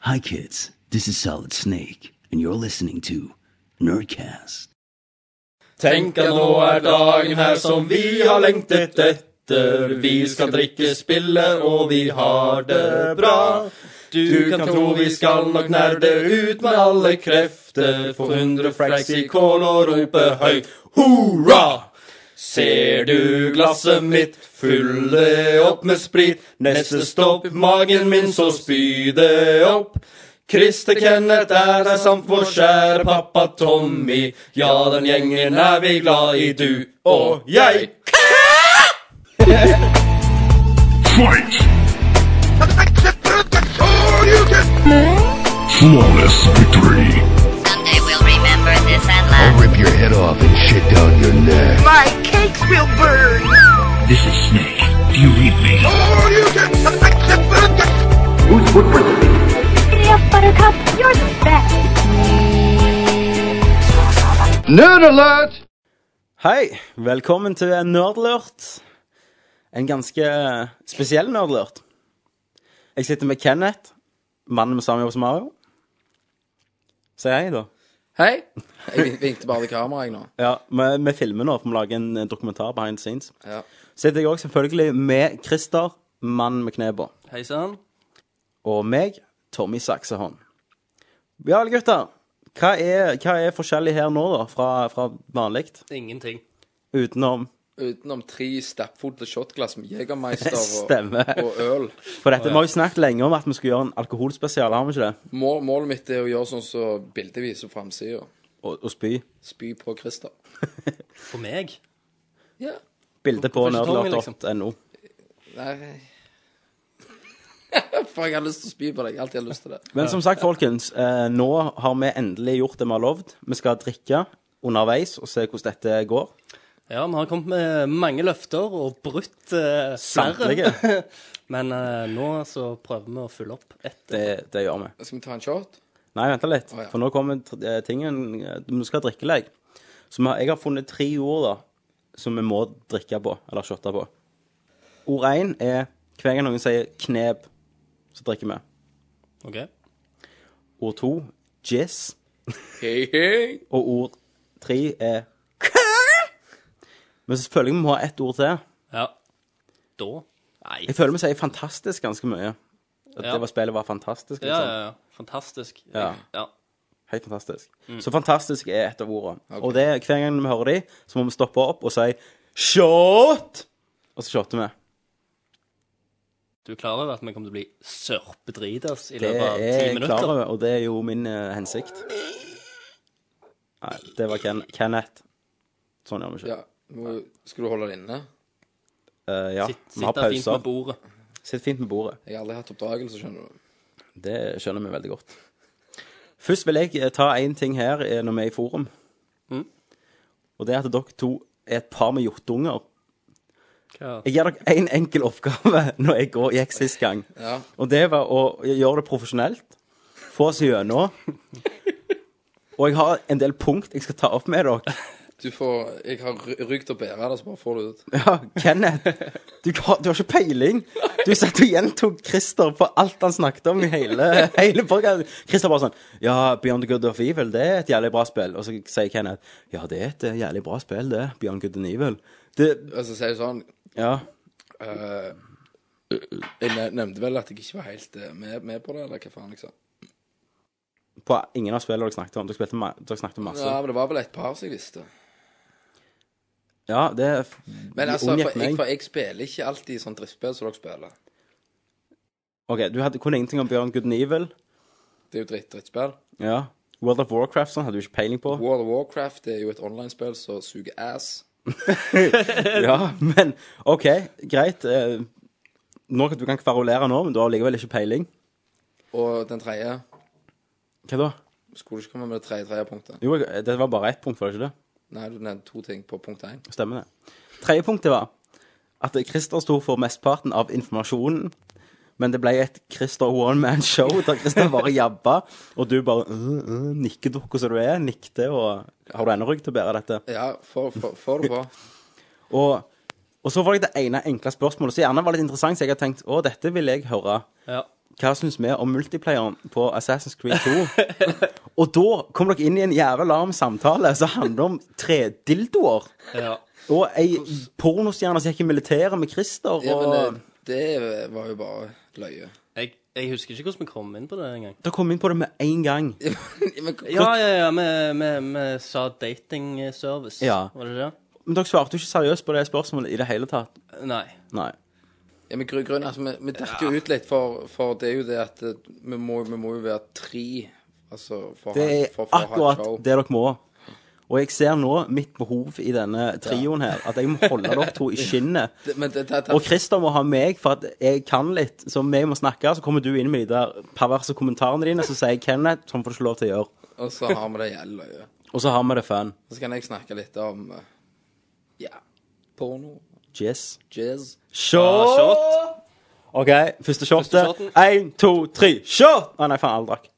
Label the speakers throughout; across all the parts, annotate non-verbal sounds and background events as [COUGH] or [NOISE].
Speaker 1: Hi, kids. This is Solid Snake, and you're listening to Nerdcast.
Speaker 2: Tenk at nå er dagen her som vi har lengtet etter. Vi skal drikke, spille, og vi har det bra. Du kan tro vi skal nok nerde ut med alle krefter. Få 100 flags i kål og rope høyt hurra! Ser du glasset mitt, fyll det opp med sprit. Neste stopp, magen min, så spy det opp. Christer Kenneth er her samt vår kjære pappa Tommy. Ja, den gjengen er vi glad i, du og jeg.
Speaker 3: Fight! Flawless victory!
Speaker 4: Someday we'll remember this and laugh.
Speaker 5: rip your head off and shit down your neck.
Speaker 6: My cakes will burn.
Speaker 3: This is Snake. Do you read me?
Speaker 6: Yes, Buttercup, you're the best.
Speaker 5: Nerd alert!
Speaker 7: Hei, velkommen til Nerdlurt. En ganske spesiell nerdlurt. Jeg sitter med Kenneth, mannen med samme jobb som Mario. Si hei, da.
Speaker 8: Hei. [LAUGHS] Jeg vinkte bare til kameraet, jeg nå.
Speaker 7: Ja, vi, vi filmer nå, for vi lager en eh, dokumentar behind the scenes.
Speaker 8: Ja.
Speaker 7: Sitter jeg òg selvfølgelig med Christer, mannen med knebå.
Speaker 2: Hei sann.
Speaker 7: Og meg, Tommy Saksehånd. Ja, alle gutter. Hva er, hva er forskjellig her nå, da, fra, fra vanlig?
Speaker 2: Ingenting.
Speaker 7: Utenom
Speaker 8: Utenom tre stappfulle shotglass med Jegermeister [LAUGHS]
Speaker 7: Stemmer.
Speaker 8: og, og øl.
Speaker 7: For dette, vi har jo snakket lenge om at vi skulle gjøre en alkoholspesial, har vi ikke det?
Speaker 8: Mål, målet mitt er å gjøre sånn som så bildet viser framsida.
Speaker 7: Og, og spy.
Speaker 8: Spy på [LAUGHS] Christer.
Speaker 2: For meg?
Speaker 8: Ja.
Speaker 7: Bilde på
Speaker 2: Hvorfor ikke Tommy, liksom.
Speaker 7: nerdlort.no.
Speaker 8: Nei [LAUGHS] For jeg har lyst til å spy på deg. Jeg har Alltid har lyst til det.
Speaker 7: Men som sagt, folkens, eh, nå har vi endelig gjort det vi har lovd. Vi skal drikke underveis og se hvordan dette går.
Speaker 2: Ja, vi har kommet med mange løfter og brutt eh, flere.
Speaker 7: Samtlige.
Speaker 2: Men eh, nå så prøver vi å følge opp ett.
Speaker 7: Det, det gjør vi.
Speaker 8: Skal vi ta en shot?
Speaker 7: Nei, vent da litt,
Speaker 8: Å, ja.
Speaker 7: for nå kommer tr- eh, tingen eh, Vi skal ha drikkelek. Så vi har, jeg har funnet tre ord da som vi må drikke på, eller shotte på. Ord én er hver gang noen sier 'knep', så drikker vi.
Speaker 2: OK?
Speaker 7: Ord to 'jizz'.
Speaker 8: Hei, hei.
Speaker 7: Og ord tre er Men selvfølgelig må vi ha ett ord til.
Speaker 2: Ja. Da? Nei.
Speaker 7: Jeg føler vi sier fantastisk ganske mye. At
Speaker 2: Ja.
Speaker 7: det var spillet var fantastisk.
Speaker 2: Ja,
Speaker 7: Liksom.
Speaker 2: ja, ja. Fantastisk.
Speaker 7: Ja.
Speaker 2: ja.
Speaker 7: Helt fantastisk.
Speaker 2: Mm.
Speaker 7: Så fantastisk er et av ordene. Og det, hver gang vi hører de, så må vi stoppe opp og si shot! Og så shotter vi.
Speaker 2: Du er klar over at vi kommer til å bli sørpedritas i
Speaker 7: Det
Speaker 2: løpet av
Speaker 7: er
Speaker 2: ti
Speaker 7: jeg klar
Speaker 2: minutter?
Speaker 7: over, og det er jo min eh, hensikt. Nei, det var Ken Kenneth. Sånn gjør vi ikke.
Speaker 8: Ja. Må, skal du holde det inne?
Speaker 7: Eh, ja.
Speaker 2: Sitt,
Speaker 7: vi har
Speaker 2: sitte fint med
Speaker 7: pauser.
Speaker 2: bordet.
Speaker 7: Sitt fint med bordet.
Speaker 8: Jeg har aldri hatt oppdragelse, skjønner du.
Speaker 7: Det skjønner vi veldig godt. Først vil jeg eh, ta én ting her eh, når vi er i forum. Og det er at dere to er et par med hjortunger.
Speaker 2: Hva-
Speaker 7: Jeg gir dere én en enkel oppgave [LAUGHS] når jeg går, gikk sist gang.
Speaker 8: Ja.
Speaker 7: Og det var å gjøre det profesjonelt. Få oss gjennom. Og jeg har en del punkt jeg skal ta opp med dere.
Speaker 8: Du får Jeg har ry- rygg til å bære det, så bare får du det ut.
Speaker 7: [LAUGHS] Ja, Kenneth, du har, du har ikke peiling. Du satt og gjentok Christer på alt han snakket om i hele, [LAUGHS] hele podcasten. Christer bare sånn Ja, Beyond the Good of Evil, det er et jævlig bra spill. Og så sier Kenneth Ja, det er et eh, jævlig bra spill, det. Beyond Good and Evil. Det
Speaker 8: Og så sier jeg sånn
Speaker 7: Ja.
Speaker 8: Eh, Jeg ne- nevnte vel at jeg ikke var helt eh, med, med på det, eller hva faen, liksom.
Speaker 7: På ingen av spillene dere snakket om. Dere, spilte ma dere snakket om masse.
Speaker 8: Ja, men det var vel et par som jeg visste.
Speaker 7: Ja, det
Speaker 8: Men altså,
Speaker 7: unngikk
Speaker 8: for jeg, for jeg spiller ikke alltid sånn driftspill som dere spiller.
Speaker 7: OK, du hadde, kunne ingenting om Beyond Good and Evil.
Speaker 8: Det er jo dritt drittspill.
Speaker 7: Ja. World of Warcraft sånn hadde du ikke peiling på.
Speaker 8: World of Warcraft det er jo et online-spill som suger ass.
Speaker 7: [LAUGHS] Ja, men OK, greit. eh, Nå kan du kan kverulere nå, men du har likevel ikke peiling.
Speaker 8: Og den tredje
Speaker 7: Hva da?
Speaker 8: Skulle du ikke komme med det tredje tredje punktet?
Speaker 7: Jo, jeg- det var bare ett punkt, var det ikke det?
Speaker 8: Nei, du nevnte to ting på punkt én.
Speaker 7: Stemmer det. Tredje punktet var at Christer sto for mesteparten av informasjonen, men det ble et Christer one-man-show der Christer bare jabba, og du bare uh, uh, nikkedukka som du er, nikte, og har du ennå rygg til å bære dette?
Speaker 8: Ja, få det på.
Speaker 7: Og, og så var det det ene enkle spørsmålet som gjerne var litt interessant, så jeg har tenkt å, dette vil jeg høre.
Speaker 2: Ja.
Speaker 7: hva syns vi om multiplayeren på Assassin's Creed 2? [LAUGHS] og da kommer dere inn i en jævla larm samtale som handler om tredildoer.
Speaker 9: Ja.
Speaker 7: Og ei pornostjerne som gikk i militæret med Christer. Og...
Speaker 8: Ja, men eh, det, det var jo bare løye. [LAUGHS]
Speaker 9: Jeg, jeg husker ikke hvordan vi kom inn på det engang.
Speaker 7: Dere kom inn på det med en gang.
Speaker 8: Men,
Speaker 9: Ja, ja, ja, vi, vi, vi sa datingservice.
Speaker 7: Ja.
Speaker 9: Var det det?
Speaker 7: Men dere svarte jo ikke seriøst på det spørsmålet i det hele tatt.
Speaker 9: Nei.
Speaker 7: Nei.
Speaker 8: ja, men gru- grunnen, altså, vi, vi detter jo ut litt, for, for det er jo det at eh, vi må, vi må jo være tre. Altså, for,
Speaker 7: Det
Speaker 8: å ha-
Speaker 7: er
Speaker 8: for, for å ha et
Speaker 7: akkurat
Speaker 8: show.
Speaker 7: det dere må. Og jeg ser nå mitt behov i denne trioen her, at jeg må holde dere to i skinnet.
Speaker 8: Det- Men det, det, det,
Speaker 7: Og Christer må ha meg, for at jeg kan litt. Så vi må snakke, så kommer du inn med de der perverse kommentarene dine, så sier jeg Kenneth, sånn får du ikke lov til å gjøre.
Speaker 8: og så har vi det jævlig løye.
Speaker 7: Og så har vi det fun.
Speaker 8: Og så kan jeg snakke litt om eh, ja, porno,
Speaker 7: Jizz.
Speaker 8: jazz.
Speaker 7: Ah, Shot! OK, første shotet.
Speaker 9: shoten.
Speaker 7: Én, to, tre, shot! Å nei, faen, alle drakk.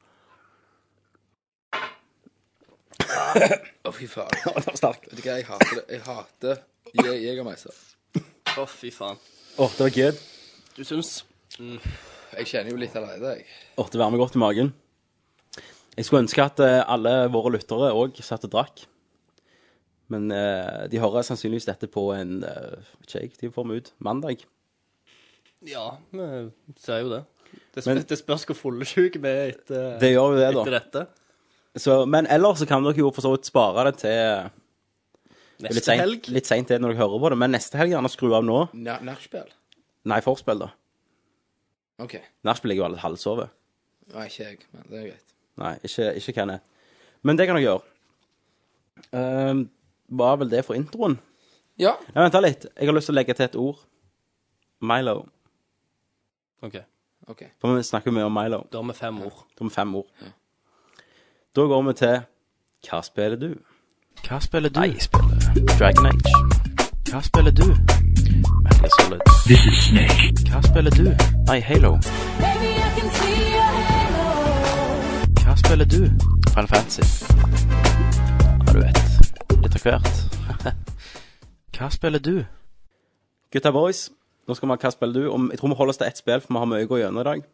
Speaker 8: Å, fy faen.
Speaker 7: [LAUGHS] Å, det var sterk.
Speaker 8: Vet du hva, jeg hater det. Jeg hater jeg, jegermeiser.
Speaker 9: Å, fy faen.
Speaker 7: Å, det var good.
Speaker 9: Du syns?
Speaker 8: Jeg kjenner jo litt allerede, jeg.
Speaker 7: Å, det varmer godt i magen. Jeg skulle ønske at eh, alle våre lyttere òg satt og drakk. Men eh, de hører sannsynligvis dette på en eh, vet ikke jeg, de får meg ut mandag.
Speaker 9: Ja, vi ser jo det. Det,
Speaker 7: Men-
Speaker 9: spør, det spørs hvor fullsjuke vi er etter,
Speaker 7: Det gjør jo det, da.
Speaker 9: etter dette.
Speaker 7: Så, men ellers så kan dere jo for så vidt spare det til litt
Speaker 9: Neste
Speaker 7: sent,
Speaker 9: helg.
Speaker 7: litt sent til når dere hører på det, men neste helg gjerne skru av nå.
Speaker 8: Na- Nachspiel?
Speaker 7: Nei, forspill, da.
Speaker 8: OK.
Speaker 7: Nachspiel ligger jo alle halvsovet.
Speaker 8: Nei, ikke jeg, men det er greit.
Speaker 7: Nei, ikke, ikke Kenneth. Men det kan dere gjøre. Ehm, var vel det for introen?
Speaker 8: Ja.
Speaker 7: Nei, vent da litt. Jeg har lyst til å legge til et ord. Milo.
Speaker 9: Ok,
Speaker 8: OK.
Speaker 7: For vi snakker jo mye om Milo.
Speaker 9: Da har vi fem ord.
Speaker 7: Det er om fem ord. Da går vi til Hva spiller du? Hva spiller du? Nei, jeg spiller Dragon Age. Hva spiller du? Metal Solid.
Speaker 10: This is Snake.
Speaker 7: Hva spiller du? Nei, Halo. Hva spiller du? Final Fantasy. Ja, du vet. Litt av hvert. [LAUGHS] Hva spiller du? Gutta boys, nå skal vi ha Hva spiller du? Om, jeg tror vi holder oss til ett spill, for vi har mye å gå gjennom i dag.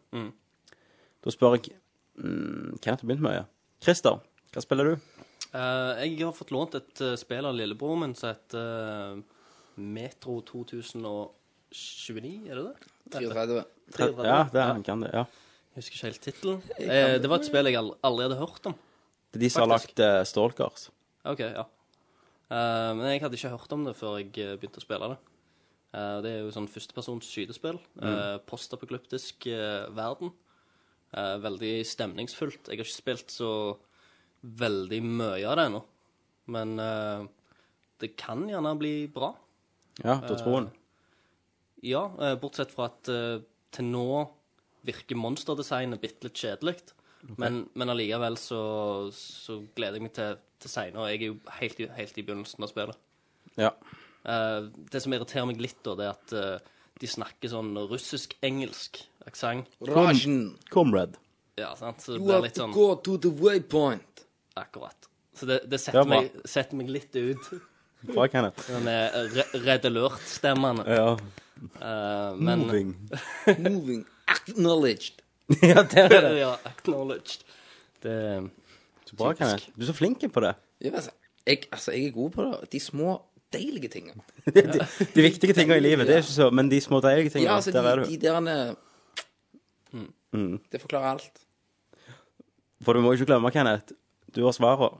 Speaker 7: Da spør jeg mm, Kenneth har begynt med øye. Christer, hva spiller du?
Speaker 9: Eh, jeg har fått lånt et eh, spill av lillebroren min som heter eh, Metro 2029, er det det?
Speaker 8: 34.
Speaker 7: Ja, det er han kan det. ja.
Speaker 9: Jeg husker ikke helt tittelen. Eh, det var et spill jeg al- aldri hadde hørt om.
Speaker 7: Det er de som har
Speaker 9: Faktisk.
Speaker 7: lagt eh, Stalkers.
Speaker 9: Ok, ja. Eh, men jeg hadde ikke hørt om det før jeg eh, begynte å spille det. Eh, det er jo sånn førstepersons skytespill. eh, Postapokalyptisk eh, verden. Eh, veldig stemningsfullt. Jeg har ikke spilt så veldig mye av det ennå. Men eh, det kan gjerne bli bra.
Speaker 7: Ja, da tror han.
Speaker 9: Ja, eh, bortsett fra at eh, til nå virker monsterdesignet bitte litt kjedelig. Men, men allikevel så, så gleder jeg meg til, til seinere. Jeg er jo helt, i- helt i begynnelsen av spillet.
Speaker 7: Ja.
Speaker 9: Eh, det som irriterer meg litt, da, det er at eh, de snakker sånn russisk-engelsk aksent.
Speaker 8: Rajen.
Speaker 7: Comrade.
Speaker 9: Ja, sant? Så det
Speaker 8: You
Speaker 9: blir
Speaker 8: have
Speaker 9: litt
Speaker 8: to
Speaker 9: sånn
Speaker 8: go to the waypoint.
Speaker 9: akkurat. Så det, det
Speaker 7: Ja,
Speaker 9: setter,
Speaker 7: bra.
Speaker 9: meg, setter meg litt ut.
Speaker 7: Bra, Kenneth.
Speaker 9: Den er re- redelørt-stemmene.
Speaker 7: Ja.
Speaker 9: Eh, men
Speaker 8: Moving. Acknowledged.
Speaker 7: [LAUGHS] ja, der er det.
Speaker 9: [LAUGHS] Ja, acknowledged. Det
Speaker 7: Bra, Kenneth. Du er så flink på [LAUGHS] det.
Speaker 8: Ja, altså, jeg, altså, jeg er god på det. De små, deilige tingene.
Speaker 7: De viktige tingene i livet, det er ikke så, men de små deilige tingene,
Speaker 8: Ja, altså,
Speaker 7: der er du. Mm.
Speaker 8: de, de derne Det forklarer alt.
Speaker 7: For du må ikke glemme, Kenneth, du har svaret,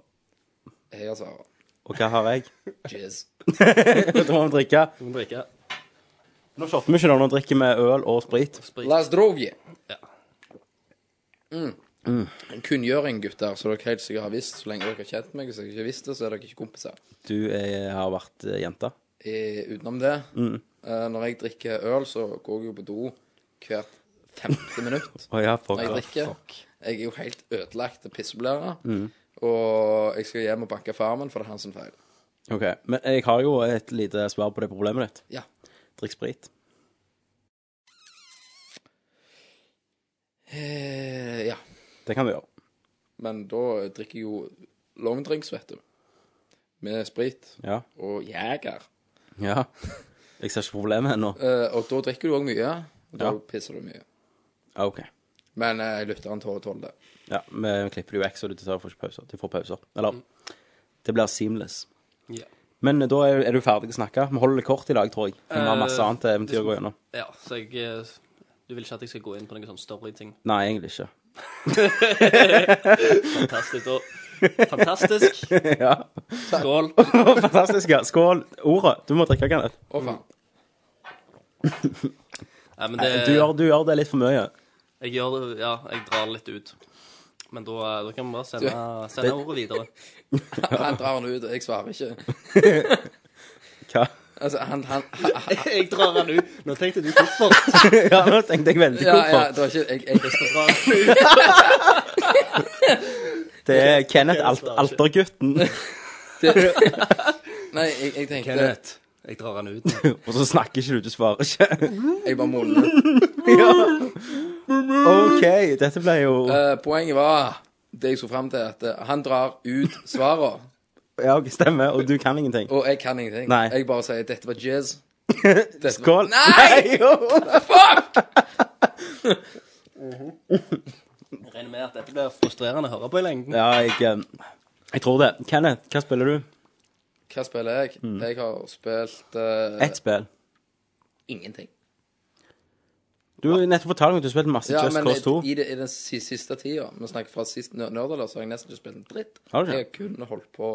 Speaker 8: Jeg altså, har svaret.
Speaker 7: og hva har [LAUGHS] jeg?
Speaker 8: Cheers.
Speaker 7: Da må vi drikke.
Speaker 9: Du må drikke
Speaker 7: Nå shopper vi ikke da, nå drikker vi øl og sprit.
Speaker 9: sprit.
Speaker 8: Las droge.
Speaker 9: Ja.
Speaker 7: Mm.
Speaker 8: En Mm. kunngjøring, gutter, som dere helt sikkert har visst. Så lenge dere har kjent meg, så dere ikke har visst det, så er dere ikke kompiser.
Speaker 7: Du er, har vært eh, jenta.
Speaker 8: Eh, utenom det,
Speaker 7: Mm.
Speaker 8: eh, når jeg drikker øl, så går jeg jo på do hvert femte minutt.
Speaker 7: Å ja, fuck.
Speaker 8: Når jeg drikker. Jeg er jo helt ødelagt og pisseblæra. Og jeg skal hjem og banke farmen, for det er hans feil.
Speaker 7: Ok, men jeg har jo et lite svar på det problemet ditt.
Speaker 8: Ja.
Speaker 7: Drikk sprit.
Speaker 8: Eh, ja.
Speaker 7: Det kan du gjøre.
Speaker 8: Men da drikker jeg jo longdrinks, vet du. Med sprit
Speaker 7: Ja.
Speaker 8: og jeger.
Speaker 7: Ja. Jeg ser ikke problemet ennå.
Speaker 8: Eh, og da drikker du òg mye. Og da
Speaker 7: Ja.
Speaker 8: pisser du mye.
Speaker 7: Ah, Ok.
Speaker 8: Men eh, lytteren tåler tåler det.
Speaker 7: Ja, vi klipper det jo vekk, så du tar får ikke pauser. De får pauser. Eller Det blir seamless.
Speaker 9: Ja.
Speaker 7: Men eh, da er, er du ferdig å snakke. Vi holder det kort i dag, tror jeg. Vi har masse
Speaker 9: Eh,
Speaker 7: annet eventyr å gå
Speaker 9: det-
Speaker 7: gjennom.
Speaker 9: ja, så jeg eh, Du vil ikke at jeg skal gå inn på noen sånn storyting?
Speaker 7: Nei, egentlig ikke.
Speaker 9: Fantastisk. Og, fantastisk.
Speaker 7: [LAUGHS] ja. [LAUGHS]
Speaker 9: Skål.
Speaker 7: Fantastisk. ja. Skål. Ordet. Du må drikke, Kenneth.
Speaker 8: Å, faen.
Speaker 9: Nei, men det,
Speaker 7: Du gjør, du gjør det litt for mye.
Speaker 9: Jeg gjør det, ja, jeg drar litt ut. Men da, eh, da kan vi bare sende, sende ordet videre.
Speaker 8: [LAUGHS] Han drar den ut, og jeg svarer ikke.
Speaker 7: Hva?
Speaker 8: Altså, han, han, han
Speaker 9: Jeg drar den ut. Nå tenkte du hvorfor.
Speaker 7: [LAUGHS] Ja, nå tenkte jeg veldig
Speaker 8: Ja,
Speaker 7: godt
Speaker 8: ja,
Speaker 7: på.
Speaker 8: det var ikke Jeg, jeg,
Speaker 9: Jeg drar den ut.
Speaker 7: Det er Kenneth Alt
Speaker 9: svarer ikke. [LAUGHS]
Speaker 7: Altergutten.
Speaker 8: [LAUGHS] nei, jeg, jeg tenkte
Speaker 9: Kenneth. [LAUGHS] Jeg drar den ut.
Speaker 7: Og så snakker ikke du, du svarer ikke. [LAUGHS]
Speaker 8: Jeg bare molner.
Speaker 9: [LAUGHS]
Speaker 7: ja. OK, dette ble jo
Speaker 8: Eh, poenget var det jeg skulle fram til, at eh, han drar ut svarene,
Speaker 7: Ja, ok, stemmer. Og du kan ingenting.
Speaker 8: og jeg kan ingenting.
Speaker 7: Nei.
Speaker 8: Jeg bare sier 'dette var jazz'. Dette var-
Speaker 7: Skål.
Speaker 8: sånn, Nei!
Speaker 7: [LAUGHS]
Speaker 9: Jeg regner med at dette blir frustrerende å høre på i lengden.
Speaker 7: Ja, jeg, eh, jeg tror det. Kenneth, hva spiller du?
Speaker 8: Hva spiller jeg?
Speaker 7: Mm.
Speaker 8: Jeg har spilt eh,
Speaker 7: Ett spill.
Speaker 8: ingenting.
Speaker 7: Du har nettopp fortalt meg at du spilte masse
Speaker 8: Ja,
Speaker 7: Just
Speaker 8: men
Speaker 7: Cause 2.
Speaker 8: i, i, det- i den si- siste tida, vi snakker fra sist nø- Nerdalder, så har jeg nesten ikke spilt en dritt.
Speaker 7: Har du ikke?
Speaker 8: jeg har kun holdt på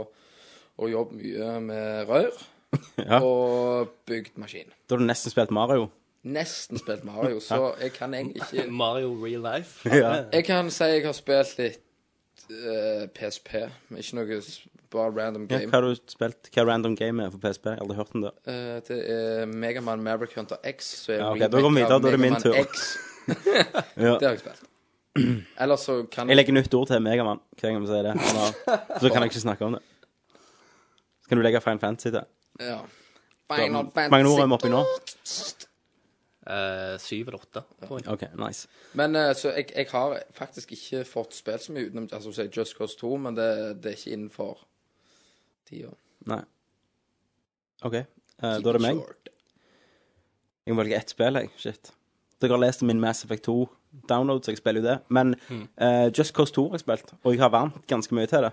Speaker 8: å jobbe mye med rør
Speaker 7: [LAUGHS] Ja.
Speaker 8: og bygd maskin.
Speaker 7: Da har du nesten spilt Mario.
Speaker 8: Nesten spilt
Speaker 7: [LAUGHS]
Speaker 8: Mario, så jeg kan egentlig ikke
Speaker 9: Mario Real Life.
Speaker 7: Ja.
Speaker 8: Jeg kan si jeg har spilt litt eh, PSP. men Ikke noe s- bare random
Speaker 7: Ja,
Speaker 8: game.
Speaker 7: hva har du spilt? Hva random game er for PSP? Jeg har aldri hørt om det.
Speaker 8: Eh, det er Megaman Maverick Hunter X. Så er
Speaker 7: Ja, ok,
Speaker 8: remake
Speaker 7: da går vi videre,
Speaker 8: av
Speaker 7: da er det min
Speaker 8: Mega
Speaker 7: tur.
Speaker 8: Man X.
Speaker 7: Ja.
Speaker 8: Det har jeg
Speaker 7: [CLEARS THROAT]
Speaker 8: spilt. Ellers så kan
Speaker 7: Jeg legger nytt ord til Megamann. Hver gang vi sier det. Han har- Så kan jeg ikke snakke om det. Så kan du legge Fine Fantasy til.
Speaker 8: ja. Final
Speaker 7: Mange ord er vi oppi nå?
Speaker 9: Eh, Syv eller åtte. tror jeg.
Speaker 7: OK, nice.
Speaker 8: Men eh, så jeg, jeg har faktisk ikke fått spilt så mye utenom altså, så jeg Just Cause 2, men det, det er ikke innenfor tida.
Speaker 7: Nei. OK. eh, da er det meg. Jeg må velge ett spill, jeg. Shit. Dere har lest min Mass Effect 2 download, så jeg spiller jo det. Men eh, Just Cause 2 har jeg spilt, og jeg har varmt ganske mye til det.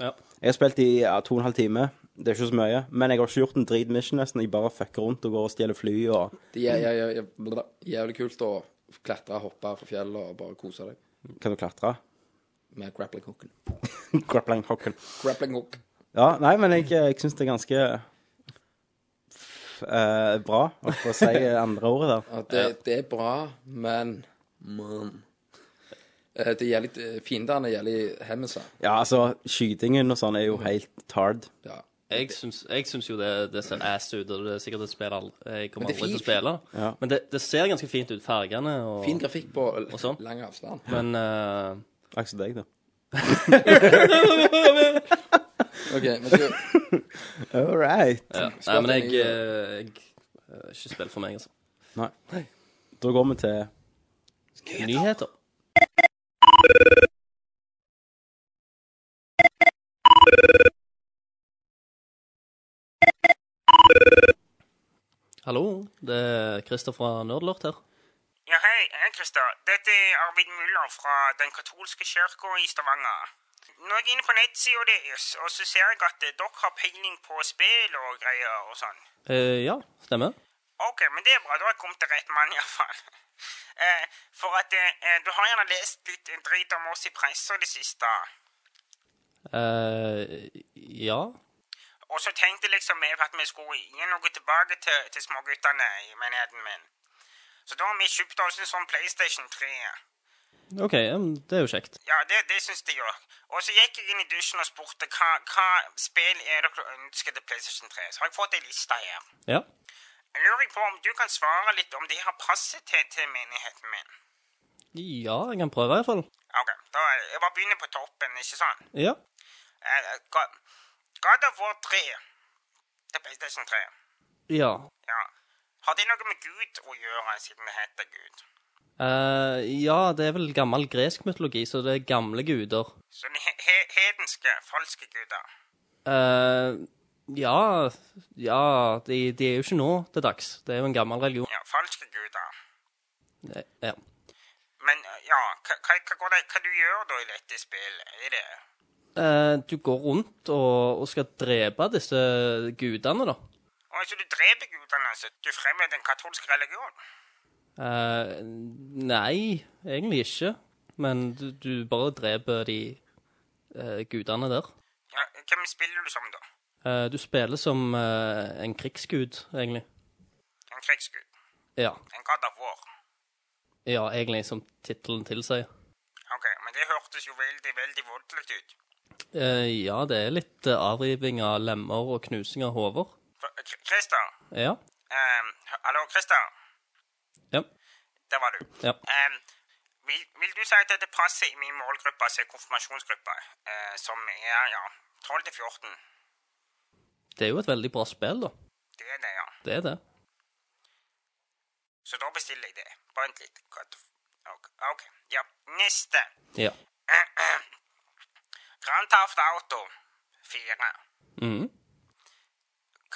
Speaker 9: Ja.
Speaker 7: Jeg har spilt i ja, to og en halv time. Det er ikke så mye. Men jeg har ikke gjort en drit mission, nesten. Jeg bare fucker rundt og går og stjeler fly og
Speaker 8: Det er jævlig, jævlig, jævlig kult å klatre, hoppe fra fjellet og bare kose deg
Speaker 7: Kan du klatre? [LAUGHS]
Speaker 8: med grappling-hooken.
Speaker 7: Grappling hocken.
Speaker 8: Grappling-hook.
Speaker 7: Ja, nei, men jeg, eh, jeg syns det er ganske f- eh, bra, holdt på å [LAUGHS] si andre ordet der.
Speaker 8: Ja, det, det er bra, men Men Eh, Det gjelder eh, Fiendene gjelder hemmelser.
Speaker 7: Ja, altså, skytingen og sånn er jo helt tard.
Speaker 8: Ja.
Speaker 9: Jeg syns, jeg syns jo det, det ser ass ut, og det er sikkert et spill al- jeg kommer
Speaker 8: Men det er
Speaker 9: aldri til å
Speaker 8: fint.
Speaker 9: spille.
Speaker 7: Ja.
Speaker 9: Men det, det ser ganske fint ut, fargene og
Speaker 8: Fin grafikk på l-
Speaker 9: sånn.
Speaker 8: lang avstand.
Speaker 9: Men eh,
Speaker 7: Takk som deg, da.
Speaker 8: OK, men skal,
Speaker 7: All right.
Speaker 9: ja. Nei, men jeg, eh, jeg eh, Ikke spill for meg, altså.
Speaker 7: Nei. Da går vi til
Speaker 9: Nyheter. Hallo, det er Christer fra Nerdlort her.
Speaker 4: Ja, hei, jeg er Christer. Dette er Arvid Muller fra Den katolske kirka i Stavanger. Nå er jeg inne på nettsida deres, og så ser jeg at eh, dere har peiling på spill og greier og sånn.
Speaker 9: Eh, ja, stemmer.
Speaker 4: Ok, men det er bra. Da har jeg kommet til rett mann, iallfall. [LAUGHS] Eh, for at eh, eh, du har gjerne lest litt eh, drit om oss i pressa det siste.
Speaker 9: Eh, ja.
Speaker 4: Og så tenkte liksom jeg at vi skulle gi noe tilbake til, til småguttene i menigheten min. Så da har vi kjøpt oss en sånn PlayStation 3.
Speaker 9: OK, ja, men det er jo kjekt.
Speaker 4: Ja, det, det syns jeg òg. Og så gikk jeg inn i dusjen og spurte hva, hva spill er dere ønsker til PlayStation 3. Så har jeg fått ei liste her.
Speaker 9: Ja.
Speaker 4: Jeg lurer på om du kan svare litt om de har passet til, til menigheten min.
Speaker 9: Ja, jeg kan prøve, iallfall.
Speaker 4: Ok, da Jeg bare begynner på toppen, ikke sant?
Speaker 9: Ja.
Speaker 4: Eh, eh, God- God of War 3 til PlayStation 3.
Speaker 9: Ja.
Speaker 4: Ja. Har det noe med Gud å gjøre, siden det heter Gud?
Speaker 9: Eh, ja, det er vel gammel gresk mytologi, så det er gamle guder.
Speaker 4: Så de Sånn he he hedenske, falske guder.
Speaker 9: Eh, ja Ja, de, de er jo ikke nå til dags. Det er jo en gammel religion.
Speaker 4: Ja, falske guder.
Speaker 9: Ja.
Speaker 4: Men eh,
Speaker 7: Men ja, hva, hva, hva, går det, hva du gjør da i dette spillet? Er det
Speaker 9: Eh, du går rundt og, og skal drepe disse gudene, da.
Speaker 7: Og altså, du dreper gudene, altså. Du fremmer den katolske religion.
Speaker 9: Eh, nei, egentlig ikke. Men du, du bare dreper de eh, gudene der.
Speaker 7: Ja, hvem spiller du som, da?
Speaker 9: Eh, du spiller som eh, en krigsgud, egentlig.
Speaker 7: En krigsgud?
Speaker 9: Ja,
Speaker 7: En god of war?
Speaker 9: ja egentlig som tittelen tilsier.
Speaker 7: Ok, men det hørtes jo veldig, veldig voldelig ut.
Speaker 9: Eh, ja, det er litt eh, avriving av lemmer og knusing av hoder.
Speaker 7: For- Kr- Christer?
Speaker 9: Ja.
Speaker 7: Ehm, h- hallo, Christer?
Speaker 9: Ja.
Speaker 7: Der var du.
Speaker 9: Ja.
Speaker 7: Ehm, vil, vil du si at dette passer i min målgruppe, altså konfirmasjonsgruppe, eh, som er, ja, 12 til 14?
Speaker 9: Det er jo et veldig bra spill, da.
Speaker 7: Det er det, ja.
Speaker 9: Det er det.
Speaker 7: Så da bestiller jeg det. Bare vent litt. Hva- Ok, ok. ja. Neste.
Speaker 9: Ja.
Speaker 7: Grand Theft Auto 4.
Speaker 9: Mhm.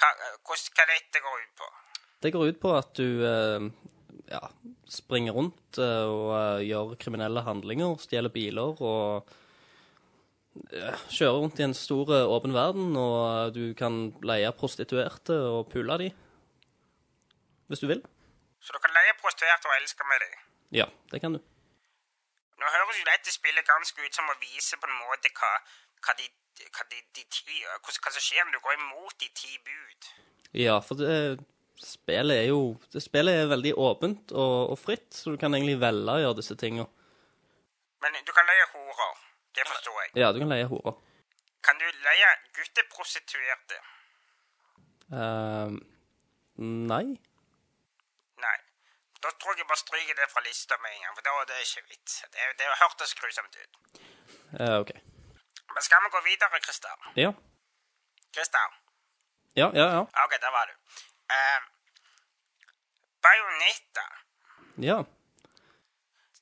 Speaker 7: Hva, eh, hvordan, hva dette går ut på?
Speaker 9: Det går ut på at du eh, ja, springer rundt eh, og eh, gjør kriminelle handlinger, stjeler biler og eh, kjører rundt i en stor eh, åpen verden, og eh, du kan leie prostituerte og pule de. Hvis du vil.
Speaker 7: Så du kan leie prostituerte og elske med deg.
Speaker 9: Ja, det kan du.
Speaker 7: Nå høres jo dette spillet ganske ut som å vise på en måte hva, hva de hva, de, de ti, hva, hva som skjer om du går imot de ti bud.
Speaker 9: Ja, for det spillet er jo det Spillet er veldig åpent og, og fritt, så du kan egentlig velge å gjøre disse tinga.
Speaker 7: Men du kan leie horer. Det forstår jeg.
Speaker 9: Ja, du kan leie horer.
Speaker 7: Kan du leie gutteprostituerte?
Speaker 9: Eh, nei.
Speaker 7: Nei. Da tror jeg jeg bare stryker det fra lista med en gang, for da det er ikke vits. Det, det hørtes grusomt ut.
Speaker 9: Eh, OK.
Speaker 7: Men skal vi gå videre, Christer?
Speaker 9: Ja.
Speaker 7: Christer?
Speaker 9: Ja, ja, ja.
Speaker 7: OK, der var du. Uh, Bajonetta.
Speaker 9: ja.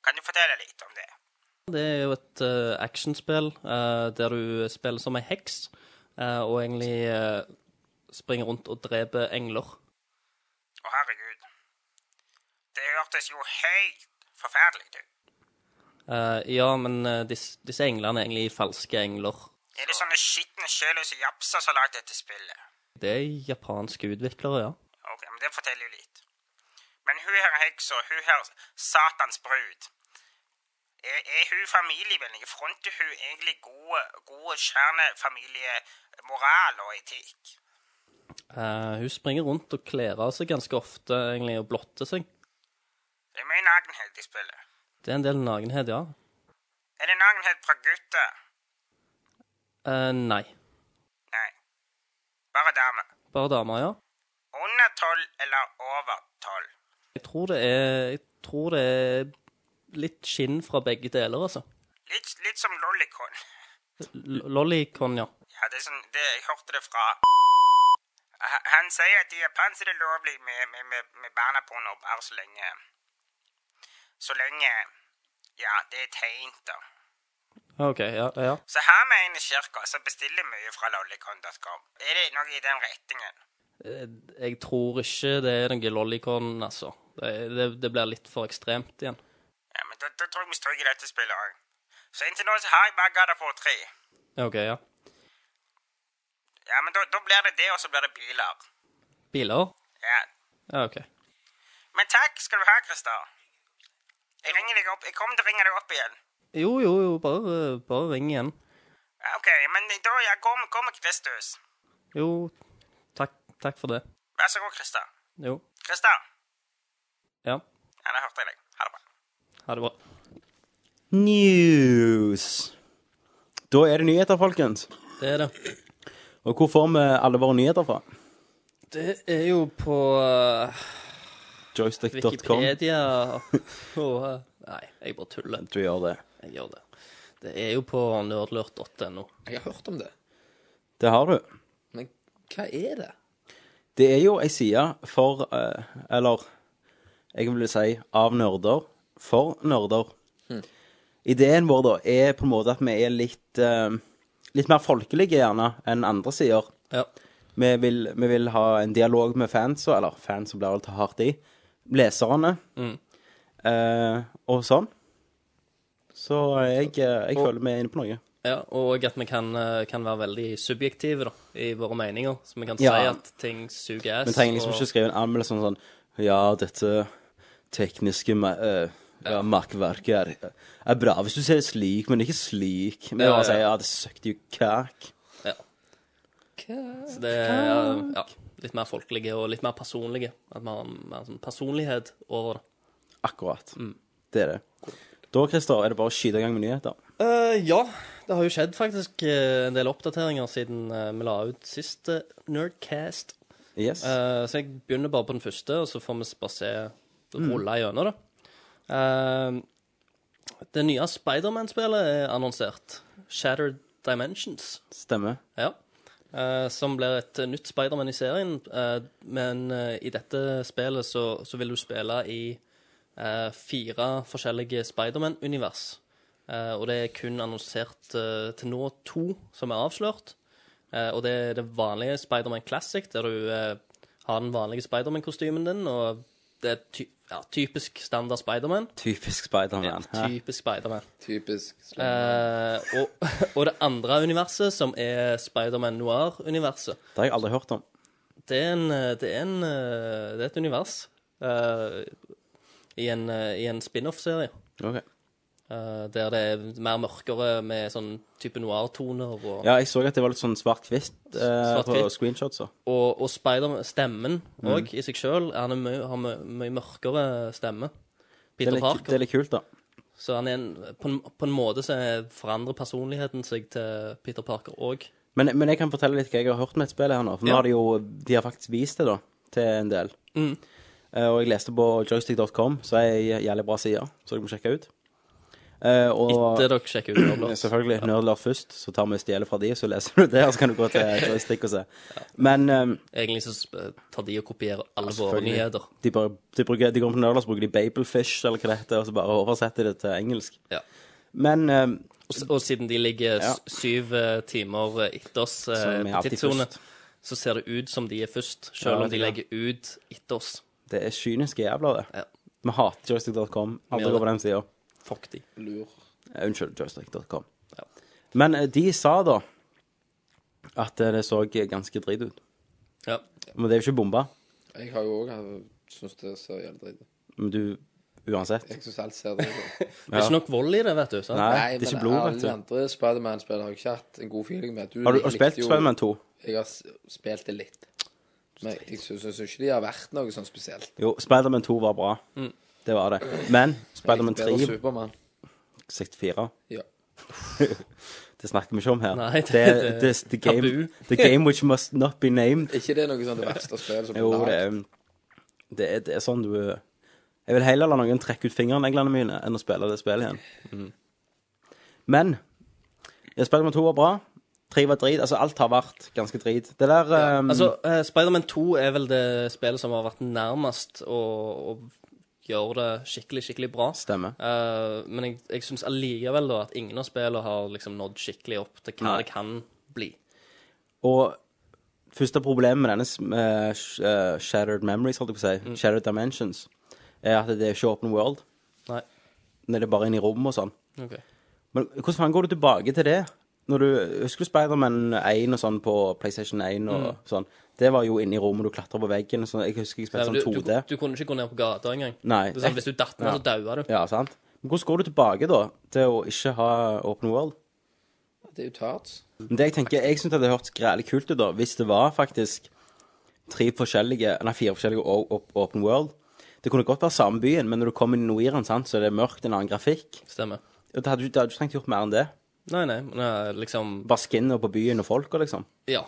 Speaker 7: Kan du fortelle litt om det?
Speaker 9: Det er jo et eh, actionspill eh, der du spiller som ei heks eh, og egentlig eh, springer rundt og dreper
Speaker 7: Å,
Speaker 9: engler.
Speaker 7: herregud. Det hørtes jo helt forferdelig ut.
Speaker 9: Eh, ja, men eh, dis, disse englene er egentlig falske engler.
Speaker 7: Er det sånne skitne, sjelløse japser som har lagd dette spillet?
Speaker 9: Det er japanske utviklere, ja.
Speaker 7: Ok, men det forteller jo litt. Men hun her heksa, hun her Satans brud Er, er hun familievennlig? Fronter hun egentlig gode, gode kjernefamiliemoral og etikk?
Speaker 9: Eh, hun springer rundt og kler av seg ganske ofte egentlig, og blotter seg.
Speaker 7: Det er mye nakenhet i spillet.
Speaker 9: Det er en del nakenhet, ja.
Speaker 7: Er det nakenhet fra gutter?
Speaker 9: Eh, nei.
Speaker 7: Nei. Bare damer.
Speaker 9: Bare damer, ja.
Speaker 7: Under tolv eller over tolv?
Speaker 9: Jeg tror det er, jeg tror det er litt skinn fra begge deler, altså.
Speaker 7: Litt, litt som Lollicon.
Speaker 9: L- Lollicon, ja.
Speaker 7: Ja, det er sånn, det, jeg hørte det fra H- Han sier at i Japan så er det lovlig med, med, med, med barneporno bare så lenge Så lenge Ja, det er tegnet, da.
Speaker 9: OK, ja, ja.
Speaker 7: Så her mener kirka som bestiller mye fra lollicon.com. Er det noe i den retningen?
Speaker 9: Jeg tror ikke det er noe lollicon, altså. Det, det, det blir litt for ekstremt igjen.
Speaker 7: Ja, men da, da tror jeg vi stryker dette spillet òg. Så inntil nå så har jeg bare Gada på tre.
Speaker 9: OK, ja.
Speaker 7: Ja, men da, da blir det det, og så blir det biler.
Speaker 9: Biler?
Speaker 7: Ja.
Speaker 9: Ja, OK.
Speaker 7: Men takk skal du ha, Christer. Jeg ringer deg opp. Jeg kommer til å ringe deg opp igjen.
Speaker 9: Jo, jo, jo, bare, bare ring igjen.
Speaker 7: Ja, OK, men da ja, gå med, gå med Kristus.
Speaker 9: Jo, takk, takk for det.
Speaker 7: Vær så god, Christer.
Speaker 9: Jo.
Speaker 7: Christer!
Speaker 9: Ja,
Speaker 7: Ja, da hørte jeg deg. Ha det bra.
Speaker 9: ha det bra.
Speaker 11: News. Da er det nyheter, folkens.
Speaker 9: Det er det.
Speaker 11: Og hvor får vi alle våre nyheter fra?
Speaker 9: Det er jo på eh,
Speaker 11: Joystick.com.
Speaker 9: Wikipedia og eh, Nei, jeg bare tuller.
Speaker 11: Du gjør det.
Speaker 9: Jeg gjør det. Det er jo på nerdlurt.no.
Speaker 8: Jeg har hørt om det.
Speaker 11: Det har du.
Speaker 8: Men hva er det?
Speaker 11: Det er jo ei side for eh, Eller jeg vil si av nerder for nerder. Ideen vår da er på en måte at vi er litt eh, Litt mer folkelige gjerne enn andre sider.
Speaker 9: Ja.
Speaker 11: Vi vil, vi vil ha en dialog med fans, og-
Speaker 7: Mm.
Speaker 11: eller fans som blir vel tatt hardt i. Leserne. Eh, og sånn.
Speaker 7: Så eh, jeg, eh, jeg føler vi er inne på noe.
Speaker 9: Ja, og at vi kan, eh, kan være veldig subjektive da, i våre meninger. Så vi kan si
Speaker 7: Ja.
Speaker 9: at ting suger ass.
Speaker 7: Vi trenger liksom
Speaker 9: og-
Speaker 7: ikke skrive en anmeldelse om sånn Ja, dette tekniske ma eh, ja, makkverket er, er bra hvis du ser det slik, men ikke slik. Men
Speaker 9: Ja,
Speaker 7: bare
Speaker 9: ja,
Speaker 7: si
Speaker 9: ja.
Speaker 7: ja, det søkte jo kak.
Speaker 9: Ja. Så det er ja, litt mer folkelige og litt mer personlige. At vi har en mer sånn personlighet over det.
Speaker 7: Akkurat. Det er det. Da, Christer, er det bare å skyte i gang med nyheter.
Speaker 9: Eh, ja, det har jo skjedd faktisk eh, en del oppdateringer siden eh, vi la ut siste Nerdcast.
Speaker 7: Yes.
Speaker 9: Eh, så jeg begynner bare på den første, og så får vi bare se rulle gjennom det. Eh, det nye Spiderman-spillet er annonsert. Shattered Dimensions.
Speaker 7: Stemmer.
Speaker 9: Ja. Eh, som blir et nytt Spiderman i serien. Eh, men eh, i dette spillet så, så vil du spille i eh, fire forskjellige Spiderman-univers. Eh, og det er kun annonsert eh, til nå to som er avslørt. Eh, og det er det vanlige Spiderman Classic, der du eh, har den vanlige Spiderman-kostymen din. Og det er ty ja, typisk standard Spiderman.
Speaker 7: Typisk Spiderman.
Speaker 9: Ja, typisk Spiderman.
Speaker 8: Typisk.
Speaker 9: Eh, og, [LAUGHS] og det andre universet, som er Spiderman Noir-universet,
Speaker 7: det har jeg aldri hørt om.
Speaker 9: det er, en, eh, det, er en, eh, det er et univers eh, i en, eh, i en spin-off-serie.
Speaker 7: Ok.
Speaker 9: eh, der det er mer mørkere med sånn type noir-toner. Og,
Speaker 7: Ja, jeg så at det var litt sånn svart-hvitt eh,
Speaker 9: Svart-hvitt.
Speaker 7: på screenshots. så.
Speaker 9: og, og Spider-Stemmen
Speaker 7: Mm.
Speaker 9: òg, i seg sjøl, han er mye- har mye mye mørkere stemme.
Speaker 7: Det er,
Speaker 9: Peter
Speaker 7: litt,
Speaker 9: Parker.
Speaker 7: det er litt kult, da.
Speaker 9: Så han er en, på, en, på en måte så forandrer personligheten seg til Peter Parker òg.
Speaker 7: Men, men jeg kan fortelle litt hva jeg har hørt med et spill her nå. For nå
Speaker 9: Ja. Mm.
Speaker 7: har de jo De har faktisk vist det, da, til en del. Eh, og jeg leste på joystick.com, så er ei jævlig bra side, så dere må sjekke ut. Eh, og
Speaker 9: Etter dere sjekker ut
Speaker 7: [CLEARS THROAT]
Speaker 9: Roblox.
Speaker 7: selvfølgelig, nerdler først, så tar vi og stjeler fra de, så leser du det, og så kan du
Speaker 9: [LAUGHS]
Speaker 7: gå til joystick og se. Men eh,
Speaker 9: Egentlig så sp- tar de og kopierer alle Altså, våre
Speaker 7: selvfølgelig,
Speaker 9: nyheter.
Speaker 7: de, bare, de, bruker, de går på nerdler, så bruker de Babelfish, eller hva det heter, og så bare oversetter de det til engelsk.
Speaker 9: Ja.
Speaker 7: Men eh,
Speaker 9: Og, s- og siden de ligger s- syv eh, timer eh, etter oss eh,
Speaker 7: Så vi er
Speaker 9: på
Speaker 7: alltid
Speaker 9: tidssone,
Speaker 7: først.
Speaker 9: så ser det ut som de er først, selv
Speaker 7: Ja,
Speaker 9: om de
Speaker 7: det er
Speaker 9: legger ut etter oss.
Speaker 7: det er kyniske jævler, det.
Speaker 9: Ja.
Speaker 7: Vi hater joystick.com.
Speaker 9: gjør
Speaker 7: Aldri går
Speaker 9: det.
Speaker 7: på den sida.
Speaker 9: Fuck de.
Speaker 8: Lur.
Speaker 7: Eh, Unnskyld, joystick.com.
Speaker 9: Ja.
Speaker 7: Men eh, de sa da at eh, det så ganske drit ut.
Speaker 9: Ja.
Speaker 7: Men det er jo ikke bomba.
Speaker 8: Jeg har jo òg syns det ser jævlig dritt ut.
Speaker 7: Men du, uansett.
Speaker 8: Jeg syns alt ser dritt ut.
Speaker 9: Det er ikke nok vold i det, vet du. Sant?
Speaker 7: Nei,
Speaker 8: Nei,
Speaker 7: det er
Speaker 8: men
Speaker 7: ikke blod, vet
Speaker 8: alle
Speaker 7: du.
Speaker 8: andre Spiderman-spill har jeg ikke hatt en god feeling med.
Speaker 7: Har du
Speaker 8: likte
Speaker 7: har du spilt
Speaker 8: jo-
Speaker 7: Spiderman 2?
Speaker 8: Jeg har s- spilt det litt. Men jeg syns ikke de har vært noe sånn spesielt.
Speaker 7: Jo, Spiderman 2 var bra.
Speaker 9: Mm.
Speaker 7: Det var det. Men Spiderman 3
Speaker 8: Bedre Supermann.
Speaker 7: 64
Speaker 8: Ja.
Speaker 7: Det snakker vi ikke om her.
Speaker 9: Nei, det-
Speaker 7: det, det,
Speaker 9: det-
Speaker 7: the, game,
Speaker 9: tabu.
Speaker 7: the game which must not be named.
Speaker 8: Er ikke det noe sånn det verste spillet som
Speaker 7: Jo, det er, det er, det er sånn du Jeg vil heller la noen trekke ut fingerneglene mine enn å spille det spillet igjen. Men ja, Spiderman 2 var bra. 3 var drit. Altså, alt har vært ganske drit. Det der ehm,
Speaker 9: Altså, eh, Spider-Man 2 er vel det spillet som har vært nærmest å, å gjøre det skikkelig, skikkelig bra.
Speaker 7: Stemmer.
Speaker 9: Eh, men jeg, jeg syns allikevel da at ingen av spillene har liksom nådd skikkelig opp til hva
Speaker 7: Nei.
Speaker 9: det kan bli.
Speaker 7: Og første problemet med denne eh, sh- eh, Shattered Memories, holdt jeg på å si, Shattered Dimensions, er at det er ikke open world.
Speaker 9: Nei.
Speaker 7: Når det er bare inn i rom og sånn.
Speaker 9: Okay.
Speaker 7: Men hvordan faen går du tilbake til det? Når du, husker du Spiderman 1 og sånn på PlayStation 1 og
Speaker 9: Mm.
Speaker 7: sånn? Det var jo inne i rommet, du klatrer på veggen. og Sånn. Jeg husker jeg spilte
Speaker 9: Ja, men
Speaker 7: sånn
Speaker 9: du,
Speaker 7: 2D.
Speaker 9: du, du kunne ikke gå ned på gata engang.
Speaker 7: Nei.
Speaker 9: Det er sånn, hvis du datt ned, så daua du.
Speaker 7: [LAUGHS] Ja, sant? Men hvordan går du tilbake da til å ikke ha open world?
Speaker 8: Det er jo tarts.
Speaker 7: Men det jeg tenker, jeg synes det hadde hørtes grælig kult ut da, hvis det var faktisk tre forskjellige, nei fire forskjellige o- op- open world. Det kunne godt være samme byen, men når du kommer inn i Noiren, sant, så er det mørkt, en annen grafikk.
Speaker 9: Stemmer.
Speaker 7: Og Det hadde du, det hadde du trengt gjort mer enn det.
Speaker 9: Nei, nei, men eh, liksom
Speaker 7: Bare skinner på byen og folk og liksom.
Speaker 9: Ja.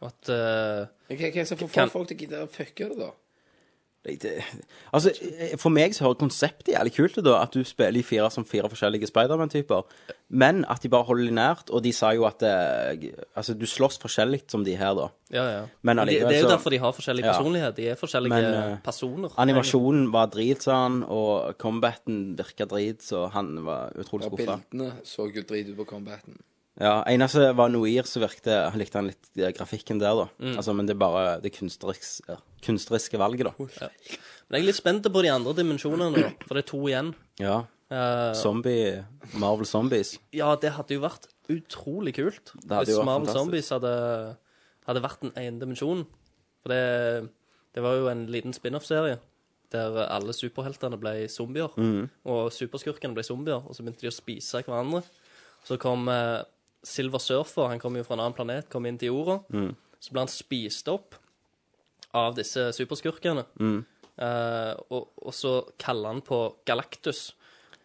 Speaker 9: Og at eh,
Speaker 8: Men Hva er det som får
Speaker 9: Kan-
Speaker 8: folk til å gidde å fucke det, da?
Speaker 7: Det, det, altså, for meg så hører konseptet jævlig kult ut, da. At du spiller i fire som fire forskjellige Spiderman-typer. Men at de bare holder linært. Og de sa jo at eh, Altså, du slåss forskjellig som de her, da.
Speaker 9: Ja, ja.
Speaker 7: Men
Speaker 9: det,
Speaker 7: allikevel
Speaker 9: det er jo
Speaker 7: så-
Speaker 9: derfor de har forskjellig
Speaker 7: Ja.
Speaker 9: personlighet. De er forskjellige
Speaker 7: Men, eh,
Speaker 9: personer.
Speaker 7: Animasjonen var drit, sa han, og combaten virka drit, så han var utrolig
Speaker 8: Og
Speaker 7: skuffa.
Speaker 8: bildene så jo drit ut på combaten.
Speaker 7: Ja, eneste var Noir, så virkte han likte han litt eh, grafikken der, da. Altså, men det er bare det kunstneriks, ja, kunstneriske valget, da.
Speaker 9: Men jeg er litt spent på de andre dimensjonene, da. For det er to igjen.
Speaker 7: Ja.
Speaker 9: Eh,
Speaker 7: Zombie Marvel Zombies.
Speaker 9: Ja, det hadde jo vært utrolig kult
Speaker 7: hadde
Speaker 9: hvis
Speaker 7: jo vært
Speaker 9: Marvel
Speaker 7: fantastisk.
Speaker 9: Zombies hadde, hadde vært en egen dimensjon. For det, det var jo en liten spin-off-serie der alle superheltene ble zombier.
Speaker 7: Mhm.
Speaker 9: Og superskurkene ble zombier, og så begynte de å spise hverandre. Så kom eh, Silver Surfer, han kom jo fra en annen planet, kom inn til jorda.
Speaker 7: Mhm.
Speaker 9: Så ble han spist opp av disse superskurkene. Eh, og, og så kaller han på Galactus,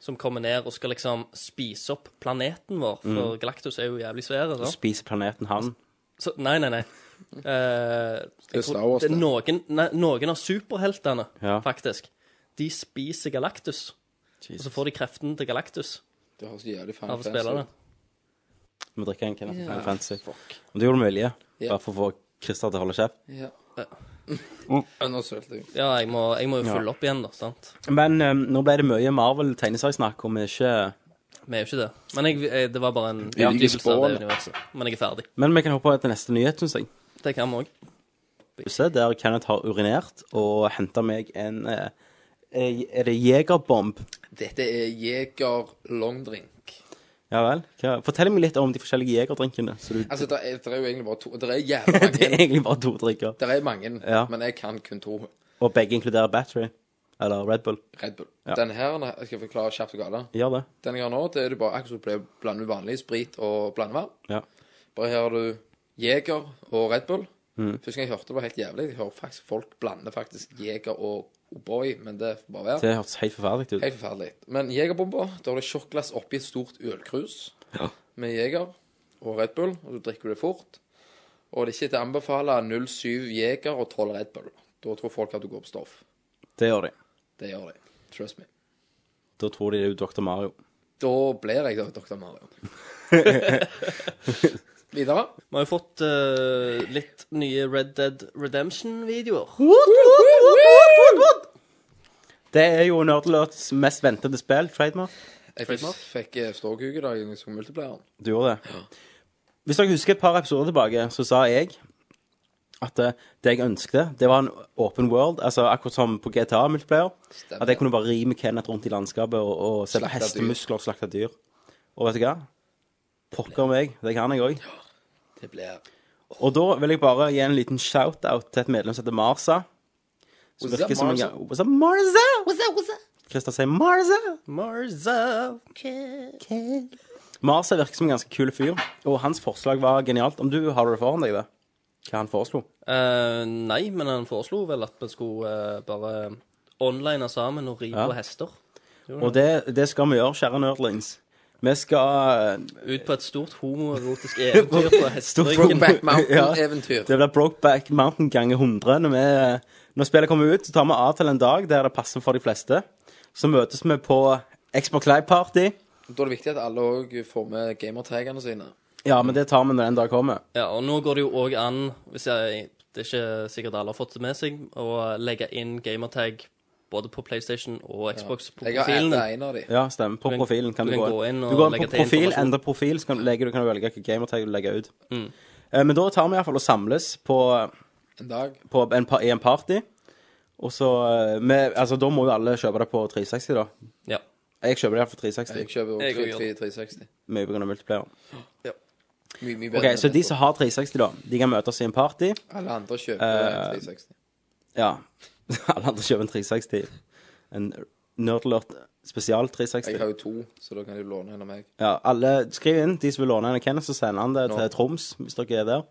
Speaker 9: som kommer ned og skal liksom spise opp planeten vår. For Galactus er jo jævlig svær. sant?
Speaker 7: Spiser planeten han.
Speaker 9: Så, nei, nei, nei. Eh, jeg
Speaker 8: Star
Speaker 9: tror
Speaker 8: Wars,
Speaker 9: det er
Speaker 8: det.
Speaker 9: noen, nei, noen av superheltene,
Speaker 7: Ja.
Speaker 9: faktisk, de spiser Galactus. Og så får de kreften til Galactus
Speaker 8: Det høres jævlig fan
Speaker 9: av å spille det.
Speaker 7: Vi drikker en Kenneth Final Fantasy. Men du gjorde det mulig,
Speaker 8: Ja.
Speaker 7: bare for å få Christer til å holde kjeft.
Speaker 8: Ja. [LAUGHS] Ja, Nå sølte jeg.
Speaker 9: Ja, jeg må, jeg må jo følge opp igjen, da. sant?
Speaker 7: Men eh, nå ble det mye Marvel-tegneseriesnakk, og vi er ikke
Speaker 9: Vi er jo ikke det. Men jeg, jeg, det var bare en
Speaker 8: Ja,
Speaker 9: utdypelse av
Speaker 8: spål.
Speaker 9: det universet. Men jeg er ferdig.
Speaker 7: Men vi kan hoppe til neste nyhet, syns jeg.
Speaker 9: Det kan vi òg.
Speaker 7: Huset der Kenneth har urinert og henta meg en eh, eh, Er det jegerbomb?
Speaker 8: Dette er Jeger Longdrink.
Speaker 7: Ja vel? Hva? Fortell meg litt om de forskjellige jegerdrinkene. Så
Speaker 8: [LAUGHS]
Speaker 7: du,
Speaker 8: Altså, det er, der er jo egentlig bare to Det er jævla
Speaker 7: [LAUGHS] det er
Speaker 8: mange.
Speaker 7: egentlig bare to drikker.
Speaker 8: Det er mange,
Speaker 7: Ja.
Speaker 8: men jeg kan kun to.
Speaker 7: Og begge inkluderer battery. Eller Red Bull.
Speaker 8: Red Bull. Den her jeg skal forklare kjapt og galt.
Speaker 7: Gjør det.
Speaker 8: Den jeg har nå, det er det bare akkurat som det ble blandet vanlig sprit og blandevann.
Speaker 7: Ja.
Speaker 8: Bare her har du Jeger og Red Bull. Første gang jeg hørte det, var helt jævlig. Jeg hører faktisk folk blander faktisk Jeger og O'boy, men det får bare være.
Speaker 7: Det hørtes helt forferdelig ut.
Speaker 8: Helt forferdelig. Men Jegerbomber, da har du sjokkglass oppi et stort ølkrus med Jeger og Red Bull, og så drikker du det fort. Og det er ikke til å anbefale 07 Jeger og 12 Red Bull. Da tror folk at du går på stoff.
Speaker 7: Det gjør de.
Speaker 8: Det gjør de. Trust me.
Speaker 7: Da tror de det er jo Dr. Mario.
Speaker 8: Da blir jeg da Dr. Mario. Videre.
Speaker 9: Vi har jo fått eh, litt nye Red Dead Redemption-videoer.
Speaker 7: Det er jo Nerdlords mest ventede spill, trademark.
Speaker 8: Jeg fikk, fikk eh, ståkuk i dag jeg så multiplayeren.
Speaker 7: Du gjorde det. Hvis dere husker et par episoder tilbake, så sa jeg at eh, det jeg ønskte, det var en open world, altså akkurat som på GTA multiplayer.
Speaker 8: Stemmer.
Speaker 7: At jeg kunne bare ri med Kenneth rundt i landskapet og, og se på
Speaker 8: Slakte dyr.
Speaker 7: hestemuskler og slakte dyr. Og vet du hva? Pokker meg, det kan jeg òg.
Speaker 8: Det blir
Speaker 7: Og da vil jeg bare gi en liten shout-out til et medlem som heter Marsa. Som
Speaker 8: What's up,
Speaker 7: virker som en
Speaker 8: Marza?
Speaker 7: gang- What's up, Marza? What's up, what's up? Christer sier Marza.
Speaker 9: Marza.
Speaker 7: Marsa virker som en ganske kul fyr, og hans forslag var genialt. Om du har det foran deg, det? Hva han foreslo?
Speaker 9: Eh, nei, men han foreslo vel at vi skulle eh, bare online sammen og ri på hester.
Speaker 7: Og det, det skal vi gjøre, kjære nerdlings. Vi skal eh,
Speaker 9: Ut på et stort
Speaker 7: [LAUGHS]
Speaker 9: homoerotisk eventyr på hesteryggen.
Speaker 8: Brokeback
Speaker 7: Ja,
Speaker 8: Mountain-eventyr.
Speaker 7: det blir Brokeback Mountain ganger 100. Når, vi, når spillet kommer ut, så tar vi av til en dag der det passer for de fleste. Så møtes vi på Xbox Live Party.
Speaker 8: Da er det viktig at alle òg får med gamertagene sine.
Speaker 7: Ja, men det tar vi når den dag kommer.
Speaker 9: Ja, og nå går det jo òg an, hvis jeg, det er ikke sikkert alle har fått det med seg, å legge inn gamertag både på PlayStation og Xbox på
Speaker 8: Jeg har
Speaker 9: profilen.
Speaker 8: adda en av de.
Speaker 7: Ja, stemmer. På
Speaker 9: Du kan-
Speaker 7: profilen kan
Speaker 9: du
Speaker 7: du,
Speaker 9: kan
Speaker 7: gå inn.
Speaker 9: og
Speaker 7: Du går inn
Speaker 9: legge
Speaker 7: på
Speaker 9: til
Speaker 7: profil,
Speaker 9: informasjon. Mm.
Speaker 7: endre profil, så kan du, legge, du kan velge hvilken gamertag du legger ut. Eh, Men da tar vi iallfall og samles på,
Speaker 8: En dag.
Speaker 7: på en, pa- i en party. Og så eh, med, Altså, da må jo alle kjøpe det på 360, da.
Speaker 9: Ja.
Speaker 7: Jeg kjøper det iallfall
Speaker 8: Jeg
Speaker 7: 360.
Speaker 8: kjøper
Speaker 9: Jeg
Speaker 8: også
Speaker 9: går og gjør
Speaker 8: 3- 360.
Speaker 7: Mye pga. multiplayer.
Speaker 8: Mye, mye
Speaker 7: Ok,
Speaker 8: bedre. enn
Speaker 7: Så de
Speaker 8: dette.
Speaker 7: som har 360, da, de kan møtes i en party.
Speaker 8: Alle andre kjøper
Speaker 7: Eh,
Speaker 8: 360.
Speaker 7: Ja. [LAUGHS] Alle andre kjøper en 360. En Nerdlert spesial
Speaker 8: Jeg
Speaker 7: 360.
Speaker 8: har jo to, så da kan de låne en av meg.
Speaker 7: Ja, alle, Skriv inn de som vil låne en av Kenneth, så sender han det
Speaker 8: Nå.
Speaker 7: til Troms, hvis dere er der.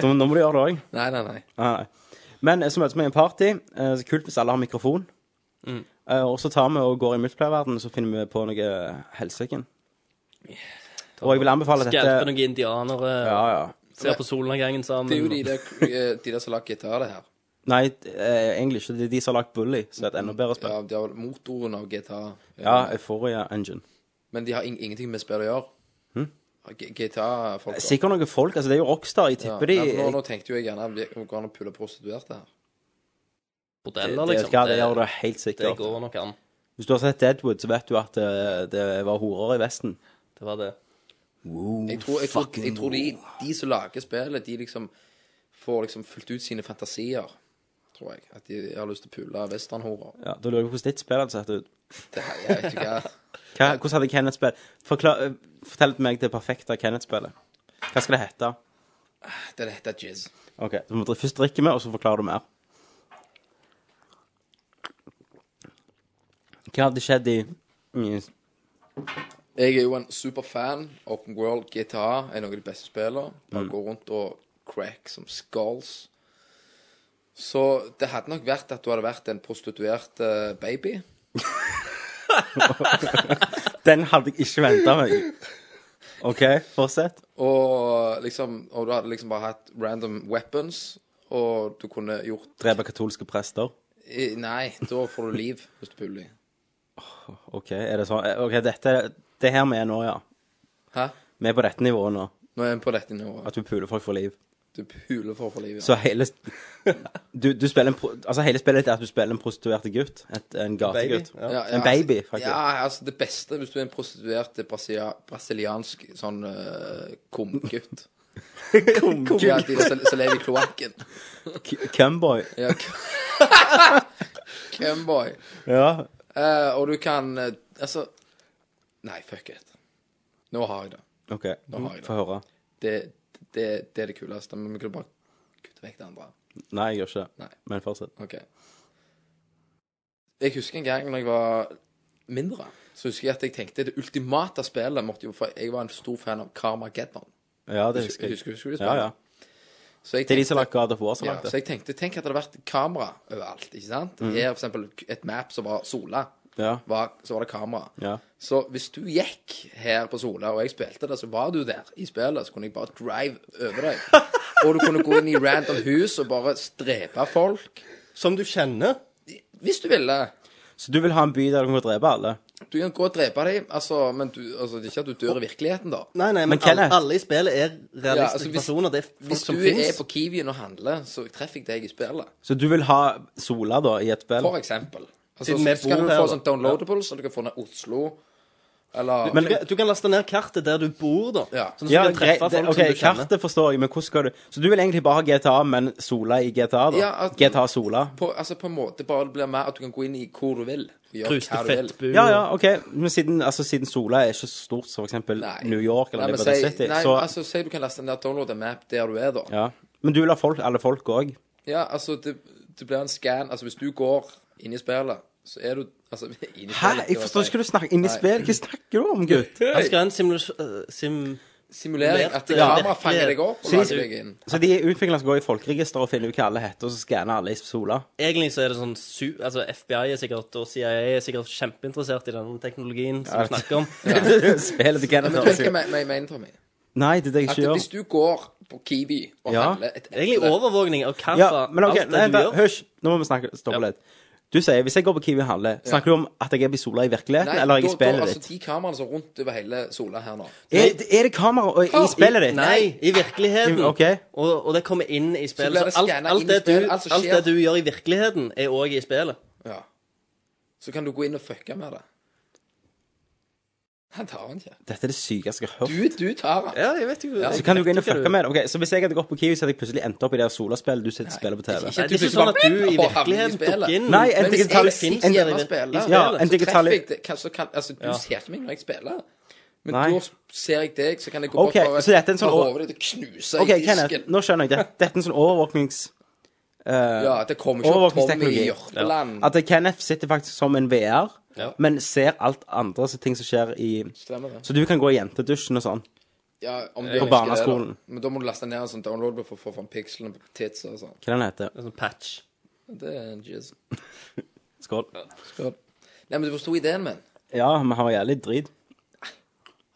Speaker 7: Så Nå må du gjøre det òg.
Speaker 8: Nei, nei, nei.
Speaker 7: Nei. Men eh, så møtes vi i en party. Eh, så kult hvis alle har mikrofon. Eh, og så tar vi og går i multiplayerverdenen, så finner vi på noe helsike. Og jeg vil anbefale
Speaker 9: Hjelpe
Speaker 7: dette
Speaker 9: noen indianere,
Speaker 7: Ja, ja.
Speaker 9: ser på solnedgangen sammen.
Speaker 8: Det er jo de der, eh, de der som lager gitar, det her.
Speaker 7: Nei, eh, egentlig ikke. Det er de som har lagt Bully, som er et enda bedre spill.
Speaker 8: Ja, de har motoren av gitar.
Speaker 7: Ja, Euphoria Engine.
Speaker 8: Men de har ing ingenting med spill å gjøre. Gitar-folk.
Speaker 7: Sikkert noen folk. altså Det er jo Rockstar. Jeg tipper de
Speaker 8: nå, nå tenkte jo jeg gjerne vi- går det an å pulle prostituerte her.
Speaker 9: bordeller,
Speaker 7: det,
Speaker 9: liksom.
Speaker 7: det, det gjør det helt
Speaker 9: det
Speaker 7: sikkert.
Speaker 9: går nok an.
Speaker 7: Hvis du har sett Deadwood, så vet du at det, det var horer i Vesten.
Speaker 9: Det var det.
Speaker 8: Jeg tror, jeg tror, jeg tror de, de som lager spillet, de liksom får liksom fulgt ut sine fantasier. Tror tror jeg. At de har lyst til å pule westernhorer.
Speaker 7: Ja, da lurer jeg på hvordan ditt spill hadde sett ut.
Speaker 8: Det- Jeg vet ikke hva.
Speaker 7: Hva, hvordan hadde Kenneth spilt? Forklar, eh, fortell meg det perfekte Kenneth-spillet. Hva skal det hete?
Speaker 8: [LAUGHS] Det er dette jizz.
Speaker 7: Ok, så må dere først drikke med, og så forklarer du mer. Hva hadde skjedd i Mm, i-
Speaker 8: Jeg er jo en superfan. Open World GTA er noen av de beste spillene. Bare går rundt og crack som skulls. Så det hadde nok vært at du hadde vært en prostituert eh, baby.
Speaker 7: Den hadde jeg ikke venta meg. OK, fortsett.
Speaker 8: Og liksom Og du hadde liksom bare hatt random weapons. Og du kunne gjort
Speaker 7: Drepe katolske prester.
Speaker 8: i- Nei, da får du liv hvis du puler dem.
Speaker 7: OK, er det sånn? eh, Ok, dette Det er her vi er nå, ja.
Speaker 8: Hæ?
Speaker 7: Vi er på dette nivået nå.
Speaker 8: Nå er vi på dette nivået.
Speaker 7: At du puler folk for liv.
Speaker 8: Du puler for å få liv. Ja.
Speaker 7: Så hele du, du spiller en pro, Altså hele spillet er at du spiller en prostituert gutt. Et, en gategutt.
Speaker 8: Ja, ja,
Speaker 7: En baby,
Speaker 8: altså-
Speaker 7: faktisk.
Speaker 8: Ja, altså det beste hvis du er en prostituert det er brasilia, brasiliansk sånn uh,
Speaker 7: [LAUGHS]
Speaker 8: kumgutt. Ja, de som som lever i kloakken.
Speaker 7: K- Cumboy.
Speaker 8: Ja, [LAUGHS] Camboy.
Speaker 7: Ja.
Speaker 8: Eh, og du kan eh, Altså Nei, fuck it. Nå har jeg det.
Speaker 7: OK,
Speaker 8: har jeg det.
Speaker 7: få høre.
Speaker 8: Det, det, det er det kuleste. Men vi kunne bare kutte vekk det andre.
Speaker 7: Nei, jeg gjør ikke det.
Speaker 8: Nei.
Speaker 7: Men fortsett.
Speaker 8: OK. Jeg husker en gang når jeg var mindre, så husker jeg at jeg tenkte det ultimate spillet måtte jo For jeg var en stor fan av Carmageddon.
Speaker 7: Ja, det
Speaker 8: Husker, husker,
Speaker 7: husker jeg.
Speaker 8: husker du det
Speaker 7: Ja,
Speaker 8: spillet?
Speaker 7: ja.
Speaker 8: Så jeg
Speaker 7: Det er de
Speaker 8: tenkte-
Speaker 7: som har lagt God of War så
Speaker 8: ja,
Speaker 7: langt. Mm.
Speaker 8: så
Speaker 7: det.
Speaker 8: jeg tenkte, tenk at det hadde vært kamera overalt, ikke sant? Her for eksempel et map som var Sola,
Speaker 7: Ja.
Speaker 8: var, så var det kamera.
Speaker 7: Ja.
Speaker 8: Så hvis du gikk her på Sola, og jeg spilte det, så var du der i spillet, så kunne jeg bare drive over
Speaker 7: [LAUGHS]
Speaker 8: deg. og du kunne gå inn i random hus og bare strepe folk,
Speaker 2: Som du kjenner.
Speaker 8: hvis du ville.
Speaker 7: Så du vil ha en by der du kan drepe alle?
Speaker 8: Du kan gå og drepe dem, altså, men du, altså, det er ikke at du dør i virkeligheten da.
Speaker 2: Nei, nei, men, alle,
Speaker 7: Kenneth-
Speaker 2: alle i spillet er realistiske
Speaker 8: Ja, altså, hvis-
Speaker 2: personer. Det er folk
Speaker 8: Hvis du
Speaker 2: som
Speaker 8: er
Speaker 2: finnes
Speaker 8: på Kiwien og handler, så treffer jeg deg i spillet.
Speaker 7: Så du vil ha Sola, da, i et spill?
Speaker 8: For eksempel. Altså,
Speaker 2: Siden vi
Speaker 8: så skal
Speaker 2: bor
Speaker 8: du
Speaker 2: her,
Speaker 8: få
Speaker 2: da.
Speaker 8: sånn downloadables, så du kan få ned Oslo, eller
Speaker 2: du, kan, du kan laste ned kartet der du bor, da.
Speaker 8: Ja.
Speaker 2: Sånn at du
Speaker 7: Ja,
Speaker 2: kan treffe
Speaker 7: greit, det-
Speaker 2: folk
Speaker 7: ok,
Speaker 2: som du kjenner.
Speaker 7: kartet forstår jeg, men hvordan skal du Så du vil egentlig bare ha GTA, men Sola i GTA, da?
Speaker 8: Ja, at-
Speaker 7: GTA Sola?
Speaker 8: på, altså på en måte bare det blir mer at du kan gå inn i hvor du vil. og gjøre
Speaker 9: Kruste
Speaker 8: hva du vil.
Speaker 9: fettbu.
Speaker 7: Ja, ja, OK, men siden, altså, siden Sola er ikke så stort som for eksempel
Speaker 8: Nei.
Speaker 7: New York eller
Speaker 8: Nei, men
Speaker 7: Liberty
Speaker 8: si-
Speaker 7: City,
Speaker 8: Nei,
Speaker 7: så
Speaker 8: altså Si du kan laste ned download en map der du er, da. Ja,
Speaker 7: ja. Men du vil ha folk, alle folk òg?
Speaker 8: altså det, det blir en scan. Altså hvis du går inn i spillet, så er du altså [LAUGHS] inn i
Speaker 7: Hæ?
Speaker 8: spillet,
Speaker 7: Jeg forstår ikke hva du snakker inn i
Speaker 8: Nei.
Speaker 7: spill. Hva snakker du
Speaker 8: [LAUGHS]
Speaker 7: om, gutt?
Speaker 9: Han skal ha en simulas- eh, sim...
Speaker 8: Simulering. At
Speaker 9: Ja,
Speaker 8: kamera
Speaker 9: virkelig.
Speaker 8: fanger deg opp og
Speaker 9: Så-
Speaker 8: lager deg inn.
Speaker 7: Så de utviklerne som går i folkeregisteret og finner ut hva alle heter, og så skanner alle
Speaker 8: [LAUGHS]
Speaker 7: i Sola? [LAUGHS]
Speaker 9: Egentlig så er det sånn su... Altså, FBI er sikkert, og CIA er sikkert kjempeinteressert i denne teknologien som vi snakker
Speaker 7: [LAUGHS]
Speaker 9: om.
Speaker 7: Spillet til
Speaker 8: Men
Speaker 7: Kenneth
Speaker 8: hva
Speaker 7: høres
Speaker 8: jeg
Speaker 7: ut
Speaker 8: men- jeg mener, Tommy?
Speaker 7: Nei, det er det jeg
Speaker 8: At
Speaker 7: ikke gjør.
Speaker 8: hvis du går på Kiwi og
Speaker 7: Ja.
Speaker 8: handler et
Speaker 9: Egentlig overvåkning av hva
Speaker 8: altså.
Speaker 7: Ja, men ok,
Speaker 9: alt det
Speaker 7: nei,
Speaker 9: du
Speaker 7: da,
Speaker 9: gjør.
Speaker 7: hysj, nå må vi snakke, stoppe
Speaker 9: Ja.
Speaker 7: litt. Du sier, hvis jeg går på Kiwi og handler, snakker du om at jeg er på Sola i virkeligheten, eller er jeg i
Speaker 8: da, da,
Speaker 7: spillet
Speaker 8: altså,
Speaker 7: ditt?
Speaker 8: de kameraene som er rundt over hele Sola her nå.
Speaker 7: Er, er det kamera og- i spillet ditt?
Speaker 9: Nei, i virkeligheten.
Speaker 7: I- ok.
Speaker 9: Og, og det kommer inn i
Speaker 8: Så blir
Speaker 9: spillet.
Speaker 8: det
Speaker 9: Så alt,
Speaker 8: scannet inn
Speaker 9: alt,
Speaker 8: i
Speaker 9: det
Speaker 8: spillet,
Speaker 9: du,
Speaker 8: alt som
Speaker 9: alt det
Speaker 8: skjer.
Speaker 9: du gjør i virkeligheten, er òg i spillet.
Speaker 8: Ja. Så kan du gå inn og fucke med det. Han tar den ikke.
Speaker 7: Dette er det sykeste jeg har hørt.
Speaker 8: Du, du tar den.
Speaker 9: Ja, jeg vet ikke.
Speaker 7: Så kan du gå inn og fucke med det. Ok, så hvis jeg hadde gått på Kiwi, så hadde jeg plutselig endt opp i det der Sola-spillet du sitter og spiller på TV.
Speaker 9: Nei, det er ikke sånn at du i virkeligheten tok inn
Speaker 7: Nei, en
Speaker 8: Men hvis
Speaker 7: digital-
Speaker 8: jeg sitter hjemme og spiller,
Speaker 7: Ja, en
Speaker 8: så
Speaker 7: digital-
Speaker 8: treffer jeg deg. Kan- så kan- Altså, du ser ikke meg når jeg spiller. Men
Speaker 7: Nei.
Speaker 8: da ser jeg deg, så kan jeg gå
Speaker 7: Ok,
Speaker 8: bort
Speaker 7: så dette er en sånn-
Speaker 8: over hodet ditt og knuse
Speaker 7: Ok,
Speaker 8: i
Speaker 7: Kenneth,
Speaker 8: disken.
Speaker 7: nå skjønner jeg det. Dette er en sånn overvåknings...
Speaker 8: Ja, det kommer ikke opp Tommy
Speaker 7: overvåkningsteknologi.
Speaker 8: Jørpeland.
Speaker 7: At Kenneth sitter faktisk som en VR,
Speaker 9: Ja.
Speaker 7: men ser alt andre så ting som skjer i...
Speaker 8: Stemmer det.
Speaker 7: Så du kan gå i jentedusjen og sånn.
Speaker 8: Ja, om du ønsker
Speaker 7: På
Speaker 8: det, da.
Speaker 7: barneskolen.
Speaker 8: Men da må du laste ned en sånn download for å få fram pikslene på tits og sånn.
Speaker 7: Hva den heter?
Speaker 9: En sånn patch.
Speaker 8: Det er en jizz.
Speaker 7: Skål.
Speaker 8: Skål. Nei, men du forsto ideen min.
Speaker 7: Ja, vi har jævlig drit.
Speaker 8: Det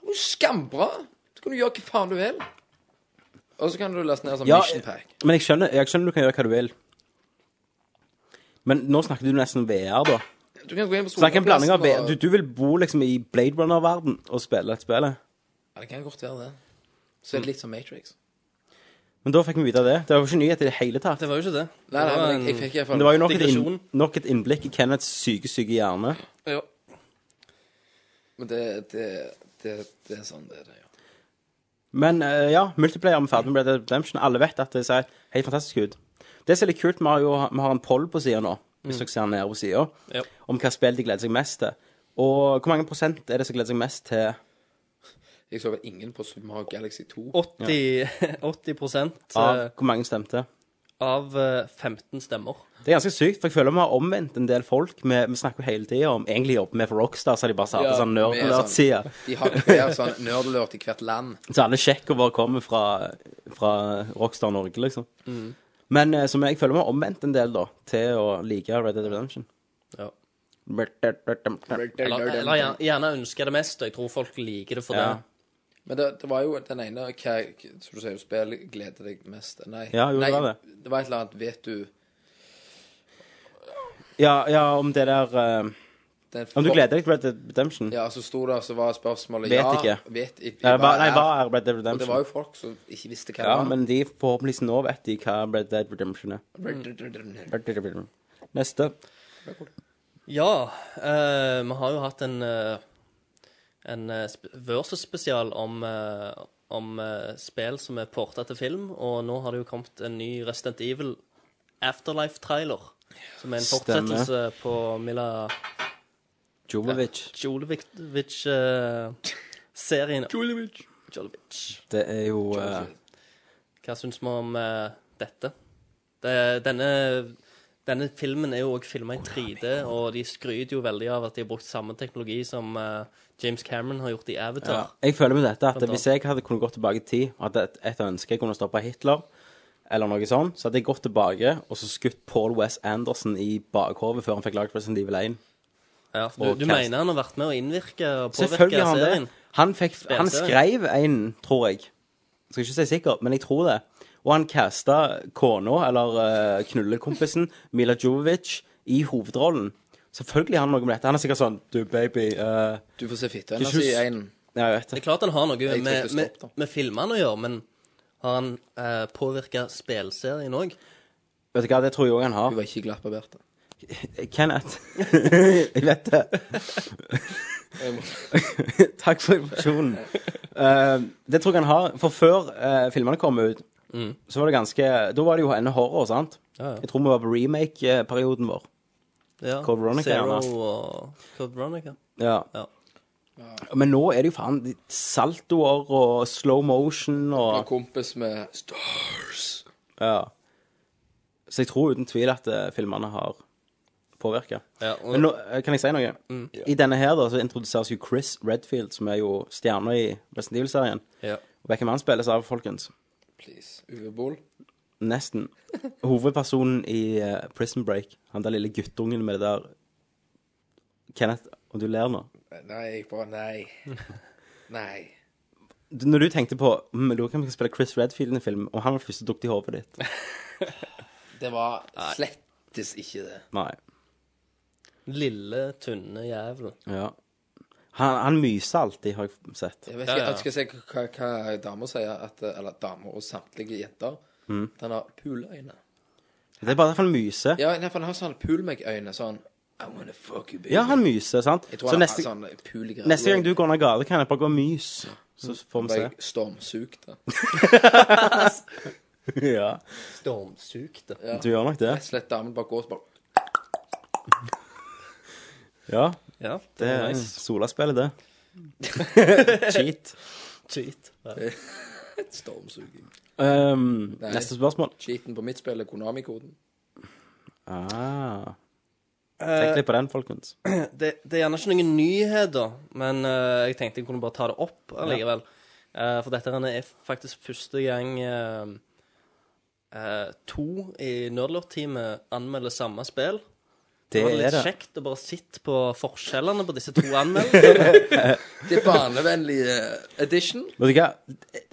Speaker 8: var jo skambra! Du kan jo gjøre hva faen du vil. Og så kan du laste ned sånn
Speaker 7: Ja,
Speaker 8: Mission Pack.
Speaker 7: men jeg skjønner, jeg skjønner du kan gjøre hva du vil. Men nå snakker du nesten VR, da.
Speaker 8: Du kan gå inn på
Speaker 7: Så det er ikke en blanding av
Speaker 8: Solbakkplassen
Speaker 7: VR. Du, du vil bo liksom i Blade Runner-verden og spille et spill.
Speaker 8: Ja, det kan godt være det. Så er det litt som Matrix.
Speaker 7: Men da fikk vi vite det. Det var jo ikke nyhet i det hele tatt.
Speaker 9: Det var jo ikke det.
Speaker 8: Nei, nei,
Speaker 9: var
Speaker 8: men jeg, jeg
Speaker 9: en-
Speaker 8: fikk i hvert
Speaker 7: Men
Speaker 8: fall
Speaker 7: det var jo nok et, inn,
Speaker 9: Digresjon.
Speaker 7: nok et innblikk i Kenneths syke, syke hjerne.
Speaker 9: Ja.
Speaker 8: Men det, det, det, det er sånn det er, det, ja.
Speaker 7: Men eh, ja, multiplayer med ferdig med Red Dead Redemption. Alle vet at det ser helt fantastisk ut. Det som er litt kult, vi har jo vi har en poll på sida nå, hvis dere ser nede på sida,
Speaker 9: Mm. Ja.
Speaker 7: om hva spill de gleder seg mest til. Og hvor mange prosent er det som gleder seg mest til
Speaker 8: Jeg så vel ingen på Super Mario Galaxy 2.
Speaker 9: 80, [LAUGHS] 80
Speaker 7: av
Speaker 9: eh,
Speaker 7: hvor mange stemte?
Speaker 9: av eh, 15 stemmer.
Speaker 7: Det er ganske sykt, for jeg føler vi har omvendt en del folk. Vi, vi snakker jo hele tida om Egentlig jobber vi for Rockstar, så de bare sa på sånn
Speaker 8: vi er sånn-
Speaker 7: nerd-nerd-side.
Speaker 8: De har hver sånn nerdelert i hvert land.
Speaker 7: Så alle sjekker bare kommer fra, fra Rockstar Norge, liksom.
Speaker 8: Mm.
Speaker 7: Men eh, som jeg føler vi har omvendt en del, da, til å like Red Dead Redemption.
Speaker 9: Ja.
Speaker 7: Ja,
Speaker 9: Eller, eh, eller gjerne, gjerne ønsker det mest. og Jeg tror folk liker det for
Speaker 7: Ja.
Speaker 9: det.
Speaker 8: Men det, det var jo den ene hva, Som du sier, spill gleder deg mest Nei,
Speaker 7: Ja, jo, det
Speaker 8: nei
Speaker 7: var det.
Speaker 8: det var et eller annet Vet du
Speaker 7: ja, om det der eh,
Speaker 8: den
Speaker 7: Om du
Speaker 8: for-
Speaker 7: gleder deg til Red Dead Redemption?
Speaker 8: Ja, så sto det, så var spørsmålet
Speaker 7: Vet
Speaker 8: ja,
Speaker 7: ikke.
Speaker 8: Vet ikke.
Speaker 7: Eller, hva, nei,
Speaker 8: er-
Speaker 7: hva er
Speaker 8: Og
Speaker 7: Red Dead
Speaker 8: det
Speaker 7: Redemption?
Speaker 8: var jo folk som ikke visste hva det
Speaker 7: ja,
Speaker 8: var.
Speaker 7: men de forhåpentligvis nå vet de hva Red Dead Redemption er. Red Dead Redemption. Neste.
Speaker 9: Ja, eh, vi har jo hatt en, eh, en eh, sp- versus-spesial om, eh, om eh, spill som er porta til film, og nå har det jo kommet en ny Resident Evil Afterlife-trailer. Som er en
Speaker 7: Stemmer.
Speaker 9: fortsettelse på Mila
Speaker 7: Jovovic.
Speaker 9: eh, Jolovic-serien. Jolovic.
Speaker 7: Det er jo eh,
Speaker 9: Hva syns vi om eh, dette? Det, denne, denne filmen er jo også filma i 3D, og de skryter jo veldig av at de har brukt samme teknologi som eh, James Cameron har gjort i
Speaker 7: ja.
Speaker 9: Avatar.
Speaker 7: Jeg føler med dette at
Speaker 9: Vent da.
Speaker 7: hvis jeg hadde kunnet gå tilbake i tid, og hadde et, et ønske jeg kunne stoppe Hitler, eller noe sånt, så hadde jeg gått tilbake og så skutt Paul West Anderson i bakhovet før han fikk lagd Resident Evil 1.
Speaker 9: Ja. Du,
Speaker 7: Og
Speaker 9: du
Speaker 7: cast.
Speaker 9: mener han har vært med å innvirke og
Speaker 7: Selvfølgelig
Speaker 9: påvirke
Speaker 7: har han det.
Speaker 9: serien?
Speaker 7: Han, fikk, han
Speaker 9: Spilserien.
Speaker 7: skrev en, tror jeg. Jeg Skal ikke si sikkert, men jeg tror det. Og han casta kona, eller eh, knullekompisen, [LAUGHS] Mila Jovovic, i hovedrollen. Selvfølgelig har han noe med dette. Han er sikkert sånn Du, baby eh,
Speaker 8: Du får se fitta
Speaker 7: Ikke
Speaker 8: hennes i
Speaker 7: hus-
Speaker 8: en
Speaker 7: Ja, jeg vet
Speaker 9: Det
Speaker 7: det.
Speaker 9: er klart han har noe
Speaker 8: Jeg
Speaker 9: med,
Speaker 8: trykker
Speaker 9: med,
Speaker 8: stopp, da.
Speaker 9: med filmene å gjøre, men har han uh, påvirka spillserien òg?
Speaker 7: Vet du hva, det tror jeg òg han
Speaker 8: Hun
Speaker 7: har.
Speaker 8: var ikke glattbarbert.
Speaker 7: Kenneth. jeg vet det. Takk for informasjonen. Eh, det tror jeg han har. For før eh, filmene kom ut, så var det ganske Da var det jo ennå horror, sant?
Speaker 9: Mm. Ja, ja.
Speaker 7: Jeg tror vi var på remake-perioden vår.
Speaker 9: Ja.
Speaker 7: Code Veronica,
Speaker 9: Zero
Speaker 7: gjerne.
Speaker 9: og Code Veronica.
Speaker 7: Ja.
Speaker 9: Ja.
Speaker 7: Men nå er det jo faen saltoer og slow motion
Speaker 8: Og
Speaker 7: og
Speaker 8: kompis med Stars.
Speaker 7: ja. Så jeg tror uten tvil at eh, filmene har påvirka.
Speaker 9: Ja, og- Mm.
Speaker 7: Men nå, eh, kan jeg si noe? I denne her da, så introduseres jo Chris Redfield, som er jo stjerna i Resident Evil-serien.
Speaker 9: Ja.
Speaker 7: Og Hvem han spilles av, folkens?
Speaker 8: Please. Uwe Boll.
Speaker 7: Nesten. Hovedpersonen i eh, Prison Break. Han der lille guttungen med det der Kenneth, om du ler nå?
Speaker 8: Nei, bare
Speaker 7: [LAUGHS]
Speaker 8: nei. Nei.
Speaker 7: Du- Når du tenkte på mm, Lurer på om jeg kan spille Chris Redfield i en film, og han var første dukk i hodet ditt.
Speaker 8: Det var slettes ikke det.
Speaker 7: Nei.
Speaker 9: Lille, tynne jævelen.
Speaker 7: Ja. Han, han myser alltid, har jeg sett.
Speaker 8: Jeg vet ikke, jeg skal se hva, hva damer sier, at, eller damer og samtlige jenter.
Speaker 7: Mm.
Speaker 8: at Han har puleøyne.
Speaker 7: Det er bare derfor han myser.
Speaker 8: Ja, nei, for han har sånn pulmeg-øyne, sånn I wanna fuck you, baby.
Speaker 7: Ja, han myser, sant?
Speaker 8: Jeg tror
Speaker 7: Så
Speaker 8: han
Speaker 7: neste,
Speaker 8: har sånn pulegreier.
Speaker 7: neste gang du går ned gata, kan jeg bare gå og myse. Så får vi
Speaker 8: Bare
Speaker 7: se.
Speaker 8: jeg stormsugte.
Speaker 7: Ja, [LAUGHS]
Speaker 9: Stormsugte.
Speaker 7: du gjør nok det.
Speaker 8: Rett og slett damen bare går og bare
Speaker 7: Ja,
Speaker 9: Ja,
Speaker 7: det er
Speaker 9: nice.
Speaker 7: Sola-spillet, det. Cheat.
Speaker 9: Cheat. Ja.
Speaker 8: Stormsuging.
Speaker 7: Um,
Speaker 8: Nei.
Speaker 7: neste spørsmål.
Speaker 8: Cheaten på mitt spill er Konami-koden.
Speaker 7: Ah. Tenk litt på den, folkens.
Speaker 9: Det, det er gjerne ikke noen nyheter, men eh, jeg tenkte jeg kunne bare ta det opp allikevel. Eh, for dette her er faktisk første gang eh, eh, to i Nerdlort-teamet anmelder samme spill.
Speaker 7: Det
Speaker 9: var
Speaker 7: er
Speaker 9: litt
Speaker 7: det.
Speaker 9: kjekt å bare sitte på forskjellene på
Speaker 7: [LAUGHS]
Speaker 9: disse to anmeldelsene.
Speaker 8: Det er barnevennlige edition.
Speaker 7: Vet du hva?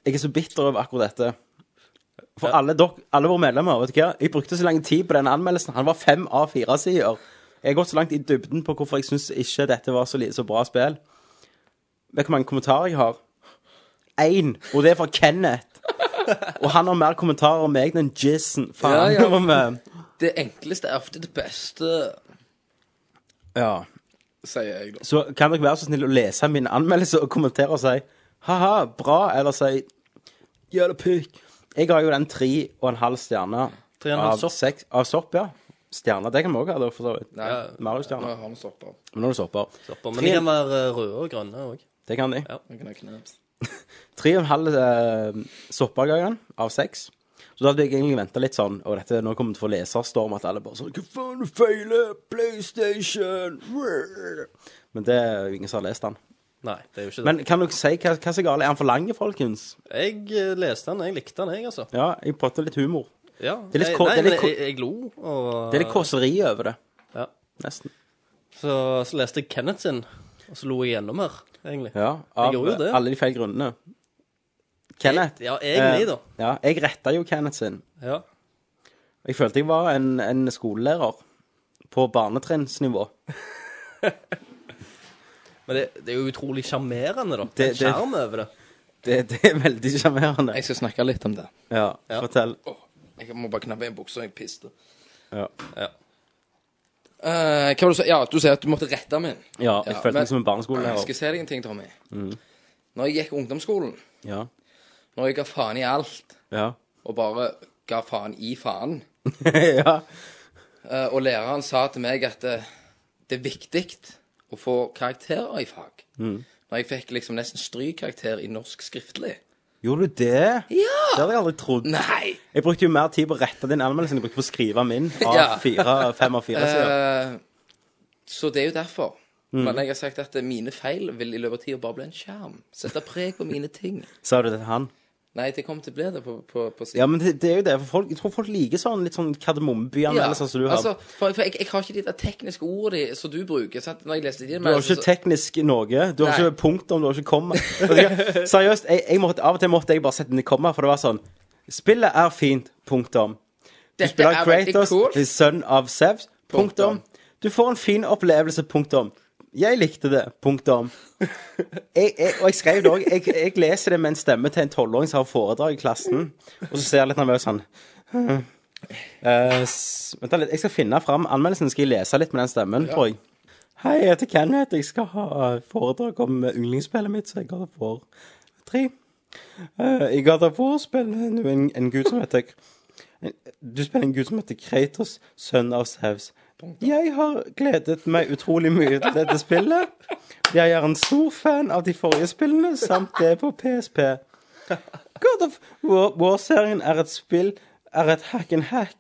Speaker 7: Jeg er så bitter over akkurat dette. For alle, dok, alle våre medlemmer, vet du hva? Jeg brukte så lang tid på den anmeldelsen. Han var fem av fire sider. Jeg har gått så langt i dybden på hvorfor jeg syns ikke dette var så, li- så bra spill. Vet du hvor mange kommentarer jeg har? Én, og det er fra Kenneth. Og han har mer kommentarer om meg enn Jissen. Faen.
Speaker 8: Ja, ja.
Speaker 7: [LAUGHS] om, eh,
Speaker 8: Det enkleste er ofte det beste,
Speaker 7: ja.
Speaker 8: sier jeg da.
Speaker 7: Så kan dere være så snill å lese min anmeldelse og kommentere og si ha-ha, bra, eller si jævla pikk. Jeg har jo den tre og en halv stjerne
Speaker 9: Tre og en halv
Speaker 7: Av,
Speaker 9: sopp.
Speaker 7: seks, av sopp, ja. Stjerner, det kan vi òg ha, da, for så vidt.
Speaker 8: Nei, nå
Speaker 7: Mario-stjerner.
Speaker 8: har vi stoppa.
Speaker 7: Men nå er det sopper.
Speaker 9: Men de kan være eh, røde og grønne òg.
Speaker 7: Det kan de.
Speaker 9: Ja.
Speaker 8: Nå kan jeg kneps.
Speaker 7: Tre og en halv eh, sopper Gagan, av seks. Så da hadde jeg egentlig venta litt sånn, og dette, nå kommer det til å få leserstorm, at alle bare sånn Hva faen, du feiler? PlayStation! Men det er jo ingen som har lest den.
Speaker 9: Nei, det er jo ikke det.
Speaker 7: Men kan dere si hva, hva som er galt? Er han for lang, folkens?
Speaker 9: Jeg eh, leste den, jeg likte den, jeg, altså.
Speaker 7: Ja, jeg prøvde litt humor.
Speaker 9: Ja.
Speaker 7: er litt
Speaker 9: jeg,
Speaker 7: kort- det
Speaker 9: nei,
Speaker 7: er litt
Speaker 9: men
Speaker 7: kort-
Speaker 9: jeg, jeg lo, og
Speaker 7: Det er litt kåseri over det.
Speaker 9: Ja.
Speaker 7: Nesten.
Speaker 9: så, så leste jeg Kenneth sin, og så lo jeg enda mer, egentlig.
Speaker 7: Ja, av
Speaker 9: gjorde jo det.
Speaker 7: alle de feil grunnene. Kenneth.
Speaker 9: Ja, egentlig, da.
Speaker 7: Eh, Ja, jeg retta jo Kenneth sin.
Speaker 9: Ja.
Speaker 7: Jeg følte jeg var en, en skolelærer på barnetrinnsnivå.
Speaker 9: Men det, det er jo utrolig sjarmerende, da. Det
Speaker 7: Det-
Speaker 9: er en sjarm over det.
Speaker 7: Det, det er veldig sjarmerende.
Speaker 8: Jeg skal snakke litt om det.
Speaker 7: Ja,
Speaker 9: Ja.
Speaker 7: fortell.
Speaker 8: Åh, jeg må bare knappe i en bukse, og jeg piste.
Speaker 7: Ja,
Speaker 9: Ja.
Speaker 8: Eh, hva var det du sa? Ja, du sier at du måtte rette min.
Speaker 7: ja jeg
Speaker 8: Ja, men-
Speaker 7: følte meg som en
Speaker 8: Jeg skal
Speaker 7: barneskolelærer.
Speaker 8: si deg en ting, Tommy. Når jeg gikk ungdomsskolen,
Speaker 7: Ja,
Speaker 8: når jeg ga faen i alt,
Speaker 7: ja. [LAUGHS]
Speaker 8: og bare ga faen i faen,
Speaker 7: ja.
Speaker 8: eh, og læreren sa til meg at eh, det er viktig å få karakterer i fag. Når jeg fikk liksom nesten strykkarakter i norsk skriftlig.
Speaker 7: Gjorde du det? Ja! Det hadde jeg aldri trodd.
Speaker 8: Nei!
Speaker 7: Jeg brukte jo mer tid på å rette din anmeldelse enn jeg brukte på å skrive min av
Speaker 8: Ja.
Speaker 7: fire, fem av fire sider.
Speaker 8: Eh, så det er jo derfor. Men jeg har sagt at eh, mine feil vil i løpet av tida bare bli en skjerm. Sette preg på mine ting.
Speaker 7: Sa du det til han?
Speaker 8: Nei, det kommer til å bli det på, på, på siden.
Speaker 7: Ja, men det, det er jo det. For folk, jeg tror folk liker sånn litt sånn kardemommebyanmeldelser som du har.
Speaker 8: altså, for, for jeg, jeg har ikke de der tekniske ordene som du bruker. Sant? Når jeg leste de altså,
Speaker 7: du har ikke teknisk noe. Du
Speaker 8: Nei.
Speaker 7: har ikke punktum, du har ikke komma. Altså, jeg- [LAUGHS] Seriøst, jeg, jeg måtte, av og til måtte jeg bare sette inn i komma, for det var sånn Spillet er fint, punktum. Du
Speaker 8: Dette
Speaker 7: spiller
Speaker 8: er veldig
Speaker 7: Kratos,
Speaker 8: kult.
Speaker 7: the son of Sevs, punktum.
Speaker 8: Punktum.
Speaker 7: Du får en fin opplevelse, punktum. Jeg likte det, punktum. Jeg, jeg, og jeg skrev det òg. Jeg, jeg leser det med en stemme til en tolvåring som har foredrag i klassen, og så ser jeg litt nervøs sånn Eh, s- Vent da litt, jeg skal finne fram anmeldelsen. Skal jeg lese litt med den stemmen, tror jeg. Hei, jeg heter Kenneth. Jeg skal ha foredrag om yndlingsspillet mitt, så jeg ga det for tre. Eh, jeg ga det for å spille nå en, en gud som heter Du spiller en gud som heter Kratos, sønn av Saus. Jeg har gledet meg utrolig mye til dette spillet. Jeg er en stor fan av de forrige spillene, samt det på PSP. God of War- War-serien er et spill Er et hack and hack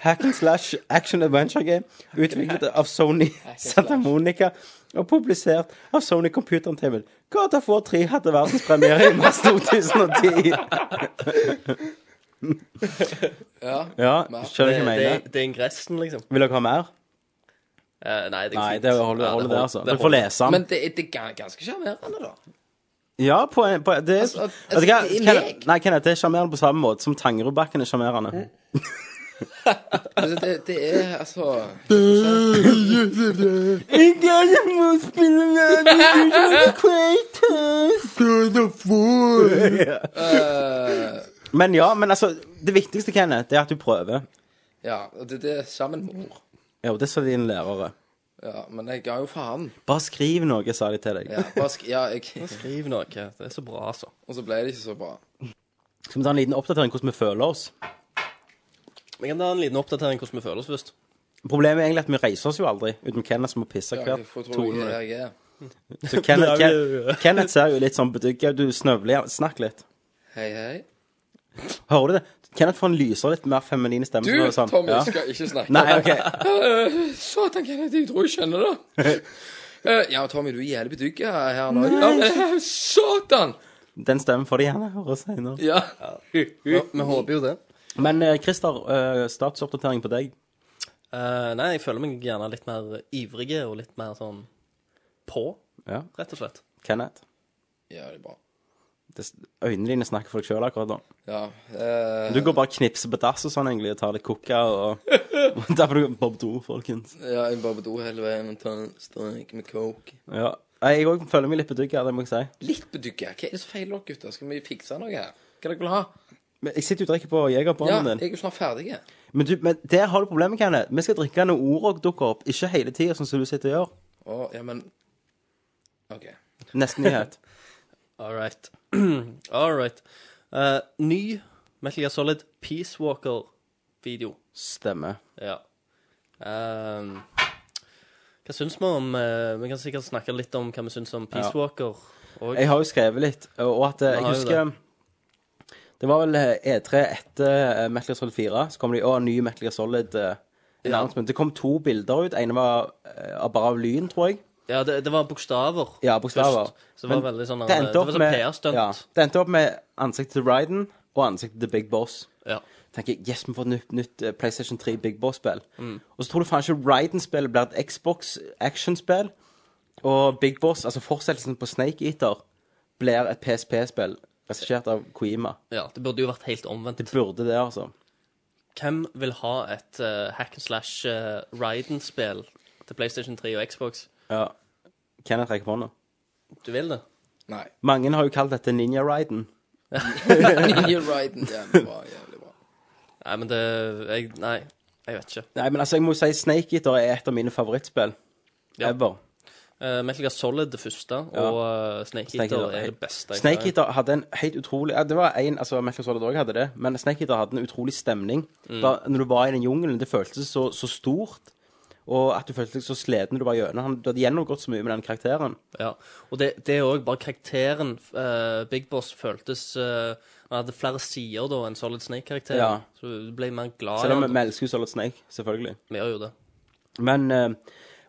Speaker 7: Hack and slash action adventure game Utviklet av Sony Santa Monica Og publisert av Sony Computer Entertainment God of War 3 hadde verdenspremiere i
Speaker 9: [LAUGHS]
Speaker 7: mars 2010
Speaker 8: Ja.
Speaker 7: Ja, skjønner du hva jeg
Speaker 9: Det, det,
Speaker 7: mener
Speaker 9: det er ingressen, liksom.
Speaker 7: Vil dere ha mer?
Speaker 9: Eh, nei, det er
Speaker 7: Nei,
Speaker 9: fint.
Speaker 7: det holder,
Speaker 9: Ja,
Speaker 7: holder det altså
Speaker 9: det
Speaker 7: Dere får
Speaker 9: holder.
Speaker 7: lese den
Speaker 8: Men det, er- det er ga- ganske sjarmerende, da.
Speaker 7: Ja, på en på, Det er
Speaker 8: Altså,
Speaker 7: Vet
Speaker 8: altså,
Speaker 7: du hva?
Speaker 8: i
Speaker 7: Kenneth-
Speaker 8: lek.
Speaker 7: Nei, Kenneth, det er sjarmerende på samme måte Som Tangerudbakken er sjarmerende
Speaker 8: Altså, det, det er altså
Speaker 7: Jeg må spille med [LAUGHS] Kratos God of War
Speaker 8: eh,
Speaker 7: Men ja, men altså Det viktigste, Kenneth, det er at du prøver
Speaker 8: Ja. og Det, det er sammen med ord.
Speaker 7: Jo, det sa dine lærere
Speaker 8: Ja, men jeg ga jo faen.
Speaker 7: Bare skriv noe, sa de til deg
Speaker 8: Ja, bare sk ja jeg,
Speaker 9: Skriv noe. Det er så bra, altså.
Speaker 8: og så ble det ikke så bra.
Speaker 7: Skal vi ta en liten oppdatering hvordan vi føler oss
Speaker 9: Vi kan ta en liten oppdatering hvordan vi føler oss først.
Speaker 7: Problemet er egentlig at vi reiser oss jo aldri Uten Kenneth som må pisse
Speaker 8: Ja,
Speaker 7: hvert
Speaker 8: Hvorfor
Speaker 7: to
Speaker 8: tror du
Speaker 7: minutter.
Speaker 8: jeg er
Speaker 7: Så Kenneth, Ken, Kenneth ser jo litt sånn bedugget Du snøvler, snakk litt
Speaker 8: Hei, hei.
Speaker 7: Hører du det? Kenneth får en lysere, litt mer feminine stemme
Speaker 8: Du,
Speaker 7: når det er sånn.
Speaker 8: Tommy,
Speaker 7: Ja.
Speaker 8: skal ikke snakke.
Speaker 7: Nei, ok
Speaker 8: Satan, Kenneth, jeg tror jeg skjønner
Speaker 7: [LAUGHS]
Speaker 8: det. Eh, ja, Tommy, du er jævlig bedugga her nå. Ja, men, eh, Satan!
Speaker 7: Den stemmen får de gjerne høre senere
Speaker 8: Ja.
Speaker 9: Ja, vi håper jo det.
Speaker 7: Men eh, Christer, eh, statusoppdatering på deg
Speaker 9: Eh, nei, jeg føler meg gjerne litt mer ivrig og litt mer sånn på,
Speaker 7: Ja,
Speaker 9: rett og slett.
Speaker 7: Kenneth
Speaker 8: Ja, det er bra.
Speaker 7: det, Øynene dine snakker for deg selv akkurat nå
Speaker 8: Ja. eh,
Speaker 7: Du går bare og knipser på dass og sånn egentlig, og tar litt koka og [LAUGHS] og Der får du Bob Do, folkens.
Speaker 8: ja, jeg bare på do hele veien og tar en strek med coke.
Speaker 7: Ja. Nei, Jeg òg føler meg litt bedugga, det må jeg si.
Speaker 8: Litt bedugga. Hva er det som feiler dere, gutter? Skal vi fikse noe her? Hva dere vil ha?
Speaker 7: Men jeg sitter jo og drikker på
Speaker 8: Ja,
Speaker 7: Jegerbanen
Speaker 8: jeg
Speaker 7: din.
Speaker 8: er jo snart ferdig. jeg.
Speaker 7: Men, du, men der har du problemet, Kenneth. Vi skal drikke når ordene dukker opp, ikke hele tida, sånn som du sitter og gjør.
Speaker 8: Å, ja, men OK.
Speaker 7: Nesten
Speaker 9: [LAUGHS]
Speaker 7: nyhet.
Speaker 9: All right. [CLEARS THROAT] All right. Eh, ny Metal Gear Solid Peace Walker video.
Speaker 7: Stemmer.
Speaker 9: Ja. Ehm, hva syns vi om eh, Vi kan sikkert snakke litt om hva vi syns om Peace
Speaker 7: Ja.
Speaker 9: Walker. Og,
Speaker 7: Jeg har jo skrevet litt, og og at eh, jeg
Speaker 9: har jo
Speaker 7: husker det. var vel eh, E3 etter eh, Metal Gear Solid 4, så kom det å, ny Metal Gear Solid eh, announcement. Det kom to bilder ut. Ene var eh, av- bare av lyn, tror jeg.
Speaker 9: ja, det, det var bokstaver.
Speaker 7: Ja, bokstaver.
Speaker 9: først, Så det var
Speaker 7: Men
Speaker 9: veldig sånn
Speaker 7: det
Speaker 9: eh,
Speaker 7: endte
Speaker 9: Det
Speaker 7: opp
Speaker 9: var sånn
Speaker 7: med-
Speaker 9: PR-stunt.
Speaker 7: ja, det endte opp med ansiktet til Ryden og ansiktet til Big Boss.
Speaker 9: Ja.
Speaker 7: Tenker jeg, yes, vi får et nytt, nytt eh, PlayStation 3 Big Boss-spill. Og så tror du faen ikke Ryden-spillet blir et Xbox Action-spill. Og Big Boss, altså fortsettelsen på Snake Eater, blir et PSP-spill regissert av Koima.
Speaker 9: ja. Det burde jo vært helt omvendt.
Speaker 7: Det burde det, altså.
Speaker 9: Hvem vil ha et eh, hack and slash uh, Ryden-spill til PlayStation 3 og Xbox?
Speaker 7: Ja. Kenneth rekker på hånda.
Speaker 9: Du vil det? [LAUGHS]
Speaker 8: Nei.
Speaker 7: Mange har jo kalt dette Ninja Ryden.
Speaker 8: Ninja Raiden, den var jævlig bra.
Speaker 9: Nei, men det jeg, Nei, jeg vet ikke.
Speaker 7: Nei, men altså, jeg må jo si Snake Eater er et av mine favorittspill.
Speaker 9: Ja.
Speaker 7: Ever.
Speaker 9: Eh, Metal Gear Solid det første, og eh, Snake
Speaker 7: Snake
Speaker 9: Eater
Speaker 7: Eater,
Speaker 9: er
Speaker 7: jeg-
Speaker 9: det beste. jeg
Speaker 7: Snake
Speaker 9: har.
Speaker 7: Eater hadde en helt utrolig ja, Det var en, altså Metal Gear Solid også hadde det, men Snake Eater hadde en utrolig stemning.
Speaker 9: Mm.
Speaker 7: Da, når du var i den jungelen, det føltes så, så stort, og at du følte deg så sliten når du var gjennom. Han, du hadde gjennomgått så mye med den karakteren.
Speaker 9: Ja, og det, det er òg bare karakteren eh, Big Boss føltes eh, Han hadde flere sider da enn Solid Snake-karakteren.
Speaker 7: Ja.
Speaker 9: Så du ble mer glad
Speaker 7: Selv om
Speaker 9: han.
Speaker 7: vi elsker jo Solid Snake, selvfølgelig.
Speaker 9: Vi gjør jo det.
Speaker 7: Men eh,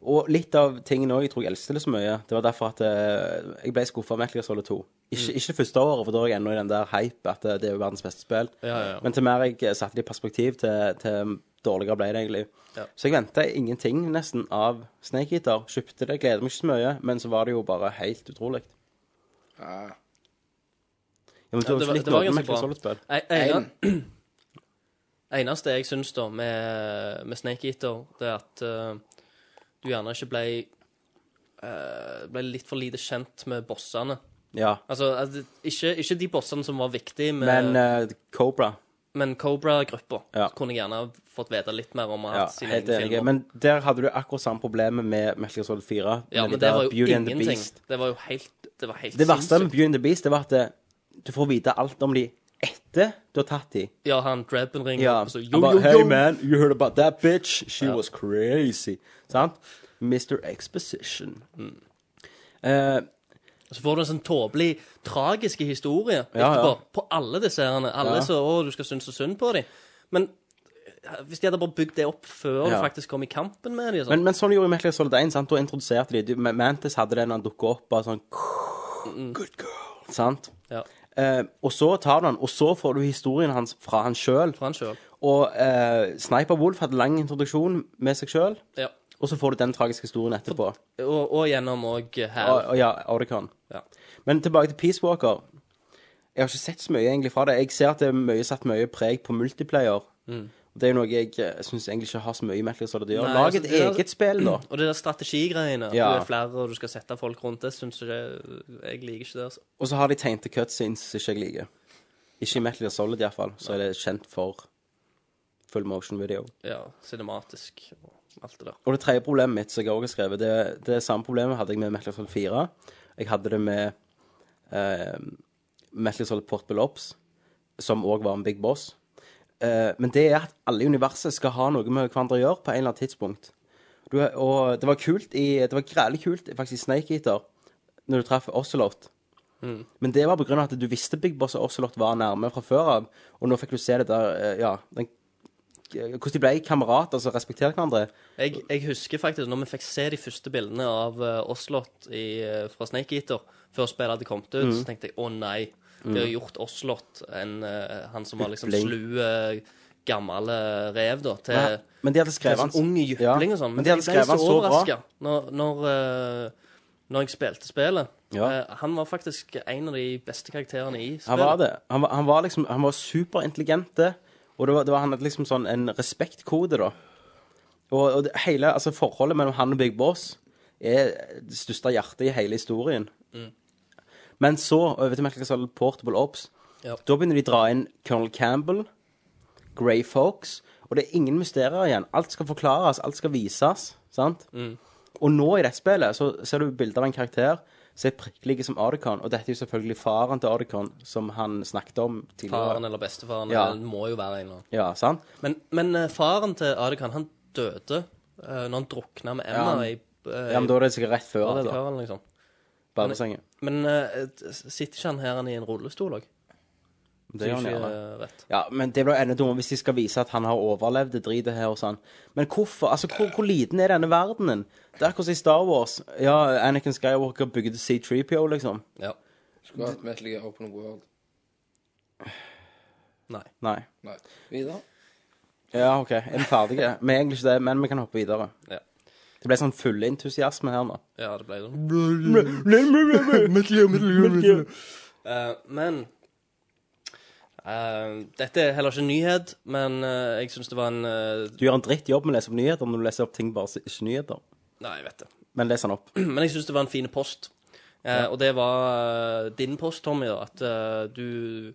Speaker 7: Og litt av tingene òg, jeg tror jeg elsket det så mye. Det var derfor at eh, jeg ble skuffa av Metal Gear Solid 2. Ikke,
Speaker 9: Mm.
Speaker 7: ikke det første året, for da er jeg ennå i den der hype at eh, det er jo verdens beste spill.
Speaker 9: Ja, ja, ja.
Speaker 7: Men til mer jeg eh, satte det i perspektiv, til, til dårligere ble det egentlig.
Speaker 9: Ja.
Speaker 7: Så jeg venta ingenting nesten av Snake Eater. Kjøpte det, gleder meg ikke så mye, men så var det jo bare helt utrolig.
Speaker 8: Ja.
Speaker 7: Ja, men du
Speaker 9: Ja,
Speaker 7: har
Speaker 9: det
Speaker 7: jo ikke
Speaker 9: var-
Speaker 7: likt
Speaker 9: det var
Speaker 7: noe
Speaker 9: ganske
Speaker 7: Metal Gear
Speaker 9: bra.
Speaker 7: Solid-spill.
Speaker 9: E- ene- [CLEARS THROAT] Eneste jeg syns da med, med Snake Eater, det er at eh, du gjerne ikke ble eh, Ble litt for lite kjent med bossene.
Speaker 7: Ja.
Speaker 9: Altså, at det- ikke, ikke de bossene som var viktige, med,
Speaker 7: Men
Speaker 9: men,
Speaker 7: eh, Cobra
Speaker 9: Cobra-gruppa.
Speaker 7: Ja.
Speaker 9: Så Kunne jeg gjerne fått vite litt mer om
Speaker 7: ja,
Speaker 9: hans sine
Speaker 7: helt
Speaker 9: egne
Speaker 7: enig.
Speaker 9: filmer.
Speaker 7: Men der hadde du akkurat samme problemet med Metal Gear Solid 4.
Speaker 9: Ja,
Speaker 7: med de
Speaker 9: men det
Speaker 7: der
Speaker 9: var jo
Speaker 7: Beauty and the
Speaker 9: ingenting.
Speaker 7: Beast.
Speaker 9: Det var jo helt Det var helt
Speaker 7: Det verste med
Speaker 9: sinnssykt.
Speaker 7: Beauty and the Beast det var at eh, du får vite alt om de etter du har tatt de.
Speaker 9: Ja, han Drebben ringer opp og så
Speaker 7: Han
Speaker 9: yo,
Speaker 7: bare,
Speaker 9: yo,
Speaker 7: hey
Speaker 9: yo.
Speaker 7: man, you heard about that bitch? She
Speaker 9: Ja.
Speaker 7: was crazy. Sant? Mr. Exposition.
Speaker 9: Mm.
Speaker 7: Eh,
Speaker 9: Så får du en sånn tåpelig, tragisk historie
Speaker 7: ja.
Speaker 9: etterpå. På alle disse herrene. Alle
Speaker 7: Ja.
Speaker 9: så Å, du skal synes så synd på dem. Men eh, hvis de hadde bare bygd det opp før du
Speaker 7: Ja.
Speaker 9: faktisk kom i kampen med dem
Speaker 7: men, men sånn gjorde Metal Gear Solid 1. Sant? Da introduserte de, de Ma- Mantis hadde det når han dukket opp. Bare sånn Good girl. Sant?
Speaker 9: ja.
Speaker 7: Eh, og så tar du han, og så får du historien hans fra han sjøl.
Speaker 9: Fra han sjøl.
Speaker 7: Og eh, Sniper Wolf hadde lang introduksjon med seg sjøl,
Speaker 9: Ja.
Speaker 7: og så får du den tragiske historien etterpå.
Speaker 9: Og, og gjennom òg her.
Speaker 7: Og, og ja, Oricon.
Speaker 9: Ja.
Speaker 7: Men tilbake til Peace Walker. Jeg har ikke sett så mye egentlig fra det. Jeg ser at det er mye, satt mye preg på multiplayer. Og Det er jo noe jeg eh, synes egentlig ikke har så mye i Metal Gear Solid å gjøre.
Speaker 9: Mm. Nei,
Speaker 7: Lag
Speaker 9: altså,
Speaker 7: et
Speaker 9: det er-
Speaker 7: eget spill, da.
Speaker 9: Og det der strategigreiene. at
Speaker 7: Ja.
Speaker 9: Du er flere, og du skal sette folk rundt. Det syns jeg Jeg liker ikke det, altså.
Speaker 7: Og så har de tegnte cutscenes som ikke jeg liker. Ikke i Metal Gear Solid iallfall. Så er det kjent for full motion video.
Speaker 9: Ja, cinematisk og alt det der.
Speaker 7: Og det tredje problemet mitt, som jeg også har skrevet, det, det samme problemet hadde jeg med Metal Gear Solid 4. Jeg hadde det med eh, Metal Gear Solid Portable Ops, som også var en Big Boss. Eh, men det er at alle i universet skal ha noe med hverandre å gjøre på en eller annen tidspunkt. Du, er- og det var kult i Det var grælig kult faktisk i Snake Eater, når du traff Ocelot. Men det var på grunn av at du visste Big Boss og Ocelot var nærme fra før av, og nå fikk du se det der eh, Ja, den, hvordan de ble kamerater, altså respekterte hverandre.
Speaker 9: Jeg, jeg husker faktisk når vi fikk se de første bildene av uh, Oslot i, eh, fra Snake Eater før spillet hadde kommet
Speaker 7: Mm.
Speaker 9: ut, så tenkte jeg å nei, de har gjort Oslot, en, eh, han som var liksom
Speaker 7: Jypling.
Speaker 9: slu eh, gammel eh, rev, da, til
Speaker 7: Nei, men de hadde skrevet
Speaker 9: til en
Speaker 7: han-
Speaker 9: sånn ung jypling
Speaker 7: Ja,
Speaker 9: og sånn.
Speaker 7: men de hadde skrevet han så bra.
Speaker 9: overrasket når, når, eh, når jeg spilte spillet.
Speaker 7: Ja.
Speaker 9: Eh, han var faktisk en av de beste karakterene i spillet.
Speaker 7: Han var det. Han var, han var liksom Han var superintelligent, det. Og det var, det var han hadde liksom sånn en respektkode, da. Og, og det, hele altså forholdet mellom han og Big Boss er det største hjertet i hele historien.
Speaker 9: Mm.
Speaker 7: Men så, over til Metal Gear Solid Portable Ops,
Speaker 9: Ja.
Speaker 7: da begynner de å dra inn Colonel Campbell, Grey Fox, og det er ingen mysterier igjen. Alt skal forklares, alt skal vises, sant? Og nå i dette spillet så ser du bilder av en karakter som er prikklige som Ardecon. Og dette er jo selvfølgelig faren til Ardecon, som han snakket om tidligere.
Speaker 9: Faren eller bestefaren.
Speaker 7: Ja.
Speaker 9: Det må jo være en eller annen.
Speaker 7: Ja, sant?
Speaker 9: Men, men eh, faren til Adekan, han døde uh, når han drukna med
Speaker 7: Ja,
Speaker 9: Emma
Speaker 7: han-
Speaker 9: i, eh,
Speaker 7: Ja, men da er det sikkert rett
Speaker 9: i
Speaker 7: før det, da.
Speaker 9: badekaret, liksom.
Speaker 7: Badebassenget.
Speaker 9: Men eh, sitter ikke han her han i en rullestol òg?
Speaker 7: Det gjør han
Speaker 9: ikke
Speaker 7: gjerne.
Speaker 9: eh, vet.
Speaker 7: Ja, men det blir enda dummere hvis de skal vise at han har overlevd det dritet her og sånn. Men hvorfor? Altså, hvor, hvor liten er denne verdenen? Det er akkurat som i Star Wars. Ja, Anakin Skywalker bygde C3PO, liksom.
Speaker 9: Ja.
Speaker 8: Skulle hatt Metal Gear Open World.
Speaker 9: Nei.
Speaker 7: Nei.
Speaker 8: Nei. Videre.
Speaker 7: Ja, OK. Er vi ferdige? Vi er egentlig ikke det, men vi kan hoppe videre.
Speaker 9: Ja.
Speaker 7: Det ble sånn full entusiasme her nå.
Speaker 9: Ja, det ble sånn. Eh, men eh, Dette er heller ikke en nyhet, men eh, jeg syns det var en eh,
Speaker 7: Du gjør en drittjobb med å lese opp nyheter når du leser opp ting bare som ikke er nyheter.
Speaker 9: Nei, jeg vet det.
Speaker 7: Men les den opp.
Speaker 9: [CLEARS THROAT] Men jeg syns det var en fin post. Eh, Og det var eh, din post, Tommy, da, at eh, du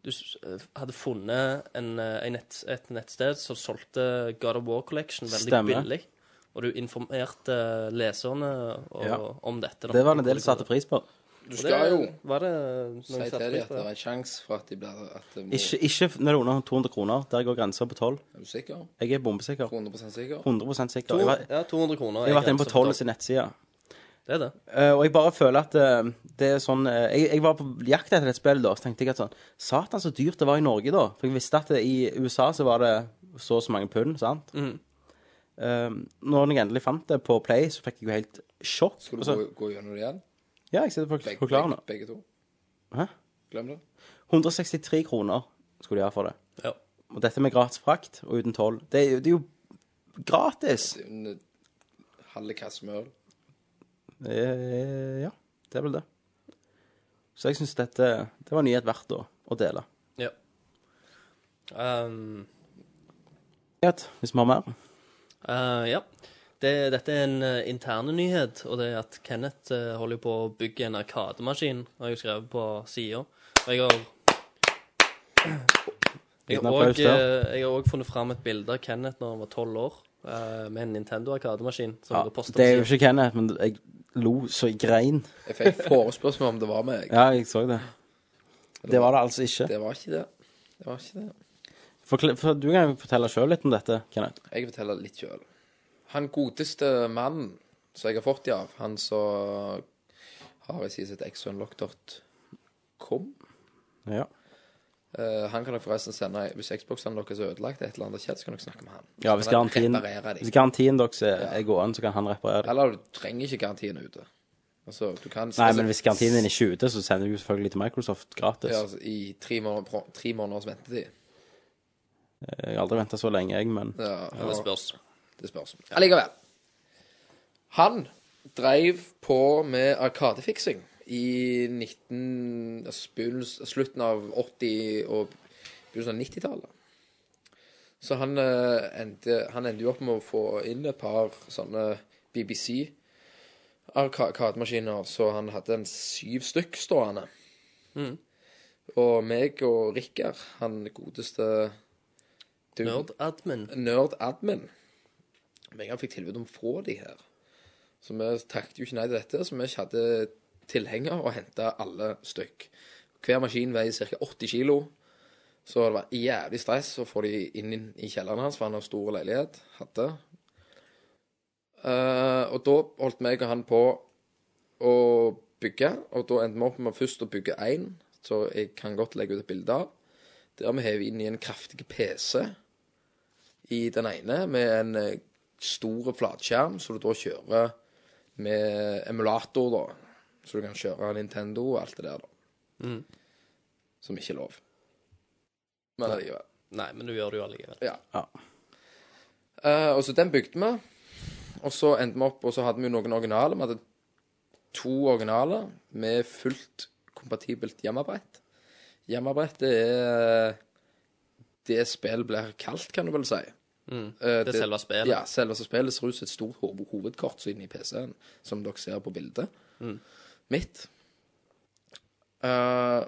Speaker 9: du s- eh, hadde funnet en, eh, en nett, et nettsted som solgte God of War Collection veldig
Speaker 7: Stemmer.
Speaker 9: billig. Og du informerte eh, leserne og,
Speaker 7: Ja.
Speaker 9: om dette. da.
Speaker 7: Det var en del som satte pris på.
Speaker 8: Du
Speaker 9: Og det
Speaker 8: skal jo
Speaker 9: Var det noen
Speaker 8: si til
Speaker 9: satte
Speaker 8: dem
Speaker 9: pris
Speaker 8: at
Speaker 9: på
Speaker 8: det
Speaker 9: det?
Speaker 8: er en sjanse for at de blir at det må,
Speaker 7: Ikke, ikke når det er under 200 kroner. Der går grensa på 12.
Speaker 8: Er du sikker?
Speaker 7: Jeg er bombesikker.
Speaker 8: 100 sikker?
Speaker 7: 100 sikker.
Speaker 9: To,
Speaker 7: Jeg var,
Speaker 9: ja, 200 kroner.
Speaker 7: jeg har
Speaker 9: er
Speaker 7: vært inne på 12
Speaker 9: ganske betalt.
Speaker 7: sin nettside.
Speaker 9: Det er det.
Speaker 7: Eh, og jeg bare føler at eh, det er sånn eh, jeg, jeg var på jakt etter et spill da, så tenkte jeg at sånn Satan, så dyrt det var i Norge, da. For jeg visste at det, i USA så var det så og så mange pund, sant.
Speaker 8: Mm.
Speaker 7: Eh, når jeg endelig fant det på Play, så fikk jeg jo helt sjokk.
Speaker 8: Skal du
Speaker 7: Altså,
Speaker 8: gå, gå gjennom det igjen?
Speaker 7: ja, jeg sitter på
Speaker 8: Begge,
Speaker 7: forklarer
Speaker 8: begge,
Speaker 7: nå.
Speaker 8: begge to?
Speaker 7: Hæ?
Speaker 8: Glem det.
Speaker 7: 163 kroner skulle de ha for det.
Speaker 9: Ja.
Speaker 7: Og dette med gratis frakt og uten toll. Det, er jo- det er jo gratis!
Speaker 8: Det er en eh, halve kasse med øl.
Speaker 7: Eh, ja, det er vel det. Så jeg syns dette Det var en nyhet verdt å, å dele.
Speaker 9: ja. Um,
Speaker 7: Nyhet, Hvis vi har mer.
Speaker 9: Eh, ja. Det, dette er en eh, interne nyhet, og det er at Kenneth eh, holder jo på å bygge en arkademaskin, har jeg skrevet på sida. Og jeg har jeg
Speaker 7: Liten
Speaker 9: har,
Speaker 7: applaus
Speaker 9: også,
Speaker 7: der.
Speaker 9: eh, jeg har også funnet fram et bilde av Kenneth når han var tolv år, eh, med en Nintendo arkademaskin. Som
Speaker 7: Ja,
Speaker 9: ja, på
Speaker 7: det er jo
Speaker 9: siden.
Speaker 7: ikke Kenneth, men jeg lo så jeg grein.
Speaker 8: Jeg fikk forespørsmål om det var meg.
Speaker 7: Ja, jeg så det. Det var det altså ikke.
Speaker 8: Det var ikke det. Det var ikke det.
Speaker 7: Forkl- for, du kan jo fortelle sjøl litt om dette, Kenneth.
Speaker 8: Jeg forteller litt sjøl. Han godeste mannen som jeg har fått det av, han som har i sitt exunlock.com
Speaker 7: Ja.
Speaker 8: eh, Han kan dere forresten sende Hvis Xboxen deres er ødelagt, et eller annet har skjedd, så kan dere snakke med han.
Speaker 7: Ja, hvis
Speaker 8: Så kan han
Speaker 7: garantien,
Speaker 8: reparere de.
Speaker 7: hvis garantien deres er er gående, så kan han reparere det.
Speaker 8: Eller du trenger ikke garantien ute. Altså, du kan
Speaker 7: Nei,
Speaker 8: altså,
Speaker 7: men hvis garantien din ikke er ute, så sender du jo selvfølgelig til Microsoft gratis.
Speaker 8: ja, altså, I tre, måneder, pro- tre måneders ventetid.
Speaker 7: Jeg har aldri venta så lenge, jeg, men
Speaker 8: Ja,
Speaker 9: Det spørs.
Speaker 8: Det spørs. Allikevel. Han dreiv på med arkadefiksing i 19, altså begynnelsen- slutten av 80- og begynnelsen av 90-tallet. Så han eh, endte, han endte jo opp med å få inn et par sånne BBC-arkademaskiner, så han hadde en syv stykk stående. Og meg og Rikard, han godeste du-
Speaker 9: Nerd-admin.
Speaker 8: Nerd Admin. Men jeg fikk tilbud om å få de her. Så vi takket jo ikke nei til dette, så vi ikke hadde tilhenger og henta alle stykk. Hver maskin veier ca. 80 kilo. Så det var jævlig stress å få de inn i kjelleren hans, for han har stor leilighet. Hadde. Eh, og da holdt meg og han på å bygge, og da endte vi opp med først å bygge én, så jeg kan godt legge ut et bilde av. Der vi hever inn i en kraftig PC i den ene med en eh, stor flatskjerm, så du da kjører med emulator, da. Så du kan kjøre Nintendo og alt det der, da. Som ikke er lov. Men allikevel.
Speaker 9: Nei, men du gjør det jo allikevel.
Speaker 8: Ja.
Speaker 7: Ja.
Speaker 8: Eh, og så den bygde vi. Og så endte vi opp, og så hadde vi jo noen originaler. Vi hadde to originaler med fullt kompatibelt hjemmebrett. Hjemmebrett det er eh, det spill blir kalt, kan du vel si. Eh,
Speaker 9: Det er selve spillet.
Speaker 8: Ja, selve spillet ser ut som et stort hov- hovedkort så inne i PC-en, som dere ser på bildet mitt. Eh,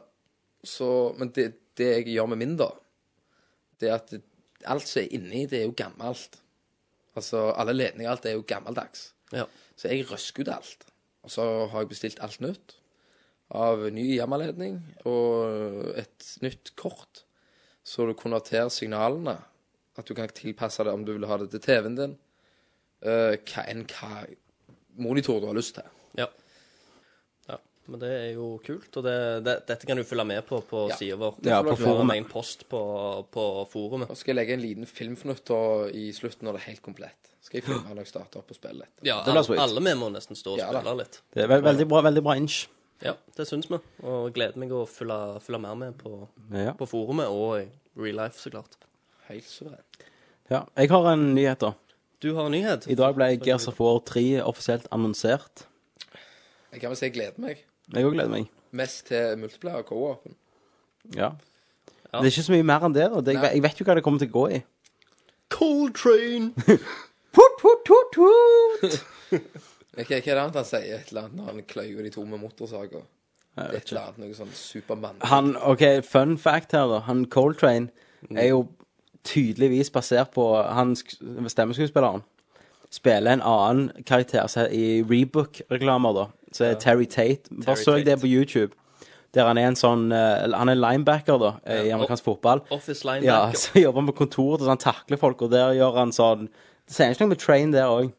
Speaker 8: så, men det, det jeg gjør med min, da, det er at det, alt som er inni, det er jo gammelt. Altså, alle ledninger og alt er jo gammeldags.
Speaker 9: Ja.
Speaker 8: Så jeg røsker ut alt. Og så har jeg bestilt alt nytt. Av ny hjemmeledning og et nytt kort. Så du konverterer signalene. At du kan tilpasse det om du vil ha det til TV-en din. Eh, hva enn hva monitor du har lyst til.
Speaker 9: Ja. ja. Men det er jo kult, og det, det, dette kan du følge med på på
Speaker 8: Ja.
Speaker 9: sida vår.
Speaker 8: Det Ja, får på
Speaker 9: Du har en
Speaker 7: forumet.
Speaker 9: egen post på, på forumet.
Speaker 8: Og skal jeg legge en liten filmfnutt da i slutten når det er helt komplett. Skal jeg filme når jeg starter opp og spille litt.
Speaker 9: Ja,
Speaker 7: blir
Speaker 9: alle,
Speaker 7: sweet.
Speaker 9: alle vi må nesten stå og
Speaker 8: Ja, da.
Speaker 9: spille litt.
Speaker 7: Det er ve veldig bra, veldig bra inch.
Speaker 9: Ja, det syns vi. Og gleder meg å følge, følge mer med på,
Speaker 7: Ja.
Speaker 9: på forumet og i real life, så klart.
Speaker 8: Helt suverent.
Speaker 7: ja. Jeg har en nyhet, da.
Speaker 9: Du har en nyhet.
Speaker 7: I dag ble Gears of War 3 offisielt annonsert.
Speaker 8: Jeg kan vel si jeg gleder meg
Speaker 7: Jeg òg gleder meg.
Speaker 8: mest til multiplayer og co-open.
Speaker 7: Ja. Det er ikke så mye mer enn det. da det, jeg, ve- jeg vet jo hva det kommer til å gå i.
Speaker 9: Cold Train!
Speaker 7: Hoot, hoot, hoot, hoot.
Speaker 8: Hva hva er det annet han sier? Et eller annet når han kløyver de to med motorsager? Det er et eller annet noe sånn Supermann.
Speaker 7: Han, OK, fun fact her, da. Han Coltrane er jo tydeligvis basert på han sk- stemmeskuespilleren. Spiller en annen karakter så i Rebook-reklamer, da. Så er Terry Tate. Bare søk
Speaker 9: Tate.
Speaker 7: det på YouTube. Der han er en sånn eh, Han er linebacker, da, eh, i amerikansk fotball.
Speaker 9: Office
Speaker 7: Ja, [LAUGHS] altså.
Speaker 9: linebacker.
Speaker 7: så jobber han på kontoret og sånn, takler folk, og der gjør han sånn Det sier ikke noe med train der òg.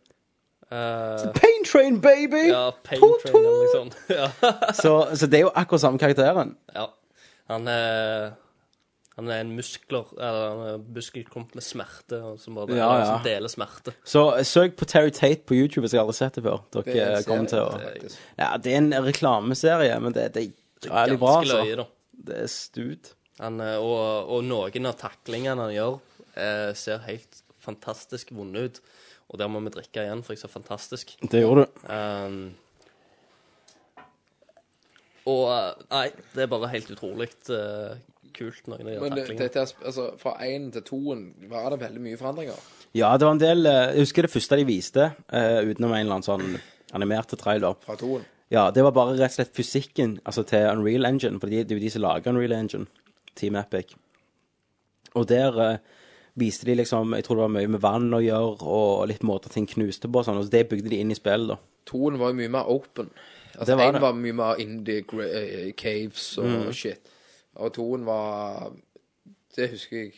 Speaker 9: Eh,
Speaker 7: Pain train, baby!
Speaker 9: ja, Pain Train eller noe sånt. [LAUGHS] Ja.
Speaker 7: så, så det er jo akkurat samme karakteren.
Speaker 9: ja. Han er han er en muskler, eller han er en muskelklump med smerte, og som bare
Speaker 7: Ja, ja.
Speaker 9: Som deler smerte.
Speaker 7: Så eh, søk på Terry Tate på YouTube, hvis jeg aldri har sett det før. Dere eh,
Speaker 8: Det er en
Speaker 7: kommer til å
Speaker 8: serie, faktisk.
Speaker 7: Ja, det er en reklameserie, men det, det er jævlig bra,
Speaker 9: Ganske løye,
Speaker 7: altså.
Speaker 9: da.
Speaker 7: Det er stud.
Speaker 9: Han, eh, og, og noen av taklingene han gjør, eh, ser helt fantastisk vonde ut. Og der må vi drikke igjen, for jeg sa fantastisk.
Speaker 7: Det gjorde du.
Speaker 9: Ehm, og eh, Nei, det er bare helt utrolig eh, kult, noen av de
Speaker 8: Men det,
Speaker 9: taklingene.
Speaker 8: dette er, sp- altså, fra én til toen var det veldig mye forandringer.
Speaker 7: Ja, det var en del eh, Jeg husker det første de viste, eh, utenom en eller annen sånn animerte trailer.
Speaker 8: Fra toen.
Speaker 7: Ja, det var bare rett og slett fysikken altså til Unreal Engine, for det er jo de som lager Unreal Engine, Team Epic. Og der eh, viste de liksom, jeg tror det var mye med vann å gjøre, og litt måter ting knuste på og sånn, og det bygde de inn i spillet da.
Speaker 8: Toen var jo mye mer open. Altså,
Speaker 7: Det var
Speaker 8: én
Speaker 7: det. Mm.
Speaker 8: var mye mer indie gra- eh, caves og shit. Og toen var Det husker jeg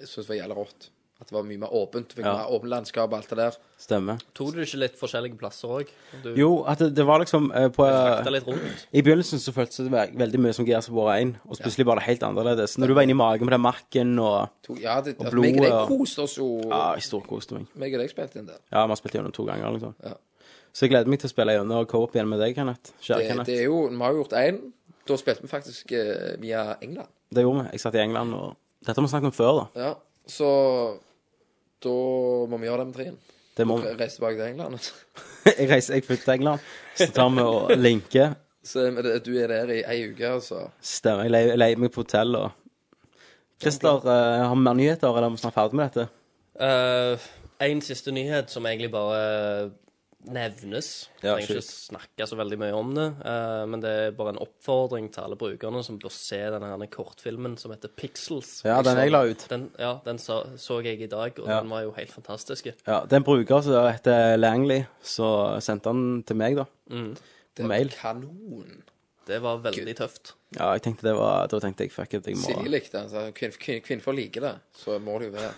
Speaker 8: jeg syns var jævla rått. At det var mye mer åpent. Fikk mer åpent landskap og alt det der.
Speaker 7: Stemmer.
Speaker 9: Tok du ikke litt forskjellige plasser òg? Du
Speaker 7: Jo, at det, det var liksom eh, på...
Speaker 9: frakta litt rundt?
Speaker 7: I begynnelsen så føltes det ve- veldig mye som Gears of War 1, og så plutselig var det helt annerledes. Når du var inne i magen på den marken, og...
Speaker 8: To, ja, det,
Speaker 7: Og
Speaker 8: altså, meg og
Speaker 7: blodet,
Speaker 8: deg
Speaker 7: ja.
Speaker 8: koste oss jo.
Speaker 7: Ja, jeg storkoste meg.
Speaker 8: Meg og deg spilte en del.
Speaker 7: Ja, vi har spilt gjennom to ganger, liksom.
Speaker 8: Ja.
Speaker 7: Så jeg gleder meg til å spille gjennom og co-op igjen med deg, Kenneth. Kjære
Speaker 8: Det, Eh,
Speaker 7: Kenneth.
Speaker 8: det er jo, vi har jo gjort én. Da spilte vi faktisk eh, via England.
Speaker 7: Det gjorde vi. Jeg satt i England, og dette har vi snakket om før, da.
Speaker 8: Ja, Så da må vi gjøre det med trien.
Speaker 7: Det må vi.
Speaker 8: Reise tilbake til England. [LAUGHS]
Speaker 7: [LAUGHS] Jeg reiser, jeg flytter til England, så tar vi og linker.
Speaker 8: Så er det- du er der i ei uke, altså.
Speaker 7: Stemmer. Jeg leier, jeg leier meg på hotell og Christer, eh, har vi mer nyheter, eller er vi snart ferdig med dette?
Speaker 9: Eh, en siste nyhet som egentlig bare nevnes.
Speaker 7: Ja,
Speaker 9: Trenger ikke snakke så veldig mye om det. eh, men det er bare en oppfordring til alle brukerne som bør se denne her kortfilmen som heter Pixels.
Speaker 7: Ja, den jeg la ut.
Speaker 9: Den, ja, den så, så jeg i dag, og
Speaker 7: Ja.
Speaker 9: den var jo helt fantastisk.
Speaker 7: Ja, Det er en bruker som heter Langley, så sendte han til meg, da.
Speaker 9: Mm.
Speaker 7: På mail.
Speaker 8: Kanon.
Speaker 9: Det var veldig tøft.
Speaker 7: Ja, jeg tenkte det var Da tenkte jeg fuck it, jeg
Speaker 8: Silje
Speaker 7: må
Speaker 8: likte den. så Kvinn, kvinn, kvinnfolk liker det, så må det jo være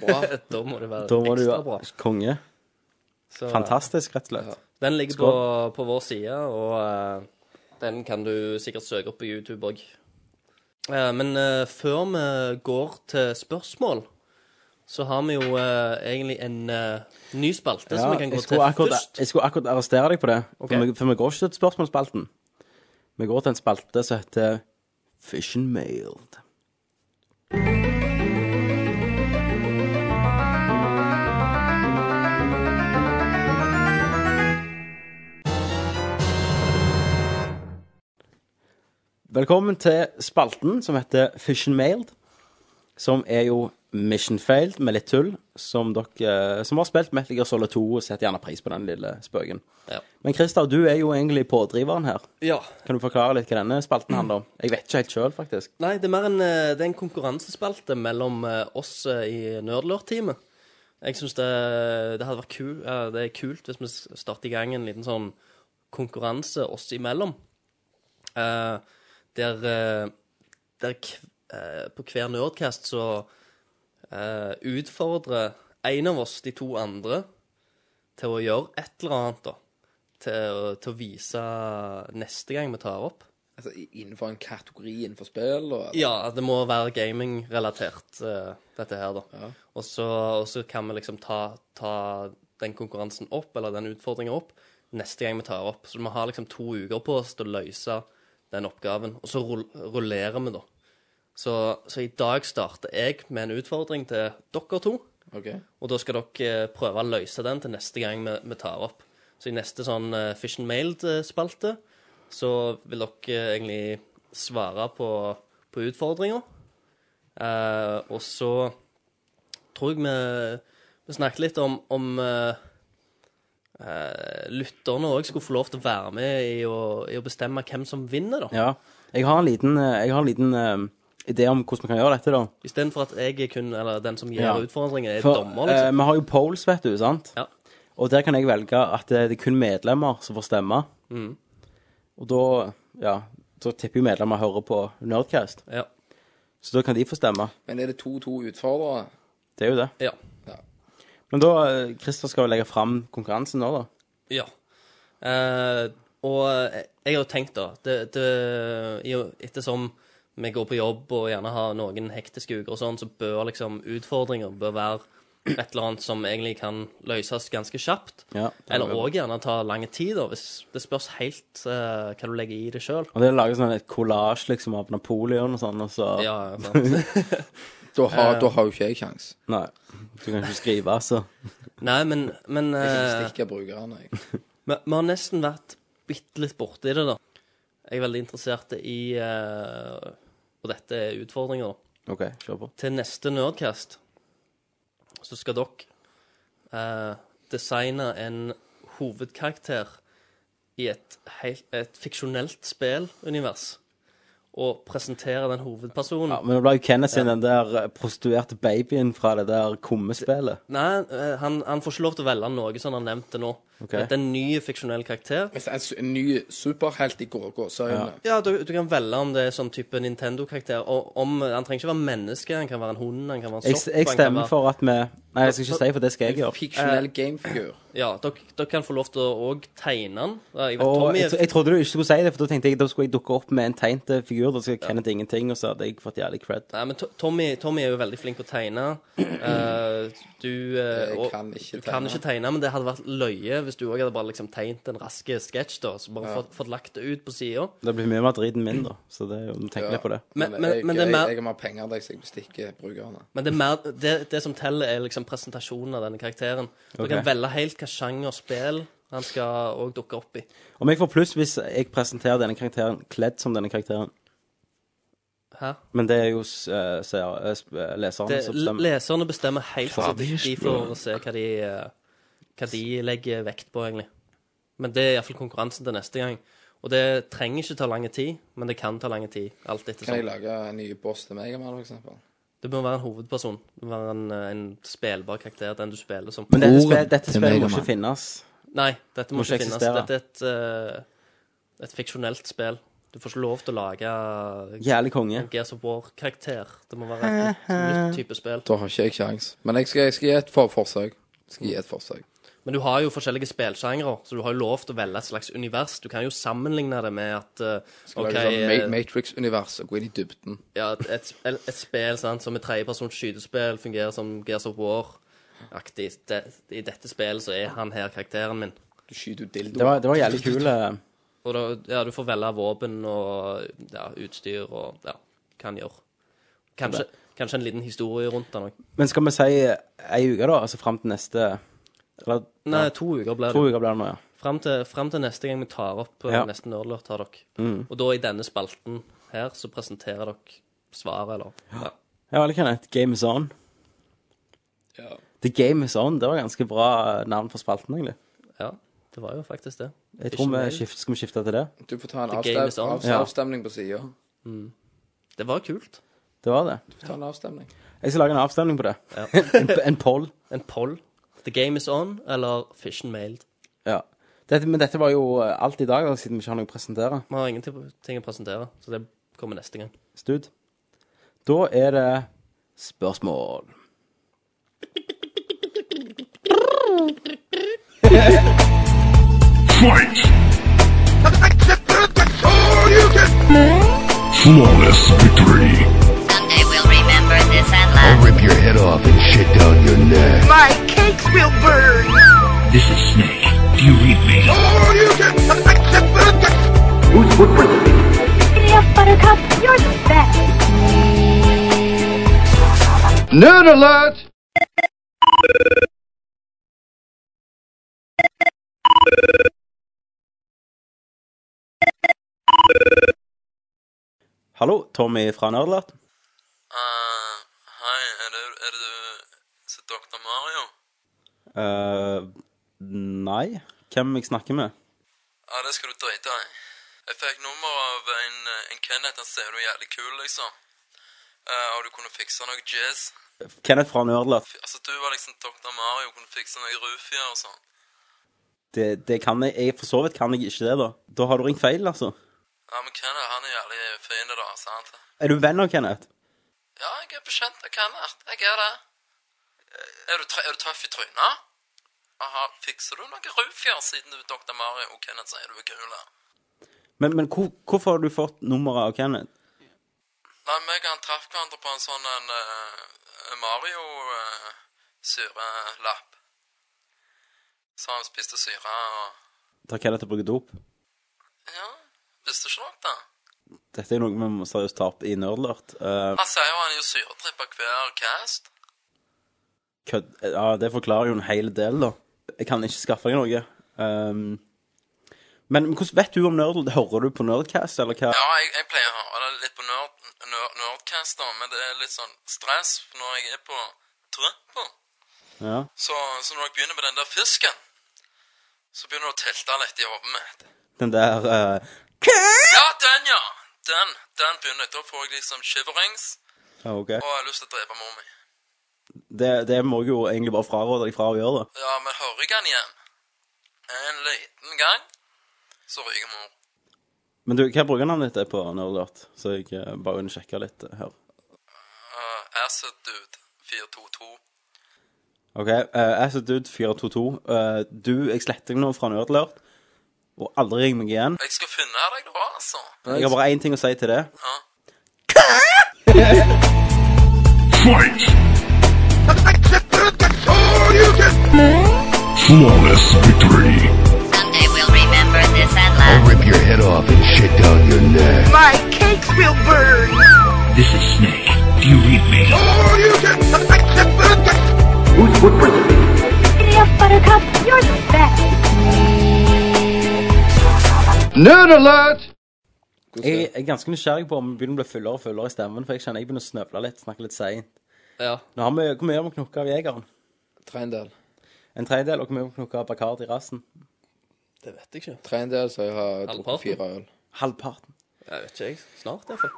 Speaker 8: bra.
Speaker 9: Da må det være
Speaker 7: Da var du
Speaker 9: ekstra bra.
Speaker 7: konge.
Speaker 9: Så, eh,
Speaker 7: Fantastisk, rett og slett.
Speaker 9: Den ligger på, på vår side, og eh, den kan du sikkert søke opp på YouTube òg. men eh, før vi går til spørsmål, så har vi jo eh, egentlig en eh, ny spalte
Speaker 7: Ja,
Speaker 9: som vi kan gå
Speaker 7: jeg,
Speaker 9: til
Speaker 7: skulle akkurat,
Speaker 9: først.
Speaker 7: jeg skulle akkurat arrestere deg på det,
Speaker 9: Ok.
Speaker 7: for, vi, for vi går ikke til spørsmålsspalten. Vi går til en spalte som heter Fish and Mailed. Velkommen til spalten som heter Fish and Mailed, som er jo Mission Failed med litt tull, som dere som har spilt Metal Gear Solid 2, setter gjerne pris på den lille spøken.
Speaker 9: Ja.
Speaker 7: Men Christer, du er jo egentlig pådriveren her.
Speaker 9: Ja.
Speaker 7: Kan du forklare litt hva denne spalten handler om? Jeg vet ikke helt sjøl, faktisk.
Speaker 9: Nei, det er mer en, eh, det er en konkurransespalte mellom eh, oss eh, i Nerdlurt-teamet. Jeg syns det, det hadde vært kul, eh, det er kult hvis vi s- starter i gang en liten sånn konkurranse oss imellom. Eh, der eh, der kv, eh, på hver Nerdcast så eh, utfordrer en av oss de to andre til å gjøre et eller annet, da. Til, å- til å vise neste gang vi tar opp.
Speaker 8: Altså, i- innenfor en kategori innenfor spill? Og,
Speaker 9: Ja, det må være gaming-relatert, eh, dette her, da. Og, så, og så kan vi liksom ta, ta den konkurransen opp, eller den utfordringen opp, neste gang vi tar opp. Så vi har liksom to uker på oss til å løse den oppgaven, og så rull- rullerer vi, da. Så, så i dag starter jeg med en utfordring til dere to,
Speaker 8: Ok.
Speaker 9: og da skal dere eh, prøve å løse den til neste gang vi, vi tar opp. Så i neste sånn eh, Fish and Mailed-spalte så vil dere eh, egentlig svare på, på utfordringer. Eh, og så tror jeg vi, vi snakket litt om, om eh, eh, lytterne òg skulle få lov til å være med i å, i å bestemme hvem som vinner, da.
Speaker 7: Ja. Jeg har en liten, eh, jeg har en liten eh, idé om hvordan vi kan gjøre dette, da.
Speaker 9: Istedenfor at jeg er kun, eller den som gir
Speaker 7: Ja.
Speaker 9: utfordringer, er
Speaker 7: For
Speaker 9: dommer,
Speaker 7: eh,
Speaker 9: liksom.
Speaker 7: vi har jo polls, vet du, sant?
Speaker 9: Ja.
Speaker 7: Og der kan jeg velge at eh, det det er kun medlemmer som får stemme. Og da, ja, da tipper jo medlemmer hører på Nerdcast.
Speaker 9: Ja.
Speaker 7: Så da kan de få stemme.
Speaker 8: Men er det to-to utfordrere?
Speaker 7: Det er jo det.
Speaker 9: ja.
Speaker 7: Men da, eh, Christer skal jo legge fram konkurransen nå, da.
Speaker 9: Ja. Eh, og jeg har jo tenkt, da det, det, i og- Ettersom vi går på jobb og gjerne har noen hektiske uker og sånn, så bør liksom utfordringer bør være et eller annet som egentlig kan løses ganske kjapt.
Speaker 7: Ja, det er
Speaker 9: eller
Speaker 7: bra.
Speaker 9: òg gjerne ta lang tid, da, hvis det spørs helt eh, hva du legger i det sjøl.
Speaker 7: Og det lager sånn et kollasj liksom av Napoleon og sånn, og så [LAUGHS]
Speaker 9: Ja, sant.
Speaker 8: Da har, da har jo ikke jeg kjangs.
Speaker 7: Nei, du kan ikke skrive, altså.
Speaker 9: Nei, men, men
Speaker 8: Jeg kan
Speaker 9: eh,
Speaker 8: stikke brukerne, jeg.
Speaker 9: Vi, vi har nesten vært bitte litt borti det, da. Jeg er veldig interessert i eh, Og dette er utfordringer, da.
Speaker 7: OK, kjør på.
Speaker 9: Til neste Nerdcast så skal dere eh, designe en hovedkarakter i et, helt, et fiksjonelt spillunivers. Og presentere den hovedpersonen.
Speaker 7: Ja, men det ble jo Kenneth sin, den der eh, prostituerte babyen fra det der kummespillet.
Speaker 9: Nei, eh, han, han får ikke lov til å velge noe som han nevnte nå.
Speaker 7: Ok.
Speaker 9: Dette er en ny fiksjonell karakter.
Speaker 8: Altså, En s- en ny superhelt i gå- gåseøyne.
Speaker 9: Ja, du, du kan velge om det er sånn type Nintendo-karakter. Og om, Han trenger ikke være menneske, han kan være en hund, han kan være en
Speaker 7: Jeg,
Speaker 9: sopp.
Speaker 7: jeg
Speaker 9: han kan
Speaker 7: stemmer
Speaker 9: være-
Speaker 7: for at vi Nei, jeg skal ikke si, for det skal jeg
Speaker 8: En
Speaker 7: gjøre.
Speaker 8: Fiksjonell gamefigur.
Speaker 9: Ja, dere, dere kan få lov til å òg tegne han. Ja, Jeg vet,
Speaker 7: Og
Speaker 9: Tommy
Speaker 7: jeg, tro- jeg trodde du ikke skulle si det, for da tenkte jeg da skulle jeg dukke opp med en tegnet eh, figur. Da skal Kenneth ingenting, og så hadde jeg fått jævlig cred.
Speaker 9: Nei, men To- Tommy, Tommy er jo veldig flink å
Speaker 8: [CLEARS THROAT]
Speaker 9: tegne. Eh, du eh,
Speaker 8: Jeg
Speaker 9: og-
Speaker 8: kan ikke
Speaker 9: du kan
Speaker 8: tegne.
Speaker 9: ikke tegne, men det hadde vært løye hvis du òg hadde bare liksom tegnet en rask sketsj, da, så bare fått, fått lagt det ut på sida.
Speaker 7: Det blir mye mer driten min, da. Så det, er jo- tenk litt på det.
Speaker 9: Men, men,
Speaker 8: jeg,
Speaker 9: men det er
Speaker 8: jeg,
Speaker 9: mer
Speaker 8: jeg har mer penger enn deg, så jeg bestikker brukerne.
Speaker 9: Men det, er mer, det, det som teller, er liksom presentasjonen av denne karakteren. Du kan
Speaker 7: Ok.
Speaker 9: velge helt hva sjanger spill han skal også dukke opp i.
Speaker 7: Om jeg får pluss hvis jeg presenterer denne karakteren kledd som denne karakteren.
Speaker 9: Hæ?
Speaker 7: Men det er jo s- eh, seer- eh, sp- eh, leserne
Speaker 9: Det,
Speaker 7: som
Speaker 9: l-
Speaker 7: bestemmer.
Speaker 9: leserne bestemmer helt sitt. De får se hva de, eh, hva de legger vekt på, egentlig. Men det er iallfall konkurransen til neste gang. Og det trenger ikke ta lang tid, men det kan ta lang tid. Alt etter
Speaker 8: Kan jeg
Speaker 9: sånn.
Speaker 8: lage en ny boss til meg, for eksempel?
Speaker 9: Det må være en hovedperson. Det må være en, eh, en spillbar karakter, den du spiller som.
Speaker 7: Men dette,
Speaker 2: Ordet
Speaker 7: spil, dette
Speaker 2: til
Speaker 7: spillet må
Speaker 2: Megaman.
Speaker 7: ikke finnes.
Speaker 9: Nei, dette må,
Speaker 7: Må ikke
Speaker 9: ikke finnes.
Speaker 7: eksistere.
Speaker 9: Dette er et, eh, et fiksjonelt spill. Du får ikke lov til å lage
Speaker 7: Jævlig konge.
Speaker 9: Gears of War-karakter. Det må være et nytt, nytt type spill.
Speaker 8: Da har ikke jeg kjangs. Men jeg skal, jeg skal gi et for forsøk. Skal gi et forsøk.
Speaker 9: Men du har jo forskjellige spillsjangre, så du har jo lov til å velge et slags univers. Du kan jo sammenligne det med at eh,
Speaker 8: Skal
Speaker 9: OK,
Speaker 8: lage sånn
Speaker 9: eh,
Speaker 8: Ma- Matrix-univers og gå inn i dybden.
Speaker 9: ja, et, et, et spill sant, som et tredjepersons skytespill fungerer som Gears of War-aktig. Det, I dette spillet så er han her karakteren min.
Speaker 8: Du skyter jo dildo.
Speaker 7: Det var, det var jævlig kul eh,
Speaker 9: Og da, ja, du får velge våpen og ja, utstyr og ja, hva han gjør. Kanskje, kanskje en liten historie rundt den òg.
Speaker 7: Men skal vi si eh, ei uke, da? Altså fram til neste Eller
Speaker 9: Nei, to uker blir
Speaker 7: to
Speaker 9: det.
Speaker 7: uker blir det nå, ja.
Speaker 9: Fram til, frem til neste gang vi tar opp eh,
Speaker 7: Ja. Mm.
Speaker 9: neste Nerdlurt, har dere. Og da i denne spalten her, så presenterer dere svaret, eller ja.
Speaker 7: Ja, eller Kenneth. Game is on.
Speaker 8: Ja.
Speaker 7: The Game is on. Det var ganske bra eh, navn for spalten, egentlig.
Speaker 9: ja. Det var jo faktisk det.
Speaker 7: Jeg
Speaker 9: Ikke
Speaker 7: tror vi
Speaker 9: meg.
Speaker 7: skift, Skal vi skifte til det?
Speaker 8: Du får ta en
Speaker 9: The game is
Speaker 8: avstem
Speaker 9: on.
Speaker 8: avs
Speaker 7: Ja.
Speaker 8: avstemning på sida.
Speaker 9: Det var kult.
Speaker 7: Det var det.
Speaker 8: Du får ta en avstemning.
Speaker 7: Jeg skal lage en avstemning på det. [LAUGHS] en, en poll.
Speaker 9: En poll. The game is on, eller Fish and Mailed.
Speaker 7: Ja. Dette, men dette var jo eh, alt i dag, da, siden vi ikke har noe å presentere.
Speaker 9: Vi har ingenting å presentere, så det kommer neste gang.
Speaker 7: Stud. Da er det spørsmål.
Speaker 3: Fight! Flawless victory.
Speaker 4: Someday we'll remember this and laugh.
Speaker 5: I'll rip your head off and shit down your neck.
Speaker 6: My cakes will burn.
Speaker 3: This is Snake. Do you read me?
Speaker 6: Dear Buttercup, you're the best.
Speaker 5: Nerd alert!
Speaker 7: Hallo, Tommy fra Nerdlert.
Speaker 8: Eh, hei, er det, er det du som er Dr. Mario?
Speaker 7: Eh, nei. Hvem jeg snakker med?
Speaker 8: Ja, det skal du drite i. Jeg fikk nummer av en, en Kenneth. Han ser jo jævlig kul, liksom. Eh, og du kunne fikse noe jazz.
Speaker 7: Kenneth fra Nerdlert.
Speaker 8: Altså, du var liksom Dr. Mario, kunne fikse noe rufier og sånn.
Speaker 7: Det, det kan jeg, jeg For så vidt kan jeg ikke det, da. Da har du ringt feil, altså.
Speaker 8: Ja, men Kenneth, han er jævlig fin, da, sant?
Speaker 7: Er du venn av Kenneth?
Speaker 8: Ja, jeg er bekjent av Kenneth. Jeg er det. Eh, Er du, tre- er du tøff i trynet? Aha, fikser du noe rufier siden du er Dr. Mario og Kenneth sier du er kul? da?
Speaker 7: Men, men hvor, hvorfor har du fått nummeret av Kenneth?
Speaker 8: Nei, meg og han traff hverandre på en sånn en eh, Mario uh, syrelapp. Så han spiste syre og
Speaker 7: Tar Kenneth og bruker dop?
Speaker 8: Ja, visste ikke dere det?
Speaker 7: Dette er noe vi må seriøst ta opp i Nerdlert. Eh,
Speaker 8: Han sier jo han er jo syretrippa hver cast.
Speaker 7: kødd Ja, det forklarer jo en hel del, da. Jeg kan ikke skaffe deg noe. Ehm, men hvordan vet du om Nerdl? Hører du på Nerdcast, eller hva?
Speaker 8: Ja, jeg, jeg pleier å høre det litt på nerd, nerd, Nerdcast, da, men det er litt sånn stress når jeg er på trippa.
Speaker 7: Ja.
Speaker 8: Så, så når jeg begynner med den der fisken, så begynner det å telte litt i hodet mitt.
Speaker 7: Den der eh,
Speaker 8: Ja, den, ja! Den, den begynner. Da får jeg liksom shiverings
Speaker 7: ja, OK.
Speaker 8: og jeg har lyst til å drepe mor mi.
Speaker 7: Det, det må jeg jo egentlig bare fraråde deg fra å gjøre, da.
Speaker 8: Ja, men hører jeg han igjen en liten gang, så ryker mor.
Speaker 7: Men du, hva bruker navnet ditt er på Nerdlert? Så jeg eh, bare vil sjekke litt eh, her.
Speaker 8: Uh, acid dude 422.
Speaker 7: OK. Uh, Assidude422. eh, du, jeg sletter deg nå fra Nerdlert. Og aldri ring meg igjen.
Speaker 8: Jeg skal finne deg da, altså.
Speaker 7: Jeg har bare én ting å si til det.
Speaker 8: Ja.
Speaker 3: Fight! Flawless victory.
Speaker 4: Someday we'll remember this and laugh.
Speaker 5: I'll rip your head off and shit down your neck.
Speaker 6: My cakes will burn.
Speaker 3: This is Snake. Do you read me?
Speaker 6: Dear Buttercup, you're the best.
Speaker 5: Nerd alert!
Speaker 7: Jeg er ganske nysgjerrig på om vi begynner å bli fullere og fullere i stemmen, for jeg kjenner jeg begynner å snøvle litt, snakke litt seint.
Speaker 9: Ja.
Speaker 7: Nå har vi, Hvor mye har vi knukket av jegeren?
Speaker 8: Trendel.
Speaker 7: En tredjedel, og hvor mye har vi knukket av Bacardi i rassen?
Speaker 9: Det vet jeg ikke.
Speaker 8: Trendel som jeg har
Speaker 9: Halvparten.
Speaker 8: drukket fire øl.
Speaker 7: Halvparten.
Speaker 9: Jeg vet ikke, jeg. Snart, iallfall.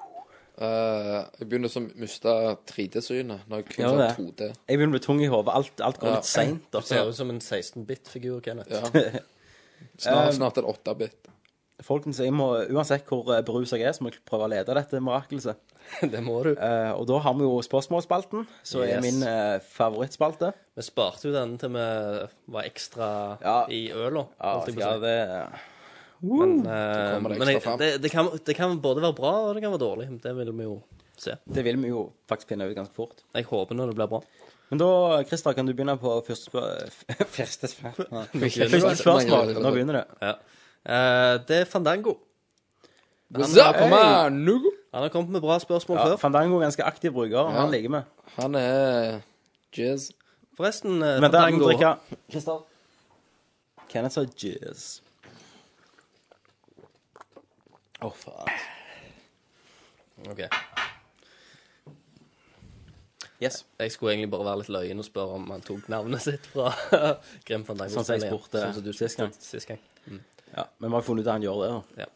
Speaker 8: Eh, jeg begynner som å miste 3D-synet når jeg kun
Speaker 7: Ja,
Speaker 8: ja,
Speaker 7: det.
Speaker 8: 2D.
Speaker 7: Jeg begynner å bli tung i hodet. Alt, alt går
Speaker 8: Ja.
Speaker 7: litt seint. da.
Speaker 9: Du ser ut som en 16-bit-figur, Kenneth.
Speaker 8: Ja.
Speaker 7: Eh,
Speaker 8: Snart, snart er det 8-bit.
Speaker 7: Folkens, jeg må, uansett hvor eh, beruset jeg er, så må jeg prøve å lede dette mirakelset.
Speaker 9: [LAUGHS] Det må du.
Speaker 7: Eh, og da har vi jo spørsmålsspalten, som er
Speaker 9: Yes.
Speaker 7: min eh, favorittspalte.
Speaker 9: Vi sparte jo den til vi var ekstra
Speaker 7: Ja.
Speaker 9: i øla. holdt jeg på å si.
Speaker 7: skal det...
Speaker 9: Men,
Speaker 8: kommer det
Speaker 9: eh, men jeg,
Speaker 8: ekstra fram.
Speaker 9: det, det, kan, det kan både være bra og det kan være dårlig. Det vil vi jo se.
Speaker 7: det vil vi jo faktisk finne ut ganske fort.
Speaker 9: Jeg håper nå det blir bra.
Speaker 7: Men da, Christer, kan du begynne på første spør... [LAUGHS] Første spørsmål? Første
Speaker 9: Begynner.
Speaker 7: spørsmål. Nå begynner det.
Speaker 9: Ja. Eh, det er Fandango.
Speaker 8: What's up,
Speaker 7: Hey!
Speaker 8: man? Nugo!
Speaker 9: Han har kommet med bra spørsmål
Speaker 7: Ja,
Speaker 9: før.
Speaker 7: Fandango er ganske aktiv bruker, og han liker vi.
Speaker 8: Han er jizz.
Speaker 9: Forresten,
Speaker 7: Men der
Speaker 9: eh,
Speaker 7: må du
Speaker 9: Fandango
Speaker 7: drikke Kristian. Kenneth sa jizz. Å, faen.
Speaker 9: Ok.
Speaker 7: Yes.
Speaker 9: Jeg skulle egentlig bare være litt løyen og spørre om han tok navnet sitt fra [LAUGHS] Grim van Dango.
Speaker 7: Sånn som jeg spurte
Speaker 9: Sånn som du
Speaker 7: sist gang.
Speaker 9: Sist gang.
Speaker 7: Ja, men vi har funnet ut at han gjør det. da.
Speaker 9: Ja.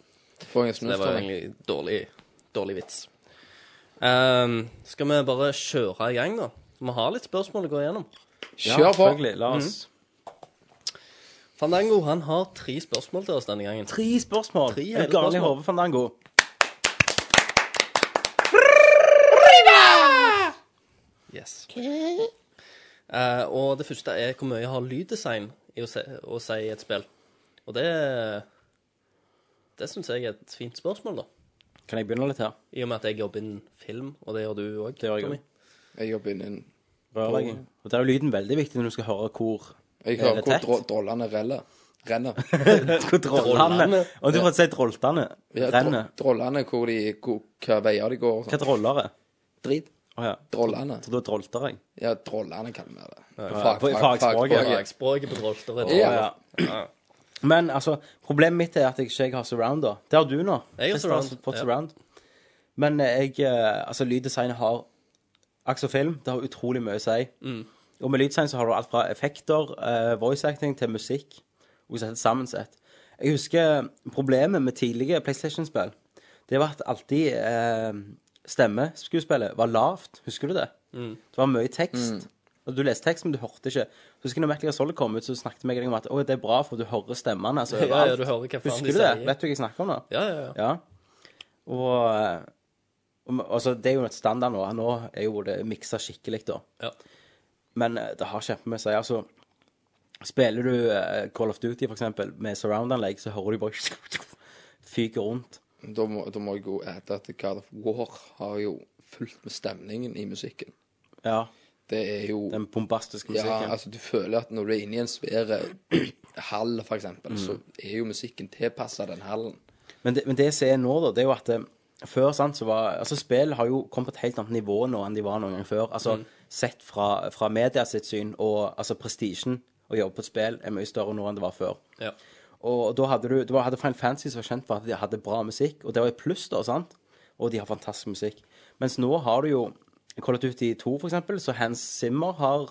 Speaker 8: Får jeg en
Speaker 9: Det
Speaker 8: snus
Speaker 9: var jo
Speaker 8: da?
Speaker 9: egentlig dårlig, dårlig vits. Ehm, skal vi bare kjøre i gang, da? Vi har litt spørsmål å gå igjennom.
Speaker 7: Ja,
Speaker 9: Mhm.
Speaker 8: Kjør på!
Speaker 7: selvfølgelig. La oss
Speaker 9: Fandango han har tre spørsmål til oss denne gangen.
Speaker 7: Tre spørsmål.
Speaker 9: Tre hele
Speaker 7: er du gal i
Speaker 9: spørsmål.
Speaker 7: hodet, Fandango?
Speaker 9: Yes. Eh, og det første er hvor mye har lyddesign i å si, å si i et spill? Og det Det syns jeg er et fint spørsmål, da.
Speaker 7: Kan jeg begynne litt her?
Speaker 9: I og med at jeg jobber innen film, og det gjør du òg.
Speaker 7: Det gjør jeg også.
Speaker 8: Jeg jobber innen
Speaker 7: Rørlegging. Og Der er jo lyden veldig viktig når du skal høre
Speaker 9: [LAUGHS]
Speaker 7: hvor
Speaker 8: Jeg
Speaker 7: Er
Speaker 8: hører
Speaker 7: det
Speaker 8: hvor
Speaker 7: tett?
Speaker 8: dro- drollene reller.
Speaker 7: [LAUGHS]
Speaker 8: renner.
Speaker 7: Hvor drollene Og du får si trolltane.
Speaker 8: Ja,
Speaker 7: Renner.
Speaker 8: dro- drollene hvor de hvor, Hva veier de går og
Speaker 7: Hva
Speaker 8: sånn.
Speaker 7: droller er?
Speaker 8: Drit.
Speaker 7: Å ja.
Speaker 8: Drollene.
Speaker 7: Så da drolter jeg.
Speaker 8: Ja, drollene kaller vi det.
Speaker 7: på- i fagspråket.
Speaker 8: fagspråket.
Speaker 9: Språket på Drolter er
Speaker 8: Ja.
Speaker 9: dårlig.
Speaker 7: Men altså, problemet mitt er at jeg ikke har surround, da. Det har du nå.
Speaker 9: Jeg har
Speaker 7: Christer har
Speaker 9: surround,
Speaker 7: Fått
Speaker 9: ja.
Speaker 7: surround. Men eh, jeg eh, Altså, lyddesignet har Aks og film, det har utrolig mye å si.
Speaker 9: Mm.
Speaker 7: Og med lyddesign så har du alt fra effekter, eh, voice acting til musikk. Og så er det sammensett. Jeg husker problemet med tidlige PlayStation-spill. Det var at alltid eh, stemmeskuespillet var lavt. Husker du det?
Speaker 9: Mm.
Speaker 7: Det var mye tekst. Og Du leste tekst, men du hørte ikke. Så husker jeg når Metal Gear Solid kom ut, så snakket jeg med deg om at «Å, det er bra, for du hører stemmene. Altså,
Speaker 9: [LAUGHS] Ja, ja,
Speaker 7: overalt».
Speaker 9: du hører hva faen de
Speaker 7: Husker du det?
Speaker 9: sier.
Speaker 7: Vet du hva jeg snakker om nå?
Speaker 9: Ja, ja, ja.
Speaker 7: Ja. Og, og altså, det er jo et standard nå. Nå er jo det miksa skikkelig, da.
Speaker 9: Ja.
Speaker 7: Men eh, det har kjempemye å si. Altså, spiller du eh, Call of Duty, for eksempel, med surround-anlegg, så hører du bare [LAUGHS] fyker rundt.
Speaker 8: Da må, da må jeg jo ete at God of War har jo fulgt med stemningen i musikken.
Speaker 7: Ja.
Speaker 8: Det er jo
Speaker 7: Den bombastiske musikken.
Speaker 8: Ja, altså du føler at når du er inne i en svær [CLEARS THROAT] hall, for eksempel, så er jo musikken tilpassa den hallen.
Speaker 7: Men det, men det som er nå, da, det er jo at eh, før sant, så var Altså, spill har jo kommet på et helt annet nivå nå enn de var noen gang før. Altså,
Speaker 9: Mm.
Speaker 7: sett fra, fra media sitt syn, og altså prestisjen å jobbe på et spill er mye større nå enn det var før.
Speaker 9: Ja.
Speaker 7: Og da hadde du, du hadde Final Fantasy som var kjent for at de hadde bra musikk, og det var et pluss, da, sant? Og de har fantastisk musikk. Mens nå har du jo Call of Duty 2, for eksempel, så Hans Zimmer har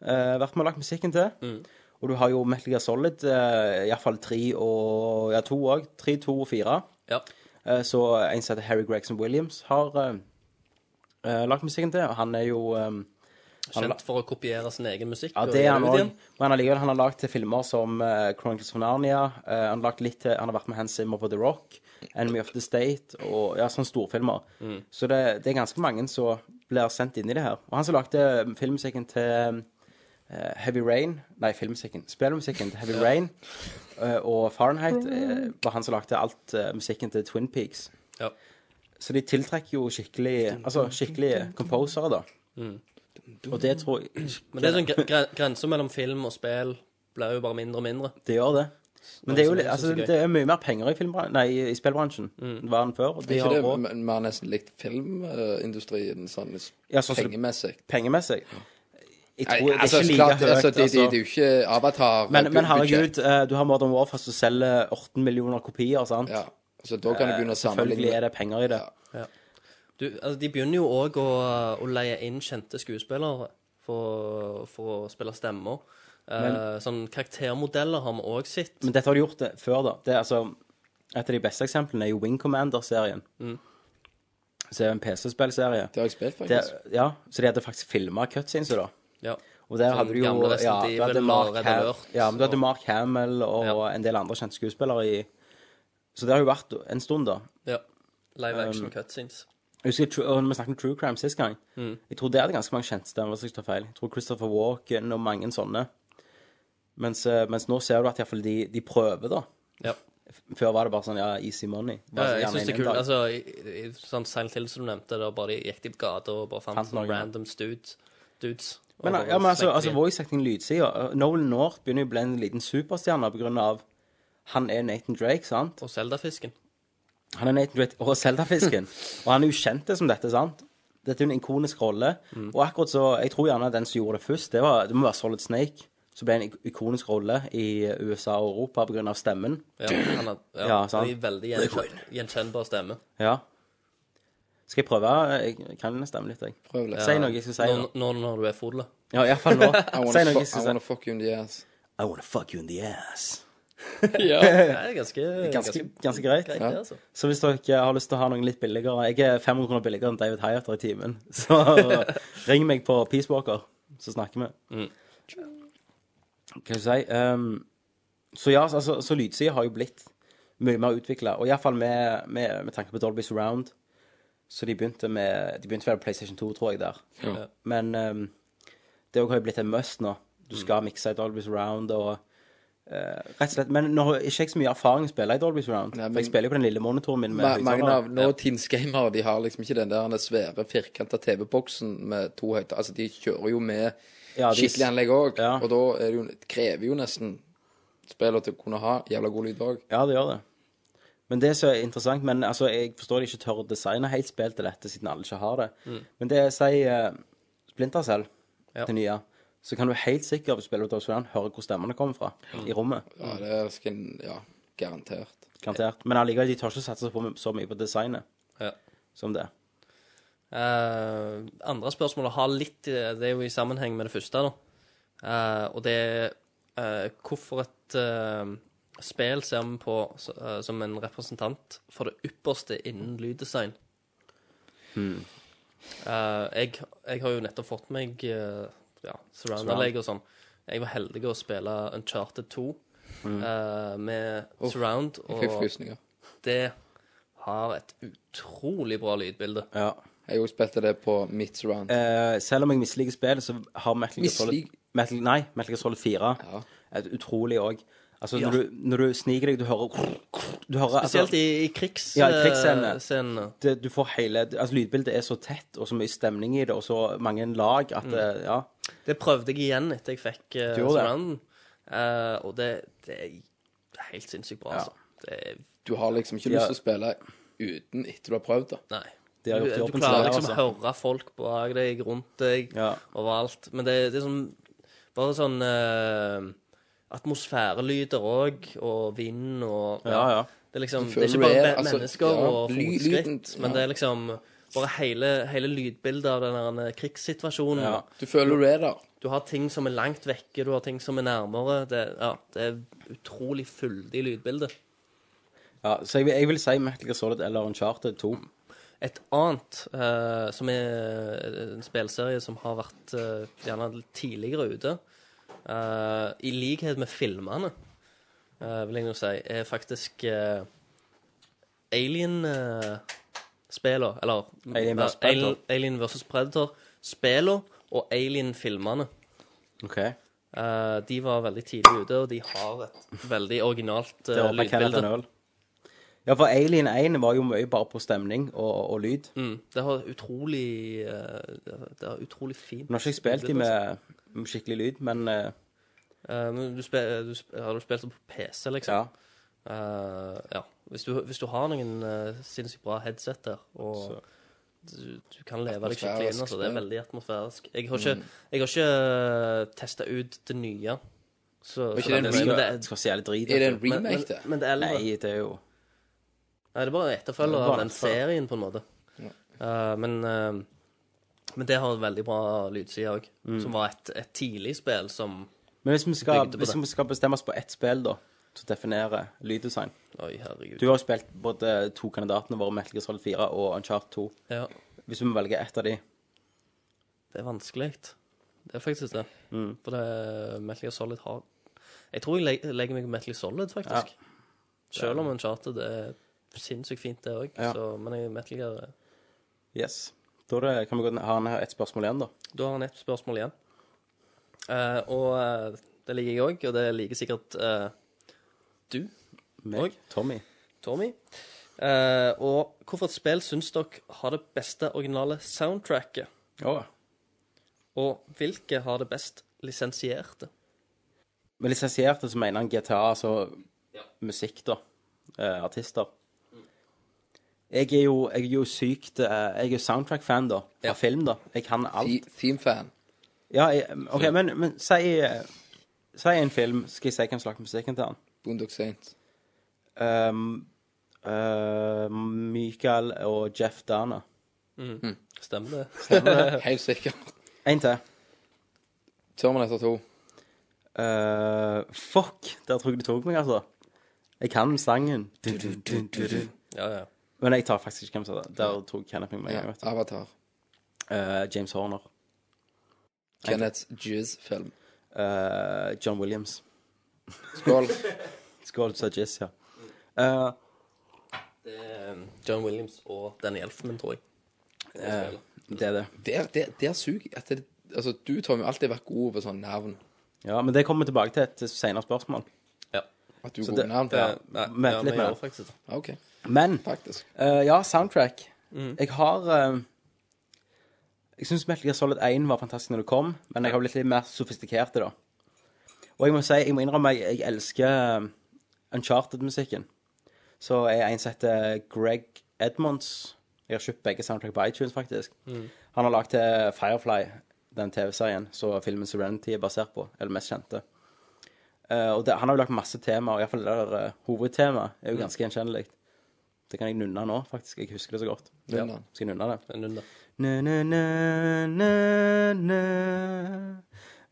Speaker 7: eh, vært med og lagt musikken til. Og du har jo Metal Gear Solid, eh, iallfall tre og Ja, to òg. Tre, to og fire.
Speaker 9: ja.
Speaker 7: Eh, Så en som heter Harry Gregson Williams, har eh, eh, lagt musikken til, og han er jo eh, han,
Speaker 9: Kjent for å kopiere sin egen musikk.
Speaker 7: ja,
Speaker 9: og
Speaker 7: det er han
Speaker 9: gi
Speaker 7: òg.
Speaker 9: ut igjen.
Speaker 7: Men allikevel, han har lagd til filmer som eh, Chronicles of Narnia. eh, han, har lagt litt til, han har vært med Hans Zimmer på The Rock, Enemy of the State og ja, sånne storfilmer.
Speaker 9: Mm.
Speaker 7: Så det, det er ganske mange som blir sendt inn i det her. Og han som lagde eh, filmmusikken til eh, Heavy Rain Nei, filmmusikken. Spillmusikken til Heavy Rain eh, og Fahrenheit eh, var han som lagde alt eh, musikken til Twin Peaks.
Speaker 9: Ja.
Speaker 7: Så de tiltrekker jo skikkelig Altså skikkelige composere, da.
Speaker 9: Mm.
Speaker 7: Og det tror jeg
Speaker 9: Men det er sånn gre- gre- grensa mellom film og spill blir jo bare mindre og mindre.
Speaker 7: Det gjør det. Men det er jo
Speaker 9: Noe som
Speaker 7: litt-
Speaker 9: jeg
Speaker 7: altså,
Speaker 9: synes er gøy.
Speaker 7: det er mye mer penger i, filmbra- nei, i spillbransjen enn det var enn før. og De
Speaker 8: Ikke
Speaker 7: har
Speaker 8: Mm. det,
Speaker 7: råd
Speaker 8: men vi har nesten likt filmindustrien sånn
Speaker 7: Ja, sånn som-
Speaker 8: pengemessig.
Speaker 7: pengemessig. Jeg
Speaker 8: Nei,
Speaker 7: tror det
Speaker 8: altså,
Speaker 7: er ikke
Speaker 8: klart,
Speaker 7: like høyt.
Speaker 8: altså, det, det,
Speaker 7: altså.
Speaker 8: det er jo ikke Avatar
Speaker 7: men, men
Speaker 8: bu-
Speaker 7: herregud,
Speaker 8: budsjett.
Speaker 7: eh, du har Modern Warfare som selger 18 millioner kopier, sant?
Speaker 8: Ja, så da kan du begynne å
Speaker 7: Eh, Selvfølgelig
Speaker 8: sammenligne
Speaker 7: er det penger i det.
Speaker 9: Du, altså, de begynner jo òg å, å leie inn kjente skuespillere for, for å spille stemmer. Eh, sånn Karaktermodeller har vi òg sett.
Speaker 7: Men dette har de gjort det før, da. Det er altså, Et av de beste eksemplene er jo Wing Commander-serien.
Speaker 8: Mm.
Speaker 7: Så er det en PC-spillserie.
Speaker 8: Det har jeg spilt,
Speaker 7: Det,
Speaker 8: faktisk.
Speaker 7: ja, så de hadde faktisk filma cutscenes, da.
Speaker 9: Ja.
Speaker 7: Og der
Speaker 9: Sånn
Speaker 7: hadde du jo
Speaker 9: gamle Resident
Speaker 7: ja, du hadde
Speaker 9: Evil
Speaker 7: Mark
Speaker 9: og Red
Speaker 7: Ham,
Speaker 9: Alert,
Speaker 7: ja, men du hadde
Speaker 9: og-
Speaker 7: Mark Hamill og
Speaker 9: Ja.
Speaker 7: en del andre kjente skuespillere i Så det har jo vært en stund, da.
Speaker 9: ja. Live
Speaker 7: Um,
Speaker 9: action cutscenes.
Speaker 7: Jeg husker tru- og når vi snakket om True Crime sist gang.
Speaker 9: Mm.
Speaker 7: Jeg tror det hadde ganske mange kjente stemmer. hvis jeg ikke tar feil. Jeg tror Christopher Walken og mange sånne. Mens, eh, mens nå ser du at i hvert fall de, de prøver, da.
Speaker 9: Ja.
Speaker 7: Før var det bare sånn ja, easy money.
Speaker 9: Ja,
Speaker 7: Bare så
Speaker 9: jeg
Speaker 7: gjerne
Speaker 9: synes det er
Speaker 7: inn en
Speaker 9: kult.
Speaker 7: dag.
Speaker 9: Altså, i, i, sånn Silent Hill som du nevnte, da bare de gikk de på gata og bare fant,
Speaker 7: Fant
Speaker 9: sånne
Speaker 7: noen.
Speaker 9: random dudes. dudes og
Speaker 7: Men,
Speaker 9: bare
Speaker 7: ja, men altså,
Speaker 9: slengte
Speaker 7: altså
Speaker 9: de.
Speaker 7: voice acting lydsida Nolan North begynner jo å bli en liten superstjerne på grunn av han er Nathan Drake, sant?
Speaker 9: Og Zelda-fisken.
Speaker 7: Han er Nathan Drake og Zelda-fisken. og han er jo kjent som dette, sant? Dette er jo en ikonisk rolle.
Speaker 8: Mm.
Speaker 7: Og akkurat så Jeg tror gjerne den som gjorde det først, det, var, det må være Solid Snake. Som ble en ik- ikonisk rolle i USA og Europa pga. stemmen.
Speaker 9: Ja, han har ja,
Speaker 7: Ja, sant.
Speaker 9: han har veldig gjenkjenn, gjenkjennbar stemme.
Speaker 7: Ja. Skal jeg prøve? Jeg kan stemme litt, jeg.
Speaker 8: Prøv litt.
Speaker 7: Si noe jeg skal si.
Speaker 9: Når,
Speaker 7: nå.
Speaker 9: når, når du er fodler.
Speaker 7: Ja, iallfall nå.
Speaker 8: [LAUGHS] I wanna fu-
Speaker 7: Si noe jeg
Speaker 8: I
Speaker 7: skal
Speaker 8: wanna
Speaker 7: si.
Speaker 8: fuck you in the ass.
Speaker 1: I want to fuck you in the ass.
Speaker 9: Ja, det er ganske,
Speaker 7: Ganske, ganske greit.
Speaker 9: greit, det, altså.
Speaker 7: Så hvis dere har lyst til å ha noen litt billigere Jeg er 500 kroner billigere enn David Hyatter i timen. [LAUGHS] Så
Speaker 8: [LAUGHS]
Speaker 7: ring meg på Peacewalker, så snakker vi. Hva skal jeg si? Um, Så ja, altså, så lydsida har jo blitt mye mer utvikla. Og iallfall med, med, med tanke på Dolby Surround. Så de begynte med De begynte vel på PlayStation 2, tror jeg, der.
Speaker 8: Ja.
Speaker 7: Men ehm, det òg har jo blitt en must nå. Du
Speaker 8: Mm.
Speaker 7: skal mikse i Dolby Surround og eh, Rett og slett. Men nå har jeg ikke jeg så mye erfaring å spille i Dolby Surround.
Speaker 8: Nei, men-
Speaker 7: for jeg spiller jo på den lille monitoren min. med
Speaker 8: Ma mange
Speaker 7: høyttaler.
Speaker 8: av nåtidens gamere de har liksom ikke den der den svære, firkanta TV-boksen med to høyttalere. Altså, de kjører jo med
Speaker 7: Ja, de-
Speaker 8: skikkelig anlegg òg,
Speaker 7: Ja.
Speaker 8: og da er det jo, det krever jo nesten spiller til å kunne ha jævla god lyd òg.
Speaker 7: Ja, det gjør det. Men det som er interessant Men altså, jeg forstår de ikke tør å designe helt spill til dette, siden alle ikke har det. Men det sier uh, Splinter Cell,
Speaker 9: Mm. Ja.
Speaker 7: det nye, så kan du helt sikkert hvis du spiller Dodge Round, høre hvor stemmene kommer fra
Speaker 9: Mm.
Speaker 7: i rommet.
Speaker 8: Ja, det skal en- Ja, garantert.
Speaker 7: Garantert. Men allikevel, de tør ikke satse på, så mye på designet
Speaker 9: Ja.
Speaker 7: som det.
Speaker 9: Eh, andre spørsmålet har litt i- Det er jo i sammenheng med det første, da. Eh, og det er eh, hvorfor et eh, spill ser vi på s- eh, som en representant for det ypperste innen lyddesign.
Speaker 8: Hmm.
Speaker 9: Eh, jeg, jeg har jo nettopp fått meg eh, ja, surround-anlegg og sånn. Jeg var heldig å spille Uncharted 2 eh, med surround,
Speaker 8: Hmm. Jeg fikk
Speaker 9: og
Speaker 8: frysninger.
Speaker 9: det har et utrolig bra lydbilde.
Speaker 7: Ja.
Speaker 8: Jeg jo spilte det på mitt surround.
Speaker 7: Eh, selv om jeg misliker spillet, så har Metal Gear Solid
Speaker 8: Mislik-
Speaker 7: Metal, Nei, Metal Gear Solid 4
Speaker 8: Ja.
Speaker 7: et utrolig òg. Altså,
Speaker 9: Ja.
Speaker 7: når, du, når du sniker deg, du hører, du hører altså-
Speaker 9: Spesielt i, i krigs,
Speaker 7: Ja, i krigsscenene.
Speaker 9: eh, scenene.
Speaker 7: det, du får hele Altså, lydbildet er så tett, og så mye stemning i det, og så mange lag at det, Ja.
Speaker 9: Det prøvde jeg igjen etter jeg fikk uh,
Speaker 7: Du gjorde det?
Speaker 9: surrounden. Eh, og det, det er helt sinnssykt bra,
Speaker 7: Ja.
Speaker 9: altså. Det er,
Speaker 8: Du har liksom ikke
Speaker 7: Ja.
Speaker 8: lyst til å spille uten etter du har prøvd det.
Speaker 9: nei.
Speaker 7: Det har
Speaker 9: Du,
Speaker 7: gjort jobben
Speaker 9: du
Speaker 7: sin
Speaker 9: klarer
Speaker 7: der,
Speaker 9: liksom å
Speaker 7: altså.
Speaker 9: høre folk bak deg, rundt deg,
Speaker 7: Ja.
Speaker 9: overalt. Men det, det er sånn Bare sånn eh, Atmosfærelyder òg, og vind og
Speaker 7: Ja, ja.
Speaker 9: Det er liksom
Speaker 8: Du
Speaker 9: Det er ikke
Speaker 8: føler
Speaker 9: bare
Speaker 8: det er,
Speaker 9: me-
Speaker 8: altså,
Speaker 9: mennesker
Speaker 8: ja,
Speaker 9: og
Speaker 8: ly-
Speaker 9: fotskritt,
Speaker 8: lyden,
Speaker 9: men
Speaker 8: ja.
Speaker 9: det er liksom bare hele, hele lydbildet av den der krigssituasjonen.
Speaker 7: Ja.
Speaker 8: Du føler du er der.
Speaker 9: Du har ting som er langt vekke, du har ting som er nærmere. Det, ja, det er utrolig fyldig lydbilde.
Speaker 7: ja så jeg, vil- jeg vil si Metal Gear Solid eller Uncharted 2.
Speaker 9: Et annet, eh, som er en spillserie som har vært eh, gjerne litt tidligere ute, eh, i likhet med filmene, eh, vil jeg nå si, er faktisk eh, Alien-spillene, eller
Speaker 7: Alien versus
Speaker 9: eh,
Speaker 7: Predator.
Speaker 9: Alien versus Predator-spillene og Alien-filmene.
Speaker 7: OK.
Speaker 9: Eh, de var veldig tidlig ute, og de har et veldig originalt
Speaker 7: Det
Speaker 9: uh,
Speaker 7: var fra Canada
Speaker 9: lydbilde.
Speaker 7: Null. Ja, for Alien 1 var jo mye bare på stemning og, og lyd.
Speaker 9: Mm, det har utrolig eh, Det har utrolig fint
Speaker 7: Nå har ikke jeg spilt de med med skikkelig lyd, men eh,
Speaker 9: Eh, men du spil, du sp- Har du spilt det på PC, liksom?
Speaker 7: ja.
Speaker 9: Eh, ja. Hvis, du, hvis du har noen eh, sinnssykt bra headset der, og du, du kan leve deg skikkelig inn,
Speaker 8: Atmosfærisk Mm.
Speaker 9: altså. Det er
Speaker 8: spill.
Speaker 9: veldig atmosfærisk. Jeg har ikke, jeg har ikke testa ut det nye. Så,
Speaker 8: ikke
Speaker 9: så
Speaker 8: det en
Speaker 9: langt,
Speaker 8: remake?
Speaker 9: men det
Speaker 7: Det
Speaker 9: er,
Speaker 7: skal se jævlig drit
Speaker 8: Er det en
Speaker 7: ut.
Speaker 9: men, men,
Speaker 8: remake, det?
Speaker 9: men det er eldre.
Speaker 7: Nei, det er jo
Speaker 9: Nei, det er bare en etterfølger
Speaker 7: Det er
Speaker 9: av
Speaker 7: bare en
Speaker 9: den
Speaker 7: etterfølger.
Speaker 9: serien, på en måte. Eh, men, eh, men det har en veldig bra lydside òg,
Speaker 7: Mm.
Speaker 9: som var et, et tidlig spill som
Speaker 7: Men hvis vi, skal,
Speaker 9: Bygde på
Speaker 7: hvis
Speaker 9: det.
Speaker 7: vi skal bestemme oss på ett spill, da, som definerer lyddesign
Speaker 9: Oi, herregud.
Speaker 7: Du har jo spilt både to kandidatene våre, Metal Gear Solid 4 og Uncharted 2.
Speaker 9: Ja,
Speaker 7: Hvis vi må velge ett av de
Speaker 9: det er vanskelig. Det er faktisk det.
Speaker 7: Mm.
Speaker 9: For det Metal Gear Solid har Jeg tror jeg leg- legger meg på Metal Gear Solid, faktisk. Selv om Uncharted er sinnssykt fint, det òg.
Speaker 7: Ja.
Speaker 9: Men jeg, Metal Gear eh,
Speaker 7: Yes. Da er det, kan vi gå ned, har han et spørsmål igjen, da.
Speaker 9: Da har han ett spørsmål igjen. Eh, og eh, det liker jeg òg, og det liker sikkert eh, du
Speaker 7: Meg,
Speaker 9: Oi.
Speaker 7: Tommy.
Speaker 9: Tommy. Eh, og hvorfor et spill syns dere har det beste originale soundtracket? Og hvilke har det best lisensierte?
Speaker 7: Med lisensierte så mener han GTA, altså musikk, da. Eh, artister. Jeg er jo, jeg er jo sykt eh, Jeg er jo soundtrack-fan, da. Av
Speaker 9: Ja.
Speaker 7: film, da. Jeg kan alt.
Speaker 8: The- Theme-fan.
Speaker 7: Ja, jeg, OK, men, men si eh, Si en film, skal jeg si hvem som lagde musikken til den?
Speaker 8: Boondock Saints.
Speaker 7: Um, eh, Michael og Jeff Dana.
Speaker 9: Stemmer det?
Speaker 7: [LAUGHS]
Speaker 8: Helt sikkert.
Speaker 7: En til.
Speaker 8: Terminator 2.
Speaker 7: Eh, fuck, der tror jeg du tok meg, altså. Jeg kan sangen. Du, du, du, du, du.
Speaker 9: Ja, ja.
Speaker 7: Men jeg tar faktisk ikke hvem som er det. Der tok Kenneth meg med. en gang,
Speaker 8: Ja,
Speaker 7: vet du.
Speaker 8: Avatar.
Speaker 7: Eh, James Horner.
Speaker 8: Kenneth Jizz-film.
Speaker 7: Eh, John Williams.
Speaker 8: Skål.
Speaker 7: Skål, sa Jizz, ja. Eh,
Speaker 9: Det er Eh, John Williams og Danny Elfman, tror jeg.
Speaker 7: eh, det er det.
Speaker 8: Der, der, der suger jeg. at det- Altså, du, Tom, har alltid vært god på sånne navn.
Speaker 7: Ja, Men det kommer vi tilbake til et senere spørsmål.
Speaker 9: Ja.
Speaker 8: At du er
Speaker 7: Så
Speaker 8: god
Speaker 7: det-
Speaker 8: på navn.
Speaker 9: Det,
Speaker 8: Ja.
Speaker 9: nei,
Speaker 7: Vent
Speaker 9: ja,
Speaker 7: litt
Speaker 9: vi
Speaker 7: med
Speaker 9: gjør
Speaker 7: det.
Speaker 9: faktisk det.
Speaker 8: OK.
Speaker 7: Men
Speaker 8: Faktisk.
Speaker 7: eh, ja, soundtrack. Jeg har eh, Jeg syns Metal Gear Solid 1 var fantastisk når det kom, men jeg har blitt litt mer sofistikert i det. Og jeg må si, jeg må innrømme jeg, jeg elsker eh, Uncharted-musikken. Så er en som heter Greg Edmonds. Jeg har kjøpt begge soundtrack på iTunes, faktisk. Han har lagd til Firefly, den TV-serien som filmen Serenity er basert på. Eller mest kjente. Eh, og det, han har jo lagt masse temaer, iallfall det der eh, hovedtemaet er jo ganske gjenkjennelig. Det kan jeg nunne nå, faktisk. Jeg husker det så godt.
Speaker 8: Nunne
Speaker 7: Ja.
Speaker 8: den.
Speaker 7: Skal jeg nunne det?
Speaker 9: En runde.
Speaker 7: Na, na, na, na, na.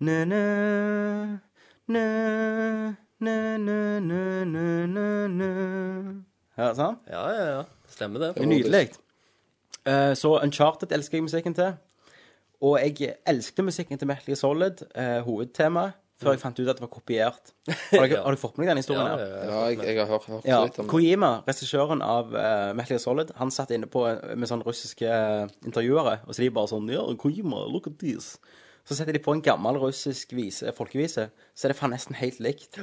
Speaker 7: Na, na, na, na, na, na, na, na, na. Ja, sant?
Speaker 9: Ja, ja, ja. Stemmer det.
Speaker 8: var-
Speaker 7: Nydelig. Eh, så Uncharted elsker jeg musikken til. Og jeg elsket musikken til Metal Gear Solid, eh, hovedtemaet, før jeg fant ut at det var kopiert. Har dere,
Speaker 9: Ja.
Speaker 7: har dere fått med deg den historien? her?
Speaker 8: Ja, jeg, jeg har hørt, hørt
Speaker 7: Ja,
Speaker 8: litt om det.
Speaker 7: Kojima, regissøren av eh, Metal Gear Solid, han satt inne på med sånne russiske eh, intervjuere, og så de bare sånn Ja, Kojima, look at this. Så setter de på en gammel russisk vise, folkevise, så er det faen nesten helt likt.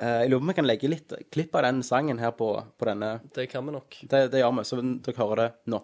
Speaker 7: Eh, jeg lurer på om vi kan legge litt klipp av den sangen her på, på denne.
Speaker 9: Det kan vi nok.
Speaker 7: Det, det gjør vi, så dere hører det nå.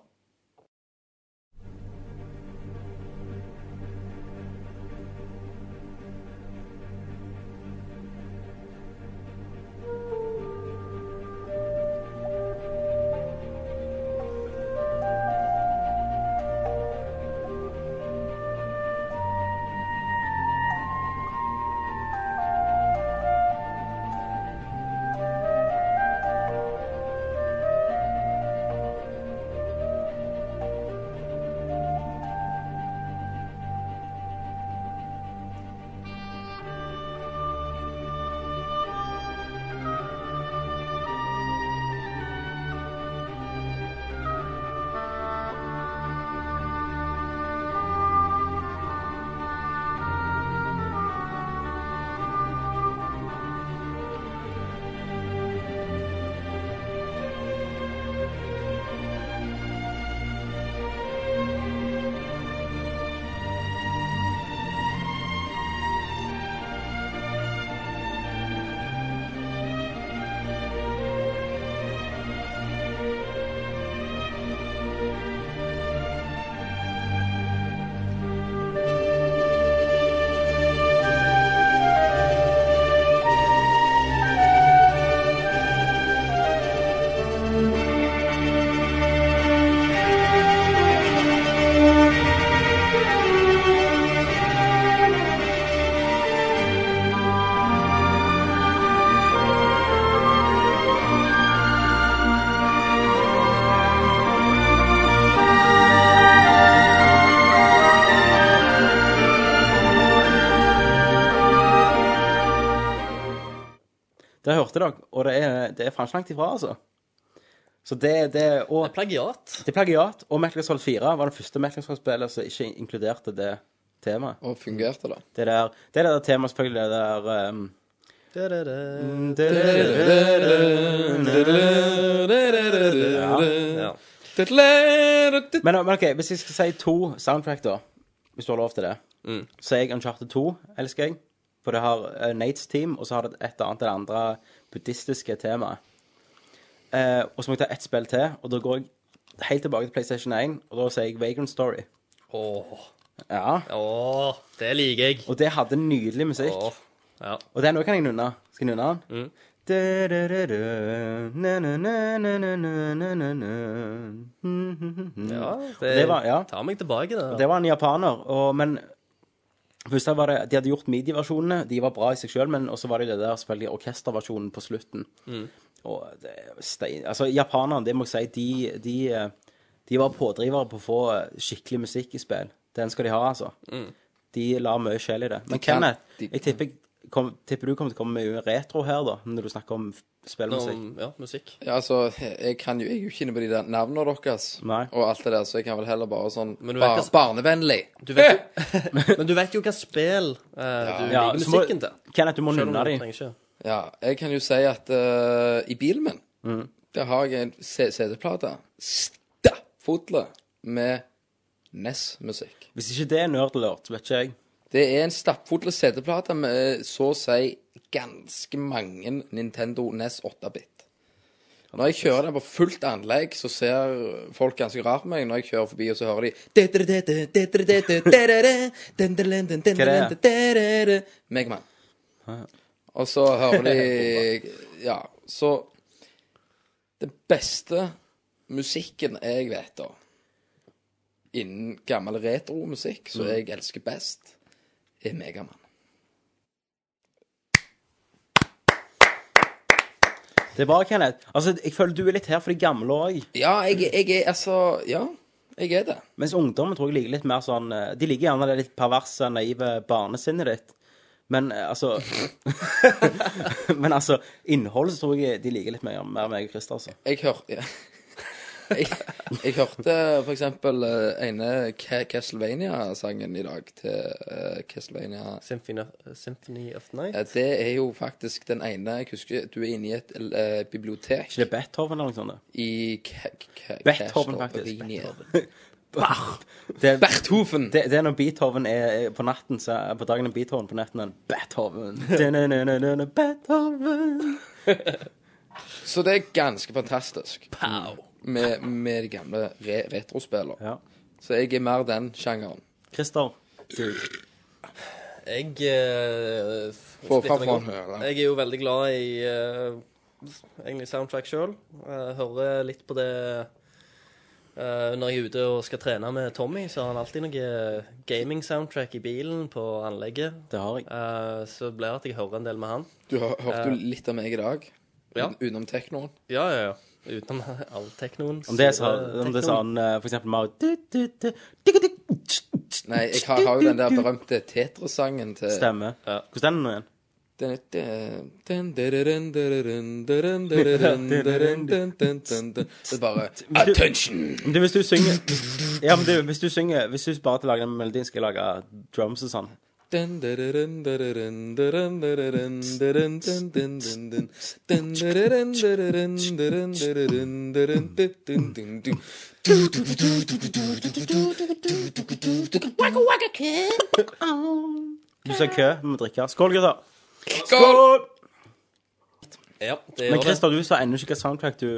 Speaker 7: Der hørte dere, og det er, det er faen ikke langt ifra, altså. Så det, det og,
Speaker 9: Plagiat.
Speaker 7: Det er plagiat, og Metal Gear Solid 4 var det første Metal Gear Solid-spillet som ikke inkluderte det temaet.
Speaker 8: Og fungerte, da.
Speaker 7: Det der, det er det der temaet, selvfølgelig, det der um,
Speaker 9: Da, da, da. Ja.
Speaker 7: men, men OK, hvis jeg skal si to soundtrack, da, hvis du har lov til det, så er jeg Uncharted 2, elsker jeg. For det har eh, Nates team, og så har det et annet eller andre buddhistiske temaet. Eh, og så må jeg ta ett spill til, og da går jeg helt tilbake til PlayStation 1, og da sier jeg Vagrant Story.
Speaker 9: Åh,
Speaker 7: Ja.
Speaker 9: åh, det liker jeg.
Speaker 7: Og det hadde nydelig musikk.
Speaker 9: Åh, ja.
Speaker 7: Og den òg kan jeg nunne. Skal jeg nunne den? Du-du-du-du, na-na-na-na-na-na-na-na-na. Mhm.
Speaker 9: ja det,
Speaker 7: Og det var- ja.
Speaker 9: tar meg tilbake, det.
Speaker 7: Det var en japaner, og, men først her var det, De hadde gjort medieversjonene, de var bra i seg sjøl, men også var det det der selvfølgelig orkesterversjonen på slutten.
Speaker 9: Mm.
Speaker 7: Og det, er stein, altså Japanerne, det må jeg si, de, de, de var pådrivere på å få skikkelig
Speaker 9: Mm.
Speaker 7: musikk i spill. Den skal de ha, altså. De la mye sjel i det. Men
Speaker 8: kan-
Speaker 7: Kenneth,
Speaker 8: de-
Speaker 7: jeg tipper jeg kom, tipper du kommer til å komme med retro her, da, når du snakker om f- spillmusikk.
Speaker 9: Om, ja, musikk.
Speaker 8: Ja, altså, jeg, kan jo, jeg er jo ikke inne på de der navnene deres
Speaker 7: Nei.
Speaker 8: og alt det der, så jeg kan vel heller bare sånn
Speaker 9: Men du vet
Speaker 8: bar,
Speaker 9: hva-
Speaker 8: Barnevennlig.
Speaker 9: Du vet, men du vet jo hva spill eh, du
Speaker 7: Ja, så
Speaker 9: liker
Speaker 7: må-
Speaker 9: musikken til.
Speaker 7: Kenneth, du må
Speaker 9: Selv om
Speaker 7: nunne
Speaker 9: du
Speaker 7: dem.
Speaker 9: trenger ikke.
Speaker 8: [LAUGHS] Ja, jeg kan jo si at eh, i bilen min
Speaker 7: Mm.
Speaker 8: Der har jeg en C- CD-plate stappfulle med NES-musikk.
Speaker 7: Hvis ikke det er nerdlert, vet ikke jeg.
Speaker 8: Det er en stappfull CD-plate med eh, så å si ganske mange Nintendo NES 8-bit. Når jeg kjører den på fullt anlegg, så ser folk ganske rart på meg når jeg kjører forbi, og så hører de Megaman. Og så hører de Ja, så Den beste musikken jeg vet om innen gammel retromusikk, som jeg elsker best, er Megaman.
Speaker 7: Det er bra, Kenneth. Altså, jeg føler du er litt her for de gamle òg.
Speaker 8: Ja, jeg, jeg er altså Ja, jeg er det.
Speaker 7: Mens ungdommen tror jeg liker litt mer sånn eh, De liker gjerne det litt perverse, naive barnesinnet ditt. Men eh, altså Men altså, innholdet så tror jeg de liker litt mer, mer meg og Christer, altså.
Speaker 8: Jeg hørte ja. [LAUGHS] jeg, jeg hørte for eksempel eh, ene Ke- Castlevania-sangen i dag til eh, Castlevania
Speaker 9: Symphony, eh, Symphony of Night.
Speaker 8: Ja, Det er jo faktisk den ene Jeg husker du er inne i et eh, bibliotek
Speaker 7: Ikke det Beethoven eller noe sånt? det?
Speaker 8: i Ke- Ke-
Speaker 7: Beethoven, faktisk.
Speaker 8: Castlevania.
Speaker 7: Det,
Speaker 8: Berthoven!
Speaker 7: det, det er når Beethoven er er på natten, så er på dagen er Beethoven, på natten er han Beethoven. Da-na-na-na-na, Beethoven.
Speaker 8: Så det er ganske fantastisk med, med de gamle re retrospillene.
Speaker 7: Ja.
Speaker 8: Så jeg er mer den sjangeren.
Speaker 7: Christer,
Speaker 9: Jeg eh, f-
Speaker 8: Få
Speaker 9: splitter
Speaker 8: fram
Speaker 9: meg opp.
Speaker 8: hånden, eller?
Speaker 9: Jeg er jo veldig glad i eh, egentlig soundtrack sjøl. Hører litt på det eh, når jeg er ute og skal trene med Tommy, så har han alltid noe gaming-soundtrack i bilen på anlegget.
Speaker 7: det har jeg.
Speaker 9: Eh, så blir det at jeg hører en del med han. [LAUGHS]
Speaker 8: Du har, hørte jo litt av meg i dag,
Speaker 9: Ja.
Speaker 8: un- utenom teknoen.
Speaker 9: Ja, ja, ja. Utenom all teknoen.
Speaker 7: Om det er
Speaker 9: så
Speaker 7: sånn,
Speaker 9: er
Speaker 7: om det er
Speaker 9: teknoen.
Speaker 7: sånn eh, for eksempel Mario du, du, du, du, du, du,
Speaker 8: Nei, jeg har, har jo den der berømte Tetra-sangen til
Speaker 7: Stemmer.
Speaker 9: Ja.
Speaker 7: Hvordan er den nå igjen?
Speaker 8: Den er- den- den- dereren, dereren, dereren, dereren, dereren, den- den- den- den. Det er bare Attention!
Speaker 7: Men Du, hvis du synger Ja, men du, hvis du synger Hvis du bare til å lage den melodien, skal jeg lage drums og sånn.
Speaker 8: Den, dereren, dereren, dereren, dereren, dereren, den- den- den- den. Den, dereren, dereren, dereren, dereren, dereren, den- den- den- den.
Speaker 7: Du ser kø, vi må drikke. Skål, gutter.
Speaker 8: Skål!
Speaker 9: Ja, det
Speaker 7: Men
Speaker 9: gjør det.
Speaker 7: Christer, du sa ennå ikke hva soundtrack du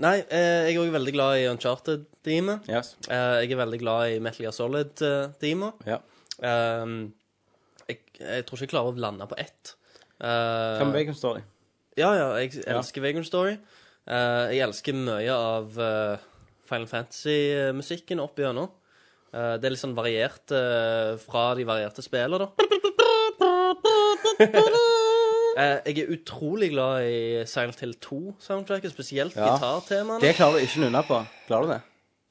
Speaker 9: Nei, eh, jeg er òg veldig glad i Uncharted-teamet.
Speaker 7: Yes.
Speaker 9: Eh, jeg er veldig glad i Metal Gear eh, Solid-teamet.
Speaker 7: Ja.
Speaker 9: Ehm, jeg, jeg tror ikke jeg klarer å lande på ett. Eh,
Speaker 7: Hva med Bacon Story?
Speaker 9: ja, ja, jeg elsker Vagrant Story. Eh, jeg elsker mye av eh, Final Fantasy-musikken opp igjennom. Eh, det er litt sånn variert eh, fra de varierte spillene, da. Eh, jeg er utrolig glad i Silent Hill 2-soundtracket, spesielt
Speaker 7: Ja.
Speaker 9: gitartemaene.
Speaker 7: Det klarer du ikke å nunne på. Klarer du det?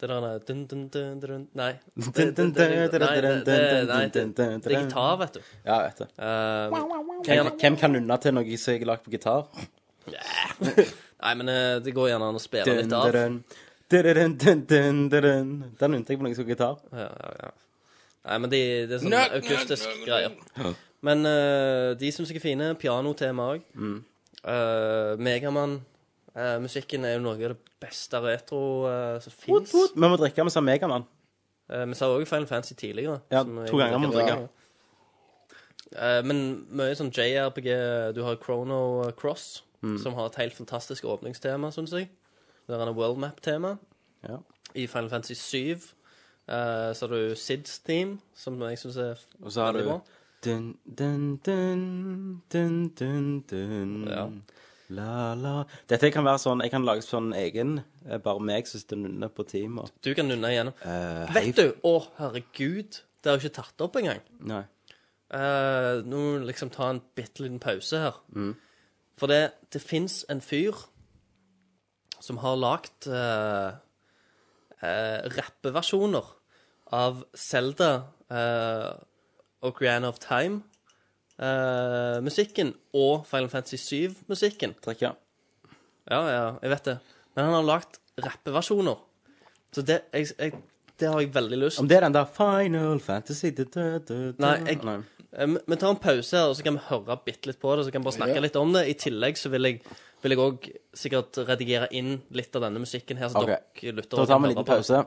Speaker 9: Det der nei, dun, dun, dun, dun, Nei. Det,
Speaker 7: dun,
Speaker 9: det, det,
Speaker 7: dun,
Speaker 9: det,
Speaker 7: dun,
Speaker 9: nei, det,
Speaker 7: dun,
Speaker 9: det,
Speaker 7: dun,
Speaker 9: nei, det,
Speaker 7: dun,
Speaker 9: det
Speaker 7: dun,
Speaker 9: er gitar, vet du.
Speaker 7: Ja, jeg vet det.
Speaker 9: Eh,
Speaker 7: Hvem, hvem kan nunne til noe som jeg har lagd på gitar?
Speaker 9: nei, men eh, det går gjerne an å spille
Speaker 7: Dun,
Speaker 9: litt av. Ja,
Speaker 7: dun, dun, dun, dun, dun. Den nunnet jeg på noe som gitar.
Speaker 9: ja, ja. Nei, men de, det er sånn
Speaker 8: Nøk, nøk,
Speaker 9: akustisk
Speaker 8: nøk, nøk.
Speaker 9: greier. Men eh, de syns jeg er fine. Pianotema Eh, òg.
Speaker 7: Mm.
Speaker 9: Megamann-musikken eh, er jo noe av det beste retro eh, som
Speaker 7: Woot,
Speaker 9: fins.
Speaker 7: woot. Vi må drikke, vi sa Megamann.
Speaker 9: Vi sa òg Final Fantasy tidligere.
Speaker 7: Ja,
Speaker 9: som
Speaker 7: to
Speaker 9: jeg-
Speaker 7: ganger må vi drikke.
Speaker 9: Eh, men mye sånn JRPG Du har Chrono Cross,
Speaker 7: Mm.
Speaker 9: som har et helt fantastisk åpningstema, syns jeg. Der er det world map-tema.
Speaker 7: Ja.
Speaker 9: I Final Fantasy 7 eh, så har du Sids Theme, som jeg syns er
Speaker 7: Og så har
Speaker 9: veldig
Speaker 7: du
Speaker 9: bra.
Speaker 7: dun, dun, dun, dun, dun, dun.
Speaker 9: Ja.
Speaker 7: La, la. Dette kan være sånn, jeg kan lage sånn egen, eh, bare meg som sitter nunne på teamet.
Speaker 9: Du kan nunne igjennom.
Speaker 7: Eh, hei.
Speaker 9: Vet du, å herregud, det er jo ikke tatt opp engang.
Speaker 7: Nei.
Speaker 9: Eh, nå må vi liksom ta en bitte liten pause her.
Speaker 7: Mm.
Speaker 9: For det, det fins en fyr som har lagd eh, eh, rappeversjoner av Zelda eh, Ocarina of Time. eh, eh, musikken og Final Fantasy 7-musikken.
Speaker 7: Trekker.
Speaker 9: Ja, ja, jeg vet det. Men han har lagd rappeversjoner. Så det, jeg, jeg, det har jeg veldig lyst
Speaker 7: Om det er den der Final Fantasy da, da, da, da.
Speaker 9: Nei, jeg, Eh, men- Vi tar en pause her, og så kan vi høre bitte litt på det. Så kan vi bare snakke
Speaker 7: Ja.
Speaker 9: litt om det. I tillegg så vil jeg vil jeg òg sikkert redigere inn litt av denne musikken her, så
Speaker 7: Ok.
Speaker 9: dere lytter
Speaker 7: Da tar vi en liten pause.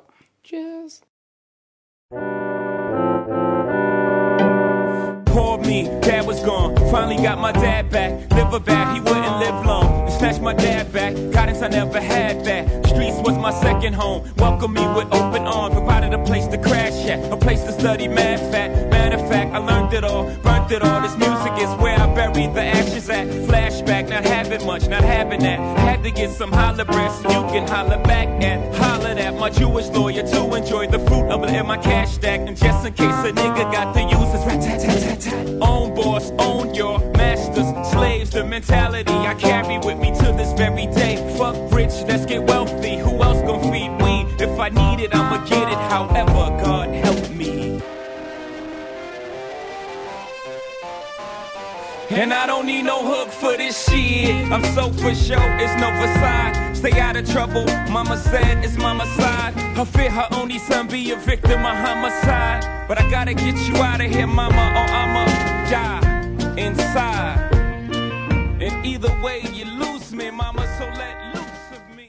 Speaker 12: Called me, dad was gone. Finally got my dad back. Liver back, he wouldn't live long. Snatched my dad back. Guidance I never had that. Streets was my second home. Welcomed me with open arms. Provided a place to crash at, a place to study mad fat. Matter of fact, I learned it all, burnt it all. This music is where I buried the actions at. Flashback, not having much, not having that. I had to get some holler breath so you can holler back at. Hollered at my Jewish lawyer to enjoy the fruit of it in my cash stack. And just in case a nigga got to use his rat tat tat tat tat. Own boss, own your masters, slaves. The mentality I carry with me to this very day. Fuck rich, let's get wealthy. Who else gon' feed weed? If I need it, I'ma get it. However, God help me. And I don't need no hook for this shit. I'm so for sure it's no facade. Stay out of trouble. Mama said it's mama's side. Her fear her only son be a victim of homicide. But I gotta get you out of here, mama, or I'ma die inside. And either way, you lose me, mama, so let loose of me.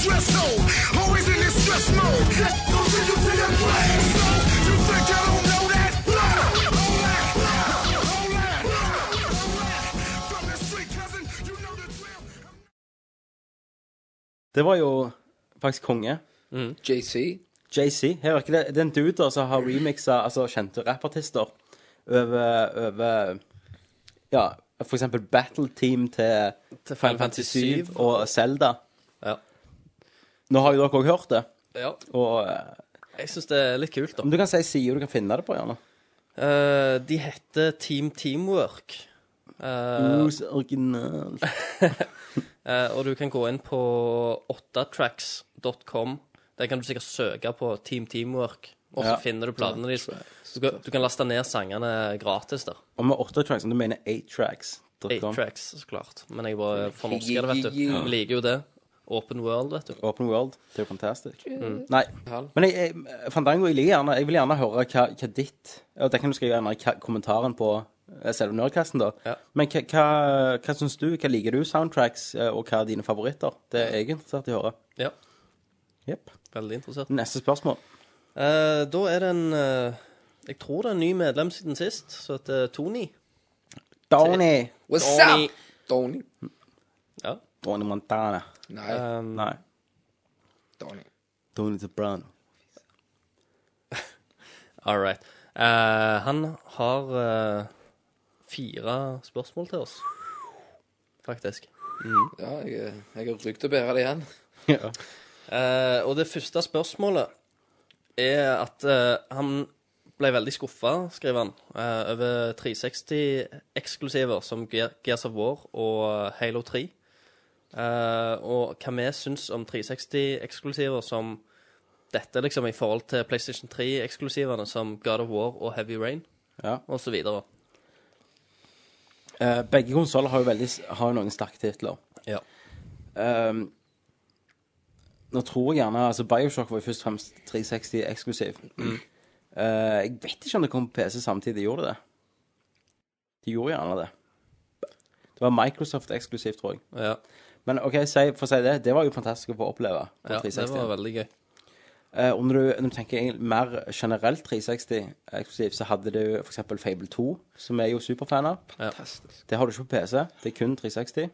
Speaker 13: Dress code, always in this stress mode. Don't see you to your grave, so you think I don't know that?
Speaker 7: Det var jo faktisk konge.
Speaker 8: JC.
Speaker 7: JC. Her virker det, det er en dude der som har remixa altså, kjente rappartister over, over Ja, for eksempel Battle Team til,
Speaker 9: Til Final Fantasy 7
Speaker 7: og Zelda.
Speaker 9: Ja.
Speaker 7: Nå har jo dere òg hørt det.
Speaker 9: Ja.
Speaker 7: Og eh,
Speaker 9: Jeg syns det er litt kult, da.
Speaker 7: om du kan si sider du kan finne det på, gjerne.
Speaker 9: Eh, de heter Team Teamwork. Eh,
Speaker 7: Who's original?
Speaker 9: eh, og du kan gå inn på 8tracks.com. Der kan du sikkert søke på Team Teamwork, og så
Speaker 7: Ja.
Speaker 9: finner du platene deres. Så Du, kan- du kan laste ned sangene gratis der.
Speaker 7: Og med åtte tracks, om du mener eight tracks.
Speaker 9: Eight tracks, så klart. Men jeg bare fornorsker det, vet du.
Speaker 7: Ja.
Speaker 9: Jeg liker jo det. Open world, vet du.
Speaker 7: Open World. Det er jo fantastisk. Mm. Nei. Men jeg, jeg, Fandango, jeg, liker gjerne, jeg vil gjerne høre hva, hva ditt og Det kan du skrive gjerne i ka- kommentaren på eh, selve Nerdcasten, da. Men hva, hva, hva syns du? Hva liker du? Soundtracks, eh, og hva er dine favoritter? Det er jeg interessert i å høre.
Speaker 9: Ja.
Speaker 7: Jepp.
Speaker 9: Veldig interessert.
Speaker 7: Neste spørsmål.
Speaker 9: Eh, da er det en eh, Jeg tror det er en ny medlem siden sist, som heter Tony.
Speaker 7: Tony.
Speaker 8: What's
Speaker 9: Tony.
Speaker 8: up? Tony.
Speaker 9: Ja.
Speaker 7: Tony Montana.
Speaker 8: Nei,
Speaker 9: Um,
Speaker 7: Nei.
Speaker 8: Tony.
Speaker 7: Tony Soprano.
Speaker 9: All right. Eh, han har eh, fire spørsmål til oss, faktisk.
Speaker 8: Ja, jeg, jeg har rygg til å bære det igjen.
Speaker 7: Ja.
Speaker 9: Eh, og det første spørsmålet er at eh, han ble veldig skuffa, skriver han, eh, over 360-eksklusiver som Ge- Gears of War og Halo 3. Eh, og hva vi syns om 360-eksklusiver som dette, liksom, i forhold til PlayStation 3-eksklusivene som God of War og Heavy Rain
Speaker 7: Ja.
Speaker 9: osv.
Speaker 7: Eh, begge konsoller har jo veldig, s- har jo noen sterke titler.
Speaker 9: Ja.
Speaker 7: Ehm, nå tror jeg gjerne altså Bioshock var jo først og fremst 360 eksklusiv. Eh, jeg vet ikke om det kom på PC samtidig. Gjorde det det? De gjorde gjerne det. Det var Microsoft eksklusivt, tror jeg.
Speaker 9: ja.
Speaker 7: Men OK, si, for å si det, det var jo fantastisk å få oppleve på
Speaker 9: ja det
Speaker 7: 360.
Speaker 9: var veldig gøy.
Speaker 7: Eh, og når du, når du tenker egentlig mer generelt 360 eksklusivt, så hadde du f.eks. Fable 2, som er jo superfan av.
Speaker 9: Fantastisk.
Speaker 7: Det har du ikke på PC. Det er kun 360.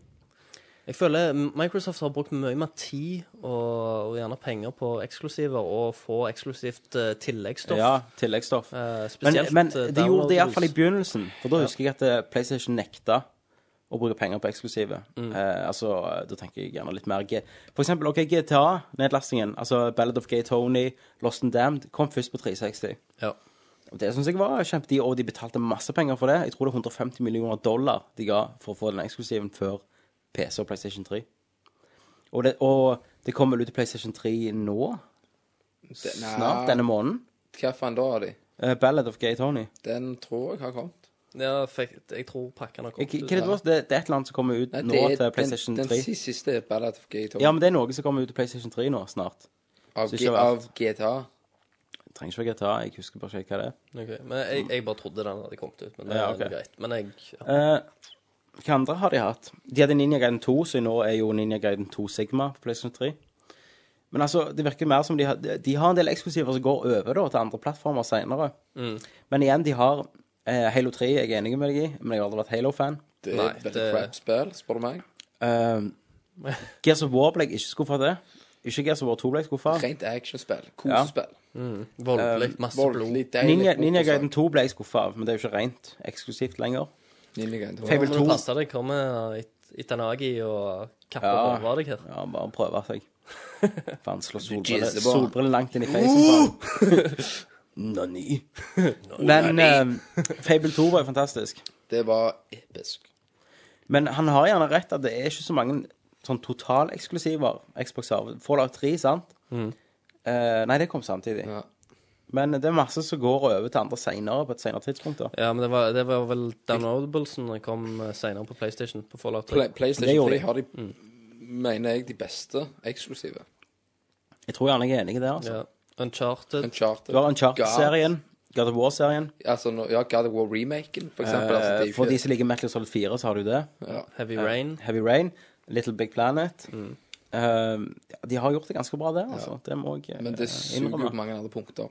Speaker 9: Jeg føler Microsoft har brukt mye mer tid og, og gjerne penger på eksklusiver og få eksklusivt eh, tilleggsstoff.
Speaker 7: Ja, tilleggsstoff.
Speaker 9: Eh,
Speaker 7: Men,
Speaker 9: spesielt
Speaker 7: men
Speaker 9: eh,
Speaker 7: de gjorde det
Speaker 9: downloadables.
Speaker 7: iallfall i begynnelsen, for da husker jeg at eh, PlayStation nekta å bruke penger på eksklusive.
Speaker 9: Mm.
Speaker 7: Eh, altså, da tenker jeg gjerne litt mer G... For eksempel, OK, GTA-nedlastingen, altså Ballad of Gay Tony, Lost and Damned, kom først på 360.
Speaker 9: Ja.
Speaker 7: Og det syns jeg var kjempedyrt, og de betalte masse penger for det. Jeg tror det er 150 millioner dollar de ga for å få den eksklusiven før PC og PlayStation 3. Og det, og det kommer vel ut til PlayStation 3 nå?
Speaker 8: Det- nei.
Speaker 7: Snart denne måneden?
Speaker 8: Hva faen da har de?
Speaker 7: Eh, Ballad of Gay Tony.
Speaker 8: Den tror jeg har kommet.
Speaker 9: Ja, fikk, jeg tror pakken har
Speaker 7: Hva
Speaker 9: kommet
Speaker 7: hva er det, det, det er et eller annet som kommer ut
Speaker 8: Nei,
Speaker 7: nå
Speaker 8: det er
Speaker 7: til PlayStation
Speaker 8: den,
Speaker 7: 3.
Speaker 8: Den siste er Ballad of Gay Tony.
Speaker 7: Ja, men det er noe som kommer ut til PlayStation 3 nå snart.
Speaker 8: av,
Speaker 7: så
Speaker 8: G
Speaker 7: ikke
Speaker 8: av GTA.
Speaker 7: Det trenger ikke være GTA, jeg husker bare ikke hva det er.
Speaker 9: Ok, Men jeg, jeg bare trodde den hadde kommet ut. Men det
Speaker 7: Ja,
Speaker 9: er
Speaker 7: ok.
Speaker 9: jo greit. Men jeg ja.
Speaker 7: Eh, hva andre har de hatt? De hadde Ninja Gaiden 2, så nå er jo Ninja Gaiden 2 Sigma på PlayStation 3. Men altså, det virker mer som de har, de har en del eksklusiver som går over da, til andre plattformer senere.
Speaker 9: Mm.
Speaker 7: Men igjen, de har eh, Halo 3, jeg er enig med deg i, men jeg har aldri vært Halo-fan.
Speaker 8: Det er et veldig crap spill, spør du meg. [LAUGHS]
Speaker 7: Eh, Gears of War ble jeg ikke skuffa til. Ikke Gears of War 2 ble jeg skuffa.
Speaker 8: Rent actionspill. Kosespill.
Speaker 9: Mm. Voldelig,
Speaker 7: Eh,
Speaker 9: masse
Speaker 8: voldelig,
Speaker 9: blod.
Speaker 8: deilig,
Speaker 7: Ninja,
Speaker 8: godt
Speaker 7: Ninja
Speaker 8: og
Speaker 7: Gaiden 2 ble jeg skuffa av, men det er jo ikke rent eksklusivt lenger.
Speaker 8: Ninja Gaiden 2.
Speaker 7: Fable
Speaker 9: Nå
Speaker 7: 2.
Speaker 9: må du passe deg. Kommer Itanagi og kapper
Speaker 7: Ja.
Speaker 9: ja. deg her.
Speaker 7: Ja, bare prøve [LAUGHS] seg. Faen, slå solbriller
Speaker 9: jizzer på han.
Speaker 7: solbrille langt inn i fjeset. [LAUGHS] Nani. Men eh, Fable 2 var jo fantastisk.
Speaker 8: Det var episk.
Speaker 7: Men han har gjerne rett at det er ikke så mange sånn totaleksklusiver Xbox har. Fallout 3, sant? Eh, nei, det kom samtidig. Men det er masse som går over til andre senere på et senere tidspunkt. da.
Speaker 9: Ja, men det var, det var vel Downloadablesen som kom eh, senere på PlayStation. På Fallout 3.
Speaker 8: Play,
Speaker 7: Det
Speaker 8: PlayStation 3
Speaker 7: gjorde de. Mm.
Speaker 8: har de, mener jeg, de beste eksklusive.
Speaker 7: Jeg tror gjerne jeg er enig i det. altså.
Speaker 9: Ja. Uncharted.
Speaker 8: Uncharted.
Speaker 7: Du har Uncharted-serien, God of War-serien.
Speaker 8: God- Altså, nå- ja, God of War-remaken, for eksempel. altså, det er
Speaker 7: Eh,
Speaker 8: jo
Speaker 7: For
Speaker 8: ikke-
Speaker 7: de som liker Metal Solid 4, så har du det.
Speaker 8: ja. Mm.
Speaker 9: Heavy
Speaker 7: Eh,
Speaker 9: Rain.
Speaker 7: Heavy Rain. Little Big Planet. Eh, ja, de har gjort det ganske bra der, altså. Det må jeg eh,
Speaker 8: Men det suger jo
Speaker 7: innrømme.
Speaker 8: på mange andre punkter.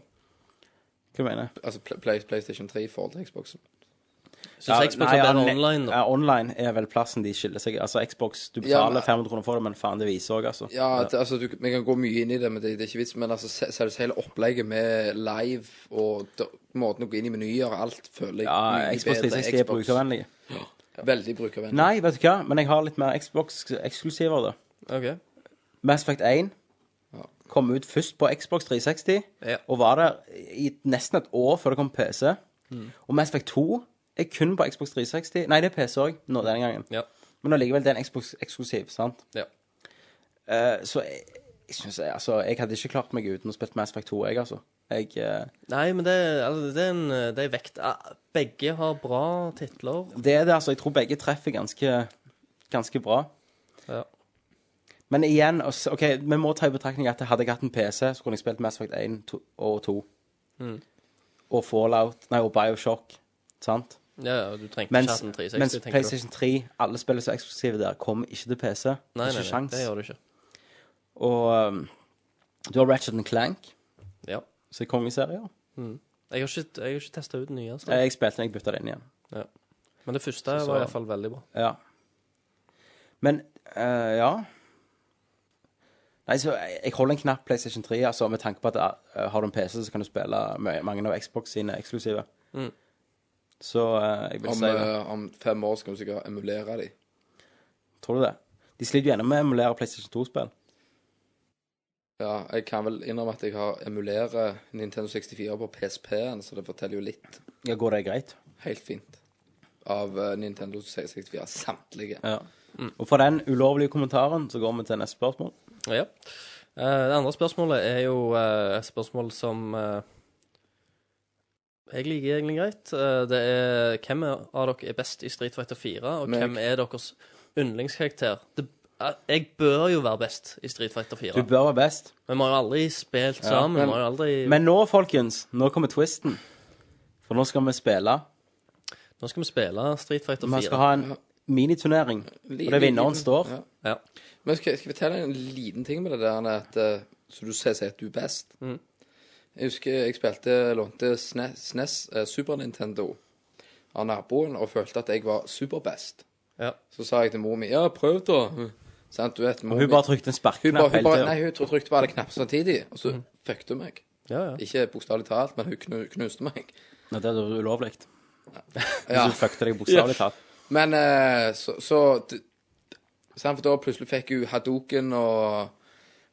Speaker 7: Hva du mener
Speaker 8: Altså Pl- Play, PlayStation 3 i forhold til Xboxen.
Speaker 9: Syns Xbox er bedre online, da.
Speaker 7: Ja, online er vel plassen de skiller seg. Altså, Xbox, du
Speaker 8: Ja,
Speaker 7: betaler
Speaker 8: men-
Speaker 7: 500 kroner for det, men faen, det viser òg, altså.
Speaker 8: Ja, det, altså, du, Vi kan gå mye inn i det, men det, det er ikke vits. Men altså, se- seriøst, hele opplegget med live og da, måten å gå inn i menyer og alt, føler jeg
Speaker 7: Ja,
Speaker 8: mye
Speaker 7: Xbox
Speaker 8: bedre
Speaker 7: 360 er
Speaker 8: Xbox.
Speaker 7: brukervennlige.
Speaker 8: Veldig brukervennlig.
Speaker 7: Nei, vet du hva, men jeg har litt mer Xbox-eksklusiver, da.
Speaker 9: Ok.
Speaker 7: Mass Effect 1 kom ut først på Xbox 360,
Speaker 9: Ja.
Speaker 7: og var der i nesten et år før det kom på PC.
Speaker 9: Mm.
Speaker 7: Og Mass Effect 2 er kun på Xbox 360. Nei, det er PC òg, nå denne gangen.
Speaker 9: Ja.
Speaker 7: Men allikevel, det er en Xbox eksklusiv, sant?
Speaker 9: Ja.
Speaker 7: Eh, så jeg, jeg synes jeg, altså, jeg hadde ikke klart meg uten å spille Mass Effect 2, jeg, altså. Jeg, eh,
Speaker 9: Nei, men det, altså, det er en eh, det er vekt ah, Begge har bra titler.
Speaker 7: det er det, altså. Jeg tror begge treffer ganske, ganske bra.
Speaker 9: Ja.
Speaker 7: Men igjen, altså, ok, vi må ta i betraktning at hadde jeg hatt en PC, så kunne jeg spilt Mass Effect 1 to, og 2.
Speaker 9: Mm.
Speaker 7: Og Fallout, nei, og Bioshock, sant?
Speaker 9: Ja, ja, du trengte
Speaker 7: Mens,
Speaker 9: ikke hatt en 360,
Speaker 7: mens
Speaker 9: tenker du.
Speaker 7: PlayStation 3, alle spiller så eksklusive der, kom ikke til PC.
Speaker 9: Nei,
Speaker 7: ikke
Speaker 9: nei, nei,
Speaker 7: sjans.
Speaker 9: det gjør du ikke.
Speaker 7: Og um, du har Ratchet and Clank,
Speaker 9: Ja.
Speaker 7: som er kongeserier.
Speaker 9: Mm. Jeg har ikke, jeg har ikke testa ut den nye.
Speaker 7: Eh, Jeg spilte den, jeg bytta den igjen.
Speaker 9: Ja. Men det første
Speaker 7: Så-
Speaker 9: var iallfall veldig bra.
Speaker 7: Ja. Men eh, ja. Nei, så jeg jeg holder en knapp PlayStation 3, altså, med tanke på at eh, har du en PC, så kan du spille mye- mange av Xbox sine eksklusive.
Speaker 9: Mm.
Speaker 7: Så eh, jeg vil
Speaker 8: Om,
Speaker 7: si det.
Speaker 8: eh, om fem år skal vi sikkert emulere de.
Speaker 7: Tror du det? De sliter jo gjerne med å emulere PlayStation 2-spill.
Speaker 8: Ja, jeg kan vel innrømme at jeg har emulerer Nintendo 64 på PSP-en, så det forteller jo litt.
Speaker 7: Ja, går det greit?
Speaker 8: Helt fint. Av eh, Nintendo 64. Samtlige.
Speaker 7: Ja. Mm. Og for den ulovlige kommentaren så går vi til neste spørsmål.
Speaker 9: Ja. Eh, det andre spørsmålet er jo eh, et spørsmål som eh, jeg liker egentlig greit. Eh, det er hvem er- av dere er best i Street Fighter 4, og
Speaker 8: Meg.
Speaker 9: hvem er deres yndlingskarakter? Det, eh, jeg bør jo være best i Street Fighter 4.
Speaker 7: Du bør være best.
Speaker 9: Men vi har jo aldri spilt
Speaker 7: Ja,
Speaker 9: sammen.
Speaker 7: men-
Speaker 9: vi har jo aldri...
Speaker 7: Men nå, folkens, nå kommer twisten. For nå skal vi spille.
Speaker 9: Nå skal vi spille Street Fighter 4.
Speaker 7: Vi skal ha en miniturnering, og det er vinneren står.
Speaker 8: Ja.
Speaker 9: Ja.
Speaker 8: Men skal, skal jeg fortelle en liten ting med det der at eh, Så du sier sier at du er best.
Speaker 7: Mm.
Speaker 9: Mhm.
Speaker 8: Jeg husker jeg spilte, lånte SNES, SNES eh, Super Nintendo av naboen og følte at jeg var superbest.
Speaker 9: Ja.
Speaker 8: Så sa jeg til mor mi ja, prøv da. Sant, du vet, mor
Speaker 7: Og hun
Speaker 8: mi-
Speaker 7: bare trykte en
Speaker 8: Hun bare-
Speaker 7: sparkeknapp
Speaker 8: hun
Speaker 7: hele
Speaker 8: bare-
Speaker 7: tiden. Mm.
Speaker 8: Nei, hun tro- trykte på alle knapper samtidig, og så fucket hun meg.
Speaker 9: Ja, ja.
Speaker 8: Ikke bokstavelig talt, men hun knu, knuste meg.
Speaker 7: Nei, det er ulovlig. Hvis
Speaker 8: Ja.
Speaker 7: du fucket deg bokstavelig talt.
Speaker 8: Men eh, så, så d- sant, For da plutselig fikk hun Hadoken og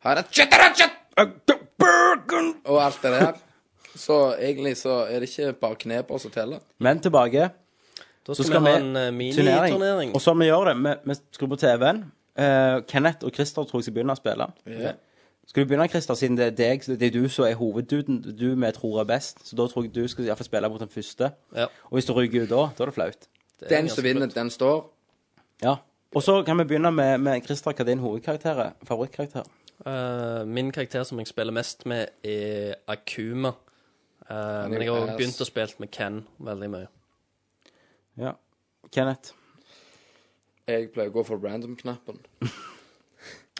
Speaker 8: Hara- Og alt det der. Så egentlig så er det ikke bare knepa som teller.
Speaker 7: Men tilbake.
Speaker 9: Da
Speaker 8: skal
Speaker 7: Så
Speaker 8: vi ha en, eh,
Speaker 7: turnering.
Speaker 8: miniturnering.
Speaker 7: Og sånn vi gjør det, vi, vi skrur på TV-en. Eh, Kenneth og Christer tror jeg skal begynne å spille.
Speaker 8: Ja.
Speaker 7: Skal du begynne, Christer, siden det er deg, det er du som er hovedduden du vi tror er best? Så da tror jeg du skal i hvert fall spille mot den første.
Speaker 9: Ja.
Speaker 7: Og hvis du ryker ut da, da er det flaut.
Speaker 8: Den som vinner, den står.
Speaker 7: Ja. Og så kan vi begynne med, med Christer, hva din hovedkarakter er. Favorittkarakter.
Speaker 9: Eh, min karakter som jeg spiller mest med, er Akuma. Eh,
Speaker 7: er
Speaker 9: men jeg
Speaker 7: jo
Speaker 9: har også
Speaker 7: ass.
Speaker 9: begynt å spille med Ken veldig mye.
Speaker 7: Ja. Kenneth,
Speaker 8: Jeg pleier å gå for random-knappen.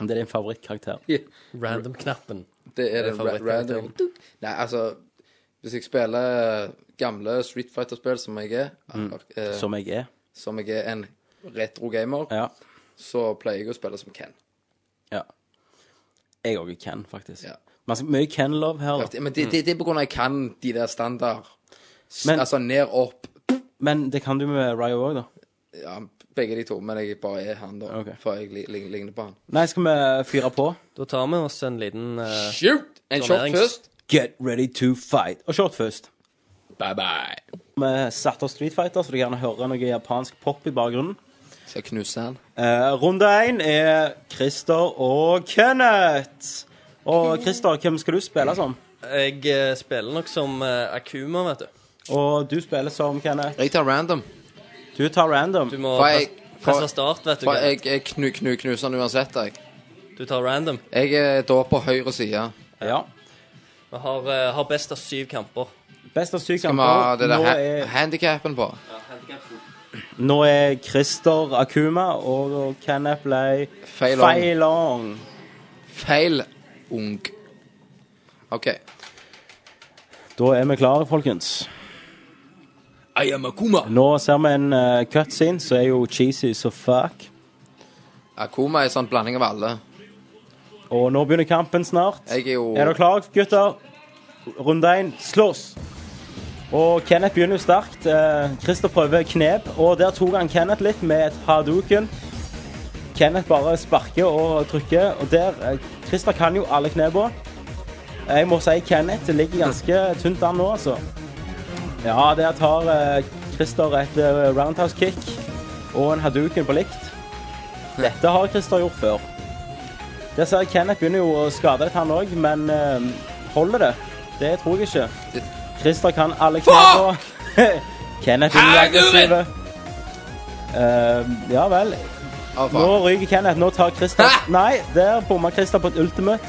Speaker 7: om det er din favorittkarakter.
Speaker 9: Random-knappen.
Speaker 8: Det er det
Speaker 9: Det er
Speaker 8: ra- random.
Speaker 9: favorittkarakteren.
Speaker 8: Nei, altså Hvis jeg spiller gamle Street Fighter-spill som jeg er
Speaker 7: Mm.
Speaker 8: eh,
Speaker 7: Som jeg er.
Speaker 8: Som jeg er en retro gamer, så pleier jeg å spille som Ken.
Speaker 7: Ja. Jeg òg er Ken, faktisk.
Speaker 8: Ja.
Speaker 7: Masse, mye Ken-love her. da.
Speaker 8: Men det, det, det er på grunn av jeg kan de der standard s-
Speaker 7: Mm. Men-
Speaker 8: Altså ned, opp
Speaker 7: Men det kan du med Ryo òg, da.
Speaker 8: ja, Begge de to, men jeg bare er han, da. For jeg li- lig- ligner på han.
Speaker 7: Nei, skal vi fyre på?
Speaker 9: Da tar vi oss en liten eh,
Speaker 8: Shoot! En shot
Speaker 9: turnerings-
Speaker 8: først.
Speaker 7: Get ready to fight. Og short først.
Speaker 8: Bye bye.
Speaker 7: Vi satte oss Street Fighter, så du gjerne hører noe japansk pop i bakgrunnen.
Speaker 8: Skal knuse han.
Speaker 7: Eh, runde én er Christer og Kenneth. Og Christer, hvem skal du spille som?
Speaker 9: Jeg eh, spiller nok som eh, Akuma, vet du.
Speaker 7: Og du spiller som Kenneth.
Speaker 8: Jeg tar random.
Speaker 7: Du tar random. Du
Speaker 9: må
Speaker 8: For jeg-
Speaker 9: press- presse start, vet du.
Speaker 8: For jeg,
Speaker 9: Kenneth.
Speaker 8: jeg knu, knu, knuser han uansett, jeg.
Speaker 9: Du tar random.
Speaker 8: Jeg er da på høyre side.
Speaker 7: Ja.
Speaker 9: Vi har, eh, har best av syv kamper.
Speaker 7: Best av syv
Speaker 8: Skal vi ha det der
Speaker 7: Nå
Speaker 8: ha
Speaker 7: er-
Speaker 8: handikappen på?
Speaker 7: Nå er Christer Akuma og Kenneth ble
Speaker 8: Feilong.
Speaker 7: Feilong.
Speaker 8: Feil ung. OK.
Speaker 7: Da er vi klare, folkens.
Speaker 8: I am Akuma.
Speaker 7: Nå ser vi en eh, cutscene som er jo cheesy som fuck.
Speaker 8: Akuma er en sånn blanding av alle.
Speaker 7: Og nå begynner kampen snart.
Speaker 8: Jeg er jo
Speaker 7: Er dere klare, gutter? Runde én, slåss! Og Kenneth begynner jo sterkt. Eh, Christer prøver knep, og der tok han Kenneth litt med et haduken. Kenneth bare sparker og trykker, og der eh, Christer kan jo alle knepa. Jeg må si Kenneth det ligger ganske tynt an nå, altså. Ja, der tar eh, Christer et eh, roundhouse kick og en haduken på likt. Dette har Christer gjort før. Der ser jeg Kenneth begynner jo å skade litt, han òg, men eh, holder det? Det tror jeg ikke. Christer kan alle knepene. [LAUGHS] Kenneth blir aggressiv. Eh, ja vel.
Speaker 8: faen.
Speaker 7: Nå ryker Kenneth. Nå tar Christer Nei, der bomma Christer på et ultimate.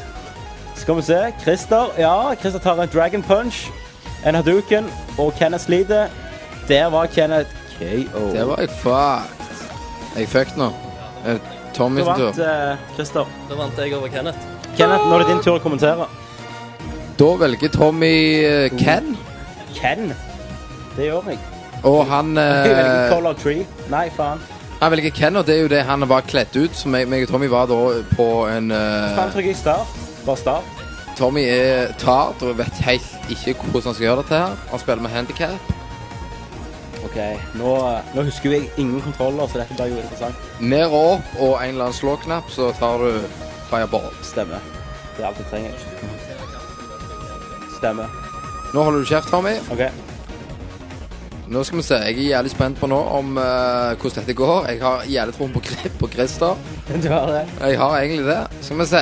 Speaker 7: Skal vi se. Christer ja, Christer tar en dragon punch. En haduken. Og Kenneth sliter. Der var Kenneth KO.
Speaker 8: Det var jeg fucked. Jeg fucked nå. Eh, Tommy
Speaker 7: Da
Speaker 8: sin
Speaker 7: vant
Speaker 8: tur.
Speaker 7: eh, Christer.
Speaker 9: Da vant jeg over Kenneth.
Speaker 7: Kenneth, nå er det din tur å kommentere.
Speaker 8: Da velger Tommy eh, Ken,
Speaker 7: Ken. Det gjør jeg.
Speaker 8: og han eh,
Speaker 7: [LAUGHS] Jeg velger Color Tree. Nei, faen.
Speaker 8: Han velger Ken, og det er jo det han var kledd ut. Så meg, meg og Tommy var da på en eh,
Speaker 7: Faen trykker jeg start. Bare start.
Speaker 8: Tommy er tart og vet helt ikke hvordan han skal gjøre dette her. Han spiller med handikap.
Speaker 7: OK. Nå, nå husker jo jeg ingen kontroller, så dette blir jo interessant.
Speaker 8: Ned og opp og en eller annen slåknapp, så tar du fireball.
Speaker 7: Stemmer. Det er alt jeg trenger. Stemmer.
Speaker 8: Nå holder du kjeft, Tommy.
Speaker 7: Ok.
Speaker 8: Nå skal vi se. Jeg er jævlig spent på nå om eh, hvordan dette går. Jeg har jævlig troen på, Kri- på Christer.
Speaker 7: [LAUGHS] Du har det.
Speaker 8: Jeg har egentlig det. Skal vi se.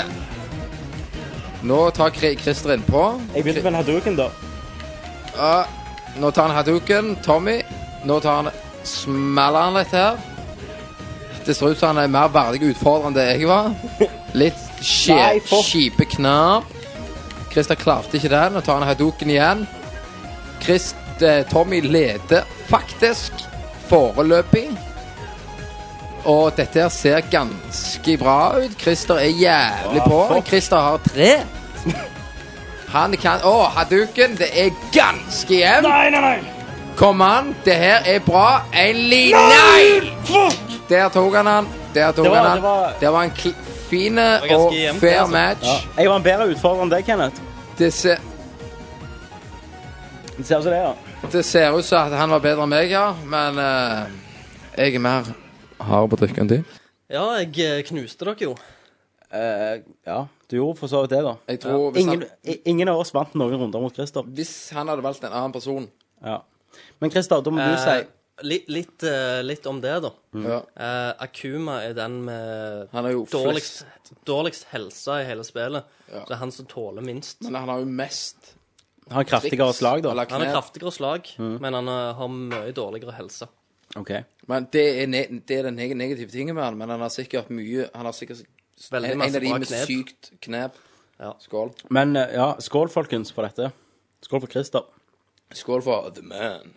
Speaker 8: Nå tar Kri- Christer innpå.
Speaker 7: Jeg begynte med en haduken, da.
Speaker 8: Ja, nå tar han haduken, Tommy. Nå tar han smeller han litt her. Det ser ut som han er mer verdig utfordrer enn det jeg var. Litt
Speaker 7: Nei,
Speaker 8: skje-
Speaker 7: for-
Speaker 8: kjipe knap. Christer klarte ikke den. Nå tar han haduken igjen. Christ, eh, Tommy leder faktisk foreløpig. Og dette her ser ganske bra ut. Christer er jævlig
Speaker 7: Ja,
Speaker 8: på.
Speaker 7: fuck.
Speaker 8: Christer har tre. Han kan Å, Hadouken, det er ganske jevnt. Nei, nei, nei. Kom an, det her er bra. En linje Nei! Der tok han han. Der tok
Speaker 7: Det var-
Speaker 8: han han.
Speaker 7: det var-
Speaker 8: Det var en kl fin
Speaker 7: var
Speaker 8: og fair
Speaker 7: ganske jevnt, det, altså.
Speaker 8: match.
Speaker 7: Ja. Jeg var en bedre utfordrer enn deg, Kenneth.
Speaker 8: Det ser
Speaker 7: Det ser ut som det, ja.
Speaker 8: Det ser ut som at han var bedre enn meg, ja, men eh, jeg er mer hard på drikke enn de.
Speaker 9: Ja, jeg eh, knuste dere jo.
Speaker 7: ja, du gjorde for så vidt det, da.
Speaker 8: Jeg tror
Speaker 7: Ja.
Speaker 8: hvis
Speaker 7: ingen,
Speaker 8: han-
Speaker 7: i- ingen av oss vant noen runder mot Christer.
Speaker 8: Hvis han hadde valgt en annen person
Speaker 7: Ja. Men Christer, da må du si
Speaker 9: Eh, li- litt, eh, litt om det, da.
Speaker 7: Mm. Ja.
Speaker 9: Eh, Akuma er den med
Speaker 8: Han er jo
Speaker 9: dårligst, dårligst helse i hele spillet. Så det er han som tåler minst.
Speaker 8: Men han har jo mest
Speaker 7: Han har kraftigere slag, da.
Speaker 9: Han har kraftigere slag,
Speaker 8: Mm.
Speaker 9: men han eh, har mye dårligere helse.
Speaker 7: Ok.
Speaker 8: Men det er, ne det er den neg negative tingen med han, men han har sikkert mye Han har sikkert
Speaker 9: Veldig
Speaker 8: en, en
Speaker 9: masse
Speaker 8: av de
Speaker 9: bra
Speaker 8: med
Speaker 9: knep.
Speaker 8: sykt knep. Skål.
Speaker 7: Men eh, ja, skål, folkens, for dette. Skål for Christer.
Speaker 8: Skål for the man.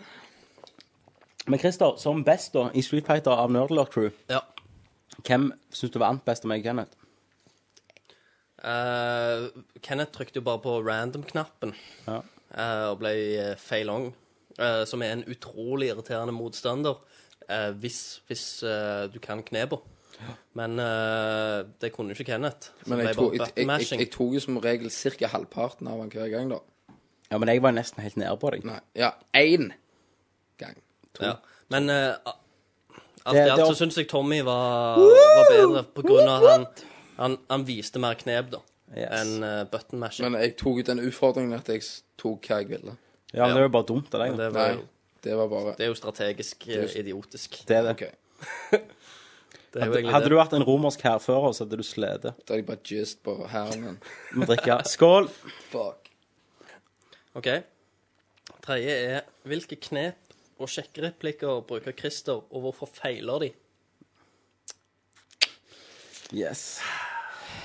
Speaker 7: Men Christer, som best da, i Street Fighter av Nerdler Crew,
Speaker 9: Ja.
Speaker 7: hvem syns du vant best av meg og Kenneth?
Speaker 9: Eh, Kenneth trykte jo bare på random-knappen
Speaker 7: Ja.
Speaker 9: eh, og ble eh, feil on, eh, som er en utrolig irriterende motstander eh, hvis, hvis eh, du kan knepa. Men eh, det kunne jo ikke Kenneth. så
Speaker 8: Men
Speaker 9: det
Speaker 8: jeg,
Speaker 9: ble
Speaker 8: tok-
Speaker 9: bare
Speaker 8: jeg, jeg, jeg,
Speaker 9: butt-mashing.
Speaker 8: jeg tok jo som regel ca. halvparten av han hver gang, da.
Speaker 7: Ja, men jeg var nesten helt nede på deg.
Speaker 8: Nei, ja, én gang.
Speaker 9: Ja. Men eh, a- alt i
Speaker 7: Det- det
Speaker 9: alt
Speaker 7: var-
Speaker 9: så syns jeg Tommy var, var bedre, på grunn av at han, han, han viste mer knep, da, enn eh, button-mashing.
Speaker 8: Men jeg tok ut den utfordringen at jeg s- tok hva jeg ville.
Speaker 7: Ja, men det er jo bare dumt av deg.
Speaker 9: Men
Speaker 7: da.
Speaker 9: det var,
Speaker 8: Nei, det var bare
Speaker 9: det er jo strategisk
Speaker 8: Det
Speaker 9: eh,
Speaker 8: er jo-
Speaker 9: idiotisk.
Speaker 7: Det er det.
Speaker 9: Det er jo
Speaker 7: Hadde,
Speaker 9: egentlig
Speaker 7: hadde
Speaker 9: det.
Speaker 7: du vært en romersk hærfører, så hadde du slitt.
Speaker 8: Da hadde jeg bare jizz på hæren min.
Speaker 7: Du Må drikke. Skål!
Speaker 8: Fuck.
Speaker 9: OK. Tredje er hvilke knep og sjekkereplikker bruker Christer, og hvorfor feiler de?
Speaker 7: Yes.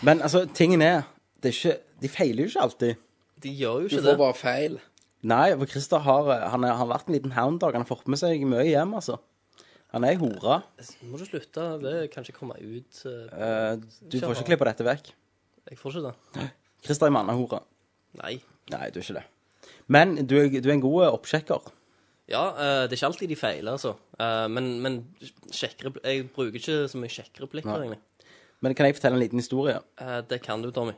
Speaker 7: Men altså, tingen er, det er ikke, de feiler jo ikke alltid.
Speaker 9: De gjør jo
Speaker 8: Du
Speaker 9: ikke
Speaker 8: får
Speaker 9: det.
Speaker 8: bare feil.
Speaker 7: Nei, for Christer har, eh, han er, har vært en liten hound-dog. Han har fått med seg mye hjem, altså. Han er ei hore.
Speaker 9: Må du slutte? Det kan ikke komme ut. eh,
Speaker 7: Eh, du får ikke klippe dette vekk.
Speaker 9: Jeg får ikke det.
Speaker 7: Christer er mannehore.
Speaker 9: Nei.
Speaker 7: Nei, du er ikke det. Men du er, du er en god eh, oppsjekker.
Speaker 9: Ja, eh, det er ikke alltid de feiler, altså. Eh, men men sjekkerepl- jeg bruker ikke så mye sjekkereplikker,
Speaker 7: Nei.
Speaker 9: egentlig.
Speaker 7: Men kan jeg fortelle en liten historie?
Speaker 9: Eh, det kan du, Tommy.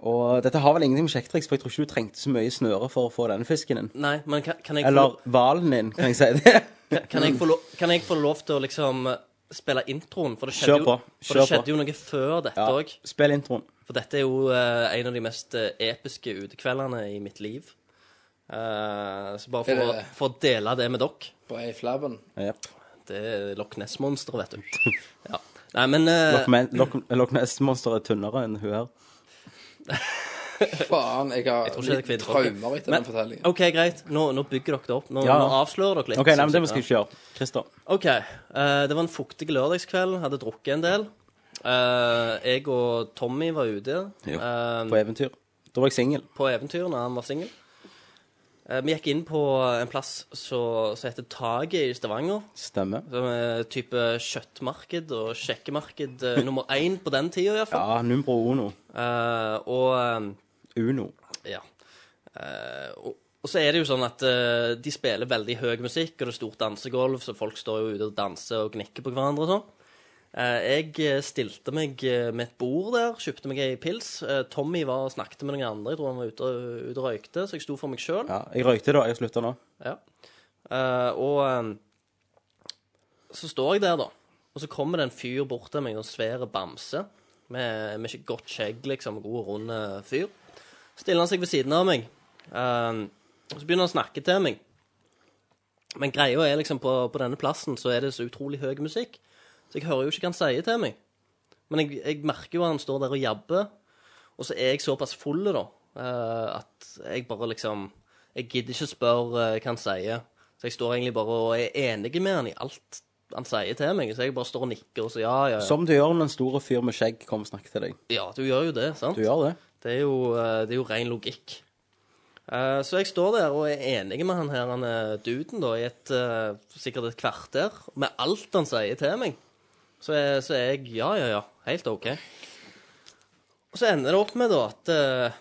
Speaker 7: Og dette har vel ingenting med sjekketriks, for jeg tror ikke du trengte så mye snøre for å få denne fisken din.
Speaker 9: Nei, men kan, kan, jeg, få
Speaker 7: Eller
Speaker 9: lov-
Speaker 7: hvalen din, kan jeg si det.
Speaker 9: kan, kan, jeg få lov, kan jeg få lov til å liksom eh, spille introen? For det
Speaker 7: Kjør
Speaker 9: skjedde,
Speaker 7: på,
Speaker 9: Jo, for det
Speaker 7: kjør på.
Speaker 9: skjedde jo noe før dette
Speaker 7: Ja,
Speaker 9: òg.
Speaker 7: spill introen.
Speaker 9: For dette er jo eh, en av de mest eh, episke utekveldene i mitt liv. Eh, så bare for,
Speaker 8: Er
Speaker 9: å,
Speaker 8: det-
Speaker 9: for å dele det med dere
Speaker 8: Bare i flabben.
Speaker 9: Det er Loch Ness-monsteret, vet du. Ja. Nei, men eh,
Speaker 7: Loch Men- Loch- Loch Ness-monster er tynnere enn hun her.
Speaker 8: Faen, jeg har
Speaker 9: Jeg tror ikke det er
Speaker 8: litt
Speaker 9: kvinnefolket.
Speaker 8: traumer etter
Speaker 9: Men-
Speaker 8: den fortellingen.
Speaker 9: OK, greit. Nå, nå bygger dere det opp. Nå,
Speaker 7: Ja.
Speaker 9: nå avslører dere litt.
Speaker 7: OK, nei, men det
Speaker 9: synes
Speaker 7: skal
Speaker 9: jeg.
Speaker 7: vi ikke gjøre. Christer.
Speaker 9: OK. eh, det var en fuktig lørdagskveld. Hadde drukket en del. Eh, jeg og Tommy var ute.
Speaker 7: Jo,
Speaker 9: Eh,
Speaker 7: På e- eventyr. Da var jeg singel.
Speaker 9: på eventyr når han var singel. Eh, Vi gikk inn på en plass så- som heter Taget i Stavanger.
Speaker 7: Stemmer.
Speaker 9: Som er type kjøttmarked og sjekkemarked eh, nummer én på den tida, iallfall.
Speaker 7: Ja, Numbro Uno.
Speaker 9: Uh, og
Speaker 7: Uno.
Speaker 9: eh, ja. Eh, og, og så er det jo sånn at eh, de spiller veldig høy musikk, og det er stort dansegulv, så folk står jo ute og danser og gnikker på hverandre og sånn. Eh, jeg eh, stilte meg eh, med et bord der, kjøpte meg ei pils. Eh, Tommy var og snakket med noen andre, jeg tror han var ute, og- ute og røykte, så jeg sto for meg sjøl.
Speaker 7: Ja, jeg røykte da. Jeg slutta nå.
Speaker 9: Ja. Eh, og eh, så står jeg der, da. Og så kommer det en fyr bort til meg, en svær bamse. Med, med ikke godt skjegg, liksom. God, rund eh, fyr. Så stiller han seg ved siden av meg. Eh, og så begynner han å snakke til meg. Men greia er liksom på, på denne plassen så er det så utrolig høy musikk. Så jeg hører jo ikke hva han sier til meg. Men jeg, jeg merker jo at han står der og jabber. Og så er jeg såpass full, da, eh, at jeg bare liksom Jeg gidder ikke spørre eh, hva han sier. Så jeg står egentlig bare og er enig med han i alt han sier til meg. Så jeg bare står og nikker og sier ja, ja. ja.
Speaker 7: Som du gjør når en stor fyr med skjegg kommer og snakker til deg.
Speaker 9: Ja, du gjør jo det, sant?
Speaker 7: Du gjør det.
Speaker 9: Det er jo, eh, det er jo ren logikk. Eh, Så jeg står der og er enig med han her, han eh, duden, da, i et, eh, sikkert et kvarter. Med alt han sier til meg, så er, så er jeg ja, ja, ja, helt OK. Og Og så ender det opp med da at eh,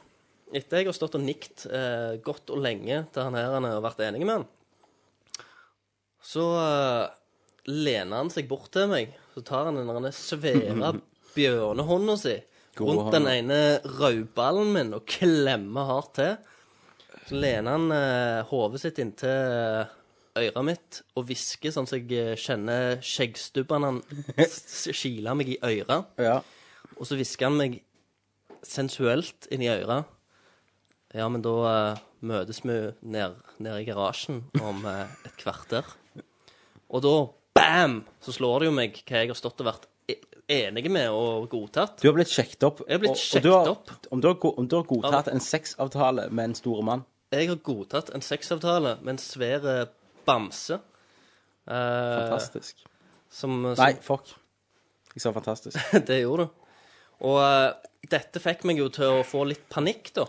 Speaker 9: etter jeg har stått og nikt eh, godt og lenge til han her han har vært enig med han, så eh, lener han seg bort til meg. Så tar han den derne svære bjørnehånda si
Speaker 7: God
Speaker 9: rundt den
Speaker 7: hånd.
Speaker 9: ene rødballen min og klemmer hardt til. Så lener han eh, hodet sitt inntil øret mitt og hvisker sånn at jeg eh, kjenner skjeggstubbene han s- kiler meg i øret. Og så hvisker han meg sensuelt inn i øret. Ja, men da eh, møtes vi ned, ned i garasjen om eh, et kvarter. Og da, bam, så slår det jo meg hva jeg har stått og vært e- enige med og godtatt.
Speaker 7: Du har blitt sjekket opp.
Speaker 9: Jeg har blitt
Speaker 7: og- og
Speaker 9: sjekket
Speaker 7: du har-
Speaker 9: opp.
Speaker 7: Om du har, go- om du har godtatt
Speaker 9: Ja.
Speaker 7: en sexavtale med en stor mann
Speaker 9: Jeg har godtatt en sexavtale med en svær eh, bamse. Eh,
Speaker 7: Fantastisk.
Speaker 9: Som, eh, som
Speaker 7: Nei, fuck. Jeg sa fantastisk.
Speaker 9: det gjorde du. Og eh, dette fikk meg jo til å få litt panikk, da.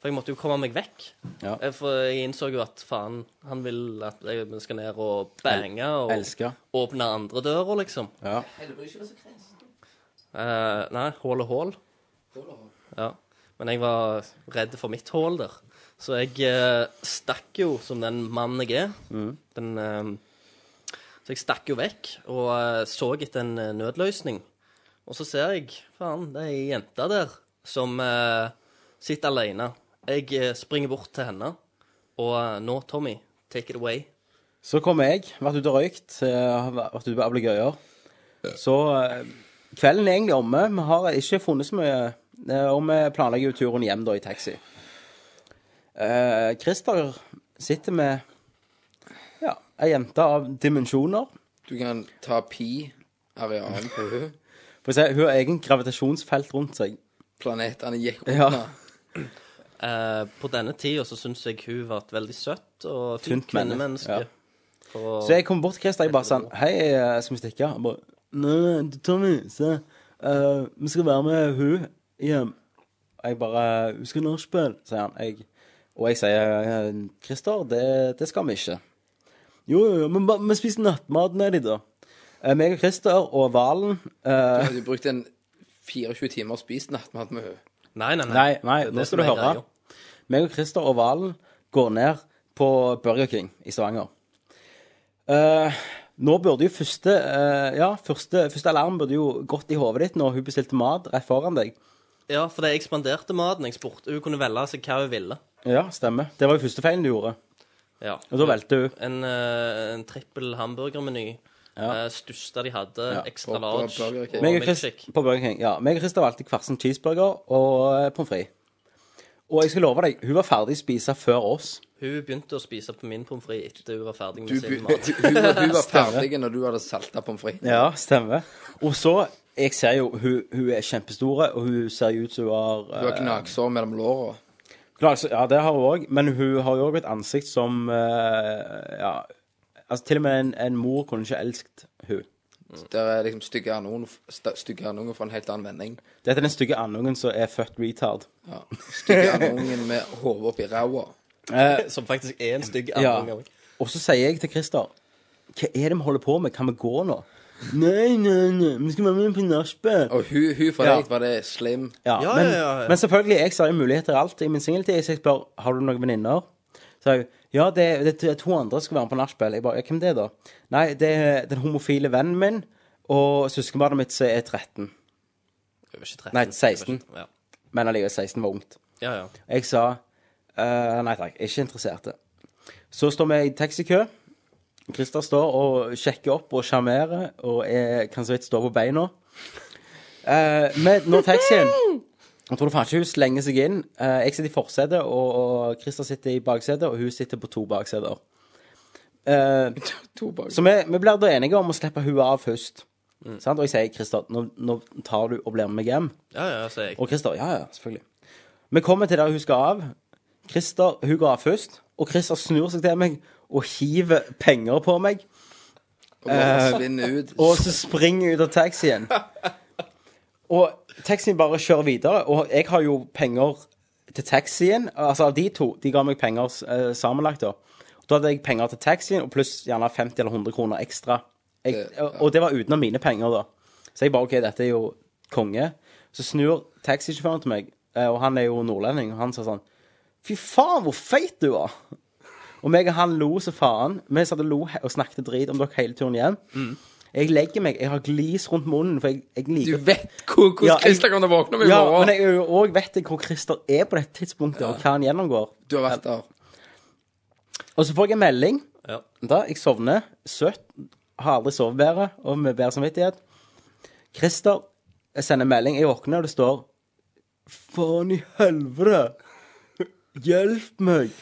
Speaker 9: For jeg måtte jo komme meg vekk.
Speaker 7: Ja.
Speaker 9: Eh, For jeg innså jo at faen, han vil at jeg skal ned og bange og
Speaker 7: elsker.
Speaker 9: åpne andre døra, liksom.
Speaker 7: Ja.
Speaker 9: Eh, nei, hull og hull. Ja. Men jeg var redd for mitt hull der. Så jeg eh, stakk jo som den mannen jeg er.
Speaker 7: Mhm.
Speaker 9: Den, eh, så jeg stakk jo vekk og eh, så etter en eh, nødløsning. Og så ser jeg faen, det er ei jente der som eh, sitter alene. Jeg eh, springer bort til henne, og eh, nå, Tommy, take it away.
Speaker 7: Så kommer jeg, vært ute og røykt, eh, vært ute på ablegøyer. Så eh, kvelden er egentlig omme. Vi har ikke funnet så mye, eh, og vi planlegger jo turen hjem da i taxi. Eh, Christer sitter med ja, ei jente av dimensjoner.
Speaker 8: Du kan ta pi arealen på hun.
Speaker 7: For å si, hun har egen gravitasjonsfelt rundt seg.
Speaker 8: Planetene gikk
Speaker 7: Ja.
Speaker 8: unna.
Speaker 9: Eh, på denne tida så syns jeg hun var et veldig søtt og fint
Speaker 7: Tynt menneske,
Speaker 9: kvinnemenneske.
Speaker 7: ja. Så jeg kom bort til Christer, jeg bare sånn Hei, eh, skal vi stikke? Han bare Nei, du, Tommy, se. eh, vi skal være med hun hjem. Og Jeg bare Vi skal nachspiel, sier han. Jeg, og jeg sier eh, Christer, det, det skal vi ikke. Jo, jo, jo, men ba- vi spiser nattmat med de, da. Eh, meg og Christer og Valen eh,
Speaker 8: Du brukte en 24 timer og spist nattmat med hun.
Speaker 9: Nei, nei,
Speaker 7: Nei, nei, nå skal du høre. Meg og Christer og Valen går ned på Burger King i Stavanger. Eh, nå burde jo første eh, Ja, første, første alarm burde jo gått i hodet ditt når hun bestilte mat rett foran deg.
Speaker 9: Ja, for det ekspanderte maten. Jeg spurte Hun kunne velge seg hva hun ville.
Speaker 7: Ja, stemmer. Det var jo første feilen du gjorde.
Speaker 9: Ja.
Speaker 7: Og da valgte hun.
Speaker 9: En, eh, en trippel hamburgermeny. Ja. største de hadde. Ekstra large. og
Speaker 7: Meg og
Speaker 9: milkshake.
Speaker 7: Chris- På Burger King, ja. Meg og Christer valgte hver sin cheeseburger og eh, pommes frites. Og jeg skal love deg, hun var ferdig spise før oss.
Speaker 9: Hun begynte å spise på min pommes frites etter hun var ferdig med
Speaker 8: Du,
Speaker 9: sin
Speaker 8: bu-
Speaker 9: mat.
Speaker 8: [LAUGHS] hun, var-
Speaker 7: [LAUGHS]
Speaker 8: hun var ferdig når du hadde salta pommes frites.
Speaker 7: Ja, stemmer. Og så Jeg ser jo hun, hun er kjempestore, og hun ser jo ut som hun har eh,
Speaker 8: Du har knagsår mellom låra.
Speaker 7: Klart, altså, ja, det har hun òg, men hun har jo òg et ansikt som eh, Ja, altså til og med en, en mor kunne ikke elsket hun.
Speaker 8: Der er liksom stygge andungen st- stygge andungen fra en helt annen vending.
Speaker 7: Dette er den stygge andungen som er født retard.
Speaker 8: Ja. Stygge andungen med hodet oppi ræva.
Speaker 7: Eh,
Speaker 9: Som faktisk er en stygg
Speaker 7: ja. Og så sier jeg til Christer Hva er det vi holder på med? Kan vi gå nå? Nei, nei, nei, vi skal være med på nachspiel.
Speaker 8: Og hun, hun for
Speaker 7: Ja.
Speaker 8: deg var det slim.
Speaker 7: Ja, men, men selvfølgelig, jeg ser jo muligheter i alt i min singeltid. Jeg spør har du noen venninner. Så jeg, ja, det, det er to andre som skal være med på nachspiel. Jeg bare, ja, hvem det er da? Nei, det er den homofile vennen min og søskenbarnet mitt som er 13.
Speaker 9: Hun var ikke 13.
Speaker 7: Nei, 16.
Speaker 9: Ja.
Speaker 7: Men allikevel, 16 var ungt.
Speaker 9: Ja, ja.
Speaker 7: Jeg sa «Eh, nei takk, jeg er ikke interessert. Så står vi i taxikø. Christer står og sjekker opp og sjarmerer og er, kan så vidt stå på beina. Eh, men når taxien Jeg tror faen ikke hun slenger seg inn. Eh, jeg sitter i forsetet, og, og Christer sitter i baksetet, og hun sitter på to bakseter. Eh, så vi, vi blir da enige om å slippe hun av først. Sant? Og jeg sier Christer, nå, nå tar du og blir med meg hjem.
Speaker 9: Ja, ja, sa jeg.
Speaker 7: Og Christer, ja, ja, selvfølgelig. Vi kommer til der hun skal av. Christer, hun går av først, og Christer snur seg til meg og hiver penger på meg.
Speaker 8: Og bare forsvinner ut.
Speaker 7: Eh. Og så springer jeg ut av taxien. Og taxien bare kjører videre, og jeg har jo penger til taxien. Altså av de to, de ga meg penger eh, sammenlagt da. Da hadde jeg penger til taxien, og pluss gjerne 50 eller 100 kroner ekstra. Jeg, og det var utenom mine penger da. Så jeg bare, ok, dette er jo konge. Så snur taxisjåføren til meg, eh, og han er jo nordlending, og han sa sånn Fy faen, hvor feit du var! Og meg og han lo så faen. Vi satt og lo he- og snakket drit om dere hele turen hjem. Jeg legger meg, jeg har glis rundt munnen, for jeg, jeg liker
Speaker 8: Mm. Du vet hvor- hvordan Christer kommer til å våkne om i
Speaker 7: ja,
Speaker 8: morgen.
Speaker 7: Men jeg òg vet jeg hvor Christer er på dette tidspunktet, og hva han gjennomgår.
Speaker 8: Du har vært der.
Speaker 7: Og så får jeg en melding.
Speaker 9: Ja.
Speaker 7: Da jeg sovner søtt, har aldri sovet bedre, og med bedre samvittighet. Christer sender en melding. Jeg våkner, og det står Faen i helvete! Hjelp meg!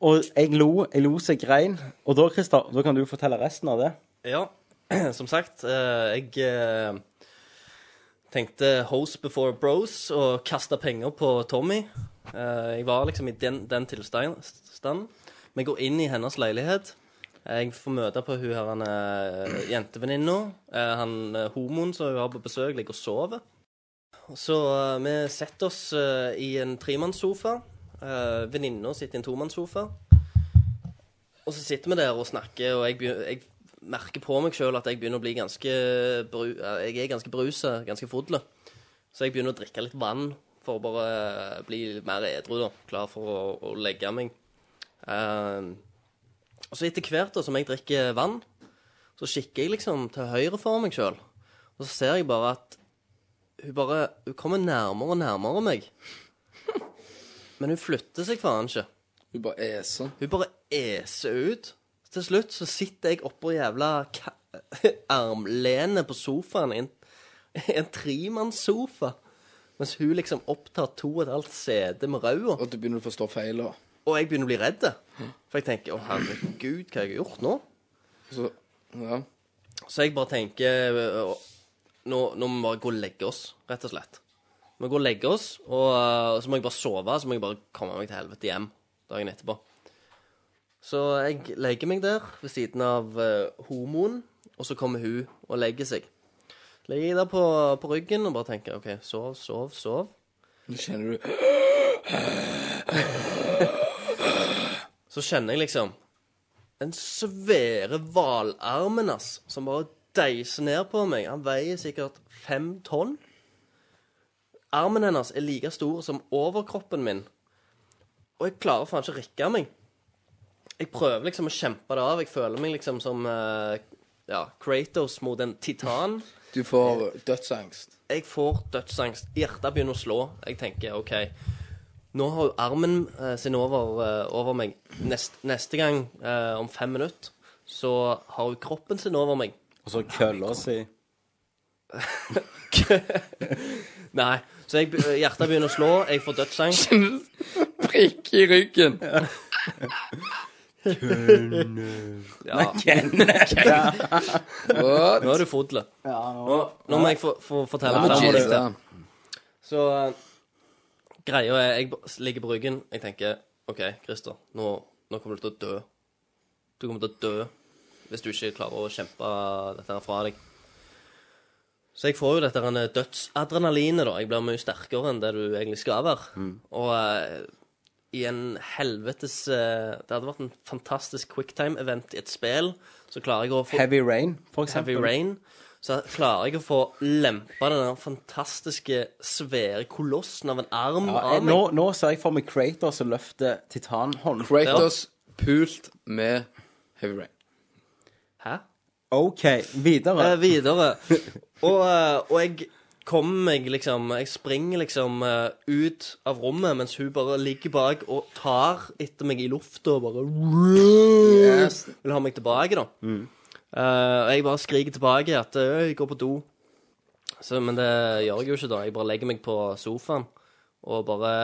Speaker 7: og jeg lo, jeg lo så jeg grein. Og da, Christer, da kan du fortelle resten av det.
Speaker 9: Ja, [CLEARS THROAT] som sagt, eh, jeg eh, tenkte hose before bros og kasta penger på Tommy. Eh, jeg var liksom i den, den tilstanden. Vi går inn i hennes leilighet. Jeg får møte på hun her, han, eh, jentevenninna. Eh, han eh, homoen som hun har på besøk, ligger og sover. Så eh, vi setter oss eh, i en tremannssofa. Uh, Venninna sitter i en tomannssofa. Og så sitter vi der og snakker, og jeg, begyn- jeg merker på meg sjøl at jeg begynner å bli ganske bru, eh, Jeg er ganske brusa, ganske fodle. Så jeg begynner å drikke litt vann for å bare eh, bli mer edru, da. Klar for å, å legge meg. Ehm, og så etter hvert da, som jeg drikker vann, så kikker jeg liksom til høyre for meg sjøl. Og så ser jeg bare at hun bare Hun kommer nærmere og nærmere meg. Men hun flytter seg faen ikke.
Speaker 8: Hun bare sånn." eser.
Speaker 9: Hun bare eser ut. Til slutt så sitter jeg oppå jævla ka [LAUGHS] armlenet på sofaen, i en, i en tremannssofa, mens hun liksom opptar to og et halvt sete med ræva.
Speaker 8: Og du begynner å forstå feil, da.
Speaker 9: Og jeg begynner å bli redd. For jeg tenker 'Å, herregud, hva har jeg gjort nå?'
Speaker 8: Så, ja.
Speaker 9: Så jeg bare tenker øh, nå, nå må vi bare gå og legge oss, rett og slett. Vi går og legger oss, og øh, så må jeg bare sove, så må jeg bare komme meg til helvete hjem dagen etterpå. Så jeg legger meg der ved siden av øh, homoen, og så kommer hun og legger seg. Legger jeg der på, på ryggen og bare tenker OK, sov, sov, sov.
Speaker 8: Nå kjenner du
Speaker 9: Så kjenner jeg liksom den svære hvalarmen, ass, som bare deiser ned på meg. Han veier sikkert fem tonn. Armen hennes er like stor som overkroppen min. Og jeg klarer faen ikke å rikke meg. Jeg prøver liksom å kjempe det av. Jeg føler meg liksom som eh, ja, Kratos mot en titan.
Speaker 8: Du får dødsangst.
Speaker 9: Jeg får dødsangst. Hjertet begynner å slå. Jeg tenker OK, nå har jo armen eh, sin over, eh, over meg. Nest, neste gang, eh, om fem minutter, så har hun kroppen sin over meg.
Speaker 7: Og så kølla si.
Speaker 9: Nei. Så jeg, be- hjertet begynner å slå, jeg får dødsangst.
Speaker 8: Prikk i ryggen.
Speaker 9: Ja.
Speaker 8: What?
Speaker 9: Nå er du fodle. nå, nå må jeg få, få fortelle
Speaker 8: Nå må
Speaker 9: deg
Speaker 8: du
Speaker 9: det.
Speaker 8: giste.
Speaker 9: Så eh, greia er Jeg b- ligger på ryggen. Jeg tenker OK, Christer, nå, nå kommer du til å dø. Du kommer til å dø hvis du ikke klarer å kjempe dette her fra deg. Så jeg får jo dette her dødsadrenalinet, da. Jeg blir mye sterkere enn det du egentlig skal være. Og eh, i en helvetes eh, Det hadde vært en fantastisk quicktime-event i et spill. Så klarer jeg å få
Speaker 7: Heavy Rain, for eksempel.
Speaker 9: Heavy Rain, så klarer jeg å få lempa den der fantastiske, svære kolossen av en arm
Speaker 7: Ja, jeg,
Speaker 9: av
Speaker 7: nå,
Speaker 9: meg.
Speaker 7: nå ser jeg for meg Kratos som løfter titanhånd.
Speaker 8: Kratos pult med Heavy Rain.
Speaker 9: Hæ?
Speaker 7: OK, videre.
Speaker 9: Eh, videre. Og, eh, og jeg kommer meg liksom Jeg springer liksom eh, ut av rommet mens hun bare ligger bak og tar etter meg i lufta og bare Vil ha meg tilbake, da. Eh, og jeg bare skriker tilbake at «Øy, jeg går på do. Så, men det gjør jeg jo ikke, da. Jeg bare legger meg på sofaen og bare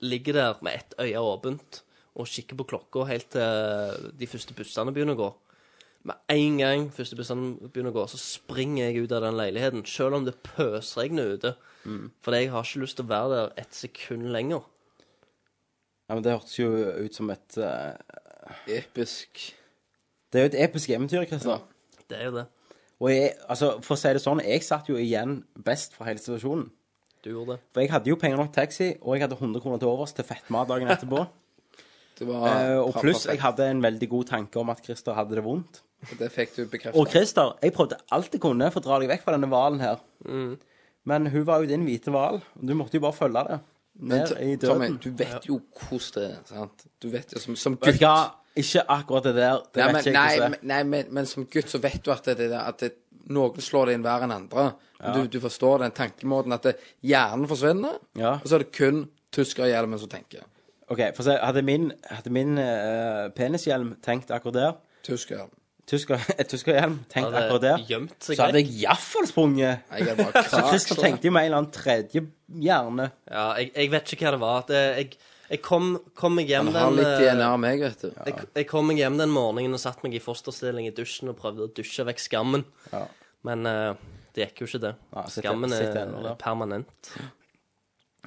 Speaker 9: ligger der med ett øye åpent og kikker på klokka helt til de første bussene begynner å gå. Med en gang første bussene begynner å gå, så springer jeg ut av den leiligheten, selv om det pøsregner ute. Fordi jeg har ikke lyst til å være der et sekund lenger.
Speaker 7: Ja, men Det hørtes jo ut som et eh,
Speaker 8: Episk.
Speaker 7: Det er jo et episk eventyr, Christer.
Speaker 9: Det er jo det.
Speaker 7: Og jeg, altså, for å si det sånn, jeg satt jo igjen best fra hele situasjonen.
Speaker 9: Du gjorde det.
Speaker 7: For jeg hadde jo penger nok til taxi, og jeg hadde 100 kroner til overs til fettmat dagen
Speaker 8: [LAUGHS]
Speaker 7: etterpå.
Speaker 8: Det var
Speaker 7: Eh, og
Speaker 8: perfekt.
Speaker 7: pluss, jeg hadde en veldig god tanke om at Christer hadde det vondt.
Speaker 8: Det fikk du
Speaker 7: Og
Speaker 8: bekreftet. Mm.
Speaker 7: Christer, jeg prøvde alt jeg kunne for å dra deg vekk fra denne hvalen her. Men hun var jo din hvite hval, og du måtte jo bare følge det.
Speaker 8: Men
Speaker 7: Ned i
Speaker 8: T- Tommy,
Speaker 7: døden.
Speaker 8: du vet jo hvordan det er, sant? Du vet jo som, som
Speaker 7: Vet
Speaker 8: gutt
Speaker 7: du hva? Ikke akkurat det der. Det
Speaker 8: Nei,
Speaker 7: vet
Speaker 8: men,
Speaker 7: ikke jeg
Speaker 8: nei,
Speaker 7: hvordan
Speaker 8: men,
Speaker 7: det er.
Speaker 8: nei men, men som gutt så vet du at, det, det- at det, noen slår deg inn verre enn andre.
Speaker 7: Ja.
Speaker 8: Du, du forstår den tankemåten at det, hjernen forsvinner,
Speaker 7: Ja.
Speaker 8: og så er det kun tyskerhjelmen som tenker.
Speaker 7: OK, for å si, hadde min, hadde min eh, penishjelm tenkt akkurat der
Speaker 8: Tyskerhjelm.
Speaker 7: Tysker, [LAUGHS] et tyskerhjelm tenkt
Speaker 8: Hadde
Speaker 7: akkurat der,
Speaker 8: gjemt seg
Speaker 7: så hadde
Speaker 8: vekk.
Speaker 7: jeg iallfall sprunget.
Speaker 8: Jeg hadde bare
Speaker 7: [LAUGHS] så Christer
Speaker 9: krasjet.
Speaker 7: tenkte jo med en eller annen tredje hjerne.
Speaker 9: Ja, jeg, jeg vet ikke hva det var. Det, jeg, jeg kom, kom meg hjem
Speaker 8: Han har
Speaker 9: den
Speaker 8: litt
Speaker 9: eh,
Speaker 8: DNA meg, vet du.
Speaker 9: jeg, jeg kom meg hjem den morgenen og satt meg i fosterstilling i dusjen og prøvde å dusje vekk skammen.
Speaker 7: Ja.
Speaker 9: Men eh, det gikk jo ikke, det.
Speaker 7: Ja, sitter-
Speaker 9: Skammen er,
Speaker 7: sitter ennå der.
Speaker 9: er permanent.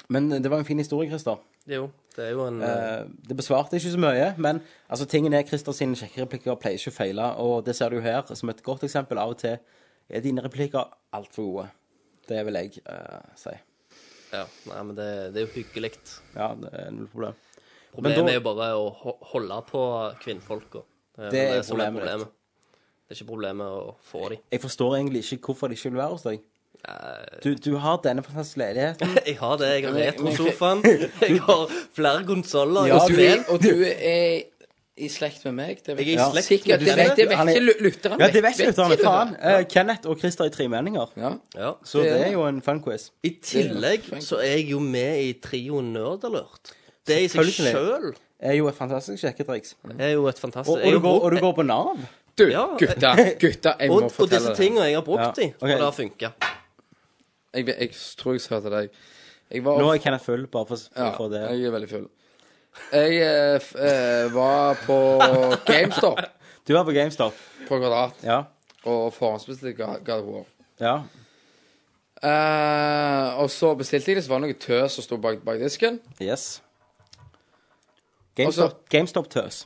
Speaker 7: Men eh, det var en fin historie, Christer.
Speaker 9: Jo, det er jo en eh,
Speaker 7: Eh, det besvarte ikke så mye, men altså, tingen er Christer sine kjekke replikker pleier ikke å feile, og det ser du jo her som et godt eksempel. Av og til er dine replikker altfor gode. Det vil jeg eh, si.
Speaker 9: eh, Ja, nei, men det, det er jo hyggelig.
Speaker 7: Ja, det er null problem.
Speaker 9: Problemet
Speaker 7: Men da-
Speaker 9: er jo bare å ho- holde på kvinnfolka.
Speaker 7: Det er
Speaker 9: vel som
Speaker 7: problemet ditt.
Speaker 9: Det er ikke problemet å få dem.
Speaker 7: Jeg forstår egentlig ikke hvorfor det ikke vil være hos deg. Du, du har denne fantastiske leiligheten.
Speaker 9: [LAUGHS] Jeg har det. Jeg har
Speaker 7: Men-
Speaker 9: retrosofaen. Jeg har flere konsoller.
Speaker 7: Ja,
Speaker 9: og
Speaker 7: du-
Speaker 9: spill.
Speaker 8: Og du er i slekt med meg. Det vet
Speaker 9: Jeg er i slekt
Speaker 8: Sikkert,
Speaker 9: med
Speaker 8: det
Speaker 9: dere.
Speaker 8: vet, det
Speaker 7: Han
Speaker 8: vet
Speaker 7: er-
Speaker 8: ikke lu- lytterne.
Speaker 7: Ja, det vet
Speaker 8: ikke
Speaker 7: lytterne.
Speaker 8: lytterne.
Speaker 7: Faen. Eh, Kenneth og Christer i tre meninger.
Speaker 9: Ja.
Speaker 7: Så det er jo en funquiz.
Speaker 9: I tillegg så er jeg jo med i trioen Nerdalert. Det i seg
Speaker 7: Selvfølgelig.
Speaker 9: sjøl
Speaker 7: er jo et fantastisk sjekketriks.
Speaker 8: Mm.
Speaker 9: er jo et fantastisk
Speaker 7: Og, og,
Speaker 9: jeg
Speaker 7: du
Speaker 9: har
Speaker 7: går,
Speaker 9: brukt-
Speaker 7: og du går på Nav?
Speaker 8: Du,
Speaker 9: Ja,
Speaker 8: gutta,
Speaker 9: jeg-
Speaker 8: gutta, jeg må
Speaker 9: og, Og
Speaker 8: fortelle
Speaker 9: disse
Speaker 8: deg.
Speaker 9: tingene jeg har brukt
Speaker 8: Ja,
Speaker 9: i,
Speaker 8: ok.
Speaker 9: og det har funka.
Speaker 8: Jeg, vet- jeg tror jeg sa til deg jeg var,
Speaker 7: Nå er Kenneth full, bare for, for,
Speaker 8: ja,
Speaker 7: for det.
Speaker 8: Jeg er veldig full. Jeg eh, f, eh, var på GameStop
Speaker 7: Du er på GameStop.
Speaker 8: på Kvadrat
Speaker 7: Ja.
Speaker 8: og forhåndsbestilte Ga- God of War.
Speaker 7: ja.
Speaker 8: Eh, og så bestilte jeg det, så var det noe tøs som sto bak, bak disken.
Speaker 7: Yes.
Speaker 8: Og
Speaker 7: GameStop, GameStop tøs.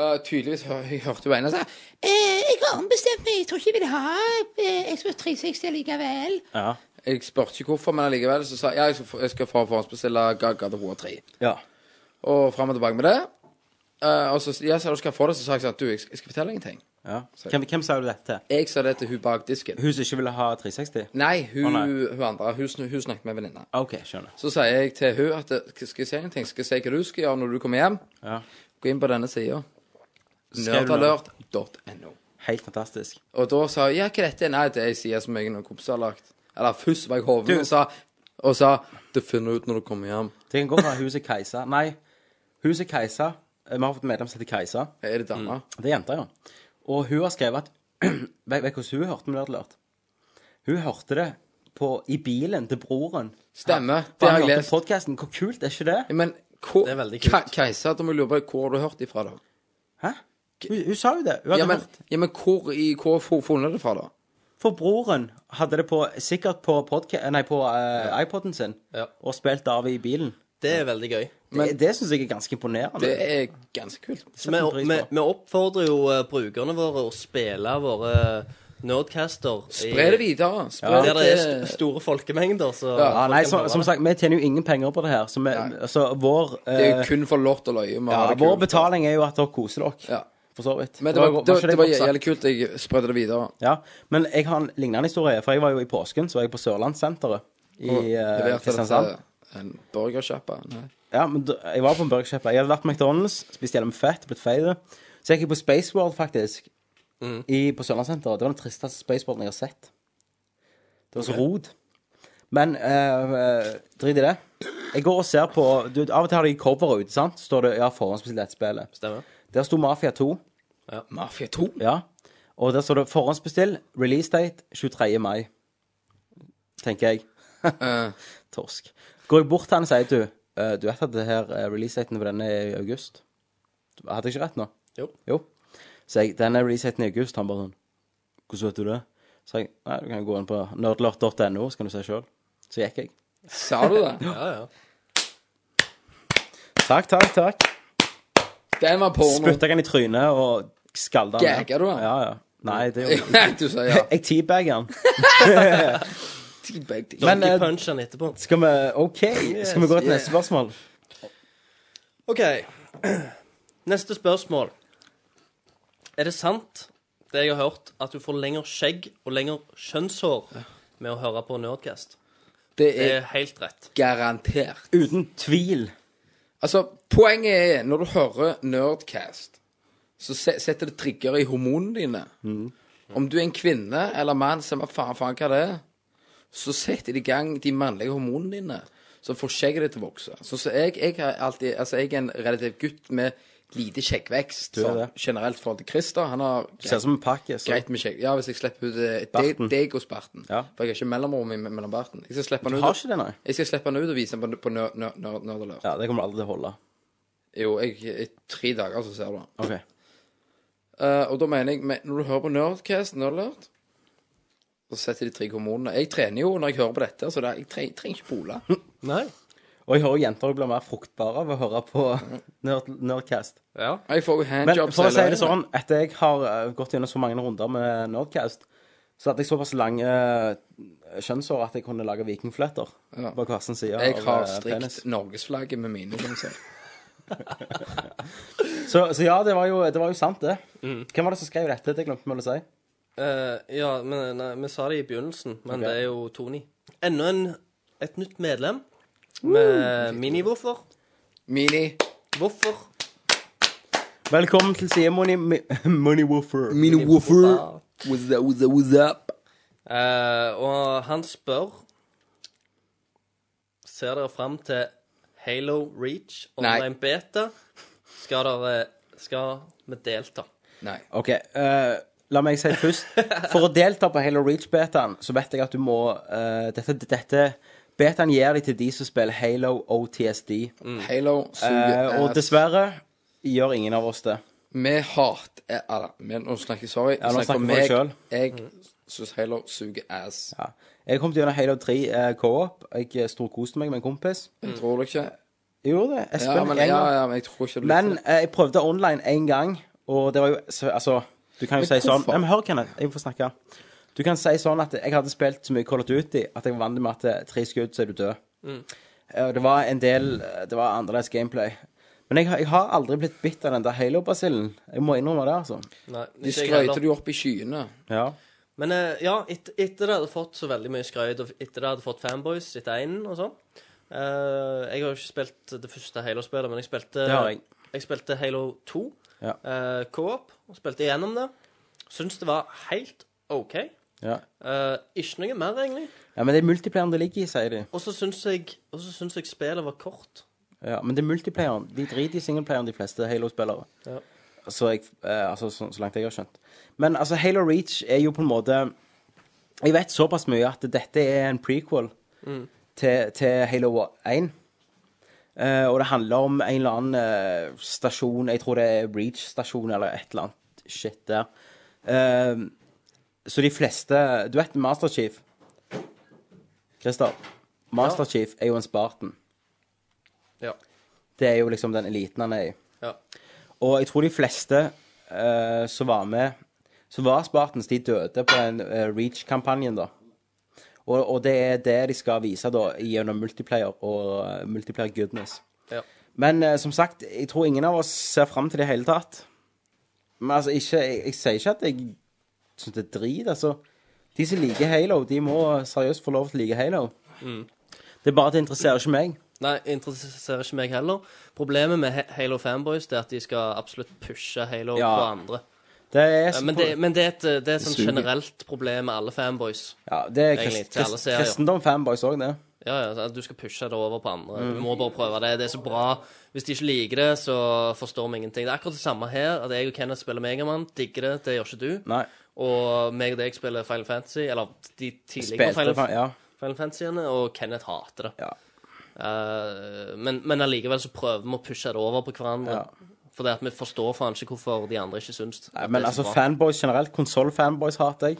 Speaker 8: Eh, tydeligvis hør, jeg hørte jo ene si
Speaker 14: Eh, jeg har ombestemt meg. Jeg tror ikke jeg vil ha eh, Xbox 360 likevel.
Speaker 7: Ja.
Speaker 8: Jeg spurte ikke hvorfor, men allikevel så sa jeg jeg skal, jeg skal forhåndsbestille Ga- God of War 3.
Speaker 7: Ja.
Speaker 8: Og fram og tilbake med det. Eh, og så jeg sa du skal få det, så sa jeg sånn Du, jeg skal, jeg skal fortelle deg en ting.
Speaker 7: ja. Hvem, hvem sa du dette til?
Speaker 8: Jeg sa det til hun bak disken.
Speaker 7: Hun som ikke ville ha 360?
Speaker 8: Nei, hun,
Speaker 7: Å, nei.
Speaker 8: hun andre. Hun, sn- hun snakket med en venninne.
Speaker 7: Ah, OK, skjønner.
Speaker 8: Så sier jeg til hun at skal skal jeg si en ting? Skal jeg si hva du skal gjøre når du kommer hjem?
Speaker 7: Ja.
Speaker 8: Gå inn på denne sida.
Speaker 7: Skrev du
Speaker 8: Nerdalert.no.
Speaker 7: Helt fantastisk.
Speaker 8: Og da sa hun ja, hva er dette? Nei, det er ei side som jeg og noen kompiser har lagt. Eller først var jeg hoven og sa Og sa det finner du ut når du kommer hjem.
Speaker 7: Det kan godt være huset Kajsa. Nei, huset Kajsa. eh, Vi har fått medlem som heter Kajsa.
Speaker 8: Er det dama?
Speaker 7: Det er jenta, ja. Og hun har skrevet at [CLEARS THROAT] Vet vet du hvordan hun hørte Nerd Alert? Hun hørte det på, i bilen til broren.
Speaker 8: Stemmer.
Speaker 7: Det
Speaker 8: Det har
Speaker 7: han
Speaker 8: jeg
Speaker 7: hørte
Speaker 8: lest.
Speaker 7: podcasten. Hvor kult er ikke det?
Speaker 8: Men hvor, det er veldig kult. Keiser, da må jeg lure på hvor har du hørt ifra, da?
Speaker 7: Hæ? Hun, hun sa jo det. Hun hadde
Speaker 8: Ja, men,
Speaker 7: hørt
Speaker 8: ja, men hvor, i, hvor har hun funnet det fra, da?
Speaker 7: For broren hadde det på, sikkert på, podca nei, på eh, iPoden sin, og spilt av i bilen.
Speaker 9: Det er veldig gøy.
Speaker 7: det det syns jeg er ganske imponerende.
Speaker 8: Det er ganske kult.
Speaker 9: Så vi, vi, vi oppfordrer jo eh, brukerne våre å spille våre eh, Nerdcaster. i-
Speaker 8: Spre det videre. Spre
Speaker 9: Ja.
Speaker 8: det
Speaker 9: Der det er
Speaker 8: til-
Speaker 9: st- store folkemengder, så
Speaker 7: ja, Ah, nei,
Speaker 9: folk kan
Speaker 7: som,
Speaker 9: høre
Speaker 7: som
Speaker 9: det.
Speaker 7: sagt, vi tjener jo ingen penger på det her, så, vi, så vår
Speaker 8: Det er
Speaker 7: eh,
Speaker 8: jo kun for lort og løye. vi
Speaker 7: ja,
Speaker 8: har det
Speaker 7: Vår
Speaker 8: kult.
Speaker 7: betaling er jo at dere koser dere,
Speaker 8: Ja.
Speaker 7: for så vidt.
Speaker 8: Men det var, det,
Speaker 7: ikke
Speaker 8: var, det var
Speaker 7: godt sagt?
Speaker 8: jævlig kult. Jeg spredde det videre.
Speaker 7: Ja, men jeg har en lignende historie, for jeg var jo i påsken, så var jeg på Sørlandssenteret i
Speaker 8: Og
Speaker 7: eh,
Speaker 8: leverte det til
Speaker 7: Kristiansand.
Speaker 8: En burgersjappe? Nei.
Speaker 7: Ja, men da- jeg var på en burgershop. Jeg hadde vært på McDonald's, spist gjennom fett, blitt feit. Så gikk jeg på Space World, faktisk, i, på Sørlandssenteret. Det var den tristeste Space Worlden jeg har sett. Det var så rod. Men eh, eh, drit i det. Jeg går og ser på du, Av og til har de coveret ute, sant? Så står det ja, forhåndsbestilt spillet.
Speaker 9: Stemmer.
Speaker 7: Der sto Mafia 2.
Speaker 8: Mafia 2?
Speaker 7: Ja. Og der står det 'forhåndsbestill', release date 23. mai. Tenker jeg. Torsk. Går jeg bort til han og sier du eh, Du vet at det her eh, releasedaten på denne er i august? Hadde jeg ikke rett nå?
Speaker 9: Jo.
Speaker 7: Så jeg denne releasedaten er i august. Han bare sånn Hvordan vet du det? Så jeg nei, du kan gå inn på nerdlert.no, så kan du se sjøl. Så gikk jeg.
Speaker 8: Sa du det?
Speaker 9: Ja, ja.
Speaker 7: Takk, takk, takk.
Speaker 8: Den var porno.
Speaker 7: Spytta jeg han i trynet og skalda han.
Speaker 8: Gagga du han?
Speaker 7: Ja, ja. Nei, [LAUGHS] det gjorde jeg
Speaker 8: Nei, du sa [LAUGHS] ja.
Speaker 7: Jeg teabagga han.
Speaker 8: Teabag,
Speaker 7: Men, eh,
Speaker 9: Punch han etterpå.
Speaker 7: Skal vi OK. Skal vi gå til
Speaker 9: Yes,
Speaker 7: neste spørsmål?
Speaker 9: OK. [CLEARS THROAT] Neste spørsmål. Er det sant, det jeg har hørt, at du får lengre skjegg og lengre kjønnshår med å høre på Nerdcast.
Speaker 8: Det
Speaker 9: Det
Speaker 8: er
Speaker 9: er helt rett.
Speaker 8: garantert.
Speaker 7: Uten tvil.
Speaker 8: Altså, poenget er, når du hører Nerdcast, så se- setter det trigger i hormonene dine.
Speaker 7: Mm.
Speaker 8: Om du er en kvinne eller mann, samme faen, faen hva det er, så setter det i gang de mannlige hormonene dine, som får skjegget ditt til å vokse. Så, så jeg, jeg, har alltid, altså, jeg er en relativt gutt med lite skjeggvekst,
Speaker 7: Du er
Speaker 8: sånn,
Speaker 7: det.
Speaker 8: generelt i forhold til Christer. Han har
Speaker 7: Du ser ut som en pakke. Så.
Speaker 8: greit med skjegg. Ja, hvis jeg slipper ut eh, deg,
Speaker 7: Barten.
Speaker 8: deg og sparten. For jeg har ikke mellomrom i- mellom barten. Jeg skal slippe
Speaker 7: Du
Speaker 8: han ut.
Speaker 7: har ikke det, nei?
Speaker 8: Jeg skal slippe han ut og vise han på, på Nerd- Nerd- Nerd- Nerdelert.
Speaker 7: Ja, det kommer aldri til å holde.
Speaker 8: Jo, jeg, i tre dager så ser du den.
Speaker 7: Ok.
Speaker 8: Eh, og da mener jeg, men når du hører på Nerdcast, Nerdlert, så setter de tre hormonene. Jeg trener jo når jeg hører på dette, så det, jeg tre- trenger ikke pole.
Speaker 9: Nei.
Speaker 7: Og jeg hører jenter blir mer fruktbare av å høre på nerd Nerdcast.
Speaker 9: Ja.
Speaker 8: Jeg får jo
Speaker 7: Men
Speaker 8: handjobs
Speaker 7: for å si
Speaker 8: hele
Speaker 7: det sånn, etter jeg har eh, gått gjennom så mange runder med Nerdcast, så hadde jeg såpass lange eh, kjønnsår at jeg kunne lage vikingfletter
Speaker 8: Ja.
Speaker 7: på hver sin side.
Speaker 8: Jeg
Speaker 7: av,
Speaker 8: har
Speaker 7: eh, penis.
Speaker 8: strikt norgesflagget med mine. Kan du si.
Speaker 7: Så, så ja, det var, jo, det var jo sant, det.
Speaker 8: Mm.
Speaker 7: Hvem var det som skrev dette? Det glemte vi å si.
Speaker 9: Eh, ja, men nei, vi sa det i begynnelsen, men
Speaker 7: Ok.
Speaker 9: det er jo Tony. Enda en, et nytt medlem med mini-hvorfor.
Speaker 8: Mini.
Speaker 9: Hvorfor?
Speaker 7: Velkommen til side Money, [LAUGHS] Money Woofer.
Speaker 9: Mini-woofer.
Speaker 8: What's up, what's up, what's up?
Speaker 9: Eh, og han spør Ser dere fram til Halo Reach online beta? Skal dere Skal vi delta?
Speaker 8: Nei.
Speaker 7: OK. eh, la meg si først For å delta på Halo Reach-betaen, så vet jeg at du må eh, Dette, dette Betaen gir de til de som spiller Halo OTSD.
Speaker 8: Mm. Halo suger
Speaker 7: Eh, og
Speaker 8: ass.
Speaker 7: dessverre gjør ingen av oss det.
Speaker 8: Vi hat eh, Eller, men nå snakker jeg sorry. Jeg
Speaker 7: Ja, nå
Speaker 8: snakker om
Speaker 7: snakker
Speaker 8: meg.
Speaker 7: jeg
Speaker 8: Jeg syns Halo suger ass.
Speaker 7: Ja. Jeg kom til gjennom Halo 3 eh, co-op. Jeg eh, storkoste meg med en kompis.
Speaker 8: Jeg tror det ikke.
Speaker 7: Jeg gjorde det. Jeg
Speaker 8: Ja,
Speaker 7: spilte
Speaker 8: men,
Speaker 7: en gang.
Speaker 8: ja, ja, men jeg tror ikke du
Speaker 7: Men eh, jeg prøvde online én gang, og det var jo så, Altså, du kan jo
Speaker 8: Men
Speaker 7: si sånn
Speaker 8: hvorfor?
Speaker 7: Nei, men hør, Kenneth, jeg får snakke. Du kan si sånn at jeg hadde spilt så mye Call of Duty at jeg var vant med at eh, tre skudd, så er du død.
Speaker 8: Mm.
Speaker 7: Eh, og Det var en del eh, Det var annerledes gameplay. Men jeg, har- jeg har aldri blitt bitt av den der Halo-basillen. Jeg må innrømme det, altså.
Speaker 9: Nei,
Speaker 8: De
Speaker 9: ikke jeg
Speaker 8: skrøyter
Speaker 9: heller.
Speaker 8: det jo opp i skyene.
Speaker 7: Ja.
Speaker 9: Men eh, ja, et, etter det hadde fått så veldig mye skrøyt, og etter det hadde fått fanboys etter einen og sånn eh, Jeg har jo ikke spilt det første Halo-spillet, men jeg spilte,
Speaker 7: Det har jeg.
Speaker 9: spilte Halo 2
Speaker 7: Ja.
Speaker 9: eh, co-op, og spilte igjennom det. Syns det var helt OK.
Speaker 7: Ja.
Speaker 9: Eh, ikke noe mer, egentlig.
Speaker 7: ja, Men det er multiplayeren det ligger i, sier de.
Speaker 9: Og så syns jeg, og så syns jeg spillet var kort.
Speaker 7: Ja, men det er multiplayeren. De driter i singleplayeren, de fleste Halo-spillere.
Speaker 9: Ja.
Speaker 7: Så, jeg, eh, altså, så, så langt jeg har skjønt. Men altså, Halo Reach er jo på en måte Jeg vet såpass mye at dette er en prequel til, til Halo 1. Eh, og det handler om en eller annen eh, stasjon Jeg tror det er Reach-stasjon eller et eller annet shit der. Eh, så de fleste Du vet Master Chief? Christer. Master Chief er jo en Spartan.
Speaker 9: Ja.
Speaker 7: Det er jo liksom den eliten han er i.
Speaker 9: Ja.
Speaker 7: Og jeg tror de fleste eh, som var med, som var Spartans, de døde på den eh, Reach-kampanjen, da. Og, og det er det de skal vise da gjennom multiplayer og eh, multiplayer goodness.
Speaker 9: Ja.
Speaker 7: Men eh, som sagt, jeg tror ingen av oss ser fram til det i hele tatt. Men altså, ikke, jeg, jeg sier ikke at jeg syns det er drit, altså. De som liker Halo, de må seriøst få lov til å like Halo.
Speaker 9: Mm.
Speaker 7: Det er bare at det interesserer ikke meg.
Speaker 9: Nei, interesserer ikke meg heller. Problemet med He- Halo fanboys det er at de skal absolutt pushe Halo
Speaker 7: Ja.
Speaker 9: på andre.
Speaker 7: Det er
Speaker 9: Ja, men det, men det er et, det er et
Speaker 7: Det
Speaker 9: sånn
Speaker 7: suger.
Speaker 9: generelt problem med alle fanboys.
Speaker 7: Ja, det er
Speaker 9: Egentlig,
Speaker 7: krist,
Speaker 9: til alle
Speaker 7: krist,
Speaker 9: serier.
Speaker 7: kristendom-fanboys òg, det.
Speaker 9: Ja, ja, så Du skal pushe det over på andre.
Speaker 7: Mm.
Speaker 9: Du må bare prøve det. Det er så bra. Hvis de ikke liker det, så forstår vi ingenting. Det er akkurat det samme her. At jeg og Kenneth spiller Megamann. Digger det. Det gjør ikke du.
Speaker 7: Nei.
Speaker 9: Og meg og deg spiller Final Fantasy. Eller de tidligere
Speaker 7: Spilte
Speaker 9: Final,
Speaker 7: Final- ja.
Speaker 9: Final Fantasyene. Og Kenneth hater det. Eh, men, men allikevel så prøver vi å pushe det over på hverandre. Fordi at vi forstår faen ikke hvorfor de andre ikke syns at det
Speaker 7: Men
Speaker 9: er så
Speaker 7: altså,
Speaker 9: bra.
Speaker 7: fanboys generelt. Konsoll-fanboys hater jeg.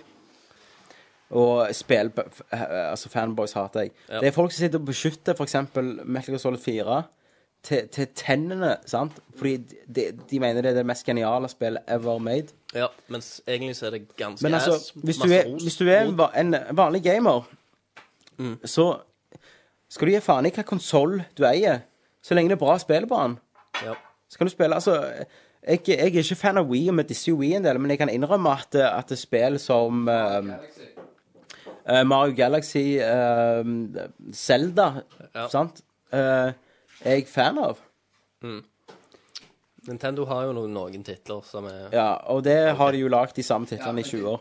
Speaker 7: Og spill... f- eh, Altså, fanboys hater jeg.
Speaker 9: Ja.
Speaker 7: Det er folk som sitter og beskytter f.eks. Metal Gear Solid 4 til, til tennene, sant? Fordi de, de mener det er det mest geniale spillet ever made.
Speaker 9: Ja, mens egentlig så er det ganske
Speaker 7: Men altså,
Speaker 9: ass.
Speaker 7: hvis du
Speaker 9: Masse
Speaker 7: er,
Speaker 9: ros.
Speaker 7: hvis du er en, va- en vanlig gamer,
Speaker 9: Mm.
Speaker 7: så skal du gi faen i hva konsoll du eier, så lenge det er bra spill på den.
Speaker 9: Ja.
Speaker 7: Så kan du spille Altså, jeg, jeg er ikke fan av Wii, og vi disser jo Wii en del, men jeg kan innrømme at, at det spill som eh, Eh, Mario Galaxy, eh, Zelda, sant? Eh, er jeg fan av.
Speaker 9: Mm. Nintendo har jo noen, noen titler som er
Speaker 7: Ja, og det har de jo lagd de samme titlene i 20 år.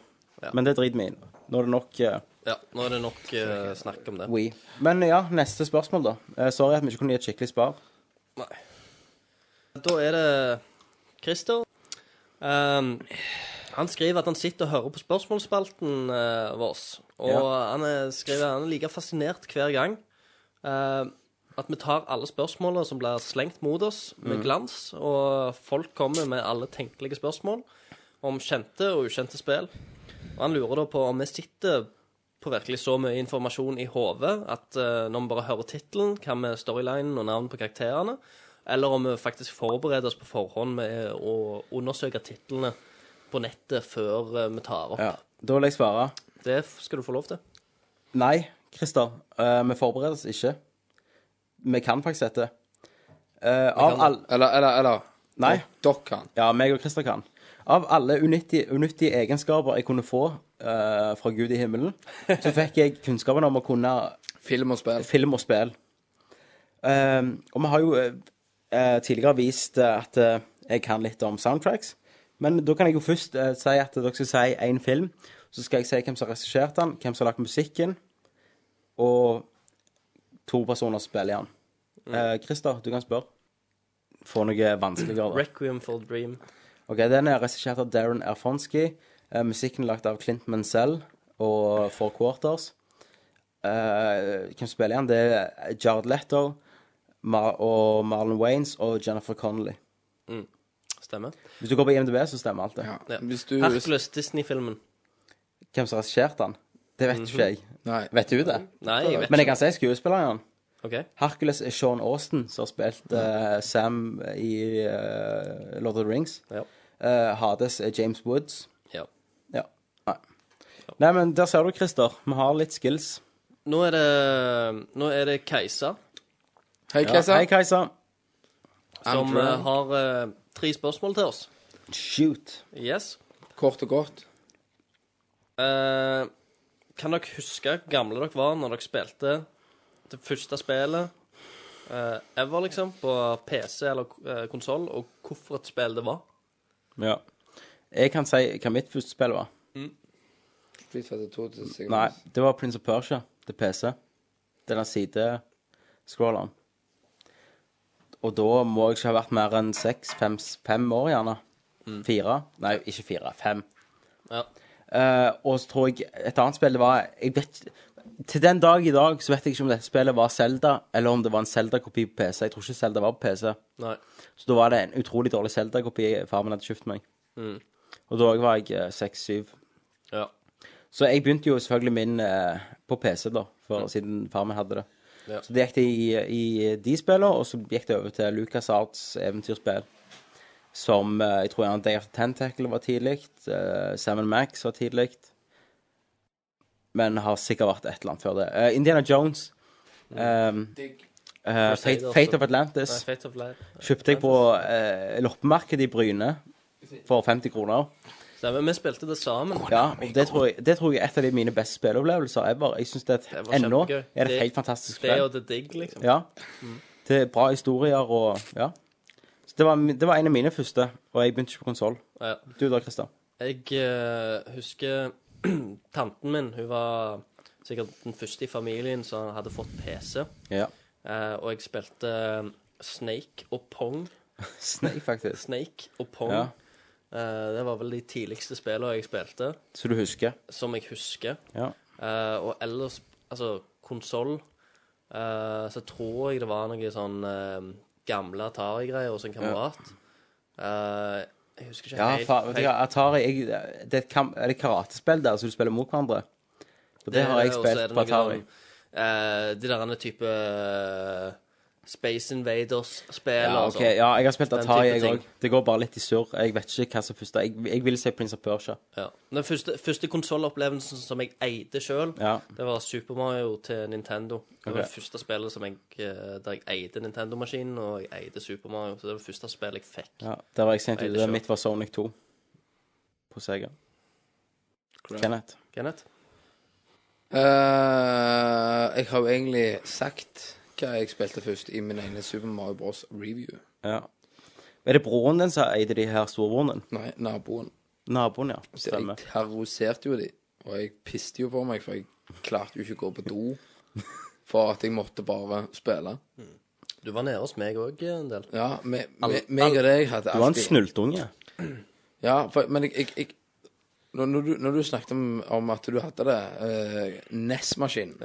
Speaker 7: Men det driter vi i. Nå er det nok eh,
Speaker 9: Ja, nå er det nok eh, snakk om det.
Speaker 7: Wii. Men ja, neste spørsmål, da. Eh, sorry at vi ikke kunne gi et skikkelig svar.
Speaker 9: Da er det Christer. Ehm, han skriver at han sitter og hører på spørsmålsspalten eh, vår. Og
Speaker 15: Ja.
Speaker 9: han er, skriver han er like fascinert hver gang eh, at vi tar alle spørsmålene som blir slengt mot oss, med
Speaker 15: Mm.
Speaker 9: glans. Og folk kommer med alle tenkelige spørsmål om kjente og ukjente spill. Og han lurer da på om vi sitter på virkelig så mye informasjon i hodet at eh, når vi bare hører tittelen, hva med storylinen og navn på karakterene, eller om vi faktisk forbereder oss på forhånd med å undersøke titlene på nettet før eh, vi tar opp.
Speaker 7: Ja. Da vil jeg svare
Speaker 9: Det f- skal du få lov til.
Speaker 7: nei, Christer. eh, vi forbereder oss ikke. Vi kan faktisk dette. Eh, av alle
Speaker 8: Eller, eller, eller.
Speaker 7: Nei.
Speaker 8: Dere kan.
Speaker 7: Ja, meg og Christer kan. Av alle unyttige, unyttige egenskaper jeg kunne få eh, fra Gud i himmelen, så fikk jeg kunnskapen om å kunne
Speaker 8: Film og spill.
Speaker 7: eh, Film og spill. Ehm, og vi har jo eh, eh, tidligere vist eh, at eh, jeg kan litt om soundtracks. Men da kan jeg jo først eh, si at dere skal si én film. Så skal jeg si hvem som har regissert den, hvem som har lagt musikken, og to personer spiller i den. Eh, Christer, du kan spørre. Få noe vanskeligere. da.
Speaker 9: Requiem for a Dream.
Speaker 7: Ok, Den er regissert av Darren Erfonski. Eh, musikken er lagt av Clint Mansell og Four Quarters. Eh, hvem spiller igjen? Det er Jared Letto Mar og Marlon Waynes og Jennifer Connolly.
Speaker 9: Mm. Stemmer.
Speaker 7: Hvis du går på IMDb, så stemmer alt det.
Speaker 9: Ja. Hercules, Disney-filmen.
Speaker 7: Hvem som har regissert den? Det vet ikke jeg.
Speaker 9: Nei.
Speaker 7: Vet du det?
Speaker 9: Nei, jeg vet
Speaker 7: Men jeg
Speaker 9: ikke.
Speaker 7: kan si skuespilleren. i den.
Speaker 9: Ok.
Speaker 7: Hercules er Sean Austin, som har spilt eh, Sam i eh, Lord of the Rings. Eh, Hades er James Woods.
Speaker 9: Ja.
Speaker 7: Ja. Nei. Nei, men der ser du, Christer. Vi har litt skills.
Speaker 9: Nå er det, nå er det Kajsa.
Speaker 7: Hei, Kajsa. Ja, hei, Kajsa.
Speaker 9: Som
Speaker 7: Andrew.
Speaker 9: eh, har eh, tre spørsmål til oss.
Speaker 7: Shoot.
Speaker 9: Yes.
Speaker 8: Kort og godt.
Speaker 9: Eh, kan dere huske hvor gamle dere var når dere spilte det første spillet eh, ever, liksom, på PC eller uh, konsoll, og hvorfor et spill det var?
Speaker 7: Ja. Jeg kan si hva mitt første spill var.
Speaker 8: Street Fighter 2 til sikkert.
Speaker 7: Nei, det var Prince of Persia til PC. Den der sidescrolleren. Og da må jeg ikke ha vært mer enn seks, fem, fem år, gjerne. Fire. Nei, ikke fire. Fem.
Speaker 9: Ja.
Speaker 7: Eh, og så tror jeg et annet spill det var jeg vet, Til den dag i dag så vet jeg ikke om dette spillet var Zelda, eller om det var en Zelda-kopi på PC. Jeg tror ikke Zelda var på PC.
Speaker 9: Nei.
Speaker 7: Så da var det en utrolig dårlig Zelda-kopi far min hadde kjøpt meg.
Speaker 9: Mm.
Speaker 7: Og da var jeg eh, seks-syv.
Speaker 9: Ja.
Speaker 7: Så jeg begynte jo selvfølgelig min eh, på PC, da, for, siden far min hadde det.
Speaker 9: Mm. Ja.
Speaker 7: Så det gikk det i, i eh, de spillene, og så gikk det over til Lucas Arts eventyrspill. Som eh, jeg tror gjerne Day of the Tentacle var tidlig. Eh, Sam Max var tidlig. Men har sikkert vært et eller annet før det. Eh, Indiana Jones.
Speaker 9: Mm.
Speaker 7: ehm,
Speaker 9: Digg.
Speaker 7: eh, Fate,
Speaker 9: Crusader,
Speaker 7: Fate
Speaker 9: så-
Speaker 7: of Atlantis.
Speaker 9: Nei, Fate of Atla-
Speaker 7: Kjøpte jeg på eh, loppemarkedet i Bryne for 50 kroner.
Speaker 9: Stemmer. Vi spilte det sammen.
Speaker 7: Ja, og det tror, jeg, det tror jeg er et av de mine beste spilleopplevelser ever. Jeg synes det, er
Speaker 9: var
Speaker 7: et- Ennå
Speaker 9: kjempegøy.
Speaker 7: er det
Speaker 9: Det-
Speaker 7: et helt fantastisk
Speaker 9: det
Speaker 7: spill.
Speaker 9: og The Dig, liksom.
Speaker 7: Ja.
Speaker 9: Mm.
Speaker 7: Det er bra historier og Ja. Så det var, det var en av mine første, og jeg begynte ikke på konsoll.
Speaker 9: Ja.
Speaker 7: Du da, Christer?
Speaker 9: Jeg eh, husker [CLEARS THROAT] tanten min. Hun var sikkert den første i familien som hadde fått PC.
Speaker 7: Ja.
Speaker 9: Eh, og jeg spilte eh, Snake og Pong.
Speaker 7: Snake, faktisk.
Speaker 9: Snake og Pong.
Speaker 7: Ja.
Speaker 9: Eh, det var vel de tidligste spillene jeg spilte.
Speaker 7: Så du husker?
Speaker 9: Som jeg husker.
Speaker 7: Ja.
Speaker 9: Eh, og ellers, altså konsoll, eh, så tror jeg det var noe sånn eh, gamle Atari-greier hos en kamerat. Eh, jeg husker ikke
Speaker 7: Ja,
Speaker 9: helt.
Speaker 7: fa- vet du hva, Atari jeg, Det er et kam- er det karatespill der, så du spiller mot hverandre. Og det har jeg
Speaker 9: og så er
Speaker 7: spilt
Speaker 9: det
Speaker 7: på
Speaker 9: noe
Speaker 7: Atari.
Speaker 9: sånn, eh, de der andre type eh, Space Invaders-spill
Speaker 7: Ja,
Speaker 9: og
Speaker 7: ok,
Speaker 9: sånn.
Speaker 7: ja, jeg har spilt
Speaker 9: Den
Speaker 7: Atari,
Speaker 9: type
Speaker 7: jeg
Speaker 9: ting.
Speaker 7: òg. Det går bare litt i surr. Jeg vet ikke hva som er første. Jeg, jeg vil se Prince of Persia.
Speaker 9: Ja. Den første, første konsollopplevelsen som jeg eide sjøl,
Speaker 7: Ja.
Speaker 9: det var Super Mario til Nintendo. Det var
Speaker 7: Ok.
Speaker 9: det første spillet som jeg, eh, der jeg eide Nintendo-maskinen, og jeg eide Super Mario. Så det var det første spillet jeg fikk.
Speaker 7: Ja, der var jeg sent
Speaker 9: Og eide
Speaker 7: ute.
Speaker 9: selv.
Speaker 7: Mitt var Sonic 2 på Sega. Kenneth.
Speaker 9: Kenneth?
Speaker 8: Eh, jeg har jo egentlig sagt hva jeg spilte først i min egen Super Mario Bros. review.
Speaker 7: Ja. Er det broren din som eide de her storbroren din?
Speaker 8: Nei, naboen.
Speaker 7: Naboen, ja.
Speaker 8: Så jeg
Speaker 7: Stemmer.
Speaker 8: terroriserte jo de, og jeg piste jo på meg, for jeg klarte jo ikke å gå på
Speaker 7: [LAUGHS]
Speaker 8: do. For at jeg måtte bare spille.
Speaker 2: Du var nede hos meg òg
Speaker 9: eh,
Speaker 2: en del.
Speaker 8: Ja, me- me- meg og deg hadde
Speaker 7: Du var en
Speaker 8: alltid-
Speaker 7: snultunge.
Speaker 8: Ja, for, men jeg, jeg, jeg når, når, du, når du snakket om, om at du hadde det eh, NES-maskinen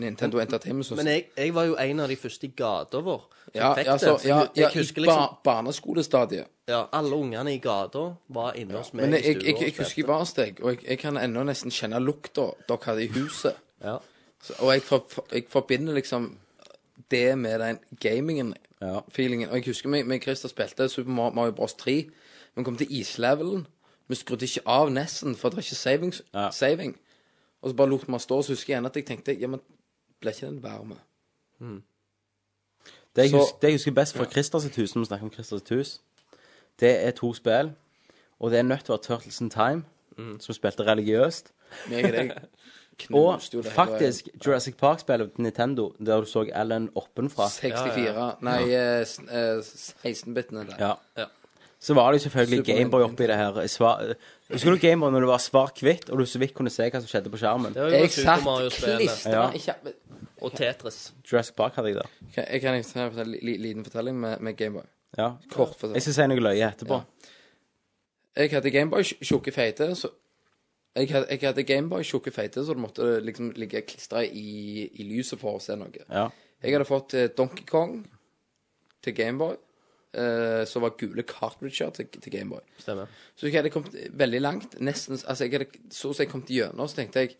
Speaker 8: Nintendo Entertainment System.
Speaker 2: Men jeg, jeg var jo en av de første i gata vår. som
Speaker 8: ja,
Speaker 2: fikk
Speaker 8: ja,
Speaker 2: det,
Speaker 8: så,
Speaker 2: så
Speaker 8: ja,
Speaker 2: jeg-
Speaker 8: ja,
Speaker 2: jeg husker
Speaker 8: I
Speaker 2: liksom
Speaker 8: ba, barneskolestadiet.
Speaker 2: Ja, alle ungene i gata var inne hos meg
Speaker 8: Men jeg,
Speaker 2: i
Speaker 8: jeg,
Speaker 2: stua.
Speaker 8: jeg, jeg
Speaker 2: og
Speaker 8: husker
Speaker 2: spilte.
Speaker 8: jeg var hos deg, og jeg, jeg kan ennå nesten kjenne lukta dere hadde i huset. Så, og jeg, for, for- jeg forbinder liksom det med den gamingen-feelingen. Og jeg husker meg, meg og Christer spilte Super Mar- Mario Bros. 3. Vi kom til islevelen. Vi skrudde ikke av nesten, for det var ikke savings, saving. Og så bare lot vi den stå, så husker jeg igjen at jeg tenkte Ja, men ble ikke den varme?
Speaker 7: Det jeg,
Speaker 8: Så-
Speaker 7: husker, det jeg husker best fra Christer sitt hus, når vi snakker om Christer sitt hus, det er to spill. Og det er nødt til å være Turtles in Time,
Speaker 8: Mm.
Speaker 7: som spilte religiøst.
Speaker 8: Meg og deg
Speaker 7: [LAUGHS] Og
Speaker 8: knuste jo det hele
Speaker 7: faktisk Jurassic Park-spillet til Nintendo, der du så Alan oppenfra.
Speaker 8: 64 Nei, eh, s- eh, 16-bitene der.
Speaker 7: Ja. Så var det jo selvfølgelig
Speaker 8: Super
Speaker 7: Gameboy oppi det her. Svar, husker du Gameboy når det var svart-hvitt, og du så vidt kunne se hva som skjedde på skjermen?
Speaker 9: Det var jo
Speaker 8: Jeg
Speaker 9: Super
Speaker 8: satt
Speaker 9: Mario-spillet.
Speaker 8: klistra
Speaker 7: Ja.
Speaker 8: i kjappen.
Speaker 9: Og Tetris.
Speaker 7: Jurassic Park hadde jeg der.
Speaker 8: Kan- Jeg kan fortelle en li- liten fortelling med, med Gameboy.
Speaker 7: Ja.
Speaker 8: Kort fortalt.
Speaker 7: Jeg skal si noe løye etterpå.
Speaker 8: Jeg hadde Gameboy tj- tjukke feite, så jeg hadde, jeg hadde Gameboy tjukke feite, så du måtte liksom ligge klistra i, i lyset for å se noe.
Speaker 7: Ja.
Speaker 8: Jeg hadde fått eh, Donkey Kong til Gameboy, eh, som var gule cartridger til, til Gameboy.
Speaker 9: Stemmer.
Speaker 8: Så jeg hadde kommet veldig langt, nesten Altså, jeg hadde så å si kommet gjennom, så tenkte jeg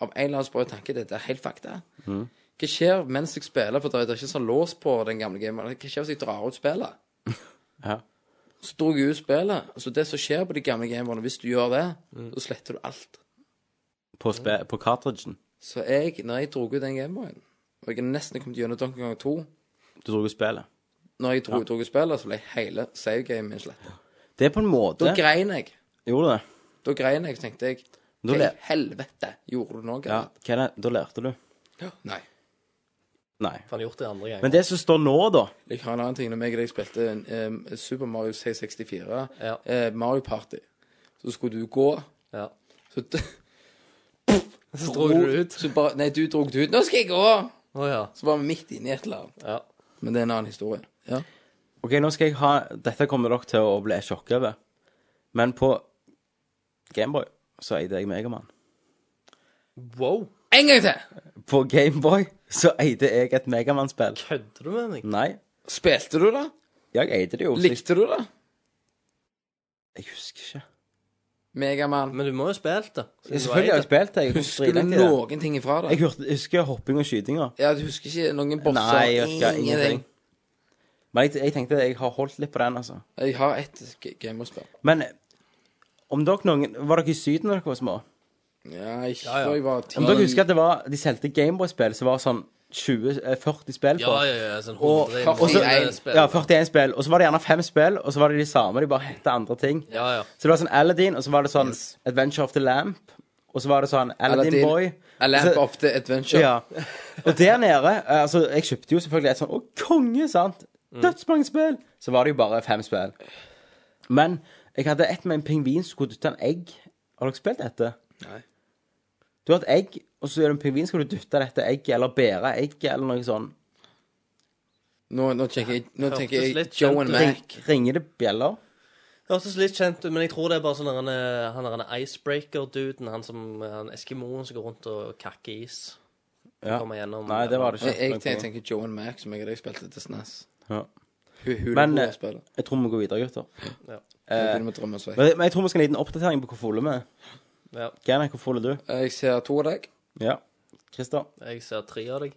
Speaker 8: av en eller annen sprø tanke dette er helt fakta.
Speaker 13: Mm.
Speaker 8: Hva skjer mens jeg spiller, for det er ikke sånn lås på den gamle gamen. Hva skjer hvis jeg drar ut spillet?
Speaker 7: Ja.
Speaker 8: Så dro jeg ut spillet. Så det som skjer på de gamle gamerne, hvis du gjør det, så sletter du alt.
Speaker 7: På, spe- på cartridgen.
Speaker 8: Så jeg, når jeg dro ut den gameboyen, og jeg er nesten kommet gjennom Donkey Kong 2
Speaker 7: Du dro jo spillet.
Speaker 8: Når jeg dro, dro ut spillet, så ble hele savegamen min sletta.
Speaker 7: Det er på en måte
Speaker 8: Da grein jeg.
Speaker 7: Gjorde du det?
Speaker 8: Da grein jeg, så tenkte jeg
Speaker 7: Da
Speaker 8: Hva i
Speaker 7: le-
Speaker 8: helvete gjorde du nå?
Speaker 7: Ja. Hva er det? Da lærte du?
Speaker 8: Nei.
Speaker 7: Nei.
Speaker 9: For han gjort det andre ganger.
Speaker 7: Men det som står nå, da
Speaker 8: Jeg har en annen ting. Når meg og deg spilte eh, Super Mario C64, eh, Mario Party, så skulle du gå. Så, d-
Speaker 9: Så dro du det ut.
Speaker 8: Så bare, nei, du dro det ut. 'Nå skal jeg gå!'
Speaker 9: Å ja.
Speaker 8: Så var vi midt inne i et eller annet. Men det er en annen historie. Ja.
Speaker 7: OK, nå skal jeg ha Dette kommer dere til å bli sjokka over. Men på Gameboy så eide jeg Megaman.
Speaker 9: Wow.
Speaker 8: En gang til!
Speaker 7: På Gameboy så eide jeg et Megaman-spill.
Speaker 9: Kødder du med meg?
Speaker 7: Nei.
Speaker 8: Spilte du det?
Speaker 7: Ja, jeg eide det jo. så jeg-
Speaker 8: Likte du det?
Speaker 7: Jeg husker ikke.
Speaker 8: Megaman.
Speaker 9: Men du må jo ha spilt det.
Speaker 7: Ja, selvfølgelig har jeg spilt det. Jeg
Speaker 8: Husker du
Speaker 7: driter i det.
Speaker 8: noen ting ifra det?
Speaker 7: Jeg hørte- husker hopping og skytinger.
Speaker 8: Ja, du husker ikke noen bosser?
Speaker 7: Nei, jeg husker ingenting. Men jeg, jeg tenkte jeg har holdt litt på den, altså.
Speaker 8: Jeg har ett g- gamerspill.
Speaker 7: Men eh, om dere noen Var dere i Syden da dere var små?
Speaker 8: Ja, ikke før jeg var ti.
Speaker 7: Om dere husker at det var de solgte Gameboy-spill som var sånn 20, eh, 40 spill på?
Speaker 9: Ja, ja, ja. Sånn
Speaker 7: Og,
Speaker 9: 100
Speaker 7: og så,
Speaker 9: 41 spill.
Speaker 7: ja, 41 spill. Og så var det gjerne fem spill, og så var det de samme, de bare hette andre ting.
Speaker 9: Ja, ja.
Speaker 7: Så det var sånn Aladdin, og så var det sånn Adventure of the Lamp, og så var det sånn Aladdin,
Speaker 8: Aladdin,
Speaker 7: Boy.
Speaker 8: A Lamp
Speaker 7: Og så-
Speaker 8: of the Adventure.
Speaker 7: altså- Ja. Og der nede eh, Altså, jeg kjøpte jo selvfølgelig et sånn Å, konge, sant? Dødsmange spill! Så var det jo bare fem spill. Men jeg hadde et med en pingvin som kunne dytte en egg. Har dere spilt dette?
Speaker 8: Nei.
Speaker 7: Du har et egg, og så er det en pingvin som kunne dytte dette egget, eller bære egget, eller noe sånn.
Speaker 8: Nå, nå tenker jeg, nå
Speaker 9: Hørtes
Speaker 8: tenker jeg
Speaker 9: litt
Speaker 8: Joe
Speaker 9: kjent
Speaker 8: and
Speaker 9: ut.
Speaker 8: Mac.
Speaker 7: Ringer det bjeller?
Speaker 9: Det hørtes litt kjent ut, men jeg tror det er bare sånn der han er- han er en icebreaker-duden. Han som han eskimoen som går rundt og kakker is.
Speaker 7: Ja.
Speaker 9: Kommer gjennom
Speaker 7: Nei, det var det
Speaker 8: Jeg,
Speaker 7: ikke.
Speaker 8: jeg tenker, tenker Joe and Mac, som jeg og deg spilte til SNES.
Speaker 7: Ja.
Speaker 8: Hun, hun
Speaker 7: Men
Speaker 8: er
Speaker 7: eh,
Speaker 8: god spiller.
Speaker 7: jeg tror vi går videre, gutter.
Speaker 9: Ja.
Speaker 8: Nå
Speaker 7: Eh,
Speaker 8: begynner vi å drømme oss vekk.
Speaker 7: men, men jeg tror vi skal ha en liten oppdatering på hvor fulle vi er.
Speaker 9: Ja.
Speaker 7: Gerne, hvor full er du?
Speaker 8: Eh, Jeg ser to av deg.
Speaker 7: Ja. Christer.
Speaker 9: Jeg ser tre av deg.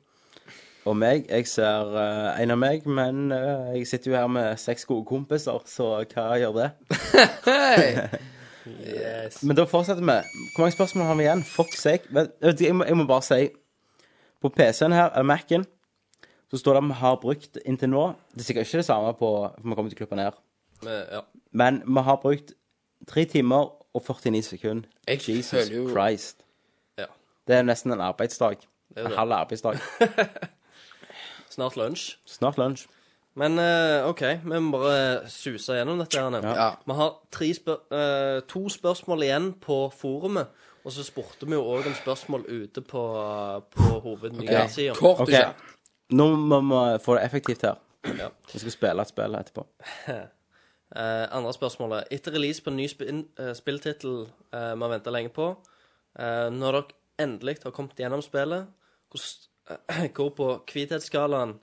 Speaker 7: Og meg. Jeg ser eh, en av meg, men eh, jeg sitter jo her med seks gode kompiser, så hva gjør det? [LAUGHS]
Speaker 9: Yes.
Speaker 7: Men da fortsetter vi. Hvor mange spørsmål har vi igjen? Fuck sake. Vet- vet du, Jeg, må- jeg må bare si På PC-en her, eller Mac-en, så står det at vi har brukt inntil nå Det er sikkert ikke det samme på For vi kommer til å klippe ned.
Speaker 9: Men, ja.
Speaker 7: Men vi har brukt 3 timer og 49 sekunder.
Speaker 8: Jeg
Speaker 7: Jesus
Speaker 8: føler jo-
Speaker 7: Christ.
Speaker 9: Ja.
Speaker 7: Det er nesten en arbeidsdag.
Speaker 9: er
Speaker 7: En
Speaker 9: det.
Speaker 7: halv arbeidsdag.
Speaker 9: Snart lunsj.
Speaker 7: Snart lunsj.
Speaker 9: Men eh, OK, vi må bare suse gjennom dette. her nå. Vi har tre spør eh, to spørsmål igjen på forumet. Og så spurte vi jo òg om spørsmål ute på, på hovednyhetssida.
Speaker 7: Ok. Nå må vi få det effektivt her. Vi skal spille et spill etterpå.
Speaker 9: Eh, andre spørsmålet. Etter release på en ny spin, eh, spilltittel eh, vi har venta lenge på, eh, når dere endelig har kommet gjennom spillet, hvor, s- eh, [CLEARS THROAT] hvor på kvithetsskalaen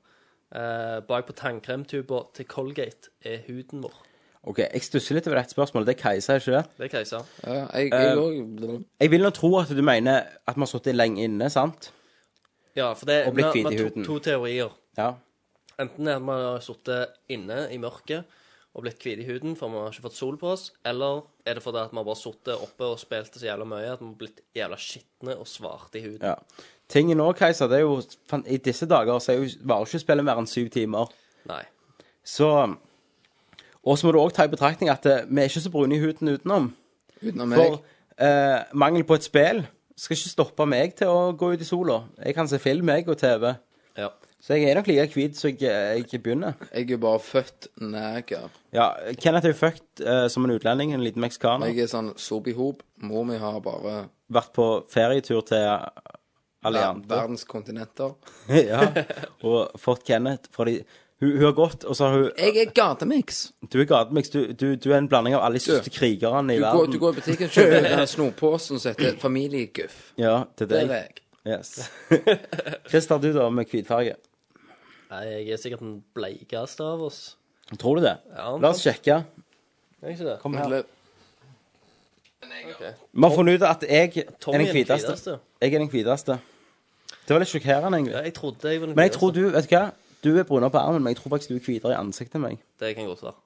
Speaker 9: eh, bak på tannkremtuber til Colgate er huden vår?
Speaker 7: Ok, Jeg stusser litt over ett spørsmål. Det er Kajsa, ikke det?
Speaker 9: Det er keiser.
Speaker 7: Eh, jeg vil nå tro at du mener at vi har sittet lenge inne, sant?
Speaker 9: Ja, for det
Speaker 7: Og blitt
Speaker 9: vi har-
Speaker 7: hvit i
Speaker 9: vi har
Speaker 7: huden.
Speaker 9: To, to teorier.
Speaker 7: Ja.
Speaker 9: Enten er at vi har sittet inne i mørket og blitt hvite i huden for vi har ikke fått sol på oss, eller er det fordi at vi har bare sittet oppe og spilt så jævla mye at vi har blitt jævla skitne og svarte i huden.
Speaker 7: ja. Tingen nå, Kajsa, det er jo fan, I disse dager så er jo, varer ikke spillet mer enn syv timer.
Speaker 9: Nei.
Speaker 7: Så Og så må du òg ta i betraktning at eh, vi er ikke så brune i huden utenom.
Speaker 8: Utenom
Speaker 7: For eh, mangel på et spill skal ikke stoppe meg til å gå ut i sola. Jeg kan se film, jeg, og TV.
Speaker 9: Ja.
Speaker 7: Så jeg er nok like hvit som jeg, jeg begynner.
Speaker 8: Jeg er bare født neger.
Speaker 7: Ja, Kenneth er jo fucked eh, som en utlending, en liten meksikaner.
Speaker 8: Jeg er sånn sobihop. Mor mi har bare
Speaker 7: Vært på ferietur til
Speaker 8: ver-
Speaker 7: Alliante.
Speaker 8: verdens kontinenter.
Speaker 7: [LAUGHS] ja. Og fått Kenneth fra de hun, hun har gått, og så har hun
Speaker 8: Jeg er gatemix.
Speaker 7: Du er gatemix. Du, du, du er en blanding av alle de største krigerne i
Speaker 8: Du går,
Speaker 7: verden.
Speaker 8: du går i butikken og kjøper den snoposen som heter Familieguff.
Speaker 7: Ja, til
Speaker 8: Det
Speaker 7: deg.
Speaker 8: er jeg.
Speaker 7: [LAUGHS] Yes. Christer, du da, med hvitfarge.
Speaker 9: Nei, jeg er sikkert den bleikeste av oss.
Speaker 7: Tror du det?
Speaker 9: Ja,
Speaker 7: La oss sjekke.
Speaker 9: Er jeg ikke det?
Speaker 7: Kom her.
Speaker 9: Ok.
Speaker 7: Vi har funnet ut at jeg
Speaker 9: Tommy
Speaker 7: er den hviteste.
Speaker 9: hviteste.
Speaker 7: Jeg er den hviteste. Det var litt sjokkerende,
Speaker 9: Ja,
Speaker 7: egentlig.
Speaker 9: jeg trodde jeg var den
Speaker 7: Men jeg
Speaker 9: hviteste.
Speaker 7: tror du Vet du hva? Du er brunere på armen, men jeg tror faktisk du er hvitere i ansiktet enn meg.
Speaker 9: Det kan godt være.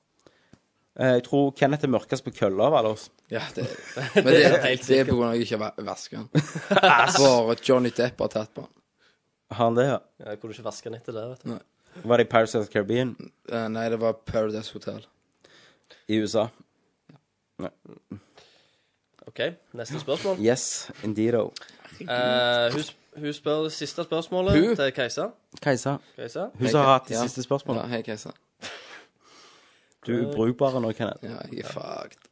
Speaker 7: Eh, Jeg tror Kenneth er mørkest på kølla av alle oss.
Speaker 8: Ja, det, men det,
Speaker 7: Det er
Speaker 8: det,
Speaker 7: helt
Speaker 8: er på grunn av at jeg ikke va- vasker den. For Johnny Depp har tatt på den.
Speaker 7: Har han det, ja?
Speaker 9: Ja, Jeg kunne ikke vaske den etter det, vet du.
Speaker 8: Nei.
Speaker 7: Var det i Paris of the Caribbean
Speaker 8: Eh, Nei, det var Paradise Hotel.
Speaker 7: i USA? Nei.
Speaker 9: OK, neste
Speaker 7: [LAUGHS]
Speaker 9: spørsmål.
Speaker 7: Yes, indeedo.
Speaker 9: Eh, hun, sp- hun spør det siste spørsmålet
Speaker 7: Hun?
Speaker 9: til Kajsa.
Speaker 7: Kajsa,
Speaker 9: Kajsa?
Speaker 7: hun som har hatt de siste
Speaker 8: Ja,
Speaker 7: spørsmålene.
Speaker 8: hei, Keiser.
Speaker 7: Du er brukbar nå, Kenneth.
Speaker 8: Ja, jeg er fucked.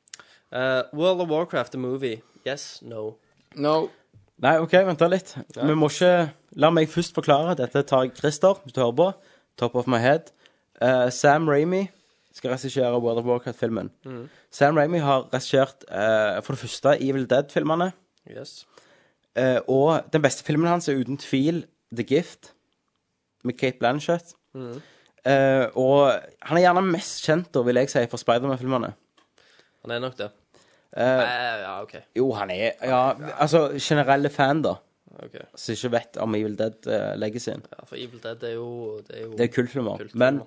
Speaker 9: Eh, World of Warcraft the movie. Yes, no.
Speaker 8: No.
Speaker 7: Nei, OK, vent da litt. Vi må ikke La meg først forklare. Dette tar jeg Christer, hvis du hører på. Top of my head. Eh, Sam Ramy skal regissere World of Warcraft-filmen.
Speaker 9: Mhm.
Speaker 7: Sam Ramy har regissert eh, for det første Evil Dead-filmene.
Speaker 9: Yes.
Speaker 7: eh, og den beste filmen hans er uten tvil The Gift, med Kate Blanchett.
Speaker 9: Mhm.
Speaker 7: Eh, og han er gjerne mest kjent, da, vil jeg si, for Spiderman-filmene.
Speaker 9: Han er nok det.
Speaker 7: Eh,
Speaker 9: Eh, ja, OK.
Speaker 7: jo, han er Ja, altså generelle fan, da.
Speaker 9: ok.
Speaker 7: Som ikke vet om Evil Dead uh, legges inn.
Speaker 9: Ja, for Evil Dead er jo Det er jo,
Speaker 7: Det er kultfilmer.
Speaker 9: kultfilmer.
Speaker 7: Men